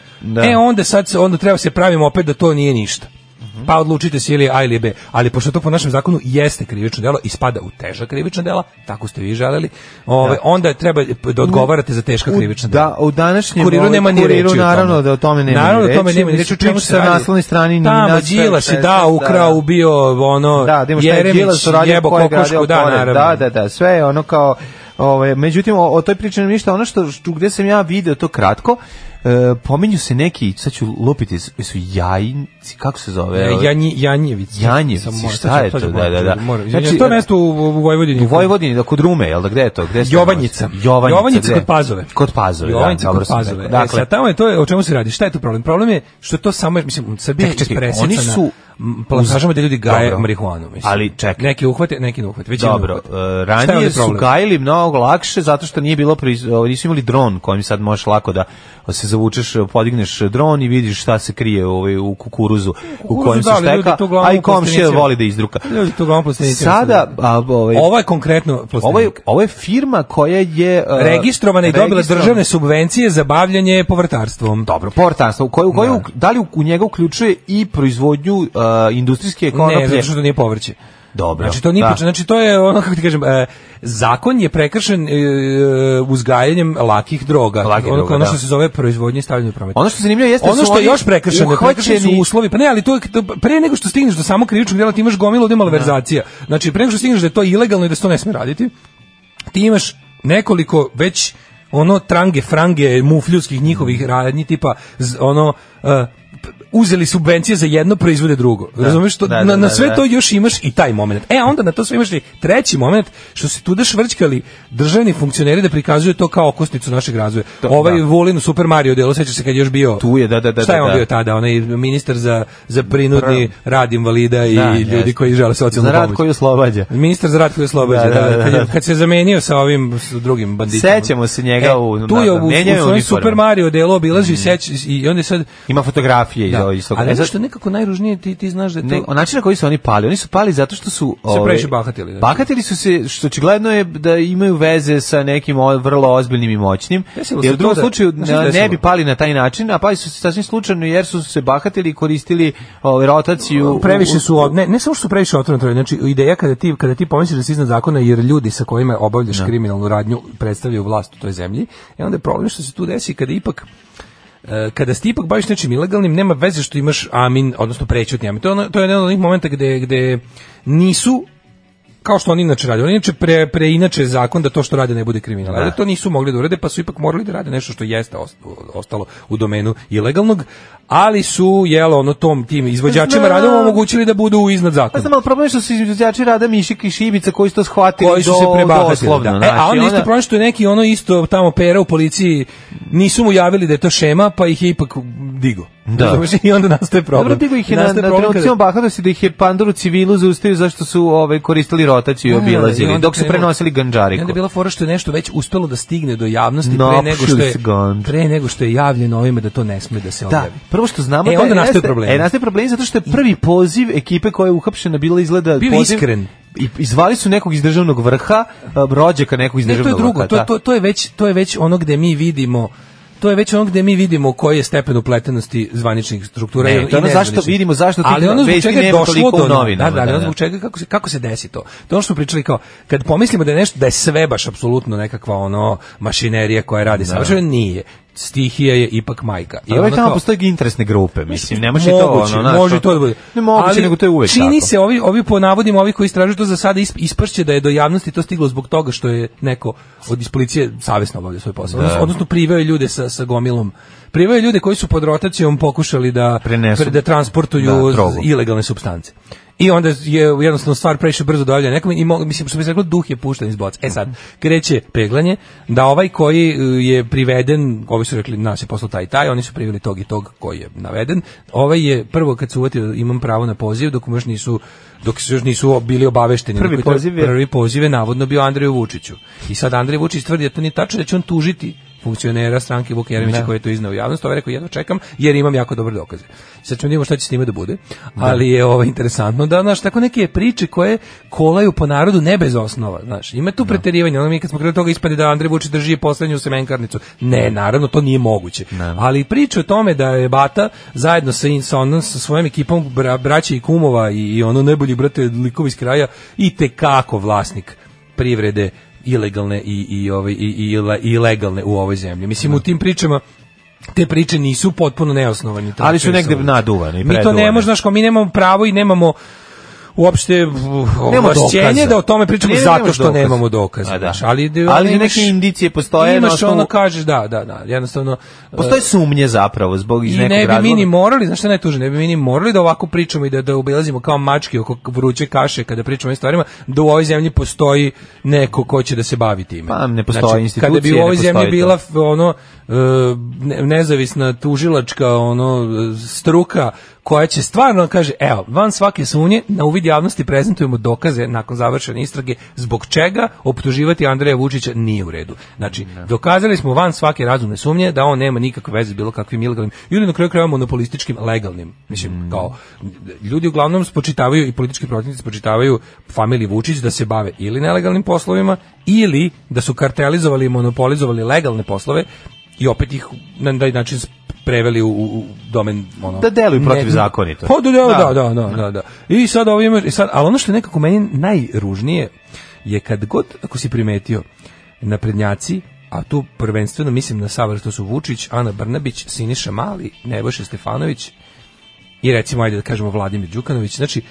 Speaker 6: e onda sad se- onda treba se pravimo opet da to nije ništa. Pa odlučite se ili A ili B. Ali pošto to po našem zakonu jeste krivično delo i spada u teža krivična dela, tako ste vi želeli, ove, onda treba da odgovarate za teška krivična dela.
Speaker 5: Da, u današnjem
Speaker 6: Kuriru
Speaker 5: ovaj,
Speaker 6: nema ni
Speaker 5: kuriru,
Speaker 6: reči o tome.
Speaker 5: naravno da o tome nema
Speaker 6: Naravno
Speaker 5: ni
Speaker 6: da o tome
Speaker 5: reči,
Speaker 6: nema ni
Speaker 5: ni reči,
Speaker 6: reči, o čemu
Speaker 5: priča
Speaker 6: se
Speaker 5: sa
Speaker 6: radi?
Speaker 5: naslovne strane ni
Speaker 6: Tamo
Speaker 5: nas sve
Speaker 6: Đilas je
Speaker 5: sve,
Speaker 6: da,
Speaker 5: sve,
Speaker 6: ukrao,
Speaker 5: da.
Speaker 6: ubio ono
Speaker 5: Da, da ima šta je Đilas
Speaker 6: Jeremić,
Speaker 5: uradio,
Speaker 6: jebo
Speaker 5: ko je
Speaker 6: kokošku,
Speaker 5: gradio
Speaker 6: da,
Speaker 5: pored.
Speaker 6: naravno.
Speaker 5: Da, da, da, sve je ono kao ovaj međutim o, o toj priči nema ništa, ono što, što gde sam ja video to kratko, e, pominju se neki, sad ću lupiti, su su jajinci, kako se zove?
Speaker 6: E,
Speaker 5: ovaj?
Speaker 6: Janji, Janjevci.
Speaker 5: Janjevci,
Speaker 6: Samo moram,
Speaker 5: šta
Speaker 6: sad ću-
Speaker 5: je
Speaker 6: sad ću
Speaker 5: to?
Speaker 6: moram,
Speaker 5: Da, da, da.
Speaker 6: moram.
Speaker 5: Znači,
Speaker 6: Znači, to je mesto u, u Vojvodini.
Speaker 5: U Vojvodini, da kod Rume, jel da, gde je to? Gde se to
Speaker 6: Jovanjica.
Speaker 5: nalazi? Jovanjica,
Speaker 6: Jovanjica
Speaker 5: gde?
Speaker 6: kod Pazove.
Speaker 5: Kod Pazove,
Speaker 6: Jovanjica
Speaker 5: da, dobro
Speaker 6: kod
Speaker 5: sam
Speaker 6: Pazove.
Speaker 5: rekao. Dakle,
Speaker 6: Dakle, tamo je to o čemu se radi. Šta je tu problem? Problem je što to samo mislim Srbija
Speaker 5: Čekaj, čekaj,
Speaker 6: je presjecana.
Speaker 5: oni su
Speaker 6: m, plantažama da ljudi gaje
Speaker 5: Dobro.
Speaker 6: marihuanu, mislim.
Speaker 5: Ali čekaj.
Speaker 6: Neki uhvate, neki ne uhvate. Većina
Speaker 5: Dobro,
Speaker 6: uhvate.
Speaker 5: e,
Speaker 6: Šta je
Speaker 5: ranije
Speaker 6: ovdje
Speaker 5: su
Speaker 6: problem?
Speaker 5: gajili mnogo lakše zato što nije bilo proiz- o, nisu imali dron kojim sad možeš lako da se zavučeš, podigneš dron i vidiš šta se krije ovaj, u kukuruzu u kojem se
Speaker 6: da, ali ljudi
Speaker 5: šteka,
Speaker 6: to uglavnom
Speaker 5: a i
Speaker 6: u
Speaker 5: komšija
Speaker 6: plastenicima.
Speaker 5: voli da izdruka.
Speaker 6: Ljudi to uglavnom plastenicima
Speaker 5: Sada,
Speaker 6: se
Speaker 5: a, ovaj,
Speaker 6: Ovo je konkretno
Speaker 5: ovo, je,
Speaker 6: plastenik.
Speaker 5: ovo je firma koja je... e,
Speaker 6: registrovana i dobila
Speaker 5: registrovana-
Speaker 6: državne subvencije za bavljanje povrtarstvom.
Speaker 5: Dobro, povrtarstvo, u koju, u koju, da li u, u njega uključuje i proizvodnju e, industrijske konoplje?
Speaker 6: Ne, zato što to nije povrće.
Speaker 5: Dobro.
Speaker 6: Znači to nije
Speaker 5: da.
Speaker 6: poč- znači to je ono kako ti kažem, e, zakon je prekršen e, uzgajanjem lakih droga.
Speaker 5: Lakih
Speaker 6: ono,
Speaker 5: droga,
Speaker 6: ono što
Speaker 5: da.
Speaker 6: se zove proizvodnje i stavljanje u promet.
Speaker 5: Ono što je zanimljivo jeste da
Speaker 6: ono
Speaker 5: su
Speaker 6: što je
Speaker 5: oni
Speaker 6: još prekršeno,
Speaker 5: uhvaćeni-
Speaker 6: prekršeni su uslovi. Pa ne, ali to je to- pre nego što stigneš do samog krivičnog dela ti imaš gomilu ovde malverzacija. Znači pre nego što stigneš da je to ilegalno i da se to ne sme raditi, ti imaš nekoliko već ono trange frange mufljuskih njihovih radnji tipa z- ono e, p- uzeli subvencije za jedno proizvode drugo. Razumeš to?
Speaker 5: da,
Speaker 6: na,
Speaker 5: da,
Speaker 6: na
Speaker 5: da,
Speaker 6: sve
Speaker 5: da.
Speaker 6: to još imaš i taj moment. E, a onda na to sve imaš i treći moment, što se tu da švrćkali državni funkcioneri da prikazuju to kao okosnicu našeg razvoja. ovaj
Speaker 5: da.
Speaker 6: Vulin u Super Mario delu, sećaš se kad je još bio...
Speaker 5: Tu je, da, da, da,
Speaker 6: Šta je
Speaker 5: da,
Speaker 6: on
Speaker 5: da.
Speaker 6: bio tada? Onaj ministar za, za prinudni rad invalida i
Speaker 5: Da,
Speaker 6: ljudi
Speaker 5: jeste.
Speaker 6: koji žele socijalnu
Speaker 5: Za rad
Speaker 6: pomoć.
Speaker 5: koji oslobađa.
Speaker 6: Ministar za rad koji oslobađa,
Speaker 5: Da,
Speaker 6: da,
Speaker 5: da, da,
Speaker 6: Kad, je-
Speaker 5: da.
Speaker 6: kad se zamenio sa ovim s drugim banditima. E,
Speaker 5: Sećamo se njega u-
Speaker 6: tu
Speaker 5: da,
Speaker 6: je
Speaker 5: da,
Speaker 6: u, u,
Speaker 5: menjao je
Speaker 6: svojem
Speaker 5: uniforme. Mm.
Speaker 6: Super Mario delu obilazi i seć i onda je sad
Speaker 5: Ima scenografije
Speaker 6: Da.
Speaker 5: iz toga.
Speaker 6: Ali
Speaker 5: E,
Speaker 6: ono
Speaker 5: zato-
Speaker 6: što je nekako najružnije, ti, ti znaš da je to...
Speaker 5: Ne, o način na koji su oni pali, oni su pali zato što su... ovaj,
Speaker 6: previše bahatili, znači.
Speaker 5: Bahatili su se, što očigledno je da imaju veze sa nekim o- vrlo ozbiljnim i moćnim,
Speaker 6: Desilo se
Speaker 5: jer u
Speaker 6: to
Speaker 5: drugom
Speaker 6: da-
Speaker 5: slučaju
Speaker 6: znaš šta
Speaker 5: ne,
Speaker 6: se desilo?
Speaker 5: ne bi pali na taj način, a pali su se sasvim slučajno jer su se bahatili i koristili ovaj, rotaciju...
Speaker 6: previše su od- ne ne samo što su previše otvoreno to je, znači ideja kada ti kada ti pomisliš da si iznad zakona jer ljudi sa kojima obavljaš kriminalnu radnju predstavljaju vlast u toj zemlji i onda je problem što se tu desi kada ipak e, kada si ti ipak baviš nečim ilegalnim, nema veze što imaš amin, odnosno prećutni amin. To je, ono, to je jedan od onih momenta gde, gde nisu kao što oni inače rade. Oni inače pre, preinače zakon da to što rade ne bude kriminal. Ali to nisu mogli da urade, pa su ipak morali da rade nešto što jeste os- ostalo u domenu ilegalnog, ali su, jelo, ono, tom, tim izvođačima
Speaker 5: Znam.
Speaker 6: radova omogućili da budu iznad
Speaker 5: Pa
Speaker 6: zakona.
Speaker 5: znam, ali problem je što su izvođači rada Mišik i Šibica koji su to shvatili
Speaker 6: koji su
Speaker 5: do,
Speaker 6: se prebahatili.
Speaker 5: doslovno. znači,
Speaker 6: Da. E,
Speaker 5: znaš,
Speaker 6: a
Speaker 5: i
Speaker 6: on isto
Speaker 5: onda-
Speaker 6: problem što je neki ono isto tamo pera u policiji nisu mu javili da je to šema, pa ih je ipak digo.
Speaker 5: Da.
Speaker 6: Razumeš? I onda nastaje problem.
Speaker 5: Dobro, digo ih je na,
Speaker 6: Nastaje
Speaker 5: na
Speaker 6: problem kada-
Speaker 5: trenutcijom bahatosti da ih je Pandur u civilu zaustavio zašto su ove, koristili rotaciju i
Speaker 6: Da, i
Speaker 5: obilazili,
Speaker 6: onda
Speaker 5: dok su
Speaker 6: krenulo-
Speaker 5: prenosili
Speaker 6: I onda
Speaker 5: ganđariku.
Speaker 6: je bila fora što je nešto već uspelo da stigne do javnosti pre
Speaker 5: Napušili
Speaker 6: nego što je
Speaker 5: se ganđ.
Speaker 6: pre nego što je javljeno ovime da to ne sme da se
Speaker 5: Da,
Speaker 6: objavi.
Speaker 5: prvo što znamo
Speaker 6: E,
Speaker 5: da
Speaker 6: onda nastaju
Speaker 5: jeste-
Speaker 6: problemi.
Speaker 5: E, nastaju problemi zato što je prvi poziv ekipe koja je uhapšena bila izgleda
Speaker 6: Bio
Speaker 5: poziv,
Speaker 6: iskren.
Speaker 5: I izvali su nekog iz državnog vrha, a, rođaka nekog iz
Speaker 6: Ne, to je
Speaker 5: državnog
Speaker 6: drugo,
Speaker 5: vrha.
Speaker 6: to,
Speaker 5: da.
Speaker 6: to, to, je već, to je već ono gde mi vidimo to je već ono gde mi vidimo koji je stepen upletenosti zvaničnih struktura
Speaker 5: Ne,
Speaker 6: i
Speaker 5: to je ono zašto
Speaker 6: nezvaničnih.
Speaker 5: vidimo zašto tih
Speaker 6: ali ono zbog
Speaker 5: vesti
Speaker 6: čega je
Speaker 5: nema
Speaker 6: došlo
Speaker 5: toliko
Speaker 6: do
Speaker 5: u novinama,
Speaker 6: Da, da, ali
Speaker 5: da,
Speaker 6: ono
Speaker 5: da.
Speaker 6: zbog čega kako se kako se desi to. To je ono što smo pričali kao kad pomislimo da je nešto da je sve baš apsolutno nekakva ono mašinerija koja radi savršeno nije. Stihija je ipak majka.
Speaker 5: I ovaj
Speaker 6: ono
Speaker 5: tamo
Speaker 6: kao-
Speaker 5: postoje interesne grupe, mislim, ne može i to
Speaker 6: Moguće,
Speaker 5: ono, znaš,
Speaker 6: može i to da bude.
Speaker 5: Ne moguće,
Speaker 6: Ali
Speaker 5: nego to je uvek
Speaker 6: čini
Speaker 5: tako.
Speaker 6: se ovi ovi po navodima ovi koji istražuju to za sada isp- ispašće da je do javnosti to stiglo zbog toga što je neko od iz policije savesno obavljao svoj posao. Odnosno, odnosno priveo je ljude sa sa gomilom. Priveo je ljude koji su pod rotacijom pokušali da
Speaker 5: Prenesu.
Speaker 6: pre- da transportuju
Speaker 5: Da, drogu.
Speaker 6: z- ilegalne supstance. I onda je jednostavno stvar previše brzo dojavljena nekom i mo- mislim što bi se reklo duh je pušten iz boca. E sad kreće peglanje da ovaj koji e, je priveden, ovi su rekli nas je poslao taj i taj, oni su priveli tog i tog koji je naveden. Ovaj je prvo kad se uvatio imam pravo na poziv dok mu još nisu dok se još nisu bili obavešteni.
Speaker 5: Prvi
Speaker 6: Oni koji to-
Speaker 5: poziv je-
Speaker 6: prvi poziv je navodno bio Andreju Vučiću. I sad Andrej Vučić tvrdi da to nije tačno da će on tužiti funkcionera stranke Vuk Jeremića
Speaker 5: Da.
Speaker 6: koji je to iznao u javnost, ovaj rekao jedno čekam jer imam jako dobre dokaze. Sad ćemo da vidimo šta će s time da bude, ali je ovo interesantno da znaš tako neke priče koje kolaju po narodu ne bez osnova, znaš. Ima tu preterivanje, ono mi kad smo krenuli toga ispade da Andrej Vučić drži poslednju semenkarnicu. Ne, naravno to nije moguće. Ali priče o tome da je Bata zajedno sa in- sa onom sa svojom ekipom bra, braće i kumova i, i ono najbolji brate likovi iz kraja i te kako vlasnik privrede ilegalne i i ovaj i, i, ile- i legalne u ovoj zemlji. Mislim u tim pričama te priče nisu potpuno neosnovane.
Speaker 5: Ali su negde
Speaker 6: Samo-
Speaker 5: naduvane i
Speaker 6: Mi to ne
Speaker 5: preduvane.
Speaker 6: možemo, znaš, kao mi nemamo pravo i nemamo uopšte ovlašćenje
Speaker 5: dokaza.
Speaker 6: da o tome pričamo
Speaker 5: Ne,
Speaker 6: zato
Speaker 5: nemaš
Speaker 6: što
Speaker 5: dokaza.
Speaker 6: nemamo dokaza.
Speaker 5: A, da.
Speaker 6: znaš, ali,
Speaker 5: Ali
Speaker 6: imaš-
Speaker 5: neke indicije postoje na
Speaker 6: Imaš
Speaker 5: osnovu-
Speaker 6: ono kažeš, da, da, da, jednostavno...
Speaker 5: Postoje sumnje zapravo zbog iz
Speaker 6: I
Speaker 5: nekog
Speaker 6: ne bi mi
Speaker 5: razloga.
Speaker 6: ni morali, znaš šta je najtuže, ne bi mi ni morali da ovako pričamo i da, da obilazimo kao mačke oko vruće kaše kada pričamo o ovim stvarima, da u ovoj zemlji postoji neko ko će da se bavi time. Znači,
Speaker 5: Pa, ne postoje institucije,
Speaker 6: Kada bi u
Speaker 5: ne
Speaker 6: ovoj
Speaker 5: postoji
Speaker 6: zemlji
Speaker 5: to.
Speaker 6: bila f- ono e, ne- nezavisna tužilačka ono e, struka koja će stvarno kaže, evo, van svake sumnje na uvid javnosti prezentujemo dokaze nakon završene istrage zbog čega optuživati Andreja Vučića nije u redu. Znači, dokazali smo van svake razumne sumnje da on nema nikakve veze s bilo kakvim ilegalnim ili na kraju krajeva monopolističkim legalnim. Mislim,
Speaker 5: Mm.
Speaker 6: kao ljudi uglavnom spočitavaju i politički protivnici spočitavaju familiji Vučić da se bave ili nelegalnim poslovima ili da su kartelizovali i monopolizovali legalne poslove i opet ih na taj način preveli u, u u domen ono
Speaker 5: Da deluju
Speaker 6: ne-
Speaker 5: protivzakonito.
Speaker 6: Pa da, da, da, da, da, da. I sad ovo imaš, i sad, ali ono što je nekako meni najružnije je kad god, ako si primetio, naprednjaci, a tu prvenstveno mislim na savr, to su Vučić, Ana Brnabić, Siniša Mali, Nebojša Stefanović i recimo, ajde da kažemo, Vladimir Đukanović, znači,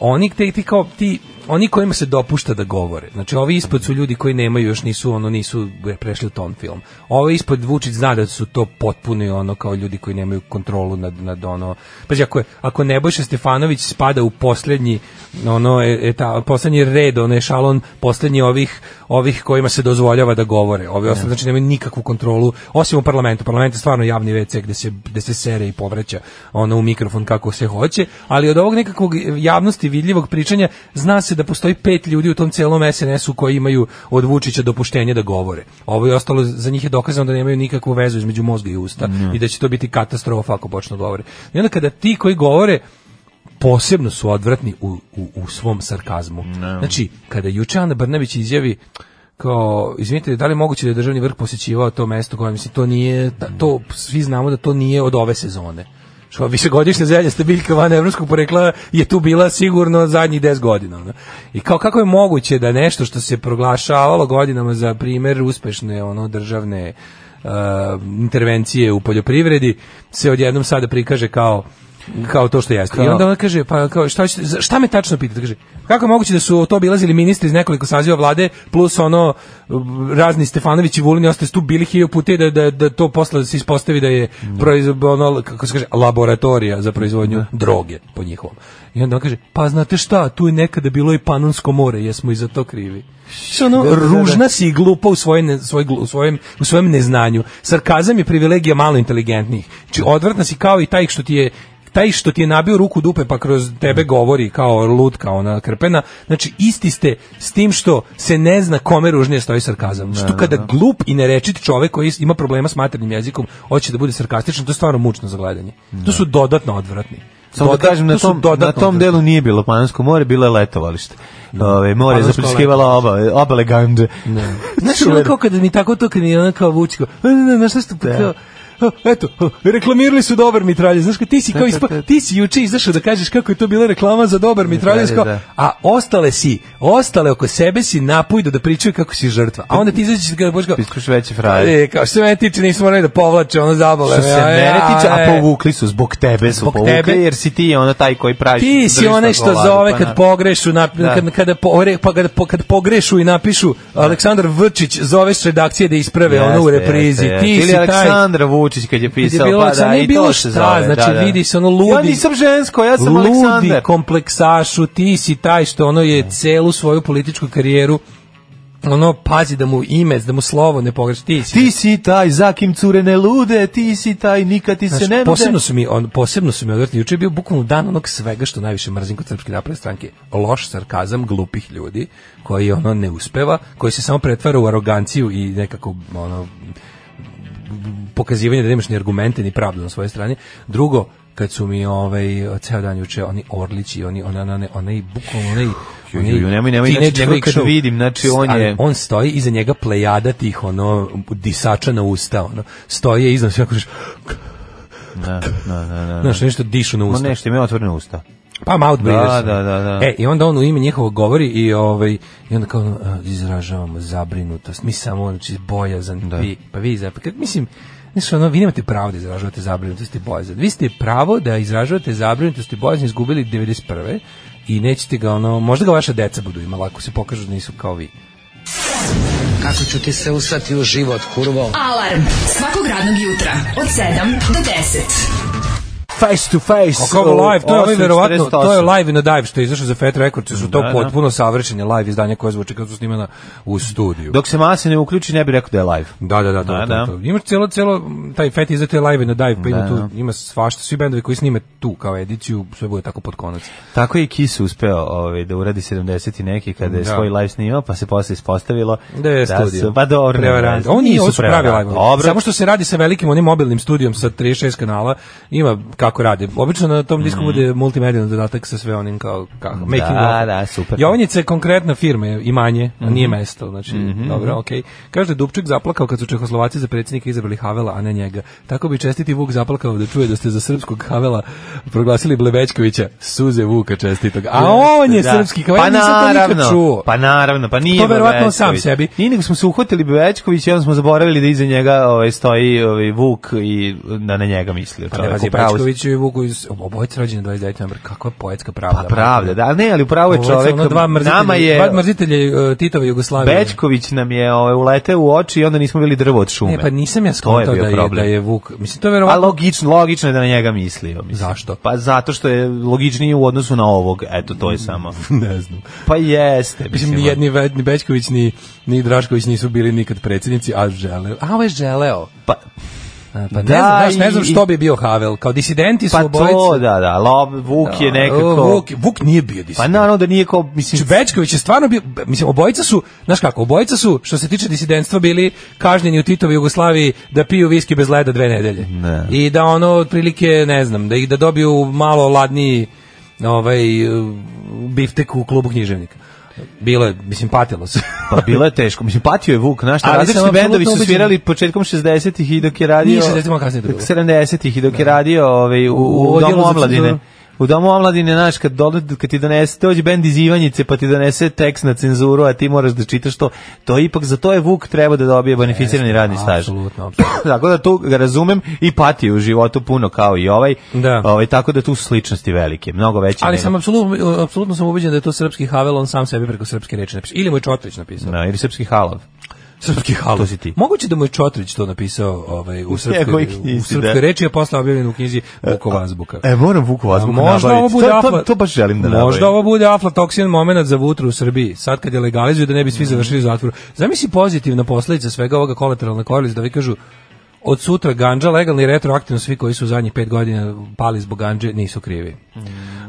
Speaker 6: oni te, ti kao ti oni kojima se dopušta da govore. Znači ovi ispod su ljudi koji nemaju još nisu ono nisu prešli u ton film. Ovi ispod Vučić zna da su to potpuno i ono kao ljudi koji nemaju kontrolu nad nad ono. Pa ako je, ako Nebojša Stefanović spada u posljednji ono e- eta poslednji red, onaj šalon posljednji ovih ovih kojima se dozvoljava da govore. Ovi ostali znači nemaju nikakvu kontrolu osim u parlamentu. Parlament je stvarno javni WC gde se gde se sere i povraća ono u mikrofon kako se hoće, ali od ovog nekakvog javnosti vidljivog pričanja zna se da postoji pet ljudi u tom celom SNS-u koji imaju od Vučića dopuštenje da govore. Ovo je ostalo, za njih je dokazano da nemaju nikakvu vezu između mozga i usta i da će to biti katastrofa ako počnu da govore. I onda kada ti koji govore posebno su odvratni u, u, u svom sarkazmu. Znači, kada juče Ana Brnabić izjavi kao, izvinite, da li je moguće da je državni vrh posjećivao to mesto koje, mislim, to nije, ta- to, svi znamo da to nije od ove sezone. Što višegodišnja zeljasta biljka van evropskog porekla je tu bila sigurno zadnjih 10 godina. ono. I kao kako je moguće da nešto što se proglašavalo godinama za primer uspešne ono državne uh, intervencije u poljoprivredi se odjednom sada prikaže kao kao to što jeste. I onda ona kaže, pa kao, šta, ćete- za- šta me tačno pitate? Kaže, kako je moguće da su to obilazili ministri iz nekoliko saziva vlade, plus ono, m, razni Stefanović i Vulin i ostali su tu bili hiljo puta i da, da, da to posle se ispostavi da je proizvod, ono, kako se kaže, laboratorija za proizvodnju droge, po njihovom. I onda ona kaže, pa znate šta, tu je nekada bilo i Panonsko more, jesmo i za to krivi. Što ono, ružna si i glupa u, svojoj ne, svoj, glu- u, svojem, u svojem neznanju. Sarkazam je privilegija malo inteligentnih. Či odvratna si kao i taj što ti je taj što ti je nabio ruku dupe pa kroz tebe govori kao lutka ona krpena, znači isti ste s tim što se ne zna kome ružnije stoji sarkazam. što kada glup i nerečit čovek koji ima problema s maternjim jezikom hoće da bude sarkastičan, to je stvarno mučno za gledanje. To su dodatno odvratni.
Speaker 5: Samo da
Speaker 6: Dodat-
Speaker 5: kažem, na
Speaker 6: to su
Speaker 5: tom, na
Speaker 6: dodatno
Speaker 5: tom
Speaker 6: odvratni.
Speaker 5: delu nije bilo Panonsko more, bilo je letovalište. Ove, more je
Speaker 6: Panonsko
Speaker 5: zapliskivalo oba, oba legande.
Speaker 6: Znaš, ono kao kada mi tako to, kad mi je ono kao vuči, kao, ne, ne, ne, znaš šta ste, kao, "Ha, eto, ha, reklamirali su dobar mitralje, znaš, kao, ti si kao ispa, ti si juče izašao da kažeš kako je to bila reklama za dobar mitralje,
Speaker 5: Mitralje,
Speaker 6: kao,
Speaker 5: da.
Speaker 6: a ostale si, ostale oko sebe si napujdu da pričaju kako si žrtva, a onda ti izađeš i kao, boš kao,
Speaker 5: Piskaš veće fraje.
Speaker 6: E, kao, što se mene tiče, nismo morali da povlače, ono zabole.
Speaker 5: Što se
Speaker 6: me, a,
Speaker 5: mene
Speaker 6: a,
Speaker 5: tiče, a
Speaker 6: e.
Speaker 5: povukli su, zbog tebe su
Speaker 6: Zbog
Speaker 5: povukli,
Speaker 6: tebe.
Speaker 5: jer si ti ono taj koji praviš.
Speaker 6: Ti si
Speaker 5: držiš
Speaker 6: onaj
Speaker 5: na
Speaker 6: što
Speaker 5: glavu,
Speaker 6: zove
Speaker 5: pa
Speaker 6: kad
Speaker 5: na-
Speaker 6: pogrešu, na, kad, kada, pore, pa, kad, po- kad pogrešu i napišu Aleksandar Vrčić, zoveš redakcije da isprave ono u
Speaker 5: Jeste,
Speaker 6: reprizi.
Speaker 5: jeste,
Speaker 6: Ti
Speaker 5: jeste.
Speaker 6: si
Speaker 5: Ili
Speaker 6: taj
Speaker 5: Aleksandra Vučić kad je pisao,
Speaker 6: bilo
Speaker 5: pa da,
Speaker 6: Aleksandar, nije
Speaker 5: i
Speaker 6: bilo
Speaker 5: to se
Speaker 6: šta,
Speaker 5: zove.
Speaker 6: znači,
Speaker 5: da, da.
Speaker 6: vidi se ono ludi-
Speaker 5: Ja nisam žensko, ja sam
Speaker 6: ludi
Speaker 5: Aleksandar.
Speaker 6: kompleksašu, ti si taj što ono je celu svoju političku karijeru ono pazi da mu ime, da mu slovo ne pogreši. Ti si
Speaker 5: Ti si taj, za kim cure ne lude, ti si taj, nikad ti se
Speaker 6: Znaš,
Speaker 5: ne nude.
Speaker 6: posebno su mi on posebno su mi odvratni juče je bio bukvalno dan onog svega što najviše mrzim kod srpske napredne stranke loš sarkazam glupih ljudi koji ono ne uspeva koji se samo pretvara u aroganciju i nekako ono pokazivanje da nemaš ni argumente ni pravdu na svojoj strani drugo kad su mi ovaj ceo dan juče oni Orlić i oni ona ona ona i bukvalno onaj
Speaker 5: Ju, ju, ju, nemoj, nemoj,
Speaker 6: teenage
Speaker 5: znači, njega
Speaker 6: freak
Speaker 5: kad
Speaker 6: show.
Speaker 5: vidim, znači, on
Speaker 6: Ali
Speaker 5: je-
Speaker 6: on stoji iza njega plejada tih ono disača na usta ono stoje iznad sve kažeš
Speaker 5: Da, da, da, da.
Speaker 6: Znaš, nešto dišu na
Speaker 5: Ma
Speaker 6: usta.
Speaker 5: nešto, ima otvorene usta.
Speaker 6: Pa mouthbreathers.
Speaker 5: Da, da, da, da.
Speaker 6: E, i onda on u ime njihovo govori i, ovaj, i onda kao ono, a, izražavamo zabrinutost. Mi samo, znači, bojazan. Vi, pa vi, za- pa kad, mislim, Znači, ono, vi nemate pravo da izražavate zabrinutost i bojazan. Vi ste pravo da izražavate zabrinutost i bojazan izgubili 91. I nećete ga, ono, možda ga vaša deca budu imala ako se pokažu da nisu kao vi.
Speaker 9: Kako ću ti se usrati u život, kurvo?
Speaker 4: Alarm svakog radnog jutra od 7 do 10.
Speaker 5: Face to face.
Speaker 6: Kako ovo live, to je ovaj
Speaker 5: 848.
Speaker 6: verovatno, to je live na dive što je izašao za Fat Records, jer su to
Speaker 5: Da, da.
Speaker 6: potpuno savršenje live izdanje koje zvuči kao su snimana u studiju.
Speaker 5: Dok se mase ne uključi, ne bi rekao da je live.
Speaker 6: Da, da, da, to,
Speaker 5: Da,
Speaker 6: da,
Speaker 5: da.
Speaker 6: to, to. Imaš celo, celo, m, taj fet izdate live na dive, pa ima
Speaker 5: Da,
Speaker 6: tu,
Speaker 5: da.
Speaker 6: ima svašta, svi bendovi koji snime tu kao ediciju, sve bude tako pod konac.
Speaker 5: Tako je i Kiss uspeo ovaj, da uradi 70 i neki kada je
Speaker 6: Da.
Speaker 5: svoj live snimao, pa se posle ispostavilo
Speaker 6: Da je studio.
Speaker 5: su- pa dobro. ne,
Speaker 6: Prevarant.
Speaker 5: ne,
Speaker 6: Oni nisu, nisu pravi
Speaker 5: prevaranti.
Speaker 6: live.
Speaker 5: Dobro.
Speaker 6: Samo što se radi sa velikim onim mobilnim studijom sa 36 kanala, ima kako rade. Obično na tom disku bude multimedijalni dodatak sa sve onim kao kako making
Speaker 5: Mhm. Da,
Speaker 6: of.
Speaker 5: da, super. Mhm.
Speaker 6: Jovanjica je konkretna firma, je imanje, a nije mesto, znači dobro, okej. Kaže da je Dubček zaplakao kad su Čehoslovaci za predsjednika izabrali Havela, a ne njega. Tako bi čestiti Vuk zaplakao da čuje da ste za srpskog Havela proglasili Blevečkovića, suze Vuka čestitog. A on je
Speaker 5: Da.
Speaker 6: srpski, kao
Speaker 5: pa
Speaker 6: ja nisam to nikad
Speaker 5: naravno,
Speaker 6: čuo.
Speaker 5: Pa naravno, pa nije
Speaker 6: To verovatno on sam
Speaker 5: Bevečković.
Speaker 6: sebi.
Speaker 5: Nije nego smo se uhvatili Bevečković i onda smo zaboravili da iza njega ovaj, stoji ovaj, Vuk i da na njega misli.
Speaker 6: Pa ne,
Speaker 5: čovjek,
Speaker 6: pazi,
Speaker 5: u pravu si.
Speaker 6: Bečković i Vuku iz obojca rođeni 29. novembar, kakva poetska pravda.
Speaker 5: Pa pravda, da, ne, ali upravo je
Speaker 6: Ovo su
Speaker 5: čovek,
Speaker 6: ono dva mrzitelja,
Speaker 5: nama je,
Speaker 6: dva mrzitelja e, Titove Jugoslavije.
Speaker 5: Bečković nam je ovaj, uleteo u oči i onda nismo bili drvo od šume.
Speaker 6: Ne, pa nisam ja
Speaker 5: To je
Speaker 6: skontao
Speaker 5: bio
Speaker 6: da je, da
Speaker 5: problem.
Speaker 6: je Vuk. Mislim, to je
Speaker 5: A
Speaker 6: verovatno...
Speaker 5: logično, logično je da na njega mislio. Mislim.
Speaker 6: Zašto?
Speaker 5: Pa zato što je logičniji u odnosu na ovog, eto, to je samo.
Speaker 6: ne znam.
Speaker 5: Pa jeste.
Speaker 6: Mislim, ni jedni Ve- ni Bečković, ni, ni Drašković nisu bili nikad predsjednici, a žele. A ovo je želeo.
Speaker 5: Pa,
Speaker 6: A, Pa ne, znam, znaš, ne znam
Speaker 5: i-
Speaker 6: što bi bio Havel, kao disidenti su
Speaker 5: Pa
Speaker 6: obojica.
Speaker 5: to, da, da, Lob, Vuk je
Speaker 6: Da,
Speaker 5: nekako...
Speaker 6: Vuk, Znači, Vuk nije bio
Speaker 5: Pa
Speaker 6: disident.
Speaker 5: naravno da nije kao, mislim,
Speaker 6: Čubečković je stvarno bio, mislim, obojica su, znaš kako, obojica su, što se tiče disidentstva, bili kažnjeni u Titovi Jugoslaviji da piju viski bez leda dve nedelje.
Speaker 5: Ne.
Speaker 6: I da ono, otprilike, ne znam, da ih da dobiju malo ladniji ovaj, uh, biftek u klubu književnika. Bilo je, mislim, patilo se.
Speaker 5: pa bilo je teško. Mislim, patio je Vuk, znaš, šta,
Speaker 6: Ali sam
Speaker 5: različiti
Speaker 6: apsolutno
Speaker 5: bendovi su
Speaker 6: ubeđen.
Speaker 5: svirali početkom 60-ih i dok je radio...
Speaker 6: Nije 60-ih, malo kasnije to bilo.
Speaker 5: 70-ih i dok je radio ovaj, u, u,
Speaker 6: U odjelu
Speaker 5: domu
Speaker 6: za
Speaker 5: omladine.
Speaker 6: cenzuru.
Speaker 5: U domu omladine, znaš, kad, dole, kad ti donese, dođe bend iz Ivanjice, pa ti donese tekst na cenzuru, a ti moraš da čitaš to. To je ipak, za to je Vuk treba da dobije bonificirani radni staž.
Speaker 6: Apsolutno, apsolutno.
Speaker 5: tako da tu ga razumem i pati u životu puno kao i ovaj.
Speaker 6: Da.
Speaker 5: Ovaj, tako da tu su sličnosti velike, mnogo veće.
Speaker 6: Ali
Speaker 5: nego-
Speaker 6: sam apsolutno, apsolutno sam ubeđen da je to srpski Havel, on sam sebi preko srpske reči napisao. Ili mu je Čotrić napisao.
Speaker 5: Da, ili srpski halav.
Speaker 6: Srpski halo.
Speaker 5: To si ti.
Speaker 6: Moguće da mu je Čotrić to napisao ovaj, u
Speaker 5: njegovoj
Speaker 6: srpskoj,
Speaker 5: knjizi,
Speaker 6: u srpskoj
Speaker 5: da.
Speaker 6: reči, a posle objavljen u knjizi Vukova azbuka.
Speaker 5: E, moram Vuku Vazbuku
Speaker 6: možda ovo
Speaker 5: nabaviti.
Speaker 6: bude
Speaker 5: To, to,
Speaker 6: afla-
Speaker 5: to baš želim da nabavim.
Speaker 6: Možda ovo bude aflatoksin moment za vutru u Srbiji. Sad kad je legalizuju da ne bi svi završili u zatvoru. Zamisli pozitivna posledica svega ovoga kolateralna korist da vi kažu od sutra ganđa legalni retroaktivno svi koji su u zadnjih pet godina pali zbog ganđe nisu krivi.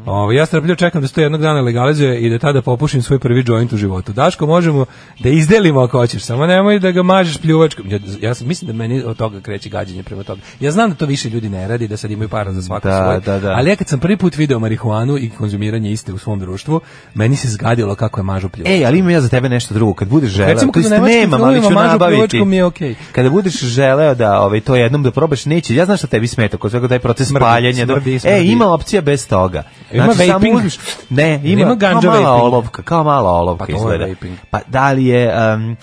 Speaker 6: Ovo, ja strpljivo čekam da se to jednog dana legalizuje i da tada popušim svoj prvi joint u životu. Daško, možemo da izdelimo ako hoćeš, samo nemoj da ga mažeš pljuvačkom. Ja, ja sam- mislim da meni od toga kreće gađenje prema toga. Ja znam da to više ljudi ne radi, da sad imaju para za svaku
Speaker 5: Da,
Speaker 6: svoje,
Speaker 5: da, da.
Speaker 6: ali ja kad sam prvi put video marihuanu i konzumiranje iste u svom društvu, meni se zgadilo kako je mažu pljuvačkom.
Speaker 5: Ej, E, ali ima ja za tebe nešto drugo. Kad budeš želeo, to
Speaker 6: Recimo, kad
Speaker 5: jest
Speaker 6: u nemačkim
Speaker 5: nemam, ali ću
Speaker 6: filmovima mažu
Speaker 5: nabaviti.
Speaker 6: pljuvačkom je okej.
Speaker 5: Kada budeš želeo da ovaj, to jednom da probaš, neće. Ja znam šta tebi smeta, kod svega taj proces
Speaker 6: Smrdi,
Speaker 5: paljenja. do-
Speaker 6: smrdi,
Speaker 5: E,
Speaker 6: smrdi.
Speaker 5: ima opcija bez toga. Znači,
Speaker 6: Ima vaping?
Speaker 5: uzmeš- ne, ima,
Speaker 6: Ima ganja
Speaker 5: kao mala
Speaker 6: vaping?
Speaker 5: olovka, kao mala olovka
Speaker 6: Pa to je
Speaker 5: izgleda.
Speaker 6: vaping.
Speaker 5: Pa da li je... um,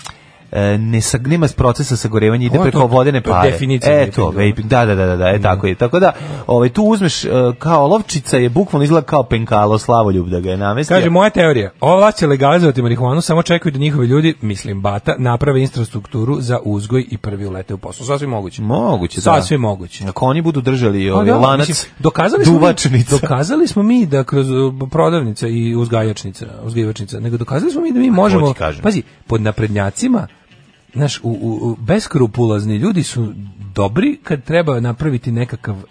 Speaker 5: e, ne sa, nema procesa sagorevanja ide
Speaker 6: Ovo je
Speaker 5: preko
Speaker 6: to-
Speaker 5: vodene
Speaker 6: to je
Speaker 5: pare.
Speaker 6: definicija
Speaker 5: E to,
Speaker 6: vapinga.
Speaker 5: vaping, da, da, da, da, da, e, tako je. Tako da, ovaj, tu uzmeš e, kao olovčica je bukvalno izgleda kao penkalo, slavoljub da ga je namestio.
Speaker 6: Kaže, moja teorija, ova vlast će legalizovati marihuanu, samo čekaju da njihovi ljudi, mislim bata, naprave infrastrukturu za uzgoj i prvi ulete u posao. Sasvim moguće.
Speaker 5: Moguće, da.
Speaker 6: Sasvim moguće.
Speaker 5: Ako oni budu držali
Speaker 6: Pa
Speaker 5: ovaj
Speaker 6: da,
Speaker 5: lanac,
Speaker 6: mislim, dokazali smo mi,
Speaker 5: duvačnica.
Speaker 6: dokazali smo mi da kroz uh, prodavnice i uzgajačnica, uzgajivačnica, nego dokazali smo mi da mi možemo, Pa
Speaker 5: ti kažem.
Speaker 6: pazi, pod naprednjacima, znaš, u, u, u- beskrupulozni ljudi su dobri kad treba napraviti nekakav uh,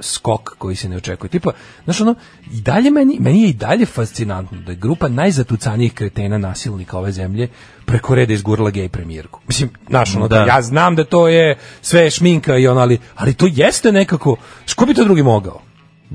Speaker 6: skok koji se ne očekuje. Tipa, znaš ono, i dalje meni, meni je i dalje fascinantno da je grupa najzatucanijih kretena nasilnika ove zemlje preko reda izgurla gej premijerku. Mislim, znaš ono,
Speaker 5: Da.
Speaker 6: da. ja znam da to je sve šminka i ono, ali, ali to jeste nekako, što bi to drugi mogao?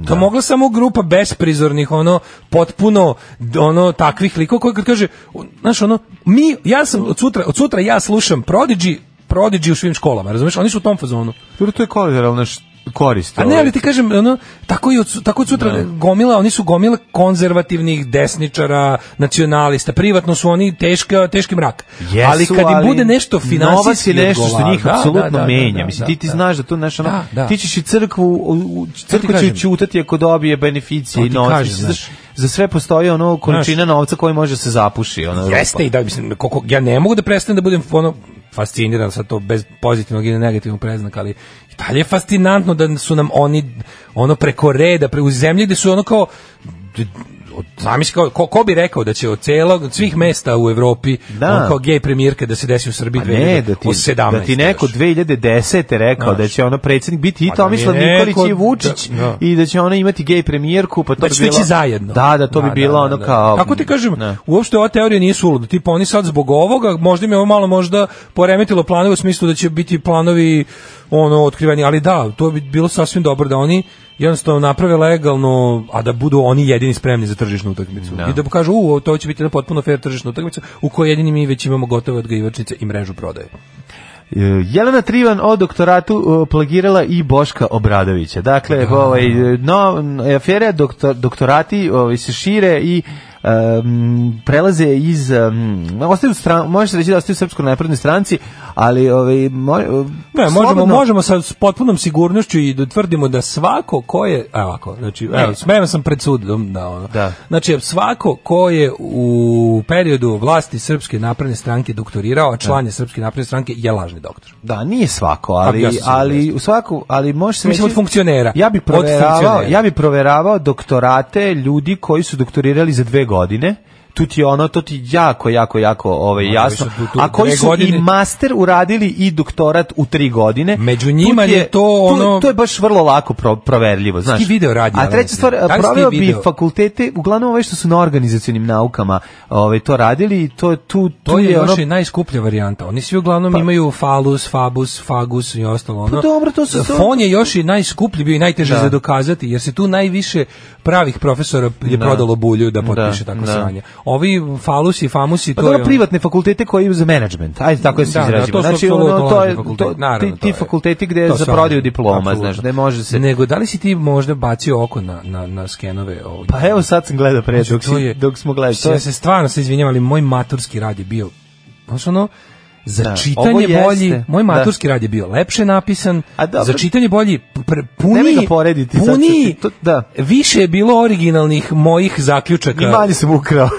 Speaker 6: To mogla samo grupa besprizornih, ono, potpuno, d- ono, takvih likova koji kad kaže, o, znaš, ono, mi, ja sam, od sutra, od sutra ja slušam Prodigy, Prodigy u svim školama, razumeš? Oni su u tom fazonu.
Speaker 5: Dobro, to je kolateralna š- korist.
Speaker 6: A ne,
Speaker 5: ovaj.
Speaker 6: ali ti kažem, ono, tako, i od, su- tako od sutra gomila, oni su gomila konzervativnih desničara, nacionalista, privatno su oni teška, teški mrak.
Speaker 5: Jesu,
Speaker 6: ali kad im bude nešto
Speaker 5: novac je
Speaker 6: finansijski
Speaker 5: nešto što
Speaker 6: odgovara-
Speaker 5: njih
Speaker 6: Da, da,
Speaker 5: apsolutno
Speaker 6: da, da,
Speaker 5: menja.
Speaker 6: da,
Speaker 5: Mislim,
Speaker 6: da,
Speaker 5: ti ti
Speaker 6: da.
Speaker 5: znaš da to znaš, ono,
Speaker 6: Da, da.
Speaker 5: ti ćeš i crkvu, u- u-
Speaker 6: ti
Speaker 5: crkva će
Speaker 6: kažem?
Speaker 5: ućutati ako dobije beneficije
Speaker 6: To
Speaker 5: i
Speaker 6: ti
Speaker 5: novac.
Speaker 6: kažem,
Speaker 5: Mislim,
Speaker 6: znaš.
Speaker 5: znaš, za sve postoji ono količina novca koji može da se zapuši. Ono,
Speaker 6: Jeste i da mislim koliko ja ne mogu da prestanem da budem ono fasciniran sa to bez pozitivnog ili negativnog preznaka, ali i dalje je fascinantno da su nam oni ono preko reda, pre, u zemlji gde su ono kao d- od- zamisli kao, ko, ko bi rekao da će od celog, od svih mesta u Evropi
Speaker 5: Da.
Speaker 6: ono kao gej premijerka da se desi u Srbiji
Speaker 5: Pa ne, da ti,
Speaker 6: 2017.
Speaker 5: da ti neko 2010. rekao
Speaker 6: Znaš.
Speaker 5: da će ono predsjednik biti i
Speaker 6: Pa da mi je
Speaker 5: Tomislav
Speaker 6: neko-
Speaker 5: Nikolić i Vučić
Speaker 6: da, da.
Speaker 5: i da će ona imati gej premijerku, pa to
Speaker 6: da
Speaker 5: bi
Speaker 6: Znači, će to
Speaker 5: bilo...
Speaker 6: ići zajedno.
Speaker 5: Da, da, to bi bilo ono kao...
Speaker 6: Kako ti kažem,
Speaker 5: Ne.
Speaker 6: uopšte ova teorija nije suluda. Tipa oni sad zbog ovoga, možda im je ovo malo možda poremetilo planove u smislu da će biti planovi ono otkriveni, ali da, to bi bilo sasvim dobro da oni jednostavno naprave legalno, a da budu oni jedini spremni za tržišnu utakmicu. I da pokažu, u, to će biti jedna potpuno fair tržišna utakmica u kojoj jedini mi već imamo gotove odgajivačnice i mrežu prodaje.
Speaker 5: E, Jelena Trivan o doktoratu e, plagirala i Boška Obradovića. Dakle, ovaj, e, no, n- afere doktor, doktorati ovaj, se šire i em, prelaze iz em, ostaju u stran, može se reći da ostaju u srpskoj naprednoj stranci, ali ovaj, mo-
Speaker 6: Ne, možemo,
Speaker 5: slobodno-
Speaker 6: možemo sa s potpunom sigurnošću i da tvrdimo da svako ko je, evo ovako, znači, evo, smejem sam pred sudom, da, ono.
Speaker 5: E. Da.
Speaker 6: Znači, svako ko je u periodu vlasti Srpske napredne stranke doktorirao, a član je Srpske napredne stranke je lažni doktor.
Speaker 5: Da, nije svako,
Speaker 6: Pa, ja
Speaker 5: ali
Speaker 6: sam siguran da
Speaker 5: ali u svaku, ali može se
Speaker 6: Mislim,
Speaker 5: reći-
Speaker 6: od funkcionera.
Speaker 5: Ja bi
Speaker 6: Od
Speaker 5: proveravao,
Speaker 6: funkcionera.
Speaker 5: ja bi proveravao doktorate ljudi koji su doktorirali za dve godine tu ti je ono, to ti jako, jako, jako ovaj,
Speaker 6: Ono,
Speaker 5: jasno.
Speaker 6: ovi su tu- tu
Speaker 5: A koji
Speaker 6: dve
Speaker 5: su
Speaker 6: godine-
Speaker 5: i master uradili i doktorat u tri godine.
Speaker 6: Među
Speaker 5: tu ti
Speaker 6: njima je to
Speaker 5: tu-
Speaker 6: ono-
Speaker 5: To je baš vrlo lako pro, proverljivo, znaš.
Speaker 6: ti video radi,
Speaker 5: A
Speaker 6: Alan
Speaker 5: treća stvar,
Speaker 6: Wake? Da li si ti
Speaker 5: proveo bi
Speaker 6: video?
Speaker 5: fakultete, uglavnom ove što su na organizacionim naukama ovaj, to radili i to, je tu, tu
Speaker 6: To je, još
Speaker 5: ono
Speaker 6: i najskuplja varijanta. Oni svi uglavnom imaju falus, fabus, fagus i ostalo. Ono.
Speaker 5: Pa dobro, to su- to-
Speaker 6: Fon je još i najskuplji bio i najteže
Speaker 5: Da.
Speaker 6: za dokazati, jer se tu najviše pravih profesora je
Speaker 5: Da.
Speaker 6: prodalo bulju da potpiše
Speaker 5: Da,
Speaker 6: tako
Speaker 5: da.
Speaker 6: sranje. Ovi falusi, famusi,
Speaker 5: Pa
Speaker 6: to je...
Speaker 5: dobro,
Speaker 6: ono-
Speaker 5: privatne fakultete koji je za menadžment. Ajde tako da se
Speaker 6: Da, da,
Speaker 5: izrazimo.
Speaker 6: to su
Speaker 5: znači
Speaker 6: apsolutno
Speaker 5: ono to je
Speaker 6: lažni
Speaker 5: to,
Speaker 6: fakulteti, naravno,
Speaker 5: ti,
Speaker 6: to
Speaker 5: ti
Speaker 6: je.
Speaker 5: fakulteti gde je
Speaker 6: To
Speaker 5: za
Speaker 6: su
Speaker 5: prodaju
Speaker 6: lažni,
Speaker 5: diploma,
Speaker 6: apsolutno.
Speaker 5: znaš, ne može se.
Speaker 6: Nego, da li si ti možda bacio oko na, na, na skenove? Ovdje?
Speaker 5: Pa evo sad sam gledao
Speaker 6: Znači,
Speaker 5: pre dok, si- dok smo gledali. To
Speaker 6: Ja
Speaker 5: je,
Speaker 6: se stvarno se izvinjavam, ali moj maturski rad je bio, znaš ono, za
Speaker 5: Da, ovo
Speaker 6: čitanje
Speaker 5: jeste,
Speaker 6: bolji, moj
Speaker 5: da.
Speaker 6: maturski rad je bio lepše napisan,
Speaker 5: A dobro.
Speaker 6: za čitanje bolji, pr- puniji,
Speaker 5: Nemoj ga porediti, sad ću
Speaker 6: puniji,
Speaker 5: ti to- da.
Speaker 6: više je bilo originalnih mojih
Speaker 5: I
Speaker 6: zaključaka.
Speaker 5: manje sam ukrao.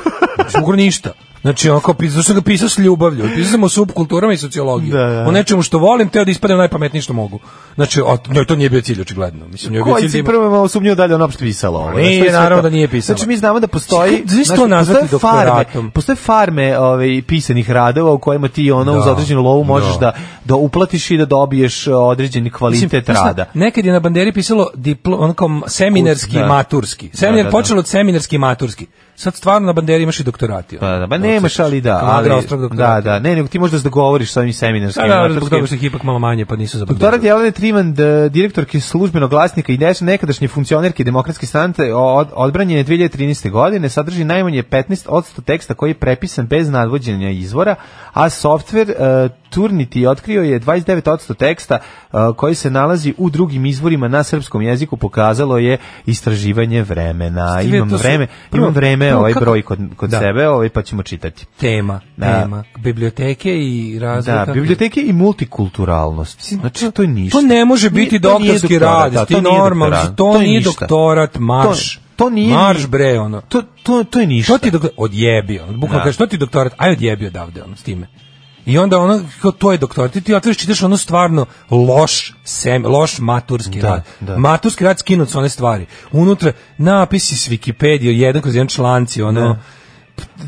Speaker 6: Mislim, ugovor Pa ništa. Znači, onako, pisao sam ga pisao s ljubavlju. Pisao sam o subkulturama i sociologiji.
Speaker 5: Da, da.
Speaker 6: O nečemu što volim, teo da ispadem najpametniji što mogu. Znači, a, no, to nije bio cilj, očigledno. Mislim, nije bio
Speaker 5: Koji
Speaker 6: cilj da
Speaker 5: si
Speaker 6: ima-
Speaker 5: prvo malo sumnjao da li je ono opšte pisalo ovo.
Speaker 6: Pa Nije,
Speaker 5: Znaš, to je sve
Speaker 6: naravno
Speaker 5: to.
Speaker 6: da nije pisalo.
Speaker 5: Znači mi znamo da postoji...
Speaker 6: Čekaj, znaš
Speaker 5: znači,
Speaker 6: to nazvati
Speaker 5: postoje farme,
Speaker 6: doktoratom?
Speaker 5: postoje farme ovaj, pisanih radova u kojima ti ono
Speaker 6: Da.
Speaker 5: uz određenu lovu možeš
Speaker 6: Da.
Speaker 5: da. da, uplatiš i da dobiješ uh, određeni kvalitet
Speaker 6: znaš šta,
Speaker 5: rada.
Speaker 6: Nekad je na banderi pisalo diplo, ono kao seminarski,
Speaker 5: Kurs, da.
Speaker 6: maturski. Seminar
Speaker 5: da, da.
Speaker 6: počelo od seminarski, maturski. Sad stvarno na banderi imaš i doktorati.
Speaker 5: Pa, da,
Speaker 6: ono.
Speaker 5: ba
Speaker 6: To
Speaker 5: nemaš,
Speaker 6: se-
Speaker 5: ali da.
Speaker 6: kao
Speaker 5: Ali,
Speaker 6: Adra Ostrog
Speaker 5: da,
Speaker 6: doktorati.
Speaker 5: da, ne, nego ti možda se dogovoriš sa ovim seminarskim.
Speaker 6: Da, da, zbog
Speaker 5: amatorskim.
Speaker 6: toga što ih ipak malo manje, pa nisu za
Speaker 5: Doktorat
Speaker 6: banderi.
Speaker 5: Jelene Triman, d- direktorke službenog glasnika i neš- nekadašnje funkcionerke demokratske stante, od, odbranjen je 2013. godine, sadrži najmanje 15% teksta koji je prepisan bez nadvođenja izvora, a softver e, Turnity otkrio je 29% teksta e, koji se nalazi u drugim izvorima na srpskom jeziku, pokazalo je istraživanje vremena.
Speaker 6: Ste vidjeli,
Speaker 5: Imam
Speaker 6: to su-
Speaker 5: vreme,
Speaker 6: prvo-
Speaker 5: imam vreme
Speaker 6: prvo
Speaker 5: ovaj
Speaker 6: kako-
Speaker 5: broj kod, kod
Speaker 6: Da.
Speaker 5: sebe, ovaj, pa ćemo čitati.
Speaker 6: Tema,
Speaker 5: Da.
Speaker 6: tema. Biblioteke i razlika.
Speaker 5: Da, biblioteke i multikulturalnost.
Speaker 6: Mislim,
Speaker 5: Znači, to je ništa.
Speaker 6: To ne može
Speaker 5: Nije-
Speaker 6: biti
Speaker 5: to nije
Speaker 6: doktorski
Speaker 5: doktorat,
Speaker 6: rad,
Speaker 5: da,
Speaker 6: ti
Speaker 5: to nije
Speaker 6: normalno,
Speaker 5: doktorat,
Speaker 6: mislim, to nije
Speaker 5: ništa.
Speaker 6: doktorat, marš.
Speaker 5: To, to nije ni-
Speaker 6: Marš, bre, ono.
Speaker 5: To, to, to je ništa.
Speaker 6: Što ti doktor odjebi, ono, bukvalno
Speaker 5: Da.
Speaker 6: kaže, što ti doktorat, aj odjebi odavde, ono, s time. I onda ono, kao to je doktorat, ti, ti otvoriš, čitaš ono stvarno loš, sem, loš maturski
Speaker 5: Da,
Speaker 6: rad.
Speaker 5: da.
Speaker 6: Maturski rad skinut su one stvari. Unutra napisi s Wikipedia, jedan kroz jedan članci, ono,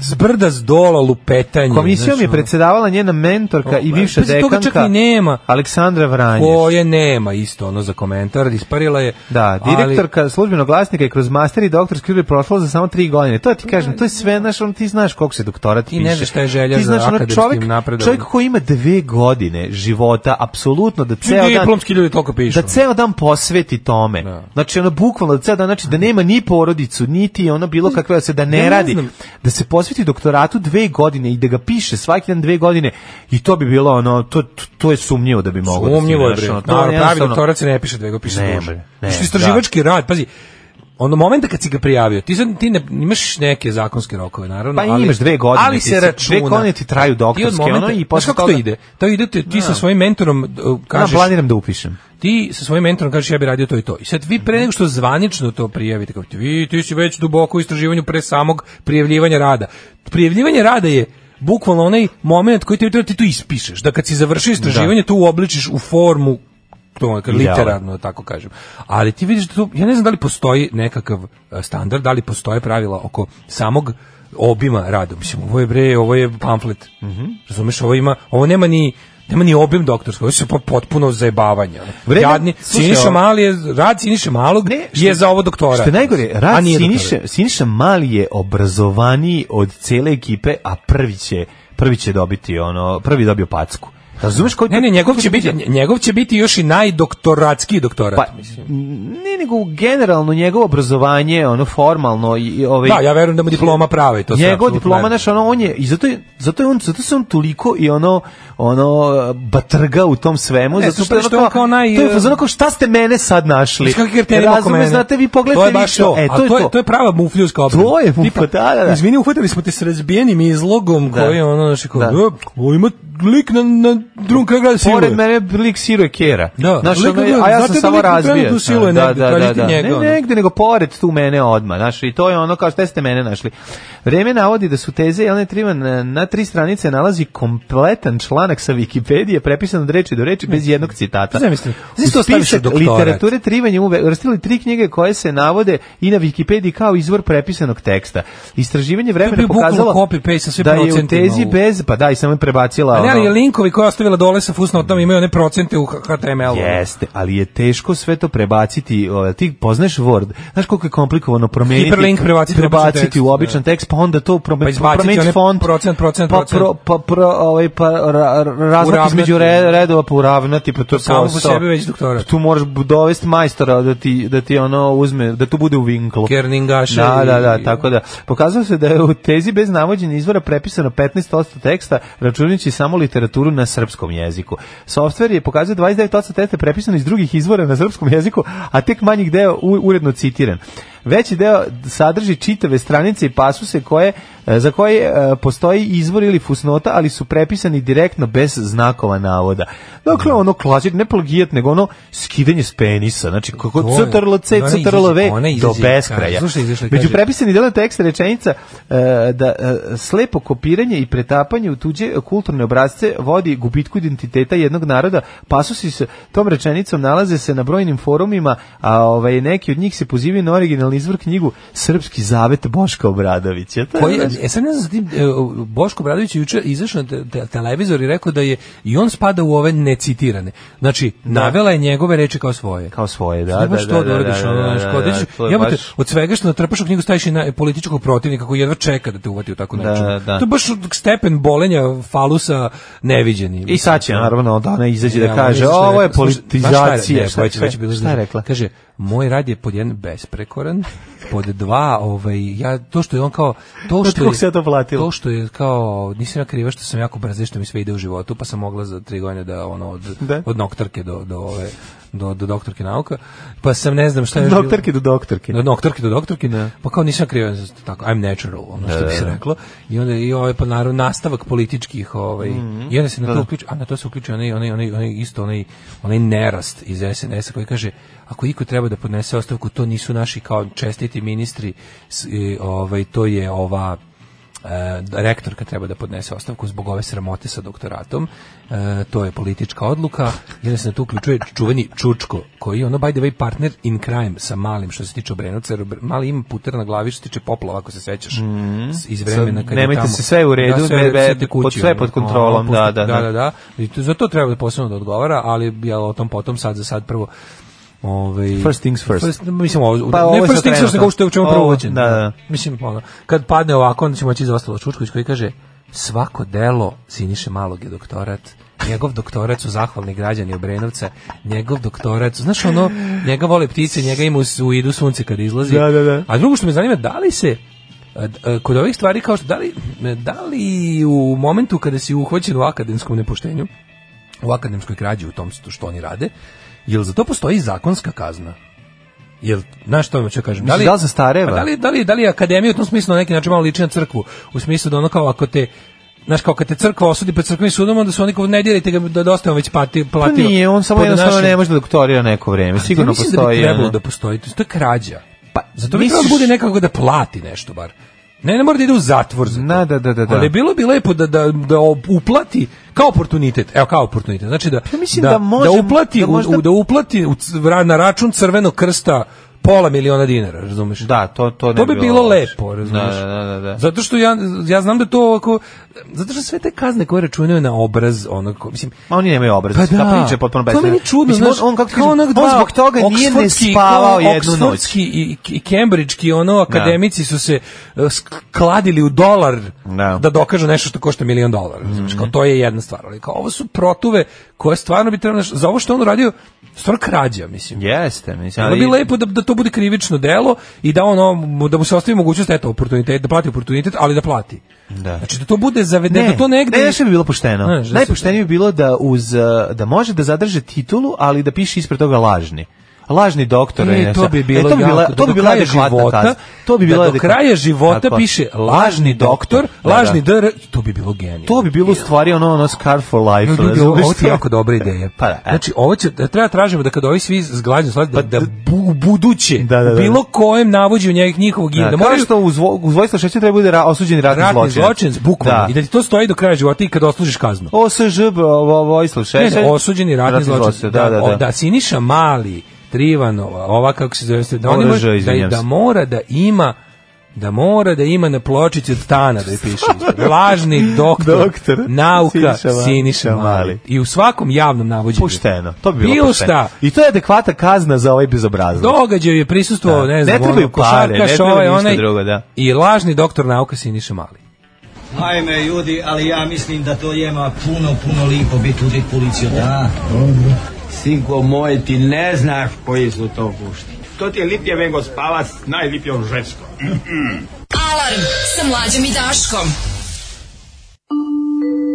Speaker 6: s brda s dola lupetanje.
Speaker 5: Komisijom
Speaker 6: znaš,
Speaker 5: je
Speaker 6: ono.
Speaker 5: predsedavala njena mentorka i
Speaker 6: O, pa
Speaker 5: bivša
Speaker 6: pazi, toga čak
Speaker 5: dekanka
Speaker 6: ni nema.
Speaker 5: Aleksandra Vranješ.
Speaker 6: koje nema isto ono za komentar, isparila je.
Speaker 5: Da,
Speaker 6: ali-
Speaker 5: direktorka službenog glasnika je kroz master i doktorski studij prošla za samo tri godine. To
Speaker 6: Pa
Speaker 5: ti kažem, to je sve, znaš, on, ti znaš koliko se doktorat
Speaker 6: Ti
Speaker 5: piše.
Speaker 6: ne znaš šta je želja
Speaker 5: Ti
Speaker 6: za
Speaker 5: znaš, ono,
Speaker 6: akademskim
Speaker 5: čovjek,
Speaker 6: napredovanjem.
Speaker 5: Čovjek koji ima dve godine života, apsolutno da
Speaker 6: Svi
Speaker 5: ceo dan...
Speaker 6: diplomski ljudi toliko pišu.
Speaker 5: da ceo dan posveti tome.
Speaker 6: Da.
Speaker 5: Znači ono bukvalno da ceo dan znači da nema ni porodicu, niti ono bilo kakve da se da ne
Speaker 6: Ja ne
Speaker 5: radi,
Speaker 6: znam.
Speaker 5: da se posveti doktoratu dve godine i da ga piše svaki dan dve godine i to bi bilo ono to to je sumnjivo da bi moglo. da se
Speaker 6: Umnjivo je
Speaker 5: znaš,
Speaker 6: bre.
Speaker 5: ono, to
Speaker 6: Naravno, pravi
Speaker 5: jednostavno-
Speaker 6: doktorat se ne piše dve, go piše
Speaker 5: Ne,
Speaker 6: duže.
Speaker 5: bre, ne,
Speaker 6: Što istraživački rad, pazi, ono momenta kad si ga prijavio, ti, sad, ti ne, imaš neke zakonske rokove, naravno.
Speaker 5: Pa
Speaker 6: ali,
Speaker 5: imaš dve godine,
Speaker 6: Ali
Speaker 5: ti
Speaker 6: se
Speaker 5: se-
Speaker 6: računa.
Speaker 5: dve godine ti traju
Speaker 6: Ti od
Speaker 5: doktorske,
Speaker 6: momenta-
Speaker 5: ono, i
Speaker 6: znaš
Speaker 5: posle
Speaker 6: kako to
Speaker 5: toga-
Speaker 6: ide? To ide te, ti sa svojim mentorom uh,
Speaker 5: Ja
Speaker 6: kažeš,
Speaker 5: planiram da upišem.
Speaker 6: ti sa svojim mentorom kažeš ja bi radio to i to. I sad vi pre nego što zvanično to prijavite, kao ti, vi ti si već duboko u istraživanju pre samog prijavljivanja rada. Prijavljivanje rada je bukvalno onaj moment koji ti, ti tu ispišeš, da kad si završio istraživanje to uobličiš u formu to je
Speaker 5: Idealan.
Speaker 6: literarno da tako kažem. Ali ti vidiš da tu, ja ne znam da li postoji nekakav e, standard, da li postoje pravila oko samog obima rada. Mislim, ovo je bre, ovo je pamflet. Razumeš, ovo ima, ovo nema ni nema ni obim doktorskog, ovo su po- potpuno zajebavanje. ono.
Speaker 5: Vreme-
Speaker 6: Jadni,
Speaker 5: slušaj,
Speaker 6: Siniša
Speaker 5: ovo-
Speaker 6: Mali je, rad Siniša Malog
Speaker 5: Ne, što-
Speaker 6: je za ovo doktora.
Speaker 5: Što je najgore, rad
Speaker 6: Siniše
Speaker 5: Siniša, Siniša Mali je obrazovaniji od cele ekipe, a prvi će, prvi će dobiti ono, prvi je dobio packu. Razumeš koji
Speaker 6: Ne, ne, njegov će biti, njegov će biti još i najdoktoratski doktorat.
Speaker 5: pa, ne nego generalno njegovo obrazovanje ono formalno i, i ovaj
Speaker 6: da, ja verujem da mu diploma prava i to sve
Speaker 5: njegov
Speaker 6: apsolutno
Speaker 5: diploma
Speaker 6: verujem.
Speaker 5: naš ono on je i zato je, zato je on zato se on toliko i ono ono batrga u tom svemu
Speaker 6: Ne,
Speaker 5: zato
Speaker 6: super
Speaker 5: što,
Speaker 6: što
Speaker 5: je
Speaker 6: je
Speaker 5: ono
Speaker 6: on kao naj- e,
Speaker 5: to je fazon kao šta ste mene sad našli
Speaker 6: Znaš kakvi kriteriji oko
Speaker 5: Razume,
Speaker 6: mene?
Speaker 5: znate vi pogledajte
Speaker 6: ono, to je baš
Speaker 5: više.
Speaker 6: to.
Speaker 5: e
Speaker 6: A
Speaker 5: to je to,
Speaker 6: to je prava mufljuska obrana.
Speaker 5: To je mufla, da, da, da.
Speaker 6: Izvini, uhvatili smo te s razbijenim izlogom
Speaker 5: Da.
Speaker 6: koji je ono naše kao,
Speaker 5: Da.
Speaker 6: da. o, ima lik na, na drugom kraju grada siluje.
Speaker 5: Pored mene lik siruje kera.
Speaker 6: Da,
Speaker 5: Znaš,
Speaker 6: lik
Speaker 5: ono,
Speaker 6: na drugom-
Speaker 5: a ja
Speaker 6: znate
Speaker 5: sam
Speaker 6: da
Speaker 5: samo
Speaker 6: lik na
Speaker 5: razbijen.
Speaker 6: trenutnu siluje
Speaker 5: Da,
Speaker 6: negde,
Speaker 5: da,
Speaker 6: tražite
Speaker 5: da, da.
Speaker 6: njega, ono.
Speaker 5: Ne negde, nego pored tu mene odma. Znaš, i to je ono kao šta ste mene našli. Vreme navodi da su teze Jelene Trivan na, na tri stranice nalazi kompletan članak sa Wikipedije, prepisan od reči do reči, bez jednog citata.
Speaker 6: Znaš, mislim,
Speaker 5: U
Speaker 6: znaš to staviš u
Speaker 5: spisak
Speaker 6: doktorat.
Speaker 5: literature Trivan je uvrstili tri knjige koje se navode i na Wikipediji kao izvor prepisanog teksta. Istraživanje
Speaker 6: To je
Speaker 5: vremena
Speaker 6: bio bukvalno
Speaker 5: pokazalo
Speaker 6: copy-paste sa svim
Speaker 5: da je u
Speaker 6: procentima
Speaker 5: tezi
Speaker 6: u-
Speaker 5: bez, pa da, i samo je prebacila.
Speaker 6: Ali,
Speaker 5: ono-
Speaker 6: ali linkovi koje je ostavila dole sa fusnotama imaju one procente u HTML-u.
Speaker 5: Jeste, ali je teško sve to prebaciti, ovaj, ti poznaš Word, znaš koliko je komplikovano promeniti,
Speaker 6: Hiperlink prebaciti u običan tekst,
Speaker 5: u običan
Speaker 6: da.
Speaker 5: tekst, pa onda to prome,
Speaker 6: Pa izbaciti
Speaker 5: promeniti
Speaker 6: one
Speaker 5: font,
Speaker 6: procent, procent,
Speaker 5: pa,
Speaker 6: procent.
Speaker 5: pro, pa, pro, ovaj, pa ra, ra- razmak
Speaker 6: Uravnati.
Speaker 5: između re- redova pa uravnati, pa to je
Speaker 6: Samo po
Speaker 5: posao.
Speaker 6: sebi već doktorat.
Speaker 5: Tu moraš b- dovesti majstora da ti, da ti ono uzme, da tu bude u vinklu.
Speaker 6: Kerningaše
Speaker 5: Da,
Speaker 6: i-
Speaker 5: da, da, tako da. Pokazalo se da je u tezi bez navođenja izvora prepisano 15% teksta, računajući samo literaturu na srpskom jeziku. Softver je pokazao 29% teksta prepisano iz drugih izvora na srpskom jeziku, a tek manjih deo u- uredno citiran. Veći deo sadrži čitave stranice i pasuse koje, e, za koje e, postoji izvor ili fusnota, ali su prepisani direktno bez znakova navoda. Dakle, ono klasič, ne plagijat, nego ono skidanje s penisa. Znači, kako
Speaker 6: To je-
Speaker 5: crtarlo C,
Speaker 6: ona
Speaker 5: crtarlo V,
Speaker 6: izlazi- ona
Speaker 5: do
Speaker 6: izlazi-
Speaker 5: beskraja.
Speaker 6: Slušaj, izašla je,
Speaker 5: Među
Speaker 6: kaže-
Speaker 5: prepisani delo teksta rečenica e, da e, slepo kopiranje i pretapanje u tuđe kulturne obrazce vodi gubitku identiteta jednog naroda. Pasusi s tom rečenicom nalaze se na brojnim forumima, a ovaj, neki od njih se pozivaju na originalni izvor knjigu Srpski zavet Boška Obradovića. To je,
Speaker 6: Koji,
Speaker 5: znači,
Speaker 6: e sad ne znam, za tim, e, Boško Bradović je juče izašao na te, te- televizor i rekao da je i on spada u ove necitirane. Znači, navela je njegove reči kao svoje.
Speaker 5: kao svoje, da,
Speaker 6: Znaš
Speaker 5: da,
Speaker 6: baš
Speaker 5: da,
Speaker 6: to
Speaker 5: da, da,
Speaker 6: uradiš,
Speaker 5: da,
Speaker 6: ono,
Speaker 5: da,
Speaker 6: znaš,
Speaker 5: da,
Speaker 6: kao da
Speaker 5: da,
Speaker 6: ćeš-
Speaker 5: to je
Speaker 6: jebote,
Speaker 5: baš-
Speaker 6: od svega što natrpaš u knjigu staviš i na političkog protivnika koji jedva čeka da te uvati u tako
Speaker 5: Da,
Speaker 6: nečemu.
Speaker 5: da.
Speaker 6: To je baš stepen bolenja falusa neviđeni.
Speaker 5: I sad će naravno da ona izađe da
Speaker 6: Ja,
Speaker 5: kaže
Speaker 6: ono, znaš šta
Speaker 5: ovo je
Speaker 6: rekla? Slušaj, znaš šta je-
Speaker 5: politizacija.
Speaker 6: ne, već- već je bilo
Speaker 5: šta je rekla?
Speaker 6: Kaže, moj rad je pod jedan besprekoran, pod dva, ovaj, ja, to što je on kao, to
Speaker 5: Od
Speaker 6: što
Speaker 5: kog
Speaker 6: je,
Speaker 5: se ja to platila?
Speaker 6: to što je kao, nisam ja kriva što sam jako brza i što mi sve ide u životu, pa sam mogla za tri godine da, ono, od,
Speaker 5: Da.
Speaker 6: od noktarke do, do ove, do, do doktorke nauka, pa sam ne znam šta je još bilo.
Speaker 5: Doktorke do doktorke.
Speaker 6: Do doktorke do doktorke. Pa kao nisam kriva za tako I'm natural, ono što bi se reklo. I onda i ovaj pa naravno nastavak političkih ovaj i onda se na to uključi, a na to se uključi onaj onaj onaj, onaj isto onaj onaj nerast iz SNS-a koji kaže ako iko treba da podnese ostavku, to nisu naši kao čestiti ministri, s- i, ovaj to je ova e, rektorka treba da podnese ostavku zbog ove sramote sa doktoratom. E, to je politička odluka. I onda se na to uključuje čuveni Čučko, koji je ono by the way partner in crime sa malim što se tiče Obrenovca. jer Obre- Mali ima puter na glavi što se tiče poplava, ako se sećaš. s- Iz vremena kad je
Speaker 5: Mhm. nemojte
Speaker 6: tamo-
Speaker 5: se, sve je u redu,
Speaker 6: sve je u
Speaker 5: be- be-
Speaker 6: sve te kuće,
Speaker 5: pod- sve je
Speaker 6: ono,
Speaker 5: pod kontrolom,
Speaker 6: ono,
Speaker 5: da,
Speaker 6: pusti-
Speaker 5: da, da.
Speaker 6: da, da. I to- za to treba da posebno da odgovara, ali ja o tom potom sad za sad prvo Ovaj
Speaker 5: First things first.
Speaker 6: mislim ovo,
Speaker 5: Pa
Speaker 6: ne
Speaker 5: ovo je
Speaker 6: first
Speaker 5: sad
Speaker 6: things first,
Speaker 5: trenutno.
Speaker 6: nego što je u čemu prvo
Speaker 5: Ovo,
Speaker 6: uvođen.
Speaker 5: da, da.
Speaker 6: Mislim, ono, kad padne ovako, onda ćemo moći za ostalo Čučković koji kaže svako delo Siniše Malog je doktorat. Njegov doktorat su zahvalni građani Obrenovca. Njegov doktorat, su- znaš ono, njega vole ptice, njega ima u, s- u idu sunce kad izlazi.
Speaker 5: Da, da, da.
Speaker 6: A drugo što me zanima, da li se e, d- e, kod ovih stvari kao što da li, da li u momentu kada si uhvaćen u akademskom nepoštenju u akademskoj krađi u tom što oni rade jel za to postoji zakonska kazna jel znaš što hoću da kažem
Speaker 5: Mislim, da li zastareva?
Speaker 6: Pa da li da li da li je akademija u tom smislu na neki način malo liči na crkvu u smislu da ono kao ako te Znaš, kao kad te crkva osudi pred crkvenim sudom, onda su oni kao, ne dirajte ga, da dosta je on već pati,
Speaker 5: Pa
Speaker 6: platio.
Speaker 5: nije, on samo
Speaker 6: Pod
Speaker 5: jednostavno
Speaker 6: našim-
Speaker 5: ne može da doktorira neko vreme. Sigurno
Speaker 6: ja mislim
Speaker 5: postoji.
Speaker 6: da bi trebalo
Speaker 5: ono.
Speaker 6: da postoji, to je krađa. Pa, zato bi
Speaker 5: misliš-
Speaker 6: trebalo da bude nekako da plati nešto bar. Ne, ne mora da ide u zatvor za to.
Speaker 5: Na, da, da, da, da.
Speaker 6: Ali bilo bi lepo da, da, da uplati kao oportunitet. Evo, kao oportunitet. Znači da,
Speaker 5: Ja Pa mislim da može-
Speaker 6: da uplati,
Speaker 5: da
Speaker 6: u-
Speaker 5: možda-
Speaker 6: u, da uplati u, c- ra- na račun crvenog krsta pola miliona dinara, razumeš?
Speaker 5: Da, to to ne
Speaker 6: to bi bilo
Speaker 5: loše.
Speaker 6: lepo, razumiješ?
Speaker 5: Da, da, da, da.
Speaker 6: Zato što ja, ja znam da to ovako, zato što sve te kazne koje računaju na obraz, ono, ko- mislim,
Speaker 5: Ma oni nemaju obraz.
Speaker 6: pa
Speaker 5: Ta
Speaker 6: da,
Speaker 5: priča je potpuno
Speaker 6: to je
Speaker 5: besmislena.
Speaker 6: meni čudno,
Speaker 5: Mislim,
Speaker 6: znaš,
Speaker 5: on, on, kako
Speaker 6: kao
Speaker 5: kažem,
Speaker 6: onak
Speaker 5: on
Speaker 6: dva
Speaker 5: zbog toga nije ne
Speaker 6: oksfordski,
Speaker 5: spavao
Speaker 6: kao
Speaker 5: jednu noć.
Speaker 6: oksfordski i, i kembridžki, ono, akademici su se uh, skladili u dolar
Speaker 5: Da.
Speaker 6: da Mhm. dokažu nešto što košta milion dolara. razumeš, kao to je jedna stvar, ali kao ovo su protuve koje stvarno bi trebalo, znaš, za ovo što on radio, stvarno krađa, mislim.
Speaker 5: Jeste, mislim.
Speaker 6: Bilo bi lepo da, da to bude krivično delo i da ono da mu se ostavi mogućnost eto oportunitet da plati oportunitet, ali da plati.
Speaker 5: Da.
Speaker 6: Znači da to bude zavedeno, da to negde
Speaker 5: Ne, nešto bi bilo pošteno.
Speaker 6: Znaš, da se-
Speaker 5: Najpoštenije bi bilo da uz uh, da može da zadrže titulu, ali da piše ispred toga lažni. lažni doktor.
Speaker 6: E, to bi bilo
Speaker 5: to bi bila,
Speaker 6: jako,
Speaker 5: to bi
Speaker 6: do
Speaker 5: bila
Speaker 6: kraja
Speaker 5: adekvatna
Speaker 6: života,
Speaker 5: kazna. To bi bila
Speaker 6: da do
Speaker 5: adekvatna-
Speaker 6: kraja života
Speaker 5: Tako.
Speaker 6: piše lažni doktor,
Speaker 5: Da, da.
Speaker 6: lažni dr, to bi bilo genijalno.
Speaker 5: To bi bilo u stvari ono, ono Scar for Life.
Speaker 6: No, drugi,
Speaker 5: razumeš
Speaker 6: ovo ti
Speaker 5: to?
Speaker 6: je jako dobra ideja.
Speaker 5: Pa da, e.
Speaker 6: Znači, ovo će, da treba tražimo da kad ovi svi zglađu slađu, da, da bu, buduće,
Speaker 5: Da, da, da.
Speaker 6: bilo kojem navođu njeg, njihovog
Speaker 5: Da,
Speaker 6: imena, da
Speaker 5: kao
Speaker 6: moraju
Speaker 5: što uz, vo- uz Vojislav Šešćin treba bude ra, osuđeni ratni,
Speaker 6: ratni
Speaker 5: zločinac.
Speaker 6: zločinac, bukvalno,
Speaker 5: Da.
Speaker 6: i da ti to stoji do kraja života i kad oslužiš kaznu.
Speaker 5: OSŽ bo- vo- Vojislav
Speaker 6: Ne,
Speaker 5: Šešćin.
Speaker 6: ne, osuđeni ratni zločinac.
Speaker 5: Da, da,
Speaker 6: o,
Speaker 5: da.
Speaker 6: da Siniša Mali, Trivanova, ova kako se zove, da, oni
Speaker 5: Oružje,
Speaker 6: mora- da,
Speaker 5: izvinjam
Speaker 6: da
Speaker 5: se.
Speaker 6: mora da ima da mora da ima na pločici od stana da je piše. ispred. Lažni doktor,
Speaker 5: Doktor,
Speaker 6: nauka
Speaker 5: Siniša Mali.
Speaker 6: Siniša,
Speaker 5: Mali.
Speaker 6: Mali. I u svakom javnom navođenju.
Speaker 5: Pušteno. To bi bilo
Speaker 6: Bilo
Speaker 5: pošteno.
Speaker 6: šta.
Speaker 5: I to je adekvata kazna za ovaj bezobrazluk.
Speaker 6: Događaj je prisustvovao,
Speaker 5: Da.
Speaker 6: ne znam,
Speaker 5: Ne trebaju
Speaker 6: ono,
Speaker 5: pare,
Speaker 6: košarkaš,
Speaker 5: ne trebaju
Speaker 6: ovaj,
Speaker 5: ništa
Speaker 6: onaj,
Speaker 5: drugo, da.
Speaker 6: i lažni doktor nauka Siniša Mali.
Speaker 10: Ajme, ljudi, ali ja mislim da to jema puno, puno lipo biti u policiju. Da,
Speaker 11: Sinko moj, ti ne znaš koji su to gušti. To ti je lipje vengo spavac, najlipje u žensko.
Speaker 7: Alarm sa mlađom i Daškom.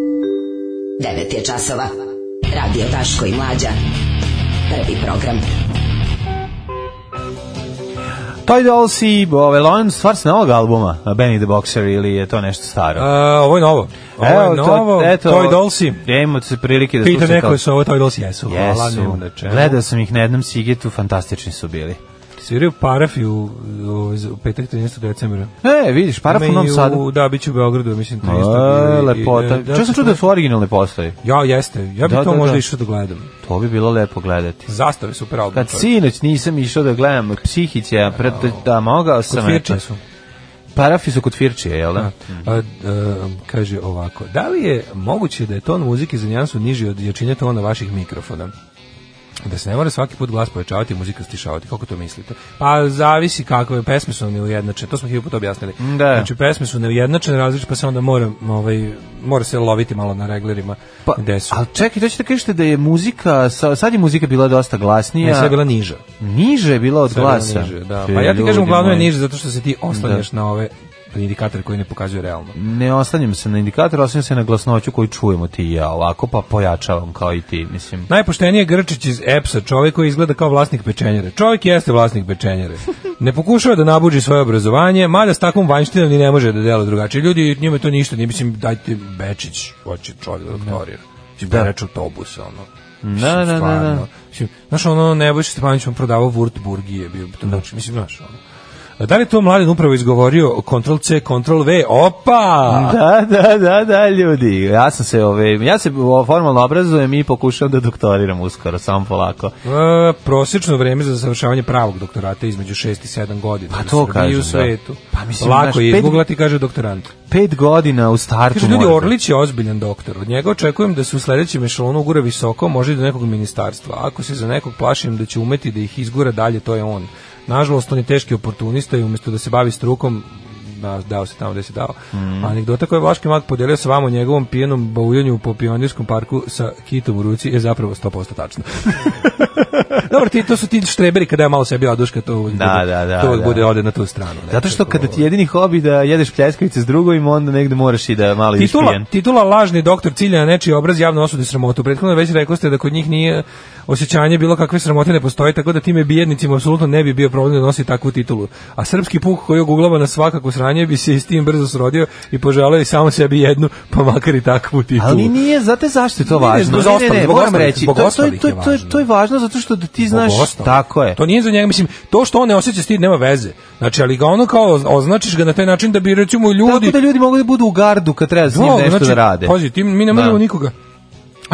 Speaker 4: 9 je časova. Radio Daško i Mlađa. Prvi program.
Speaker 5: Toy Dolls i ove, Lion, stvar se novog albuma, Benny the Boxer, ili je to nešto
Speaker 6: E,
Speaker 5: staro?
Speaker 6: ovo je novo. Ovo je novo, Toy Dolsi.
Speaker 5: Ja imam se prilike da
Speaker 6: Pita
Speaker 5: slušam
Speaker 6: neko
Speaker 5: kao-
Speaker 6: jesu ovo Toy Dolls, jesu. Hvala,
Speaker 5: Jesu.
Speaker 6: nemam na čemu.
Speaker 5: Gledao sam ih na jednom Sigetu, fantastični su bili.
Speaker 6: Sviraju parafiju u, u, u petak 13. decembra.
Speaker 5: E, vidiš, paraf u Novom Sadu.
Speaker 6: Da, bit ću u Beogradu, mislim, 13.
Speaker 5: E,
Speaker 6: i- i-
Speaker 5: lepota.
Speaker 6: da,
Speaker 5: Čak sam čuo da su originalne postoje.
Speaker 6: Ja, jeste. Ja bi
Speaker 5: Da,
Speaker 6: to
Speaker 5: da,
Speaker 6: možda
Speaker 5: da.
Speaker 6: išao da gledam.
Speaker 5: To bi bilo lepo gledati.
Speaker 6: Zastave super album.
Speaker 5: Kad
Speaker 6: to je.
Speaker 5: sinoć nisam išao da gledam Psihića, pred, da mogao sam.
Speaker 6: Kod Firče su.
Speaker 5: Parafi su kod Firčije, jel da?
Speaker 6: A, a, kaže ovako, da li je moguće da je ton muzike za nijansu niži od jačine tona vaših mikrofona? Da se ne mora svaki put glas povećavati i muzika stišavati, kako to mislite? Pa zavisi kakve, pesme su neujednačene, to smo hiljadu puta objasnili.
Speaker 5: Da.
Speaker 6: Znači pesme su neujednačene, različite, pa se onda mora, ovaj, mora se loviti malo na reglerima
Speaker 5: Pa,
Speaker 6: gde su.
Speaker 5: ali čekaj, to ćete kažete da je muzika, sa- sad je muzika bila dosta glasnija.
Speaker 6: Ne, sve je bila niža.
Speaker 5: Niže je bila od
Speaker 6: Sve je bila
Speaker 5: glasa.
Speaker 6: niže, da.
Speaker 5: Te,
Speaker 6: Pa ja ti
Speaker 5: ljudi
Speaker 6: kažem, uglavnom je
Speaker 5: moji.
Speaker 6: niža zato što se ti oslanjaš na ove indikatore koji ne pokazuju realno.
Speaker 5: Ne oslanjam se na indikator, oslanjam se na glasnoću koju čujemo ti i ja ovako, pa pojačavam kao i ti, mislim.
Speaker 6: Najpoštenije je Grčić iz EPS-a, čovjek koji izgleda kao vlasnik pečenjere. Čovjek jeste vlasnik pečenjere. Ne pokušava da nabuđi svoje obrazovanje, mada s takvom vanjštinom ni ne može da dela drugačije. Ljudi, njima to ništa, nije mislim, dajte Bečić, hoće čovjek da doktorira. Mislim, da. reč autobus, ono. Mislim,
Speaker 5: da, da,
Speaker 6: stvarno.
Speaker 5: da.
Speaker 6: Mislim, znaš, ono, Nebojša Stepanić vam prodavao Wurtburgije, bio bi to znači, mislim, znaš, ono. Da li je to mladen upravo izgovorio Ctrl C, Ctrl V, opa!
Speaker 5: Da, da, da, da, ljudi. Ja sam se, ove, ja se o, formalno obrazujem i pokušavam da doktoriram uskoro, samo polako.
Speaker 6: E, prosječno vreme za završavanje pravog doktorata je između 6 i 7 godina.
Speaker 5: Pa to
Speaker 6: u Srbiji i u
Speaker 5: kažem, da.
Speaker 6: svetu.
Speaker 5: Pa mislim,
Speaker 6: Lako
Speaker 5: znaš,
Speaker 6: je
Speaker 5: pet-
Speaker 6: izguglati, kaže doktorant.
Speaker 5: Pet godina u startu
Speaker 6: Kaže, ljudi,
Speaker 5: možda.
Speaker 6: Orlić je ozbiljan doktor. Od njega očekujem da se u sledećem ešalonu ugura visoko, može i do nekog ministarstva. Ako se za nekog plašim da će umeti da ih izgura dalje, to je on. Nažalost, on je teški oportunista i umjesto da se bavi strukom, da, dao se tamo gde se dao.
Speaker 5: Mhm.
Speaker 6: Anegdota koju je Vlaški mag podelio sa vama o njegovom pijenom bauljanju po pionirskom parku sa kitom u ruci je zapravo 100% tačno. Dobro, ti, to su ti štreberi kada je malo sebi oduška, to uvijek
Speaker 5: Da,
Speaker 6: bude,
Speaker 5: da, da,
Speaker 6: to uvijek
Speaker 5: da.
Speaker 6: bude ode na tu stranu. ne.
Speaker 5: Zato što kada ti je jedini hobi da jedeš pljeskavice s drugovima, onda negde moraš i da malo ideš
Speaker 6: Titula,
Speaker 5: pijen.
Speaker 6: titula lažni doktor cilja na nečiji obraz javno osudi sramotu. Prethodno već rekli ste da kod njih nije osjećanje bilo kakve sramote ne postoji, tako da time bijednicima apsolutno ne bi bio problem da nosi takvu titulu. A srpski puk koji oguglava na svakako sranje bi se i s tim brzo srodio i poželeo i samo sebi jednu, pa makar i takvu titulu.
Speaker 5: Ali nije, znate zašto je to
Speaker 6: Ne, ne,
Speaker 5: važno?
Speaker 6: zbog
Speaker 5: ne,
Speaker 6: ostalih,
Speaker 5: ne,
Speaker 6: zbog
Speaker 5: moram
Speaker 6: ostalih,
Speaker 5: reći, to,
Speaker 6: zbog
Speaker 5: to, je-
Speaker 6: ostalih
Speaker 5: to, je-
Speaker 6: je
Speaker 5: to, je-
Speaker 6: važno.
Speaker 5: to je važno zato što da ti
Speaker 6: Zbog
Speaker 5: znaš,
Speaker 6: ostalih.
Speaker 5: tako je.
Speaker 6: To nije za njega, mislim, to što on ne osjeća stid nema veze. Znači, ali ga ono kao oz- označiš ga na taj način da bi recimo ljudi
Speaker 5: Tako da ljudi znači, mogu da budu u gardu kad treba s njim
Speaker 6: Mogu,
Speaker 5: nešto da rade.
Speaker 6: znači, Pazi, ti, mi
Speaker 5: Da.
Speaker 6: ne možemo nikoga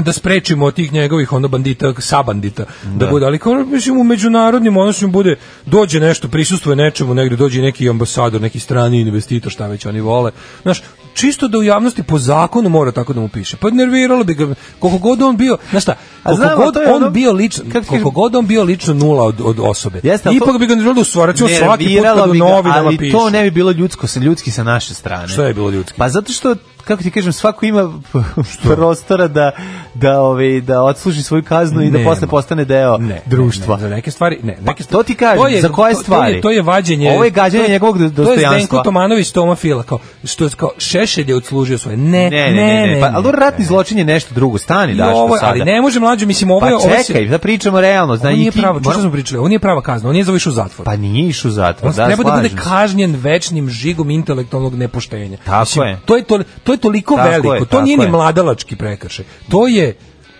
Speaker 6: da sprečimo od tih njegovih onda bandita, sabandita, da, bude, ali kao mislim u međunarodnim odnosima bude, dođe nešto, prisustvuje nečemu, negde dođe neki ambasador, neki strani investitor, šta već oni vole, znaš, čisto da u javnosti po zakonu mora tako da mu piše, pa nerviralo bi ga, koliko god on bio, znaš šta,
Speaker 5: A
Speaker 6: koliko
Speaker 5: znam, a
Speaker 6: god
Speaker 5: to je
Speaker 6: on
Speaker 5: ono-
Speaker 6: bio lično,
Speaker 5: Kako ti
Speaker 6: koliko
Speaker 5: kažem-
Speaker 6: god on bio lično nula od, od osobe,
Speaker 5: Jeste, ali to-
Speaker 6: ipak bi ga nerviralo da u stvaraću svaki put
Speaker 5: Nerviralo
Speaker 6: kad u
Speaker 5: bi ga,
Speaker 6: novinama
Speaker 5: ali
Speaker 6: piše.
Speaker 5: to ne bi bilo ljudsko sa ljudski sa naše strane.
Speaker 6: Šta je bilo ljudski?
Speaker 5: Pa zato što kako ti kažem, svako ima prostora da, da, ovaj, da odsluži svoju kaznu i da
Speaker 6: Nema.
Speaker 5: posle postane deo
Speaker 6: Ne,
Speaker 5: Pa, društva. Pa,
Speaker 6: ne, za neke stvari, ne, neke
Speaker 5: to ti kažem,
Speaker 6: to je-
Speaker 5: za koje
Speaker 6: to- to je-
Speaker 5: stvari?
Speaker 6: To je vađenje.
Speaker 5: Ovo je gađanje
Speaker 6: to-
Speaker 5: njegovog do-
Speaker 6: To je
Speaker 5: dostojanstva.
Speaker 6: Zdenko Tomanović Toma Fila, kao, što je kao Šešelj je odslužio svoje.
Speaker 5: ne,
Speaker 6: Ne,
Speaker 5: ne, ne, ne, pa, ali dobro, ratni zločin je nešto drugo, stani,
Speaker 6: I
Speaker 5: daš
Speaker 6: ovo je-
Speaker 5: sada.
Speaker 6: ali ne može mlađe, mislim, ovo je-
Speaker 5: Pa
Speaker 6: ovo se-
Speaker 5: čekaj, da pričamo realno,
Speaker 6: Ovo
Speaker 5: znači
Speaker 6: nije pravo, što smo pričali, ovo nije prava kazna, on je zavišao u zatvor.
Speaker 5: Pa nije išao u zatvor,
Speaker 6: On
Speaker 5: da,
Speaker 6: treba da bude
Speaker 5: slažem se.
Speaker 6: kažnjen večnim žigom intelektualnog nepoštenja.
Speaker 5: Tako
Speaker 6: Mislim,
Speaker 5: je.
Speaker 6: To je, to, to je toliko
Speaker 5: Tako
Speaker 6: veliko,
Speaker 5: je,
Speaker 6: to nije
Speaker 5: tako
Speaker 6: ni
Speaker 5: je.
Speaker 6: mladalački prekršaj. To je,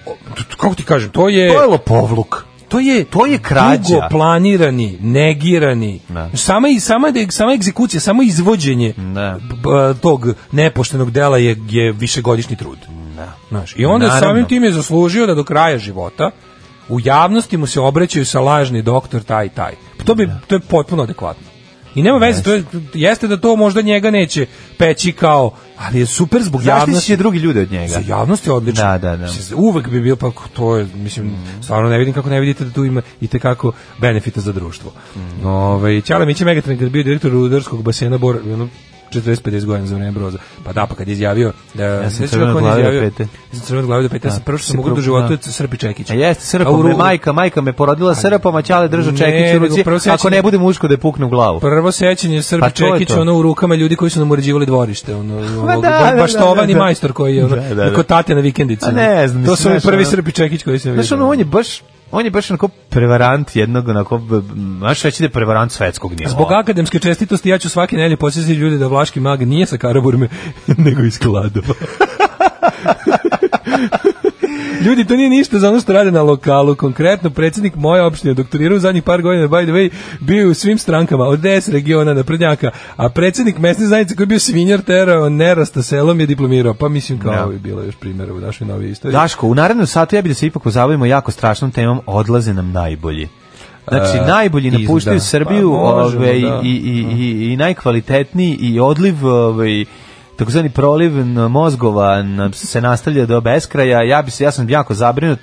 Speaker 6: o, t- t- kako ti kažem, to je...
Speaker 5: To je lopovluk.
Speaker 6: To je,
Speaker 5: to je krađa.
Speaker 6: Dugo planirani, negirani.
Speaker 5: Da.
Speaker 6: Sama, i, sama, de- sama egzekucija, samo izvođenje
Speaker 5: Da.
Speaker 6: b- b- tog nepoštenog dela je, je višegodišnji trud.
Speaker 5: Da.
Speaker 6: Znaš, I onda
Speaker 5: Naravno.
Speaker 6: samim tim je zaslužio da do kraja života u javnosti mu se obraćaju sa lažni doktor taj i taj. Pa To, bi, to je potpuno adekvatno. I nema veze, to je, jeste da to možda njega neće peći kao, ali je super zbog
Speaker 5: Zaštiti
Speaker 6: javnosti.
Speaker 5: će drugi ljudi od njega.
Speaker 6: Za javnost je odlično.
Speaker 5: Da, da, Mhm. da.
Speaker 6: Mislim, Uvek bi bio, pa to je, mislim, stvarno ne vidim kako ne vidite da tu ima i tekako benefita za društvo.
Speaker 5: Mhm.
Speaker 6: Mm. Ove, Ćale Miće Megatron, kad je bio direktor rudarskog basena Bor, ono, 40-50 godina za vreme broza. Pa da, pa kad je izjavio... Da, ja
Speaker 5: sam crveno od glave do pete.
Speaker 6: Ja sam crveno od glave do pete. Ja sam
Speaker 5: Da,
Speaker 6: prvo što
Speaker 5: si
Speaker 6: sam mogu
Speaker 5: prvo-
Speaker 6: da životu je
Speaker 5: da.
Speaker 6: Srpi Čekić.
Speaker 5: A E, jeste
Speaker 6: A u
Speaker 5: srpom, me
Speaker 6: ru-
Speaker 5: majka, majka me porodila srpom, a ćale držao
Speaker 6: Pa Ne,
Speaker 5: čekić u
Speaker 6: nego
Speaker 5: ruci,
Speaker 6: prvo sećanje-
Speaker 5: ako ne bude muško da je pukne u glavu.
Speaker 6: Prvo sećanje Srpi
Speaker 5: Pa to je
Speaker 6: Čekić,
Speaker 5: to.
Speaker 6: ono u rukama ljudi koji su nam uređivali dvorište. Ono, ono,
Speaker 5: da,
Speaker 6: ba-
Speaker 5: da,
Speaker 6: baštovan
Speaker 5: da,
Speaker 6: i
Speaker 5: da.
Speaker 6: majstor koji je ono,
Speaker 5: Da, da, da.
Speaker 6: kod tate na vikendici. ono.
Speaker 5: A ne znam,
Speaker 6: to
Speaker 5: mislim,
Speaker 6: su mi
Speaker 5: znaš,
Speaker 6: prvi
Speaker 5: ono-
Speaker 6: Srpi Čekić koji se vidio.
Speaker 5: Znaš, ono, on je baš on je baš onako prevarant jednog onako b- m, znaš reći da je prevarant svetskog nivoa.
Speaker 6: Zbog akademske čestitosti ja ću svake nelje posjetiti ljudi da vlaški mag nije sa Karaburme, nego iz Kladova. Ljudi, to nije ništa za ono što rade na lokalu. Konkretno, predsjednik moje opštine doktorirao u zadnjih par godina, by the way, bio je u svim strankama, od DS regiona na prednjaka, a predsjednik mesne zajednice koji je bio svinjar terao nerasta selom je diplomirao. Pa mislim kao
Speaker 5: Da.
Speaker 6: ovo je bilo još primjera u našoj novoj istoriji.
Speaker 5: Daško, u narednom satu ja bih da se ipak pozabavimo jako strašnom temom, odlaze nam najbolji. Znači,
Speaker 6: E,
Speaker 5: najbolji
Speaker 6: iz-
Speaker 5: napuštaju
Speaker 6: da.
Speaker 5: Srbiju
Speaker 6: Pa, možemo,
Speaker 5: ovaj,
Speaker 6: da.
Speaker 5: i, i, i, i najkvalitetniji i odliv ovaj, takozvani proliv na mozgova na- se nastavlja do beskraja. Ja, bi se, ja sam jako zabrinut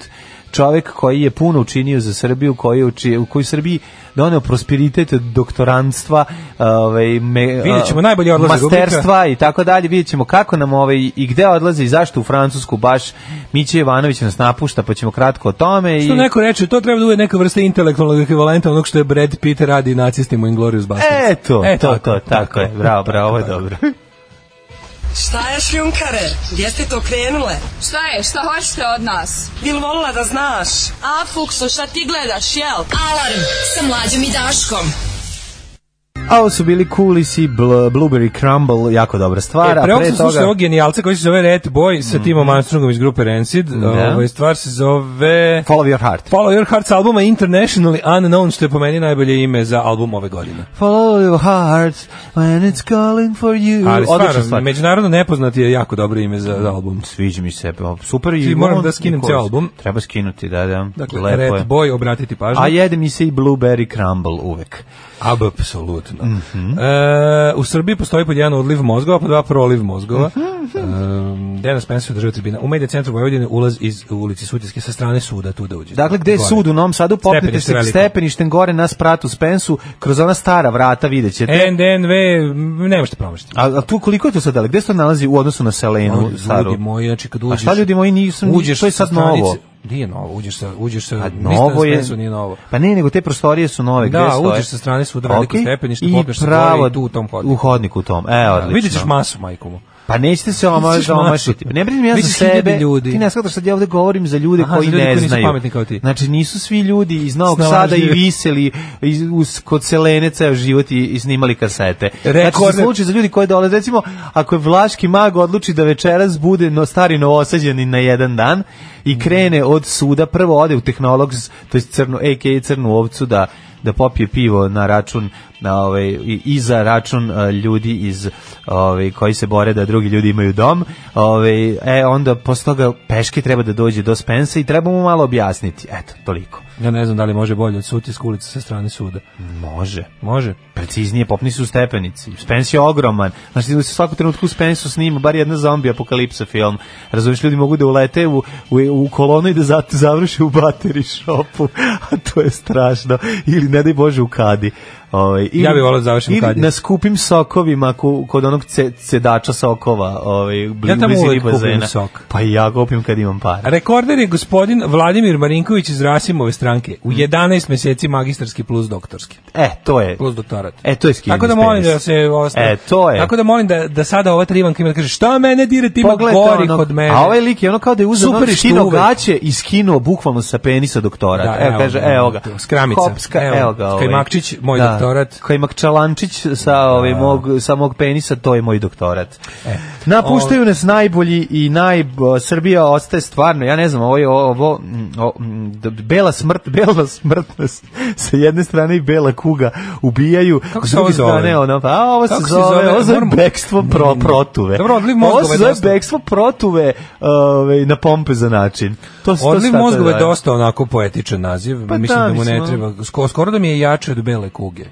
Speaker 5: čovek koji je puno učinio za Srbiju, koji je uči, u koji Srbiji doneo prosperitet doktorantstva, ovaj, me,
Speaker 6: Vidjet ćemo, najbolji odlaze
Speaker 5: masterstva, pa i tako dalje, vidjet ćemo kako nam ovaj, i gde odlazi i zašto u Francusku baš Miće Jovanović nas napušta, pa ćemo kratko o tome.
Speaker 6: Što
Speaker 5: i...
Speaker 6: neko reče, to treba da bude neka vrsta intelektualnog ekvivalenta onog što je Brad Pitt radi nacistima u Inglourious Basterds.
Speaker 5: Eto,
Speaker 6: E,
Speaker 5: to, to, tako je, bravo, bravo, ovo je dobro.
Speaker 12: Šta je šljunkare? Gdje ste to krenule?
Speaker 7: Šta je, šta hoćete od nas?
Speaker 12: Bil volila da znaš?
Speaker 7: A, Fukso, šta ti gledaš, jel? Alarm sa mlađom i Daškom.
Speaker 5: A ovo su bili Coolisi, Bl- Blueberry Crumble, jako dobra stvar.
Speaker 6: E,
Speaker 5: a
Speaker 6: pre
Speaker 5: pre
Speaker 6: sam slušao
Speaker 5: toga... Mhm.
Speaker 6: ovog genijalca koji se zove Red Boy sa Timom Armstrongom iz grupe Rancid.
Speaker 5: Da.
Speaker 6: Ovaj, stvar se zove...
Speaker 5: Follow your heart.
Speaker 6: Follow Your Hearts albuma Internationally Unknown, što je po meni najbolje ime za album ove godine.
Speaker 5: Follow your heart when it's calling for you.
Speaker 6: Ali
Speaker 5: E, Odlična
Speaker 6: stvarno, međunarodno nepoznati je jako dobro ime za, za album.
Speaker 5: Sviđa mi se, pa, super. i
Speaker 6: Ti moram
Speaker 5: on-
Speaker 6: da skinem
Speaker 5: Nikolić.
Speaker 6: ceo album.
Speaker 5: Treba skinuti, da, da.
Speaker 6: Dakle,
Speaker 5: Lepo
Speaker 6: Red
Speaker 5: je.
Speaker 6: Boy, obratiti pažnju.
Speaker 5: A jede mi se i Blueberry Crumble uvek.
Speaker 6: Apsolutno.
Speaker 5: Mhm.
Speaker 6: E, u Srbiji postoji pod jedan odliv mozgova, pa dva proliv mozgova.
Speaker 5: Mhm,
Speaker 6: E, Dana Spencer država tribina. U medije centru Vojvodine ulaz iz ulici Sutjeske sa strane suda, tu da uđe.
Speaker 5: Dakle, gde je sud u Novom Sadu, popnete
Speaker 6: Stepenište
Speaker 5: se
Speaker 6: veliko.
Speaker 5: stepeništem gore na spratu Spensu, kroz ona stara vrata vidjet
Speaker 6: E.
Speaker 5: ćete.
Speaker 6: NDNV, ne možete promašiti.
Speaker 5: A, a tu koliko je to sad, ali gde se to nalazi u odnosu na Selenu
Speaker 6: Ljudi
Speaker 5: staru?
Speaker 6: moji, znači kad uđeš...
Speaker 5: A šta ljudi moji nisam,
Speaker 6: uđeš
Speaker 5: to je sad
Speaker 6: sa stranice-
Speaker 5: novo.
Speaker 6: Nije novo, uđeš sa... Uđeš sa
Speaker 5: A
Speaker 6: mislim da
Speaker 5: novo je.
Speaker 6: Spensu nije novo.
Speaker 5: Pa ne, nego te prostorije su nove.
Speaker 6: Da,
Speaker 5: gde stoje?
Speaker 6: uđeš sa strane svuda, veliko
Speaker 5: Ok,
Speaker 6: stepenište,
Speaker 5: i
Speaker 6: popneš se gore
Speaker 5: pravo
Speaker 6: i tu u tom hodniku.
Speaker 5: U hodniku tom, e,
Speaker 6: Da,
Speaker 5: odlično.
Speaker 6: Vidjet ćeš masu, majkomu.
Speaker 5: Pa nećete se oma-
Speaker 6: Vidjet ćeš masu.
Speaker 5: omašiti. Pa Ne brinem ja za
Speaker 6: Vidjet ćeš hiljade
Speaker 5: sebe.
Speaker 6: ljudi.
Speaker 5: Ti ne shvataš sad ja ovde govorim za ljude
Speaker 6: Aha,
Speaker 5: koji
Speaker 6: za ljude
Speaker 5: ne
Speaker 6: koji nisu
Speaker 5: znaju.
Speaker 6: pametni kao ti.
Speaker 5: Znači nisu svi ljudi iz Novog
Speaker 6: Snalažljivi.
Speaker 5: Sada i viseli iz, uz, kod Selene ceo život i, i snimali kasete. Znači
Speaker 6: Rekordne-
Speaker 5: za slučaj za ljudi koji dolaze, recimo, ako je Vlaški mag odluči da večeras bude no, stari novosađeni na jedan dan i krene od suda, prvo ode u tehnolog, s- to je crnu, a.k.a. crnu ovcu da da popije pivo na račun na ovaj i, i za račun a, ljudi iz ovaj koji se bore da drugi ljudi imaju dom. Ovaj e onda posle toga peške treba da dođe do Spensa i treba mu malo objasniti. Eto, toliko.
Speaker 6: Ja ne znam da li može bolje od sutiska ulica sa strane suda.
Speaker 5: Može.
Speaker 6: Može.
Speaker 5: Preciznije, popni su stepenici. Spens je ogroman. Znači, da se svaku trenutku u Spensu snima bar jedna zombi apokalipsa film. Razumiješ, ljudi mogu da ulete u, u, u kolonu i da za- završe u bateri šopu. A to je strašno. Ili, ne daj Bože, u kadi. Ovaj, ili-
Speaker 6: Ja bih volao da završim u
Speaker 5: ili
Speaker 6: kadi.
Speaker 5: na skupim sokovima ko- kod onog ce, cedača sokova ovaj, bli,
Speaker 6: Ja tamo
Speaker 5: blizini
Speaker 6: uvek kupim
Speaker 5: bazena.
Speaker 6: sok.
Speaker 5: Pa i ja kupim kad imam para.
Speaker 6: Rekorder je gospodin Vladimir Marinković iz Rasimove stranke.
Speaker 5: Hmm.
Speaker 6: U 11 meseci magistarski plus doktorski.
Speaker 5: E, to je.
Speaker 6: Plus doktorat.
Speaker 5: E, to je skinny
Speaker 6: Tako da molim
Speaker 5: space.
Speaker 6: da se ostaje.
Speaker 5: E, to je.
Speaker 6: Tako da molim da, da sada ova trivanka ima da kaže šta mene dire, ti ima
Speaker 5: Pogledajte
Speaker 6: gori
Speaker 5: ono-
Speaker 6: kod mene.
Speaker 5: A ovaj lik je ono kao da je uzeo
Speaker 6: Super
Speaker 5: ono
Speaker 6: je što
Speaker 5: skinuo
Speaker 6: uvek-
Speaker 5: gaće i skinuo bukvalno sa penisa doktorat.
Speaker 6: Da, ono,
Speaker 5: evo, kaže, evo ga.
Speaker 6: Skramica.
Speaker 5: Kopska, evo, ga. Ovaj.
Speaker 6: Kajmakčić, moj
Speaker 5: da.
Speaker 6: doktorat.
Speaker 5: Kajmakčalančić sa, ovaj, mog, sa mog penisa, to je moj doktorat.
Speaker 6: E, ovaj.
Speaker 5: Napuštaju nas najbolji i naj... Srbija ostaje stvarno, ja ne znam, ovo je ovo... mm, o, mm, d- bela smrt, bela smrtnost sa jedne strane i bela kuga ubijaju,
Speaker 6: Kako
Speaker 5: s
Speaker 6: se ovo
Speaker 5: druge
Speaker 6: zove?
Speaker 5: strane ono, pa a, ovo se
Speaker 6: Kako se
Speaker 5: zove,
Speaker 6: zove?
Speaker 5: ovo se zove
Speaker 6: Moram-
Speaker 5: bekstvo pro, protuve.
Speaker 6: Dobro, odliv
Speaker 5: Ovo
Speaker 6: mozgova
Speaker 5: se
Speaker 6: je
Speaker 5: zove
Speaker 6: dosta.
Speaker 5: bekstvo protuve ovaj, na pompe za način. To, to
Speaker 6: Odliv
Speaker 5: šta to
Speaker 6: mozgova je
Speaker 5: daje?
Speaker 6: dosta onako poetičan naziv.
Speaker 5: Pa
Speaker 6: mislim
Speaker 5: da,
Speaker 6: da mu ne
Speaker 5: mislim,
Speaker 6: treba. Sko- Skoro da mi je jače od bele kuge.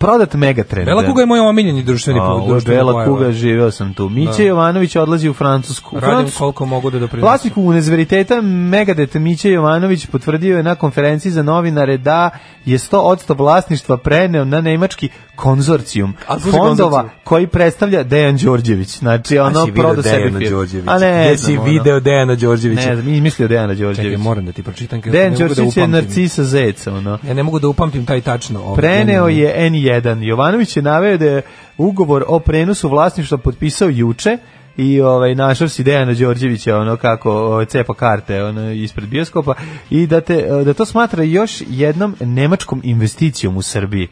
Speaker 5: Prodat Megatrend.
Speaker 6: Bela kuga je moj omiljeni društveni
Speaker 5: A, ovo je
Speaker 6: društveni
Speaker 5: Bela
Speaker 6: pojava.
Speaker 5: kuga, živeo sam tu. Miće
Speaker 6: Da.
Speaker 5: Jovanović odlazi u Francusku. U
Speaker 6: Radim
Speaker 5: Francusku-
Speaker 6: koliko mogu da doprinesem.
Speaker 5: Vlasnik univerziteta Megadet Miće Jovanović potvrdio je na konferenciji za novinare da je 100% vlasništva preneo na nemački konzorcijum
Speaker 6: A služi
Speaker 5: fondova
Speaker 6: konzorcijum?
Speaker 5: koji predstavlja Dejan Đorđević. Znači, ono
Speaker 6: si video
Speaker 5: prodo sebe
Speaker 6: Dejana
Speaker 5: firmu.
Speaker 6: Đorđevića?
Speaker 5: A ne,
Speaker 6: Gde
Speaker 5: znam,
Speaker 6: si
Speaker 5: ono.
Speaker 6: video Dejana Đorđevića?
Speaker 5: Ne znam, izmislio Dejana Đorđevića.
Speaker 6: Čekaj, moram da ti pročitam. kako
Speaker 5: Dejan
Speaker 6: ne mogu da
Speaker 5: Đorđević je
Speaker 6: upamtim.
Speaker 5: narcisa zeca, ono.
Speaker 6: Ja ne mogu da upamtim taj tačno. ovaj,
Speaker 5: Preneo
Speaker 6: genijalni.
Speaker 5: je N1. Jovanović je naveo da je ugovor o prenosu vlasništva potpisao juče i ovaj našao si Dejana Đorđevića ono kako ovaj, cepa karte ono ispred bioskopa i da te da to smatra još jednom nemačkom investicijom u Srbiji.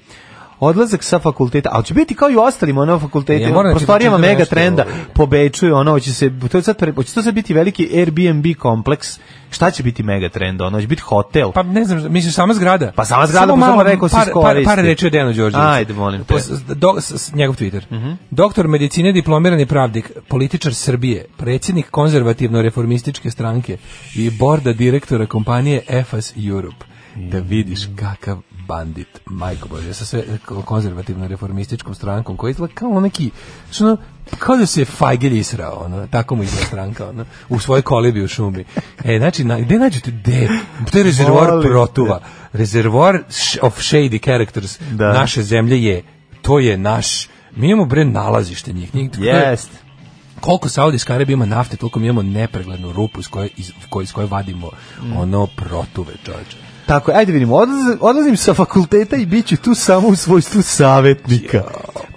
Speaker 5: Odlazak sa fakulteta, ali će biti kao i u ostalim ono
Speaker 6: Ja
Speaker 5: fakultetima,
Speaker 6: moram da ti
Speaker 5: prostorijama
Speaker 6: pročitam
Speaker 5: mega
Speaker 6: nešto,
Speaker 5: trenda,
Speaker 6: ovaj.
Speaker 5: pobećuju, ono, hoće se, to je sad, pre- hoće to sad biti veliki Airbnb kompleks, šta će biti mega trenda, ono, će biti hotel,
Speaker 6: Pa ne znam, misliš sama zgrada?
Speaker 5: Pa sama zgrada,
Speaker 6: Samo
Speaker 5: pa samo
Speaker 6: malo,
Speaker 5: rekao si
Speaker 6: par, par,
Speaker 5: iskoristi.
Speaker 6: par reči o Dejanu Đorđeviću.
Speaker 5: Ajde, molim te.
Speaker 6: Po- s- do- s- s- njegov Twitter.
Speaker 5: Mhm.
Speaker 6: Doktor medicine, diplomirani pravnik, političar Srbije, predsjednik konzervativno-reformističke stranke i borda direktora kompanije EFAS Europe. Da
Speaker 5: Mhm.
Speaker 6: vidiš kakav bandit, majko bože, sa sve konzervativno-reformističkom strankom koji izgleda kao neki, što ono, kao da se Fajger israo, ono, tako mu izgleda stranka, ono, u svojoj kolibi u šumi. E, znači, na, gde nađete, gde? To je rezervoar
Speaker 5: Molim te.
Speaker 6: protuva. Rezervoar sh- of shady characters
Speaker 5: Da.
Speaker 6: naše zemlje je, to je naš, mi imamo bre nalazište njih. njih to je-
Speaker 5: Jest.
Speaker 6: Koliko Saudijska Arabija ima nafte, toliko mi imamo nepreglednu rupu iz koje, iz, koje- iz koje vadimo
Speaker 5: Mm.
Speaker 6: ono protuve, čovječe.
Speaker 5: Tako, je, ajde vidimo, odlazim, odlazim sa fakulteta i bit ću tu samo u svojstvu savjetnika.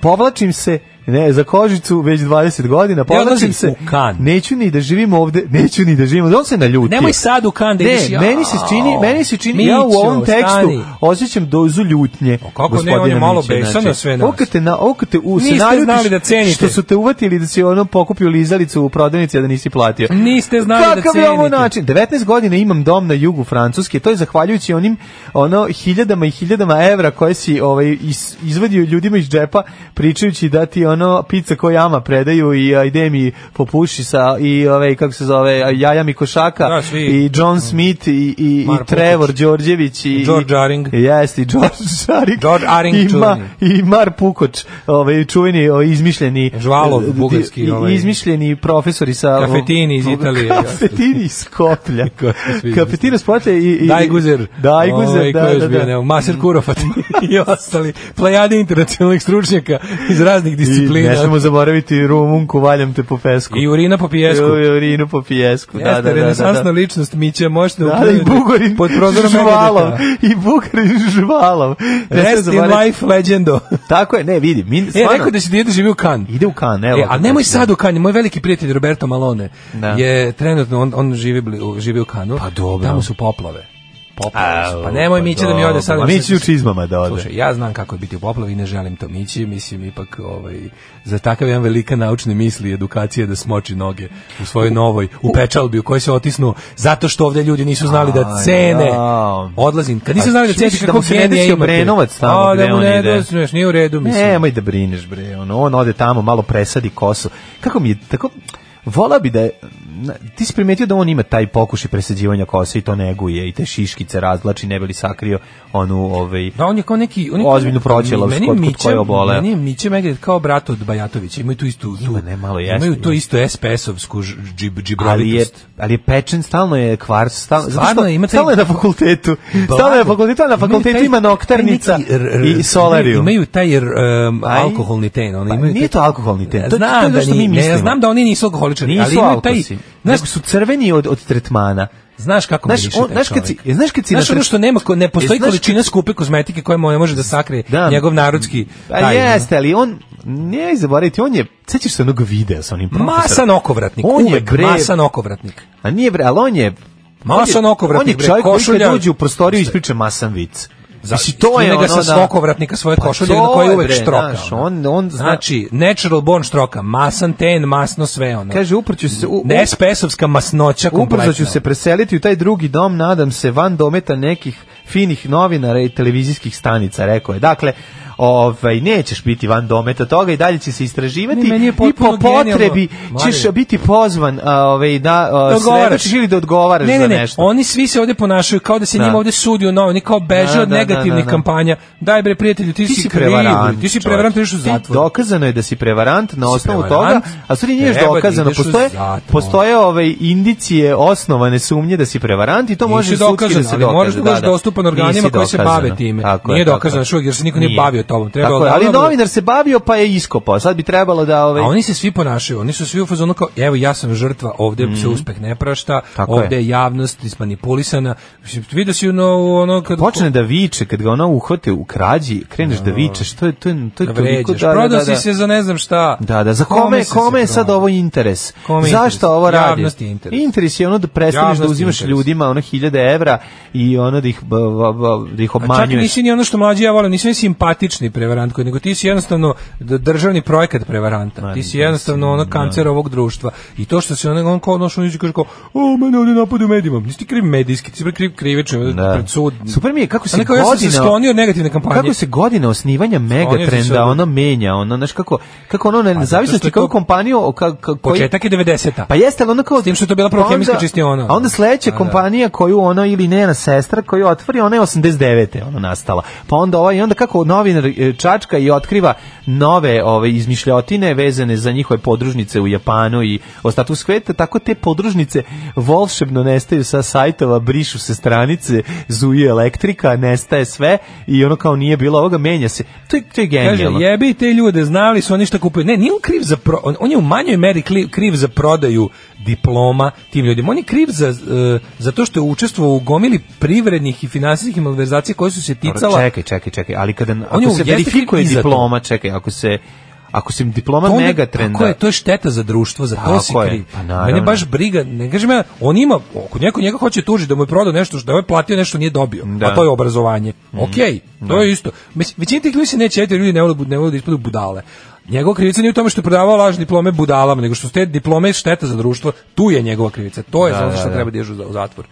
Speaker 5: Povlačim se, ne, za kožicu već 20 godina, povlačim
Speaker 6: odlazim
Speaker 5: se,
Speaker 6: u Kan.
Speaker 5: neću ni da živim ovde, neću ni da živim, ovde, on se naljutio.
Speaker 6: Nemoj sad u Kan da
Speaker 5: ne,
Speaker 6: ideš, jao.
Speaker 5: meni se čini, meni se čini, ja u
Speaker 6: Mićo,
Speaker 5: ovom tekstu
Speaker 6: stani.
Speaker 5: osjećam dozu ljutnje.
Speaker 6: kako ne,
Speaker 5: gospodina
Speaker 6: on je malo
Speaker 5: Mića,
Speaker 6: besan
Speaker 5: znači.
Speaker 6: na sve nas.
Speaker 5: Ovo kad te, na, ovo kad te u, se
Speaker 6: Niste
Speaker 5: naljutiš
Speaker 6: znali da cenite.
Speaker 5: Što su te uvatili da si ono pokupio lizalicu u prodavnici, a da nisi platio.
Speaker 6: Niste znali da
Speaker 5: Kakav je ovo
Speaker 6: cenite.
Speaker 5: način? 19 Znači, godina imam dom na jugu Francuske, to je zahvaljujući onim ono hiljadama i hiljadama evra koje si ovaj is- izvadio ljudima iz džepa pričajući da ti ono pizza ko jama predaju i ajde mi popuši sa i ovaj kako se zove a, jaja mi košaka
Speaker 6: Da, svi.
Speaker 5: i John Smith i, i,
Speaker 6: Mar
Speaker 5: i Trevor
Speaker 6: Pukić.
Speaker 5: Đorđević i
Speaker 6: George Aring.
Speaker 5: Jeste, i George Aring.
Speaker 6: George Aring
Speaker 5: i, Ma-
Speaker 6: čuveni.
Speaker 5: i Mar Pukoč, ovaj čuveni ovaj, izmišljeni eh,
Speaker 6: Žvalov,
Speaker 5: di-
Speaker 6: bugarski, ovaj.
Speaker 5: izmišljeni profesori sa
Speaker 6: Kafetini iz Italije.
Speaker 5: Kafetini iz Skoplja.
Speaker 6: svi
Speaker 5: Kafetini iz Skoplja i... i
Speaker 6: Dajguzer.
Speaker 5: Dajguzer,
Speaker 6: Ovaj, ko
Speaker 5: da,
Speaker 6: je još
Speaker 5: da,
Speaker 6: bio,
Speaker 5: da.
Speaker 6: nema, Maser Kurofat i ostali. Plejade internacionalnih stručnjaka iz raznih
Speaker 5: I
Speaker 6: disciplina.
Speaker 5: ne smemo zaboraviti Rumunku, valjam te po pesku.
Speaker 6: I urina po pijesku.
Speaker 5: I urinu po pijesku, da, da,
Speaker 6: Jeste,
Speaker 5: da.
Speaker 6: renesansna
Speaker 5: da, da.
Speaker 6: ličnost Mića, možete
Speaker 5: Da, da, i
Speaker 6: uključiti
Speaker 5: Bugarin
Speaker 6: pod prozorom
Speaker 5: žvalom.
Speaker 6: Megadeta.
Speaker 5: I Bugarin žvalom. Ne smemo
Speaker 6: Rest in
Speaker 5: zaboraviti.
Speaker 6: life legendo.
Speaker 5: Tako je, ne, vidi. Mi,
Speaker 6: E,
Speaker 5: stvarno-
Speaker 6: rekao da si djede živi u Kan.
Speaker 5: Ide u kan, evo.
Speaker 6: E, a nemoj sad u Kani, moj veliki prijatelj Roberto Malone
Speaker 5: Da.
Speaker 6: je trenutno, on, on živi, bli- u- živi u Kanu, pa
Speaker 5: dobro.
Speaker 6: tamo su poplave. Poplave su.
Speaker 5: Au,
Speaker 6: Pa nemoj Mića da mi ode sad.
Speaker 5: dobro. A mi će u čizmama da ode.
Speaker 6: Slušaj, ja znam kako je biti u poplavi, ne želim to Mići, mislim ipak ovaj, za takav jedan velika naučne misli i edukacije da smoči noge u svojoj novoj, u pečalbi u kojoj se otisnu, zato što ovdje ljudi nisu znali da
Speaker 5: Aj,
Speaker 6: cene.
Speaker 5: jao.
Speaker 6: Odlazim, kad nisu
Speaker 5: A
Speaker 6: znali da
Speaker 5: misliš
Speaker 6: cene,
Speaker 5: da
Speaker 6: kako
Speaker 5: mu se ne
Speaker 6: genije
Speaker 5: desi
Speaker 6: imate.
Speaker 5: Obrenovac tamo
Speaker 6: A, da
Speaker 5: gde
Speaker 6: mu
Speaker 5: on
Speaker 6: ne
Speaker 5: ide.
Speaker 6: desi, znaš, nije u redu, mislim.
Speaker 5: E, Nemoj da brineš bre, ono, on ode tamo, malo presadi kosu. Kako mi je, tako, vola bi da je, na- ti si primetio da on ima taj pokušaj presađivanja kose i to neguje i te šiškice razlači ne bi li sakrio onu ovaj
Speaker 6: Da, on je kao neki... On je
Speaker 5: ozbiljnu proćelavsku kod kod koje je oboleo.
Speaker 6: Meni je Miće Megred kao brat od Bajatovića. Imaju tu istu... Tu,
Speaker 5: ne, malo jeste,
Speaker 6: Imaju to
Speaker 5: jeste.
Speaker 6: isto SPS-ovsku ž- džib,
Speaker 5: ali je,
Speaker 6: džibrovitost.
Speaker 5: ali je pečen, stalno je kvar, stalno, zato
Speaker 6: Stvarno
Speaker 5: što,
Speaker 6: je, ima taj-
Speaker 5: stalno je na fakultetu, stalno je na fakultetu, a na fakultetu ima noktarnica i solarium.
Speaker 6: Imaju taj r- um, alkoholni ten. Oni
Speaker 5: Pa
Speaker 6: imaju
Speaker 5: nije to alkoholni ten, to- to je
Speaker 6: znam
Speaker 5: ono
Speaker 6: da
Speaker 5: što
Speaker 6: ni-
Speaker 5: mi
Speaker 6: ne, ja
Speaker 5: mislimo.
Speaker 6: znam da oni nisu alkoholičari, ali
Speaker 5: Nisu
Speaker 6: imaju taj-
Speaker 5: alkosi,
Speaker 6: znaš-
Speaker 5: nego su crveni od, od tretmana.
Speaker 6: Znaš kako
Speaker 5: Znaš,
Speaker 6: mi miriše
Speaker 5: on-
Speaker 6: taj
Speaker 5: znaš kad si-
Speaker 6: čovjek?
Speaker 5: je, znaš kad si
Speaker 6: znaš
Speaker 5: na
Speaker 6: ono
Speaker 5: tre-
Speaker 6: što nema, ko- ne
Speaker 5: je,
Speaker 6: postoji
Speaker 5: znaš
Speaker 6: količina skupe kozmetike koja mo- ne može da sakrije
Speaker 5: Da.
Speaker 6: njegov narodski
Speaker 5: A
Speaker 6: taj,
Speaker 5: Pa
Speaker 6: ono,
Speaker 5: jeste, ali on, ne zaboraviti, on je, sećaš se onog videa sa onim profesorom?
Speaker 6: Masan okovratnik,
Speaker 5: On je
Speaker 6: uvek
Speaker 5: bre-
Speaker 6: masan okovratnik.
Speaker 5: A nije bre, ali on je...
Speaker 6: Masan
Speaker 5: on je-
Speaker 6: okovratnik,
Speaker 5: On
Speaker 6: bre,
Speaker 5: je čovjek koji
Speaker 6: košulja-
Speaker 5: kad uđe u prostoriju ispriča masan vic. Znači, to je
Speaker 6: Skine
Speaker 5: ono...
Speaker 6: ga sa
Speaker 5: da-
Speaker 6: smokovratnika svoje
Speaker 5: Pa
Speaker 6: košulje
Speaker 5: to
Speaker 6: na koje
Speaker 5: je,
Speaker 6: uvek
Speaker 5: bre,
Speaker 6: štroka.
Speaker 5: znaš,
Speaker 6: ono.
Speaker 5: on, on zna-
Speaker 6: znači, natural born štroka, masan ten, masno sve ono.
Speaker 5: Kaže, uprću se... U,
Speaker 6: Ne spesovska masnoća kompletna.
Speaker 5: Ubrzo ću se preseliti u taj drugi dom, nadam se, van dometa nekih finih novinara i televizijskih stanica, rekao je. Dakle, ovaj, nećeš biti van dometa toga i dalje će se istraživati
Speaker 6: Ne, meni je
Speaker 5: i
Speaker 6: potpuno
Speaker 5: po potrebi
Speaker 6: genijalno.
Speaker 5: ćeš
Speaker 6: Mare.
Speaker 5: biti pozvan a, ovaj, da a,
Speaker 6: odgovaraš.
Speaker 5: svedočiš ili da odgovaraš
Speaker 6: ne, ne,
Speaker 5: za
Speaker 6: ne.
Speaker 5: nešto.
Speaker 6: Oni svi se ovde ponašaju kao da se
Speaker 5: Da.
Speaker 6: njima ovde sudi u novi, oni kao beže
Speaker 5: Da,
Speaker 6: od
Speaker 5: da, da, da,
Speaker 6: negativnih
Speaker 5: da.
Speaker 6: kampanja. Daj bre prijatelju, ti, si kriv, bre, ti si prevarant,
Speaker 5: čovječe.
Speaker 6: ideš u zatvor.
Speaker 5: Ti- Dokazano je da si prevarant na osnovu toga,
Speaker 6: prevarant,
Speaker 5: a sad nije još
Speaker 6: treba da
Speaker 5: dokazano.
Speaker 6: ideš u
Speaker 5: Postoje,
Speaker 6: zatvor.
Speaker 5: postoje ove indicije osnovane sumnje da si prevarant i to može
Speaker 6: Nisi
Speaker 5: sudski da
Speaker 6: dokazan,
Speaker 5: se
Speaker 6: ali
Speaker 5: dokaže.
Speaker 6: moraš da budeš
Speaker 5: da.
Speaker 6: dostupan organima
Speaker 5: Nisi
Speaker 6: koji se
Speaker 5: dokazano.
Speaker 6: bave time.
Speaker 5: Tako je,
Speaker 6: Nije
Speaker 5: tako
Speaker 6: dokazano
Speaker 5: je.
Speaker 6: još uvijek, jer se niko nije bavio tobom. Treba
Speaker 5: Tako je, ali
Speaker 6: odavno-
Speaker 5: novinar se bavio pa je iskopao. Sad bi trebalo da... Ove,
Speaker 6: A oni se svi ponašaju, oni su svi u fazonu kao, evo ja sam žrtva, ovde se
Speaker 5: Mhm.
Speaker 6: uspeh ne prašta,
Speaker 5: Tako
Speaker 6: ovde
Speaker 5: je.
Speaker 6: je javnost ispanipulisana. Mislim, Vidio si ono, ono kad...
Speaker 5: počne da viče, kad ga ona uhvate u krađi, kreneš da vičeš, to je, to je, to je
Speaker 6: da
Speaker 5: toliko
Speaker 6: vređaš.
Speaker 5: da, da,
Speaker 6: Prodao
Speaker 5: da, da.
Speaker 6: si se za ne znam šta.
Speaker 5: Da, da, za kome,
Speaker 6: si se
Speaker 5: kome je sad
Speaker 6: prodao?
Speaker 5: ovo interes?
Speaker 6: Kome je interes?
Speaker 5: Zašto ovo radi?
Speaker 6: Javnosti je interes.
Speaker 5: Interes je ono da prestaneš
Speaker 6: Javnosti
Speaker 5: da
Speaker 6: je
Speaker 5: uzimaš
Speaker 6: interes.
Speaker 5: ljudima ono hiljade evra i ono da ih, b- b- b- da ih
Speaker 6: A čak i
Speaker 5: obmanjuješ.
Speaker 6: nisi ni ono što mlađi ja volim, nisi ni simpatični prevarant koji, nego ti si jednostavno d- državni projekat prevaranta. ti si jednostavno ono kancer ovog društva. I to što se on, on kao nošao niđe kaže kao, o, mene ovdje napadu medijima. Nisi ti kriv medijski, ti si bre kriv krivično, pred sud.
Speaker 5: Super mi je kako
Speaker 6: A
Speaker 5: se
Speaker 6: neko,
Speaker 5: godina...
Speaker 6: ja sam se sklonio od negativne kampanje.
Speaker 5: Kako se godina osnivanja
Speaker 6: Sklonio sam se
Speaker 5: Megatrenda
Speaker 6: od- Pa
Speaker 5: ono menja, ono, znaš kako, kako ono, ne, zavisnosti
Speaker 6: je
Speaker 5: koju
Speaker 6: to-
Speaker 5: kompaniju... Ka, ka, koji-
Speaker 6: Početak je 90-a.
Speaker 5: Pa jeste, ali ono kao... S tim
Speaker 6: što je to bila prva hemijska čistiona.
Speaker 5: A onda sledeća
Speaker 6: A, da.
Speaker 5: kompanija koju ono ili njena sestra koju otvori, ona je 89. ono nastala. Pa onda ovaj, i onda kako novinar e, čačka i otkriva nove ove izmišljotine vezane za njihove podružnice u Japanu i ostatku sveta, tako te podružnice volšebno nestaju sa sajtova, brišu se stranice, zuje elektrika, nestaje sve i ono kao nije bilo ovoga, menja se. To je, to je
Speaker 6: Kaže,
Speaker 5: genijalno.
Speaker 6: jebi te ljude, znali su oni šta kupuju. Ne, nije on kriv za pro, on, on je u manjoj meri kli- kriv za prodaju diploma tim ljudima. On je kriv za, e, za to što je učestvovao u gomili privrednih i finansijskih malverzacija koje su se
Speaker 5: Dobro,
Speaker 6: ticala
Speaker 5: Čekaj, čekaj, čekaj, ali kada
Speaker 6: On je
Speaker 5: ako se
Speaker 6: jeste kriv
Speaker 5: verifikuje
Speaker 6: i za to.
Speaker 5: diploma, čekaj, ako se ako se diploma
Speaker 6: To Pa onda-
Speaker 5: megatrenda.
Speaker 6: Tako je, to je šteta za društvo, za to
Speaker 5: Pa Tako
Speaker 6: si
Speaker 5: je,
Speaker 6: kriv.
Speaker 5: pa naravno.
Speaker 6: Mene baš briga, ne kažem ja, on ima, ako neko njega hoće tužiti da mu je prodao nešto, što- da mu je platio nešto nije dobio,
Speaker 5: Da. Mm.
Speaker 6: a to je obrazovanje. Okej, to
Speaker 5: Da.
Speaker 6: je isto. Mislim, većina tih ljudi se neće, jer ljudi ne vole, bu- ne vole da ispadaju budale. Njegova krivica nije u tome što je prodavao lažne diplome budalama, nego što su te diplome šteta za društvo, tu je njegova krivica. To je
Speaker 5: Da,
Speaker 6: zato
Speaker 5: da,
Speaker 6: što
Speaker 5: da.
Speaker 6: treba da ježu u zatvor.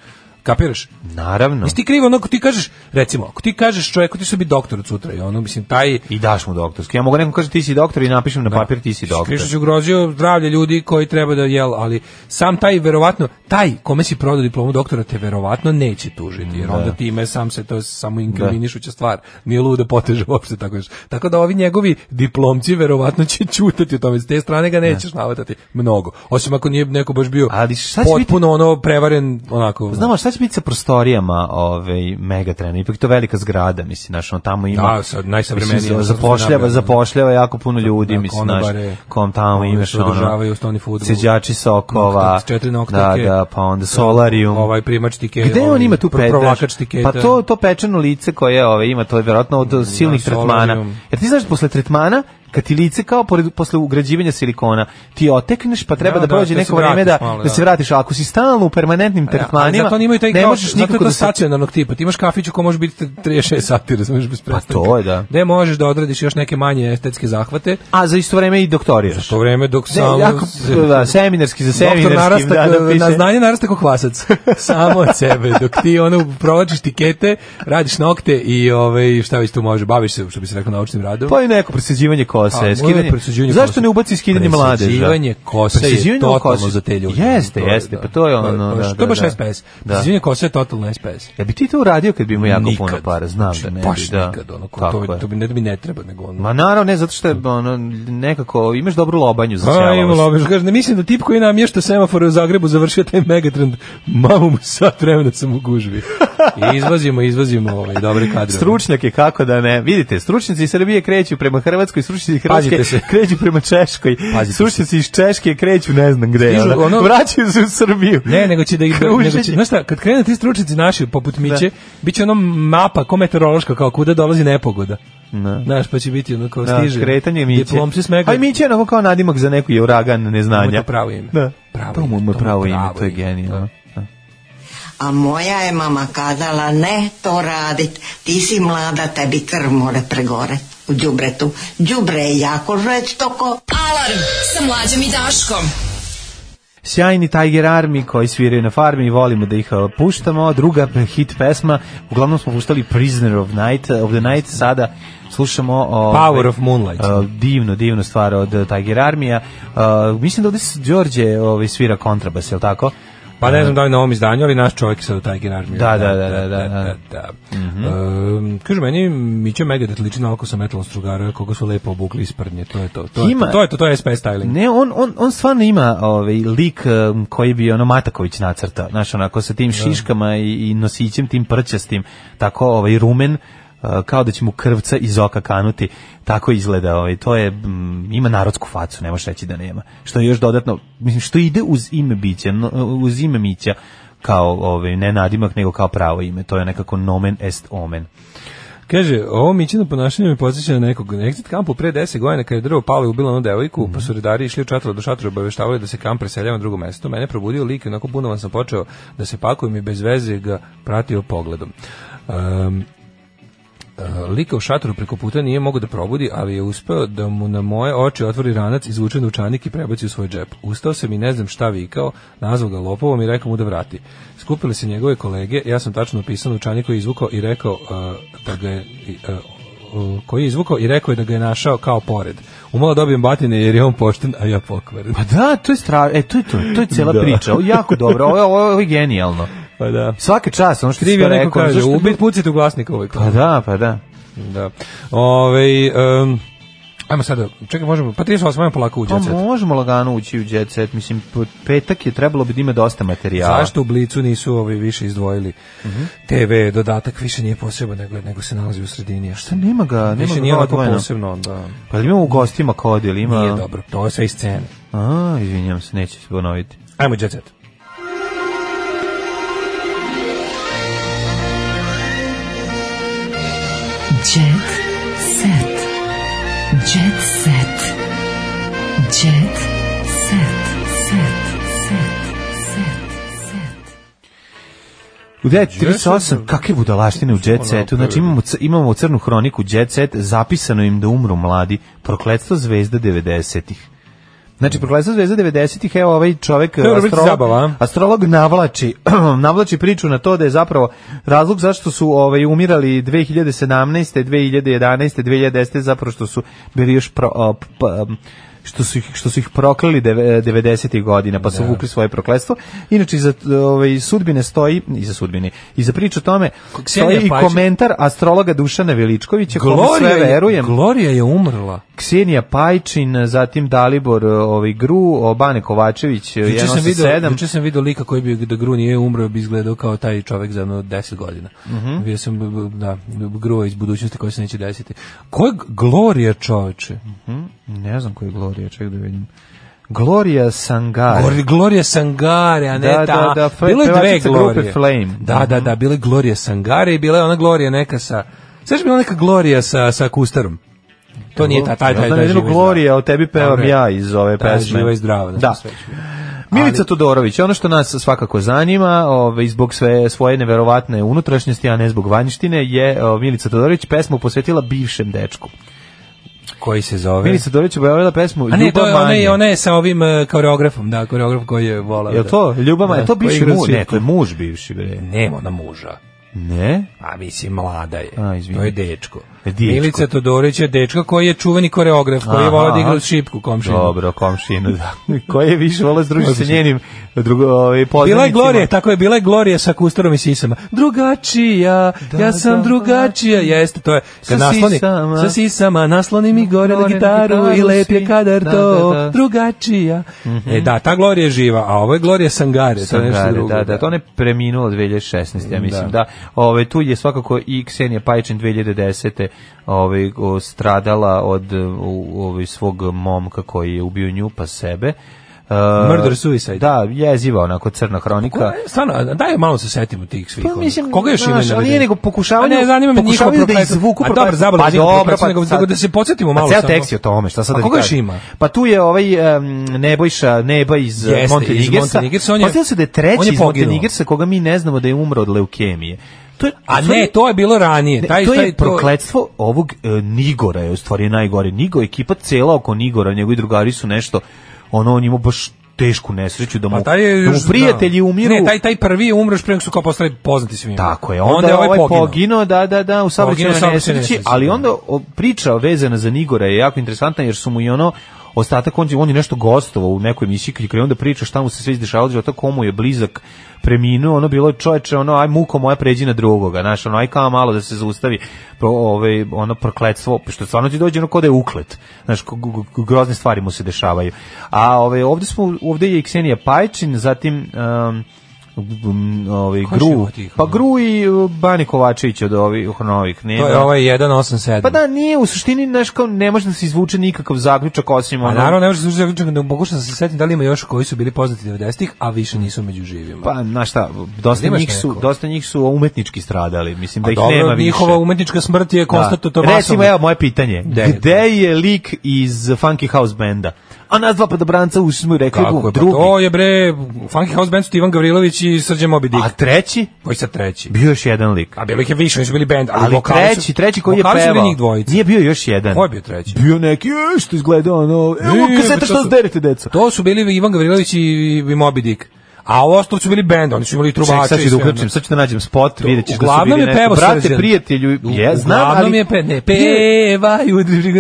Speaker 6: Kapiraš?
Speaker 5: Naravno.
Speaker 6: Jesi ti krivo ono ako ti kažeš, recimo, ako ti kažeš čovjeku ti će biti doktor od sutra i ono, mislim, taj...
Speaker 5: I daš mu doktorski. Ja mogu nekom kažem ti si doktor i napišem na papir ti si doktor.
Speaker 6: Krišić je ugrozio zdravlje ljudi koji treba da jel, ali sam taj verovatno, taj kome si prodao diplomu doktora te verovatno neće tužiti, jer
Speaker 5: Da.
Speaker 6: onda time sam se to je samo inkriminišuća stvar. Nije luda poteže uopšte tako još. Tako da ovi njegovi diplomci verovatno će ćutati o tome, s te strane ga nećeš navatati mnogo. Osim ako nije neko baš bio ali
Speaker 5: šta će
Speaker 6: potpuno ono prevaren onako.
Speaker 5: Znamo šta će biti sa prostorijama ovaj Megatrena. Ipak je to velika zgrada, mislim, znači ono tamo ima
Speaker 6: Da, sad najsavremenije,
Speaker 5: mislim,
Speaker 6: sad
Speaker 5: zapošljava,
Speaker 6: napravljeno.
Speaker 5: zapošljava jako puno ljudi,
Speaker 6: Da, ono
Speaker 5: mislim, znaš,
Speaker 6: konobare,
Speaker 5: kom tamo
Speaker 6: one
Speaker 5: imaš ono,
Speaker 6: što održavaju osnovni fudbal.
Speaker 5: Seđači sokova.
Speaker 6: Noktice, četiri
Speaker 5: Da,
Speaker 6: noktivke.
Speaker 5: da, pa onda solarium.
Speaker 6: Ovaj primač tiketa.
Speaker 5: E, Gde on
Speaker 6: ovaj
Speaker 5: ima tu
Speaker 6: pro-
Speaker 5: petaš?
Speaker 6: provlačač tiketa.
Speaker 5: Pa to to pečeno lice koje ove ima, to je verovatno od silnih
Speaker 6: solarium.
Speaker 5: tretmana. Jer ti znaš da posle tretmana kad ti lice kao pored, posle ugrađivanja silikona ti otekneš pa treba
Speaker 6: Da,
Speaker 5: da,
Speaker 6: da,
Speaker 5: prođe
Speaker 6: da se
Speaker 5: neko vreme da,
Speaker 6: vratiš malo,
Speaker 5: da
Speaker 6: da.
Speaker 5: se vratiš a ako si stalno u permanentnim tretmanima
Speaker 6: A zato oni imaju taj
Speaker 5: ne
Speaker 6: kao,
Speaker 5: možeš
Speaker 6: zato je
Speaker 5: nikako
Speaker 6: to
Speaker 5: da se
Speaker 6: stacionarnog tipa. Ti imaš kafić u kom može biti 36 sati, razumeš, bez prestanka.
Speaker 5: Pa to je, da.
Speaker 6: Gde možeš da odradiš još neke manje estetske zahvate.
Speaker 5: a za isto vreme i doktoriraš
Speaker 6: To vreme dok
Speaker 5: Ne,
Speaker 6: sam...
Speaker 5: jako, da, seminarski za seminarski
Speaker 6: Doktor narasta,
Speaker 5: da, da piše.
Speaker 6: na znanje narasta ko kvasac. Samo od sebe. Dok ti ono provlačiš tikete, radiš nokte i ovaj, šta već tu može, baviš se, što bi se rekao, naučnim radom.
Speaker 5: pa i neko presađivanje kose.
Speaker 6: A,
Speaker 5: skidanje,
Speaker 6: presuđivanje
Speaker 5: zašto
Speaker 6: kose.
Speaker 5: ne ubaci skidanje mladeža?
Speaker 6: Presuđivanje kose je
Speaker 5: Presuđivanje
Speaker 6: totalno
Speaker 5: kose-
Speaker 6: za te ljude.
Speaker 5: Jeste,
Speaker 6: To je,
Speaker 5: jeste,
Speaker 6: da.
Speaker 5: pa to je
Speaker 6: To je
Speaker 5: ono...
Speaker 6: baš-
Speaker 5: da,
Speaker 6: to je baš
Speaker 5: da, da.
Speaker 6: SPS.
Speaker 5: Da.
Speaker 6: Presuđivanje kose je totalno SPS.
Speaker 5: Ja bi ti to uradio kad bi imao jako puno
Speaker 6: Nikad.
Speaker 5: para, znam da
Speaker 6: Znači,
Speaker 5: ne bi.
Speaker 6: baš
Speaker 5: da.
Speaker 6: nikad, ono, ko-
Speaker 5: Tako
Speaker 6: to-
Speaker 5: je.
Speaker 6: to bi- ne da mi ne treba, nego ono-
Speaker 5: Ma naravno, ne, zato što je ono, nekako, imaš dobru lobanju za
Speaker 6: A, Pa, ima
Speaker 5: sjalovost.
Speaker 6: lobež. Kaže, ne mislim da tip koji namješta semafore u Zagrebu završio taj megatrend. Mamu mu sat vremena sam u gužvi. I izvozimo, izvozimo ovaj, dobre kadre.
Speaker 5: Stručnjake kako da ne. Vidite, stručnjaci iz Srbije kreću prema Hrvatskoj, stručnjaci iz Hrvatske
Speaker 6: Pazite se.
Speaker 5: kreću prema Češkoj,
Speaker 6: Pazite
Speaker 5: stručnjaci iz Češke kreću ne znam gde.
Speaker 6: Stižu,
Speaker 5: ono,
Speaker 6: ono-
Speaker 5: vraćaju se u Srbiju.
Speaker 6: Ne, nego će da ih
Speaker 5: Kruženje.
Speaker 6: nego će, znaš šta, kad krenu ti stručnici naši poput Miće, biće ono mapa ko meteorološka kao kuda dolazi nepogoda.
Speaker 5: Ne.
Speaker 6: Znaš, pa će biti ono kao
Speaker 5: Da,
Speaker 6: stiže.
Speaker 5: kretanje Miće.
Speaker 6: Diplomci smega.
Speaker 5: Aj Miće je onako kao nadimak za neku je uragan
Speaker 6: Mu je
Speaker 5: neznanja.
Speaker 6: to pravo ime.
Speaker 5: Da.
Speaker 6: Pravo
Speaker 5: to mu
Speaker 6: ime,
Speaker 5: je
Speaker 6: to
Speaker 5: pravo
Speaker 6: mu je
Speaker 5: ime,
Speaker 6: pravo
Speaker 5: to je genijalno.
Speaker 13: A moja je mama kazala, ne to radit, ti si mlada, tebi krv more pregore u đubretu. Đubre je jako žestoko.
Speaker 7: Alarm sa mlađom i Daškom.
Speaker 5: Sjajni Tiger Army koji sviraju na farmi i volimo da ih a, puštamo. Druga hit pesma, uglavnom smo puštali Prisoner of Night, e, of the Night, sada slušamo e, ovaj, o,
Speaker 6: Power of Moonlight.
Speaker 5: a, divnu, divnu stvar od Tiger Armija. A, mislim da ovdje s- Đorđe ovaj, svira kontrabas, je li tako?
Speaker 6: Pa ne znam da li na ovom izdanju, ali naš čovjek je sad u Tiger Army.
Speaker 5: Da, da, da, da, da, da. Mhm.
Speaker 6: da. Ehm, kažu, meni Mića Megadeth liči na sa metalom strugara, koga su lepo obukli isprdnje, to je to. To,
Speaker 5: Ima-
Speaker 6: je, to, to je to, to je SPS styling.
Speaker 5: Ne, on, on, on stvarno ima ovaj, lik um, koji bi ono Mataković nacrta, znaš, onako sa tim šiškama i, i nosićem, tim prčastim, tako ovaj, rumen, uh, kao da će mu krvca iz oka kanuti, tako izgleda, ovaj, to je, mm, ima narodsku facu, ne možeš reći da nema, što je još dodatno, mislim, što ide uz ime bića, no, uz ime Mića, kao ovaj, ne nadimak, nego kao pravo ime, to je nekako nomen est omen.
Speaker 6: Kaže, ovo Mićino ponašanje me podsjeća na nekog na exit kampu pre 10 godina kada je drvo palo i ubilo onu devojku, pa su redari išli od čatora do šatora obaveštavali da se kamp preseljava na drugo mesto. Mene probudio lik i onako bunovan sam počeo da se pakujem i bez veze ga pratio pogledom. Um, Uh, lika u šatoru preko puta nije mogao da probudi, ali je uspeo da mu na moje oči otvori ranac, izvuče novčanik i prebaci u svoj džep. Ustao sam i ne znam šta vikao, nazvao ga lopovom i rekao mu da vrati. Skupili se njegove kolege, ja sam tačno opisao novčanik koji je izvukao i rekao uh, da ga je i, uh, uh, koji je izvukao i rekao je da ga je našao kao pored. Umalo dobijem batine jer je on pošten, a ja pokvaren.
Speaker 5: Pa da, to je strašno, e, to je to, to je cela
Speaker 6: Da.
Speaker 5: priča, ovo je jako dobro, ovo je, ovo je genijalno.
Speaker 6: Pa da.
Speaker 5: Svaka čast, ono što si
Speaker 6: Krivio
Speaker 5: to
Speaker 6: neko
Speaker 5: rekao.
Speaker 6: kaže,
Speaker 5: zašto-
Speaker 6: ubit pucite u glasnika uvijek.
Speaker 5: Pa da, pa da.
Speaker 6: Da. Ove, um, ajmo sada, čekaj, možemo, pa 38, ajmo polako uđe.
Speaker 5: Pa možemo lagano ući u jet set, mislim, po- petak je trebalo bi da ima dosta materijala.
Speaker 6: Zašto u Blicu nisu ovi više izdvojili
Speaker 5: Mhm.
Speaker 6: TV dodatak, više nije poseban nego, nego se nalazi u sredini. A Šta
Speaker 5: Pa nema ga, nema
Speaker 6: Više
Speaker 5: ga
Speaker 6: nije
Speaker 5: kao
Speaker 6: onako
Speaker 5: odvojeno.
Speaker 6: posebno onda.
Speaker 5: Pa imamo u gostima kod ili ima...
Speaker 6: Nije dobro, to je sve iz scene.
Speaker 5: A, izvinjam se, neće se ponoviti.
Speaker 6: Ajmo jet set.
Speaker 4: Jet set. Jet set. Jet set. Set. Set. Set. Set.
Speaker 5: U 938, kakve budalaštine u jet setu, znači imamo, c- imamo crnu hroniku jet set, zapisano im da umru mladi, prokletstvo zvezda 90-ih. Znači, prokletstvo zvezda 90-ih, evo ovaj čovek,
Speaker 6: Dobro, biti
Speaker 5: astrolog,
Speaker 6: zabava, a?
Speaker 5: astrolog navlači, navlači priču na to da je zapravo razlog zašto su ovaj, umirali 2017. 2011. 2010. zapravo što su bili još pro, a, p- a, što su ih, što su ih prokleli deve- 90-ih godina, pa su vukli svoje prokletstvo. Inače, iza ovaj, sudbine stoji, iza sudbine, iza priča o tome,
Speaker 6: Ksenija
Speaker 5: stoji i
Speaker 6: Pajić-
Speaker 5: komentar astrologa Dušana Veličkovića, kome sve
Speaker 6: je-
Speaker 5: verujem.
Speaker 6: Gloria je umrla.
Speaker 5: Ksenija Pajčin, zatim Dalibor e, ovaj Gru, o, Bane Kovačević,
Speaker 6: Juče sam, video,
Speaker 5: 187.
Speaker 6: juče sam video lika koji bi da Gru nije umrao, bi izgledao kao taj čovek za jedno 10 godina.
Speaker 5: Mhm.
Speaker 6: Bio sam, da, Gru iz budućnosti koji se neće desiti. Ko je Gloria čoveče?
Speaker 5: Mhm, Ne znam koji je Gloria, ček da vidim. Gloria Sangare.
Speaker 6: Gor- Gloria Sangare, a ne
Speaker 5: Pa Da,
Speaker 6: ta.
Speaker 5: da, da, fe-
Speaker 6: bilo je dve
Speaker 5: pevačica grupe
Speaker 6: Glorije.
Speaker 5: Flame.
Speaker 6: Da, da, da, bila je Gloria Sangare i bila je ona Gloria neka sa... Sveći bila neka Gloria sa, sa Kustarom. To nije ta, taj, taj,
Speaker 5: Ja znam
Speaker 6: taj,
Speaker 5: jedino
Speaker 6: živa i
Speaker 5: Gloria, o tebi pevam
Speaker 6: Dobro je.
Speaker 5: ja iz ove
Speaker 6: Ta
Speaker 5: pesme.
Speaker 6: živa i zdrava, da
Speaker 5: Da.
Speaker 6: smo srećni.
Speaker 5: Milica Todorović, ono što nas svakako zanima, ove, zbog sve svoje neverovatne unutrašnjosti, a ne zbog vanjštine, je o, Milica Todorović pesmu posvetila bivšem dečku.
Speaker 6: Koji se zove?
Speaker 5: Milica Todorović je objavila pesmu
Speaker 6: Pa A ne, to
Speaker 5: Ljubav
Speaker 6: je ona,
Speaker 5: manje.
Speaker 6: je, ona je sa ovim e, koreografom, da, koreograf koji je volao.
Speaker 5: Je li to? Ljubav manje?
Speaker 6: Da,
Speaker 5: to bivši
Speaker 6: koji igra
Speaker 5: muž?
Speaker 6: svirku.
Speaker 5: Ne, to je muž bivši, bre.
Speaker 6: Nema ona muža.
Speaker 5: Ne?
Speaker 6: A mislim, mlada je.
Speaker 5: A, izvini.
Speaker 6: To je dečko.
Speaker 5: Dečko.
Speaker 6: Milica Todorić je dečko koji je čuveni koreograf, koji je volao da igra uz šipku komšinu.
Speaker 5: Dobro, komšinu, da. Koji je više volao družiti sa njenim drugo, ovaj,
Speaker 6: Bila je
Speaker 5: poznanicima?
Speaker 6: Glorija, tako je, bila je Glorija sa kustorom i sisama. Drugačija, ja sam drugačija. Jeste, to je.
Speaker 5: Sa
Speaker 6: Kad nasloni,
Speaker 5: sisama.
Speaker 6: sa sisama, nasloni mi gore na
Speaker 5: Gore na
Speaker 6: gitaru i
Speaker 5: gitaru
Speaker 6: lep je
Speaker 5: svi.
Speaker 6: kadar
Speaker 5: Da,
Speaker 6: to.
Speaker 5: da, da.
Speaker 6: Drugačija. E da, ta Glorija je živa, a ovo je Glorija Sangare, to je nešto
Speaker 5: Sangare,
Speaker 6: drugo.
Speaker 5: Da, da, to ne preminulo 2016. Ja mislim da.
Speaker 6: Da.
Speaker 5: Ove tu je svakako i Ksenija Pajićin 2010. Ove ovaj, o, stradala od e, u- ovaj svog momka koji je ubio nju pa sebe. Uh,
Speaker 6: Murder suicide.
Speaker 5: Da, jeziva onako crna hronika.
Speaker 6: Ko- Stvarno, a daj malo se setimo tih svih.
Speaker 5: Pa,
Speaker 6: ono.
Speaker 5: mislim,
Speaker 6: Koga još
Speaker 5: znaš,
Speaker 6: ima?
Speaker 5: ali
Speaker 6: navedeno?
Speaker 5: nije nego pokušavaju-
Speaker 6: A Ne, zanima me njihovo
Speaker 5: pokušavaju da
Speaker 6: prokletstvo.
Speaker 5: izvuku
Speaker 6: A dobro,
Speaker 5: prokletstvo.
Speaker 6: zabavno,
Speaker 5: Pa
Speaker 6: da izvuku
Speaker 5: dobro,
Speaker 6: prokletstvo,
Speaker 5: pa
Speaker 6: nego,
Speaker 5: sad-
Speaker 6: nego da se podsjetimo
Speaker 5: Pa
Speaker 6: malo.
Speaker 5: ceo
Speaker 6: samo.
Speaker 5: tekst je o tome, šta sad
Speaker 6: A
Speaker 5: da ti
Speaker 6: koga još
Speaker 5: kažem?
Speaker 6: ima?
Speaker 5: Pa tu je ovaj em, Nebojša Nebojš iz
Speaker 6: Jeste, iz
Speaker 5: Montenigersa.
Speaker 6: Montenegirsa, on je-
Speaker 5: Postavilo se da je
Speaker 6: on
Speaker 5: treći
Speaker 6: je
Speaker 5: iz
Speaker 6: poginuo.
Speaker 5: Montenegersa koga mi ne znamo da je umro od leukemije. To je,
Speaker 6: A
Speaker 5: to je-
Speaker 6: ne, to je bilo ranije.
Speaker 5: Ne,
Speaker 6: Taj,
Speaker 5: to
Speaker 6: taj,
Speaker 5: je prokletstvo ovog e, Nigora je u stvari najgore. Nigo, ekipa cela oko Nigora, njegovi drugari su nešto, ono, on ima baš tešku nesreću da mu,
Speaker 6: Pa taj je
Speaker 5: da mu
Speaker 6: još,
Speaker 5: prijatelji
Speaker 6: da.
Speaker 5: umiru.
Speaker 6: Ne, taj, taj prvi je umro još pre nego su kao postali poznati svima.
Speaker 5: Tako je, onda, je ovaj poginuo. da, da, da, u
Speaker 6: Poginuo u
Speaker 5: saobraćajnoj
Speaker 6: saobraćajnoj
Speaker 5: nesreći,
Speaker 6: nesreći,
Speaker 5: ali
Speaker 6: da.
Speaker 5: onda o, priča vezana za Nigora je jako interesantna jer su mu i ono ostatak, on, je- on je nešto gostovao u nekoj emisiji kada je onda priča šta mu se sve izdešavalo, života, komu je blizak preminuo, ono bilo je čoveče, ono, aj muko moja pređi na drugoga, znaš, ono, aj kao malo da se zaustavi, pro, ove, ono, prokletstvo, što stvarno ti dođe ono ko da je uklet, znaš, ko- g- g- grozne stvari mu se dešavaju. A ove, ovde, smo, ovde je i Ksenija Pajčin, zatim... Um, um, ovaj
Speaker 6: Ko je
Speaker 5: Gru,
Speaker 6: život ih,
Speaker 5: pa Gru i uh, Bani Kovačević od ovih novih. Nema.
Speaker 6: To je ovaj 187.
Speaker 5: Pa da, nije, u suštini znaš, kao, ne može da se izvuče nikakav zaključak osim
Speaker 6: A
Speaker 5: ono...
Speaker 6: Pa naravno, ne može se slušati da pokušam da se setim da li ima još koji su bili poznati 90-ih, a više nisu među živima.
Speaker 5: Pa, znaš šta, dosta
Speaker 6: Imaš
Speaker 5: njih, su,
Speaker 6: neko?
Speaker 5: dosta njih su umetnički stradali, mislim da
Speaker 6: A
Speaker 5: ih
Speaker 6: dobro,
Speaker 5: nema više.
Speaker 6: njihova umetnička smrt je konstato
Speaker 5: da.
Speaker 6: to
Speaker 5: Recimo,
Speaker 6: masovno.
Speaker 5: evo moje pitanje.
Speaker 6: Gde?
Speaker 5: Gde je lik iz Funky House Benda? A nas dva podobranca ušli smo i rekli,
Speaker 6: Kako
Speaker 5: bu,
Speaker 6: je, pa
Speaker 5: drugi.
Speaker 6: to je bre, Funky House Band su Ivan Gavrilović i Srđan Moby Dick.
Speaker 5: A treći?
Speaker 6: Koji sad treći?
Speaker 5: Bio još jedan lik.
Speaker 6: A bilo ih je više, oni su bili band, ali,
Speaker 5: Ali
Speaker 6: vokali su-
Speaker 5: treći, treći koji je
Speaker 6: vokali su bili
Speaker 5: pevao.
Speaker 6: njih dvojica.
Speaker 5: Nije bio još jedan.
Speaker 6: Ko je bio treći?
Speaker 5: Bio neki, e, što izgleda ono, evo
Speaker 6: Nije, pa
Speaker 5: kaseta
Speaker 6: bre, to
Speaker 5: što
Speaker 6: su-
Speaker 5: zderite, deco.
Speaker 6: To su bili Ivan Gavrilović i, i Moby Dick. A ovo ostalo su bili band, oni su imali i trubače.
Speaker 5: Ček, sad
Speaker 6: i
Speaker 5: ću da
Speaker 6: sve ono.
Speaker 5: uključim, sad ću da nađem spot, vidjet ćeš da su
Speaker 6: Uglavnom
Speaker 5: bili
Speaker 6: je
Speaker 5: nešto.
Speaker 6: pevao
Speaker 5: Brate,
Speaker 6: Srđan.
Speaker 5: prijatelju, je, znam, ali...
Speaker 6: Uglavnom je pe, ne,
Speaker 5: Bio je-
Speaker 6: pevaju,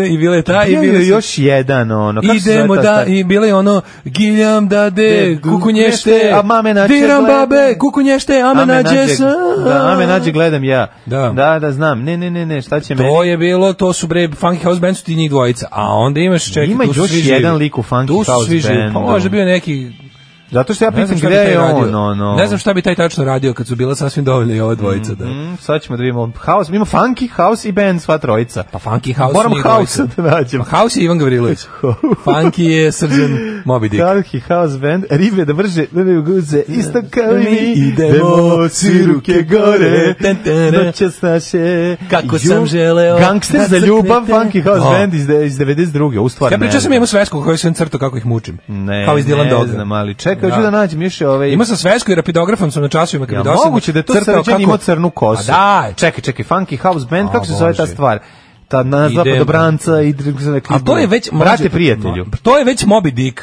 Speaker 6: i bila je ta, i
Speaker 5: bio
Speaker 6: bila
Speaker 5: je
Speaker 6: je
Speaker 5: još jedan, ono, kako se
Speaker 6: Idemo
Speaker 5: zove ta
Speaker 6: da,
Speaker 5: stvar?
Speaker 6: i bilo je ono, giljam da de,
Speaker 5: De,
Speaker 6: kukunješte,
Speaker 5: a mame nađe
Speaker 6: diram
Speaker 5: gleda.
Speaker 6: babe, kukunješte, a me nađe sa.
Speaker 5: Da, ame nađe gledam ja. Da. da, gledam. Ne, ne, ne, ne, šta će meni?
Speaker 6: To je bilo, to su bre Funky House Band su ti njih dvojica. A onda imaš čekaj,
Speaker 5: Ima
Speaker 6: tu su
Speaker 5: još
Speaker 6: svi živi.
Speaker 5: jedan lik u Funky
Speaker 6: tu su
Speaker 5: House
Speaker 6: svi živi. Pa
Speaker 5: Bandu.
Speaker 6: možda bio neki
Speaker 5: Zato što ja
Speaker 6: ne
Speaker 5: pitam
Speaker 6: znam šta
Speaker 5: gde
Speaker 6: bi taj
Speaker 5: je on,
Speaker 6: radio.
Speaker 5: ono.
Speaker 6: Ne znam šta bi taj tačno radio kad su bila sasvim dovoljna i ova dvojica da.
Speaker 5: Mm, sad ćemo da vidimo house, ima funky house i band sva trojica.
Speaker 6: Pa Funky House
Speaker 5: Moram
Speaker 6: su njih
Speaker 5: house
Speaker 6: dvojica.
Speaker 5: da nađem.
Speaker 6: Pa House je Ivan Gavrilović. funky je Srđan Moby Dick.
Speaker 5: Funky house band, ribe da brže, ribe guze, isto kao i mi.
Speaker 6: idemo, svi ruke gore,
Speaker 5: noćas naše.
Speaker 6: Kako sam želeo
Speaker 5: Gangster
Speaker 6: da
Speaker 5: za ljubav,
Speaker 6: crknete.
Speaker 5: funky house
Speaker 6: O.
Speaker 5: band iz, de- iz 92. U stvar
Speaker 6: Ja
Speaker 5: ne
Speaker 6: pričao sam
Speaker 5: znam.
Speaker 6: imam svesku koju sam crtao kako ih mučim.
Speaker 5: Ne,
Speaker 6: Kao iz Dylan
Speaker 5: ne
Speaker 6: Doga.
Speaker 5: znam, ali čekaj,
Speaker 6: Da.
Speaker 5: hoću da nađem još ovaj...
Speaker 6: Imao sam svesku i rapidografom sam na časovima kad
Speaker 5: Ja,
Speaker 6: bi dosadno
Speaker 5: moguće da je to
Speaker 6: crtao
Speaker 5: Srđan
Speaker 6: kako-
Speaker 5: imao crnu kosu.
Speaker 6: A da,
Speaker 5: Čekaj, čekaj, Funky House Band,
Speaker 6: A,
Speaker 5: kako se zove ta
Speaker 6: Bože.
Speaker 5: stvar? Ta nazva
Speaker 6: Idemo.
Speaker 5: Dobranca i drugi se neki...
Speaker 6: A to je već
Speaker 5: Brate
Speaker 6: mlađe-
Speaker 5: prijatelju.
Speaker 6: Ma, To je već Moby Dick.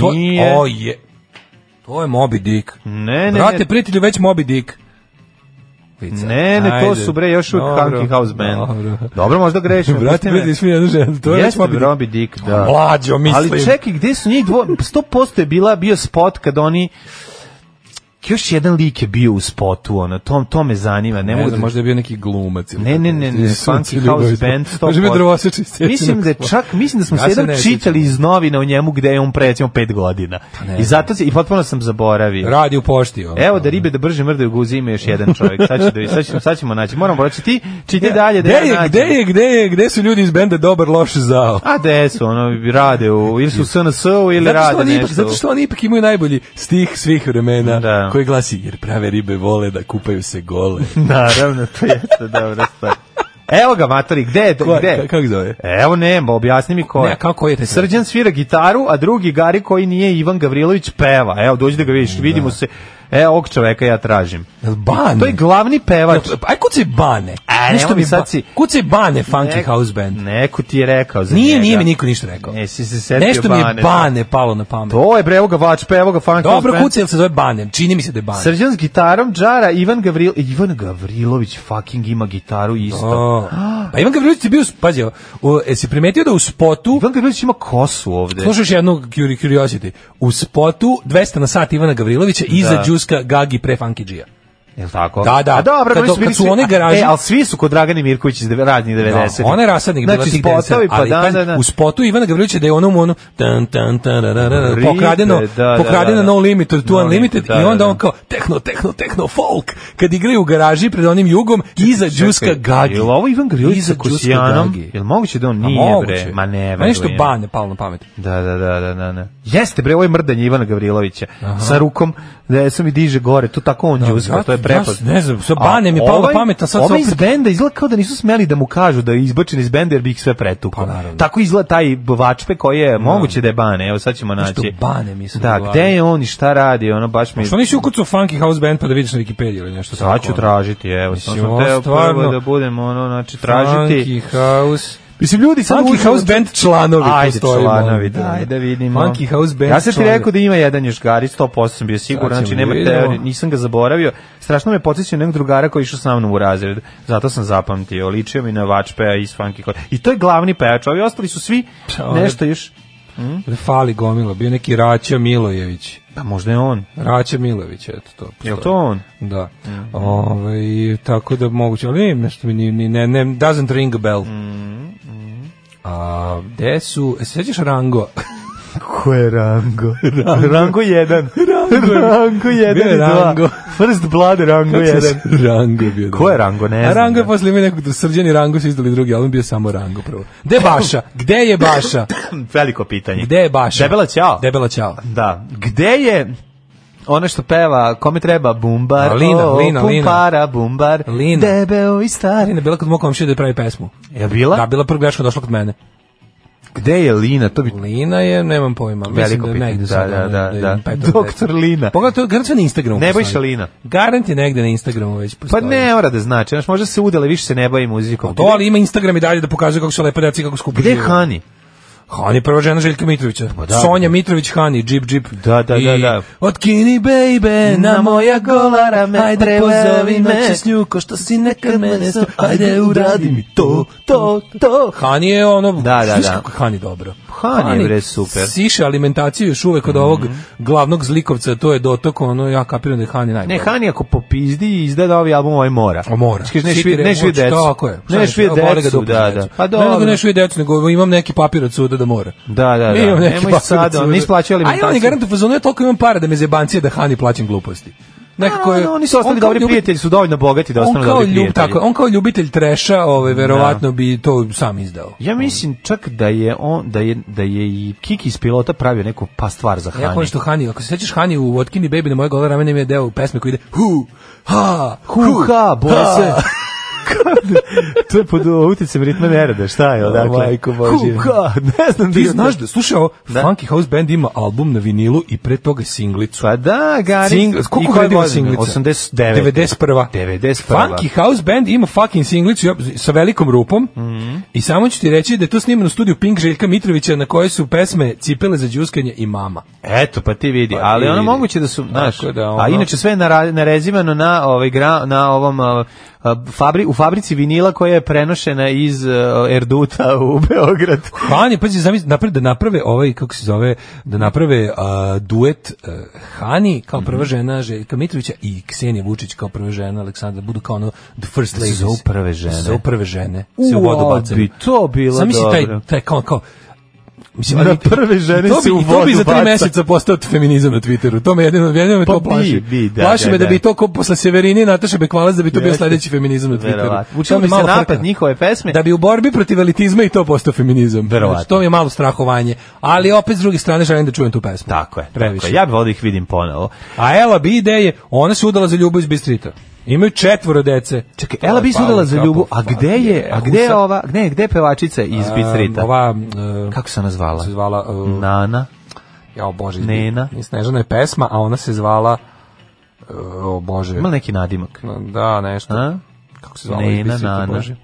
Speaker 6: To,
Speaker 5: Nije.
Speaker 6: o je. To je Moby Dick.
Speaker 5: Ne, ne,
Speaker 6: Brate
Speaker 5: ne.
Speaker 6: prijatelju već Moby Dick. Vica.
Speaker 5: Ne, ne, to
Speaker 6: Ajde.
Speaker 5: su bre još uvijek
Speaker 6: Dobro,
Speaker 5: Funky House Band.
Speaker 6: dobro.
Speaker 5: Dobro, možda grešim. pusti
Speaker 6: Brate
Speaker 5: me.
Speaker 6: prijatelju smo jednu ženu. To je već
Speaker 5: Jeste
Speaker 6: Moby Dick.
Speaker 5: Robi Dick, da.
Speaker 6: Mlađo, mislim.
Speaker 5: Ali čekaj, gde su njih dvoje? 100% je bila, bio spot kad oni... Još jedan lik je bio u spotu, ono, to, to me zanima. Ne,
Speaker 6: Ne,
Speaker 5: mogu
Speaker 6: znam,
Speaker 5: da-
Speaker 6: možda je bio neki glumac. ili
Speaker 5: Ne,
Speaker 6: tako
Speaker 5: ne, ne, ne,
Speaker 6: nešto.
Speaker 5: Funky House Band, stop.
Speaker 6: Možda je bio drvoseč iz Stjecinog
Speaker 5: Mislim da je
Speaker 6: spola.
Speaker 5: čak, mislim da smo
Speaker 6: Ja
Speaker 5: se
Speaker 6: se
Speaker 5: jednom
Speaker 6: ne sjećam.
Speaker 5: čitali iz novina o njemu gde je on pre, recimo, pet godina.
Speaker 6: Pa ne.
Speaker 5: I zato se, i potpuno sam zaboravio.
Speaker 6: Radi u pošti. ono.
Speaker 5: Evo da ribe da brže mrdaju guzi ima još jedan čovjek. Sad, ću da, sad, ćemo, sad ćemo naći. Moramo proći ti, čitaj dalje da
Speaker 6: Gde
Speaker 5: ja
Speaker 6: je,
Speaker 5: nađem.
Speaker 6: gde je, gde je, gde su ljudi iz benda dobar, loš, zao?
Speaker 5: A gde su, ono, rade u, ili su u SNS-u ili
Speaker 6: Zato što,
Speaker 5: rade
Speaker 6: oni
Speaker 5: nešto.
Speaker 6: ipak, zato što oni ipak imaju najbolji stih svih vremena
Speaker 5: Da.
Speaker 6: koji glasi jer prave ribe vole da kupaju se gole.
Speaker 5: Naravno, to jeste dobra stvar. Evo ga, matori, gde je,
Speaker 6: Ko-
Speaker 5: gde?
Speaker 6: ka- kako zove?
Speaker 5: Evo nema, objasni mi ko je.
Speaker 6: Ne, a kako- koji je taj
Speaker 5: Srđan svira gitaru, a drugi Gari koji nije Ivan Gavrilović peva. Evo, dođi da ga vidiš, vidimo se E, ovog čoveka ja tražim.
Speaker 6: Bane.
Speaker 5: To je glavni pevač.
Speaker 6: Aj kucaj Bane.
Speaker 5: Ovaj, A,
Speaker 6: Nešto
Speaker 5: nemoj
Speaker 6: mi
Speaker 5: mi sad
Speaker 6: ba-
Speaker 5: si-
Speaker 6: Kucaj Bane, Funky
Speaker 5: Neko-
Speaker 6: House Band.
Speaker 5: Neko ti je rekao za
Speaker 6: Nije,
Speaker 5: njega.
Speaker 6: nije mi niko ništa rekao.
Speaker 5: Jesi se setio
Speaker 6: Nešto mi je
Speaker 5: Bane.
Speaker 6: Bane palo na pamet.
Speaker 5: To je bre, evo ga vač, pa evo ga Funky House
Speaker 6: Dobro
Speaker 5: Band.
Speaker 6: kucaj, jel se zove Bane? Čini mi se da je Bane.
Speaker 5: Srđan s gitarom džara, Ivan Gavril, Ivan Gavrilović fucking ima gitaru isto.
Speaker 6: O, Pa Ivan Gavrilović je bio, pazi, o, jesi primetio da u spotu...
Speaker 5: Ivan Gavrilović ima kosu ovde.
Speaker 6: Slušaš jednu curi- curiosity. U spotu 200 na sat Ivana Gavrilovića iza
Speaker 5: Da.
Speaker 6: Đuska Gagi pre Funky Gia.
Speaker 5: Jel tako?
Speaker 6: Da, da.
Speaker 5: A dobro,
Speaker 6: Kad
Speaker 5: oni
Speaker 6: do-
Speaker 5: su bili
Speaker 6: kad su
Speaker 5: svi-
Speaker 6: oni
Speaker 5: a-
Speaker 6: garaži-
Speaker 5: E, ali svi su kod Dragane Mirković iz deve- radnih 90.
Speaker 6: Da, ona je rasadnik bila
Speaker 5: znači,
Speaker 6: tih dancera,
Speaker 5: spotovi, pa
Speaker 6: ali
Speaker 5: da,
Speaker 6: pazi,
Speaker 5: da, da.
Speaker 6: u spotu Ivana Gavrilovića da je onom ono tan, tan, tan, ra, ra, ra, ra,
Speaker 5: Ribe,
Speaker 6: pokradeno,
Speaker 5: da, da,
Speaker 6: pokradeno
Speaker 5: da, da.
Speaker 6: No Limited, tu
Speaker 5: No
Speaker 6: Unlimited
Speaker 5: Limited, da,
Speaker 6: i onda
Speaker 5: da, da.
Speaker 6: on kao tehno, tehno, tehno, folk kad igraju u garaži pred onim jugom iza Đuska Gagi.
Speaker 5: Jel ovo Ivan Gavrilović sa
Speaker 6: Iza Đuska
Speaker 5: Kosijanom?
Speaker 6: Gagi.
Speaker 5: Jel moguće da on
Speaker 6: A
Speaker 5: nije,
Speaker 6: moguće.
Speaker 5: bre? Ma ne,
Speaker 6: Ma
Speaker 5: verujem.
Speaker 6: nešto bane palo na pamet.
Speaker 5: Da, da, da, da, da, da. Jeste bre, ovo je mrdanje Ivana Gavrilovića. Sa rukom, da je sam i diže gore, to tako on džuska,
Speaker 6: ja-
Speaker 5: to je prepad.
Speaker 6: ja ne znam, sa Bane mi je palo na pamet, a sad se
Speaker 5: Ovo ovaj iz
Speaker 6: opet-
Speaker 5: benda izgleda kao da nisu smeli da mu kažu da je izbačen iz benda jer bi ih sve pretukao.
Speaker 6: Pa
Speaker 5: tako izgleda taj vačpe koji je, moguće da je Bane, evo sad ćemo
Speaker 6: Nešto
Speaker 5: naći.
Speaker 6: Bane mi se
Speaker 5: Da,
Speaker 6: odgovaraju.
Speaker 5: gde je on i šta radi, ono baš mi...
Speaker 6: Što nisi ukucao Funky House Band pa da vidiš na Wikipediji ili nešto tako? ono.
Speaker 5: Sad ću tražiti, evo, sam
Speaker 6: Mislim,
Speaker 5: sam
Speaker 6: ovo
Speaker 5: teo prvo
Speaker 6: stvarno-
Speaker 5: da budem, ono, znači, tražiti...
Speaker 6: Funky House...
Speaker 5: Mislim, ljudi sad
Speaker 6: Funky
Speaker 5: uđu-
Speaker 6: House Band članovi
Speaker 5: Ajde,
Speaker 6: postoji,
Speaker 5: članovi,
Speaker 6: molim te.
Speaker 5: da, ajde vidimo.
Speaker 6: Funky House Band
Speaker 5: Ja sam ti
Speaker 6: članovi.
Speaker 5: rekao da ima jedan još gari, 100% sam bio siguran,
Speaker 6: Sad
Speaker 5: znači
Speaker 6: ćemo
Speaker 5: nema
Speaker 6: vidimo.
Speaker 5: teorije, nisam ga zaboravio. Strašno me podsjeća na jednog drugara koji je išao sa mnom u razred, zato sam zapamtio, ličio mi na Vačpeja iz Funky House. I to je glavni pejač, ovi ostali su svi
Speaker 6: ali-
Speaker 5: nešto još...
Speaker 6: Da Fali gomila, bio neki Raća Milojević.
Speaker 5: Pa možda je on.
Speaker 6: Raća Milojević, eto to.
Speaker 5: Je
Speaker 6: postoji.
Speaker 5: to on? Mhm.
Speaker 6: Da. Ovaj, tako da moguće, ali nešto mi ni, ni- ne, ne, doesn't ring a bell.
Speaker 5: Mhm,
Speaker 6: A, gde su, e, se sećaš Rango?
Speaker 5: Ko je Rango? Rango 1.
Speaker 6: Rango.
Speaker 5: Rango 1
Speaker 6: Bio je
Speaker 5: i 2.
Speaker 6: Rango.
Speaker 5: First Blood Rango
Speaker 6: Kako se
Speaker 5: 1.
Speaker 6: zove? Rango je bio. da.
Speaker 5: Ko je Rango? Ne
Speaker 6: A
Speaker 5: znam,
Speaker 6: Rango je
Speaker 5: da.
Speaker 6: posle ime nekog srđan i Rango su izdali drugi album, bio samo Rango prvo. Gde je Baša? Gde je Baša?
Speaker 5: Veliko pitanje.
Speaker 6: Gde je Baša?
Speaker 5: Debela ćao.
Speaker 6: Debela ćao.
Speaker 5: Da. Gde je ona što peva, kome treba bumbar,
Speaker 6: A, Lina,
Speaker 5: o,
Speaker 6: Lina, Lina.
Speaker 5: pumpara, bumbar,
Speaker 6: Lina.
Speaker 5: debeo i stari.
Speaker 6: Lina je bila kod mog komšija da je pravi pesmu.
Speaker 5: Je bila?
Speaker 6: Da, bila prvi greška došla kod mene.
Speaker 5: Gde je Lina? To bi
Speaker 6: Lina je, nemam pojma. Mislim
Speaker 5: Veliko
Speaker 6: da je
Speaker 5: pitanje.
Speaker 6: negde
Speaker 5: Da,
Speaker 6: sad,
Speaker 5: da,
Speaker 6: ono,
Speaker 5: da,
Speaker 6: je
Speaker 5: da.
Speaker 6: Petrov
Speaker 5: Doktor
Speaker 6: dečko.
Speaker 5: Lina.
Speaker 6: Pogledaj, to je garant sve na Instagramu.
Speaker 5: Ne boj
Speaker 6: postoji.
Speaker 5: se Lina.
Speaker 6: Garant je negde na Instagramu već
Speaker 5: Pa
Speaker 6: postoji.
Speaker 5: ne mora da znači, znaš, možda se udele, više se ne bavi muzikom.
Speaker 6: Pa To, ali ima Instagram i dalje da pokazuje kako su lepe deca i kako skupo
Speaker 5: Gde je
Speaker 6: žive.
Speaker 5: Hani?
Speaker 6: Hani, prva žena Željka Mitrovića.
Speaker 5: da.
Speaker 6: Sonja Mitrović, Hani, džip, džip.
Speaker 5: Da, da, da,
Speaker 6: I
Speaker 5: da.
Speaker 6: Otkini, baby, na moja golara me, ajde
Speaker 5: treba
Speaker 6: pozovi
Speaker 5: me.
Speaker 6: me, s nju, ko što si nekad mene, su, ajde uradi mi to, to, to. Hani je ono,
Speaker 5: Da, da,
Speaker 6: znaš
Speaker 5: da.
Speaker 6: kako je Hani dobro.
Speaker 5: Hani je, bre, super. Mhm.
Speaker 6: Siše alimentaciju još uvek od ovog glavnog zlikovca, to je dotok, ono, ja kapiram da je Hani najbolji.
Speaker 5: Ne, Hani ako popizdi i izda da ovi album, ovaj mora.
Speaker 6: A mora.
Speaker 5: Kažeš, neš
Speaker 6: Svi
Speaker 5: vi,
Speaker 6: ti
Speaker 5: neš vi
Speaker 6: reći,
Speaker 5: decu.
Speaker 6: Tako je. Šta
Speaker 5: Neš
Speaker 6: je,
Speaker 5: vi
Speaker 6: evo, voli ga
Speaker 5: decu,
Speaker 6: upusti
Speaker 5: da,
Speaker 6: decu.
Speaker 5: da. Pa
Speaker 6: Ne, nego
Speaker 5: dobro.
Speaker 6: neš vi decu, nego imam neki papir od suda da mora.
Speaker 5: Da, da, da.
Speaker 6: Imam neki
Speaker 5: Nemoj
Speaker 6: papir
Speaker 5: sad, ono,
Speaker 6: od suda.
Speaker 5: on nisi plaćao
Speaker 6: A ja ne
Speaker 5: alimentaciju.
Speaker 6: garantujem, fazonu ja toliko imam para da me zebancije da Hani plaćam gluposti. Nekako je,
Speaker 5: A, oni su ostali
Speaker 6: on kao
Speaker 5: dobri
Speaker 6: ljubi-
Speaker 5: prijatelji, su dovoljno bogati da
Speaker 6: On
Speaker 5: ostanu
Speaker 6: kao,
Speaker 5: dobri
Speaker 6: ljub,
Speaker 5: prijatelji.
Speaker 6: tako, on kao ljubitelj treša, ovaj, verovatno bi to sam izdao.
Speaker 5: Ja mislim čak da je on da je da je i Kiki iz pilota pravio neku pa stvar za
Speaker 6: Ja
Speaker 5: Hani.
Speaker 6: volim što Hani, ako se sećaš Hani u Otkini Baby na moje gole ramene mi je deo pesme koji ide hu, ha, hu,
Speaker 5: Kuha, boje
Speaker 6: ha.
Speaker 5: se. to je pod uticem ritma nerede, šta je odakle?
Speaker 6: O, majko Božja.
Speaker 5: Kuha, ne znam
Speaker 6: Ti
Speaker 5: je
Speaker 6: znaš
Speaker 5: to.
Speaker 6: da, slušaj ovo,
Speaker 5: Da.
Speaker 6: Funky House Band ima album na vinilu i pre toga singlicu.
Speaker 5: Pa da, Gari.
Speaker 6: Singl,
Speaker 5: I
Speaker 6: koliko
Speaker 5: koje
Speaker 6: vredila
Speaker 5: godine?
Speaker 6: singlica?
Speaker 5: 89.
Speaker 6: 91.
Speaker 5: 91.
Speaker 6: Funky House Band ima fucking singlicu ja, sa velikom rupom i samo ću ti reći da je to snimano u studiju Pink Željka Mitrovića na kojoj su pesme Cipele za đuskanje i Mama.
Speaker 5: Eto, pa ti vidi,
Speaker 6: Pa ti
Speaker 5: ali ono
Speaker 6: vidi.
Speaker 5: moguće da su, znaš,
Speaker 6: Tako da,
Speaker 5: a
Speaker 6: ono-
Speaker 5: inače sve je nara- narezivano na, ovaj, gra, na ovom, a, a, fabri, u fabrici vinila koja je prenošena iz a, Erduta u Beograd.
Speaker 6: Hani, pazi, zamisli, napred, da naprave ovaj, kako se zove, da naprave a, duet a, Hani kao
Speaker 5: Mhm.
Speaker 6: prva žena Željka Mitrovića i Ksenija Vučić kao prva žena Aleksandra, budu kao ono the first
Speaker 5: Da su
Speaker 6: ladies.
Speaker 5: za uprave žene.
Speaker 6: Za uprave žene. Se u vodu
Speaker 5: Uo,
Speaker 6: bacaju.
Speaker 5: bi to bilo
Speaker 6: Zamisli taj,
Speaker 5: dobro.
Speaker 6: taj kao, kao, Mislim,
Speaker 5: Da
Speaker 6: ali-
Speaker 5: prve žene
Speaker 6: to bi,
Speaker 5: se u
Speaker 6: i To
Speaker 5: vodu
Speaker 6: bi za tri
Speaker 5: baca.
Speaker 6: meseca postao feminizam na Twitteru. To me jedino, jedino me
Speaker 5: Pa
Speaker 6: to
Speaker 5: bi,
Speaker 6: plaši.
Speaker 5: bi, da,
Speaker 6: plaši
Speaker 5: da,
Speaker 6: me da,
Speaker 5: da.
Speaker 6: bi to kao posle Severine i Nataše Bekvalac da bi to bio
Speaker 5: Jeste.
Speaker 6: sledeći feminizam na Twitteru.
Speaker 5: Verovatno. Učinilo
Speaker 6: To
Speaker 5: bi
Speaker 6: me
Speaker 5: se
Speaker 6: malo
Speaker 5: napad
Speaker 6: frka.
Speaker 5: njihove pesme.
Speaker 6: Da bi u borbi protiv elitizma i to postao feminizam.
Speaker 5: Verovatno.
Speaker 6: Znači, to mi je malo strahovanje. Ali opet s druge strane želim da čujem tu pesmu.
Speaker 5: Tako je,
Speaker 6: Previše.
Speaker 5: Previše. Ja bih volio da ih vidim ponovo.
Speaker 6: A Ela B ideje, ona se udala za ljubav iz Bistrita. Imaju četvoro dece.
Speaker 5: Čekaj, Ela
Speaker 6: pa,
Speaker 5: bi se udala za ljubu, a gde je, a gde je ova, gde je, gde je pevačica iz Bistrita?
Speaker 6: um, Ova, e,
Speaker 5: Kako se ona zvala?
Speaker 6: se zvala? e,
Speaker 5: Nana.
Speaker 6: Jao bože.
Speaker 5: Nena.
Speaker 6: Snežana je pesma, a ona se zvala uh, o bože.
Speaker 5: Ima neki nadimak.
Speaker 6: Da, nešto.
Speaker 5: A?
Speaker 6: Kako se zvala?
Speaker 5: Nena,
Speaker 6: izbrisajte,
Speaker 5: Nana.
Speaker 6: Bože.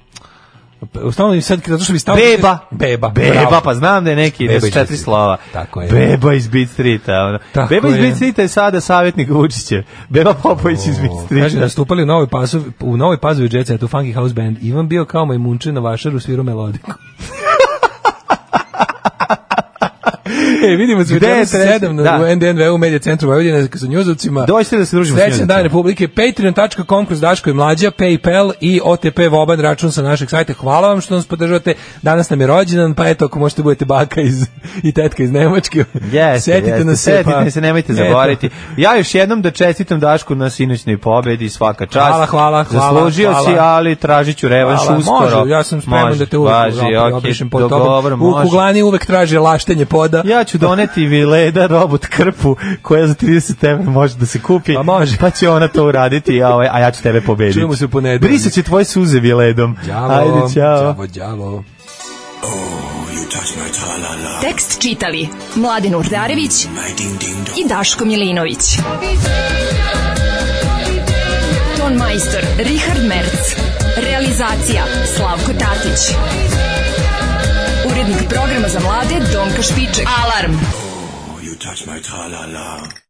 Speaker 6: Ustavno mi sad, zato što mi stavno...
Speaker 5: Beba.
Speaker 6: Pa, Beba.
Speaker 5: Beba,
Speaker 6: bravo.
Speaker 5: pa znam da je neki
Speaker 6: Beba
Speaker 5: da su
Speaker 6: iz
Speaker 5: četiri
Speaker 6: Beat
Speaker 5: slova.
Speaker 6: Streeta, tako je.
Speaker 5: Beba iz Beat Streeta. ono.
Speaker 6: Tako
Speaker 5: Beba iz
Speaker 6: je.
Speaker 5: Beat Streeta je sada savjetnik Vučića. Beba Popović iz Beat Streeta.
Speaker 6: Kaže, nastupali u Novoj Pazovi, u Novoj Pazovi Jet Setu, Funky House Band. Ivan bio kao majmunče na vašaru, svirao melodiku. e, vidimo se
Speaker 5: Gde je
Speaker 6: večera
Speaker 5: treći?
Speaker 6: 7
Speaker 5: Da.
Speaker 6: na, u NDNV u Medija centru Vojvodine sa njuzovcima.
Speaker 5: Dođite da se družimo s
Speaker 6: Srećan
Speaker 5: njuzovcima.
Speaker 6: dan Republike. Patreon.com kroz Daško i Mlađa, Paypal i OTP Voban račun sa našeg sajta. Hvala vam što nas podržavate. Danas nam je rođendan, pa eto, ako možete budete baka iz, i tetka iz Nemačke.
Speaker 5: Jeste,
Speaker 6: setite
Speaker 5: jeste,
Speaker 6: nas se,
Speaker 5: setite
Speaker 6: pa-
Speaker 5: nas se, nemojte
Speaker 6: Eto.
Speaker 5: zaboraviti. Ja još jednom da čestitam Dašku na sinoćnoj pobedi, svaka čast.
Speaker 6: Hvala, hvala, hvala,
Speaker 5: Zaslužio
Speaker 6: hvala.
Speaker 5: si, ali tražit ću revanš
Speaker 6: Hvala,
Speaker 5: uskoro.
Speaker 6: Može, ja sam spreman
Speaker 5: Može,
Speaker 6: da te uvek
Speaker 5: važi,
Speaker 6: važi,
Speaker 5: okej,
Speaker 6: obrišem pod
Speaker 5: dogovor,
Speaker 6: tobom. U
Speaker 5: može.
Speaker 6: kuglani uvek traže laštenje poda.
Speaker 5: Ja ću doneti Vileda robot krpu koja za 30 evra može da se kupi. Pa može. Pa će ona to uraditi, a, ovaj- a ja ću tebe pobediti.
Speaker 6: Čujemo se u ponedeljak.
Speaker 5: Brisat će tvoje suze Viledom.
Speaker 6: Đavo,
Speaker 5: Ajde, ćao.
Speaker 6: đavo, đavo.
Speaker 4: Tekst čitali Mladin Urdarević i Daško Milinović. Ton majstor Richard Merc. Realizacija Slavko Tatić. Urednik programa za mlade Donka Špiček. Alarm!
Speaker 14: You touch my tra-la-la.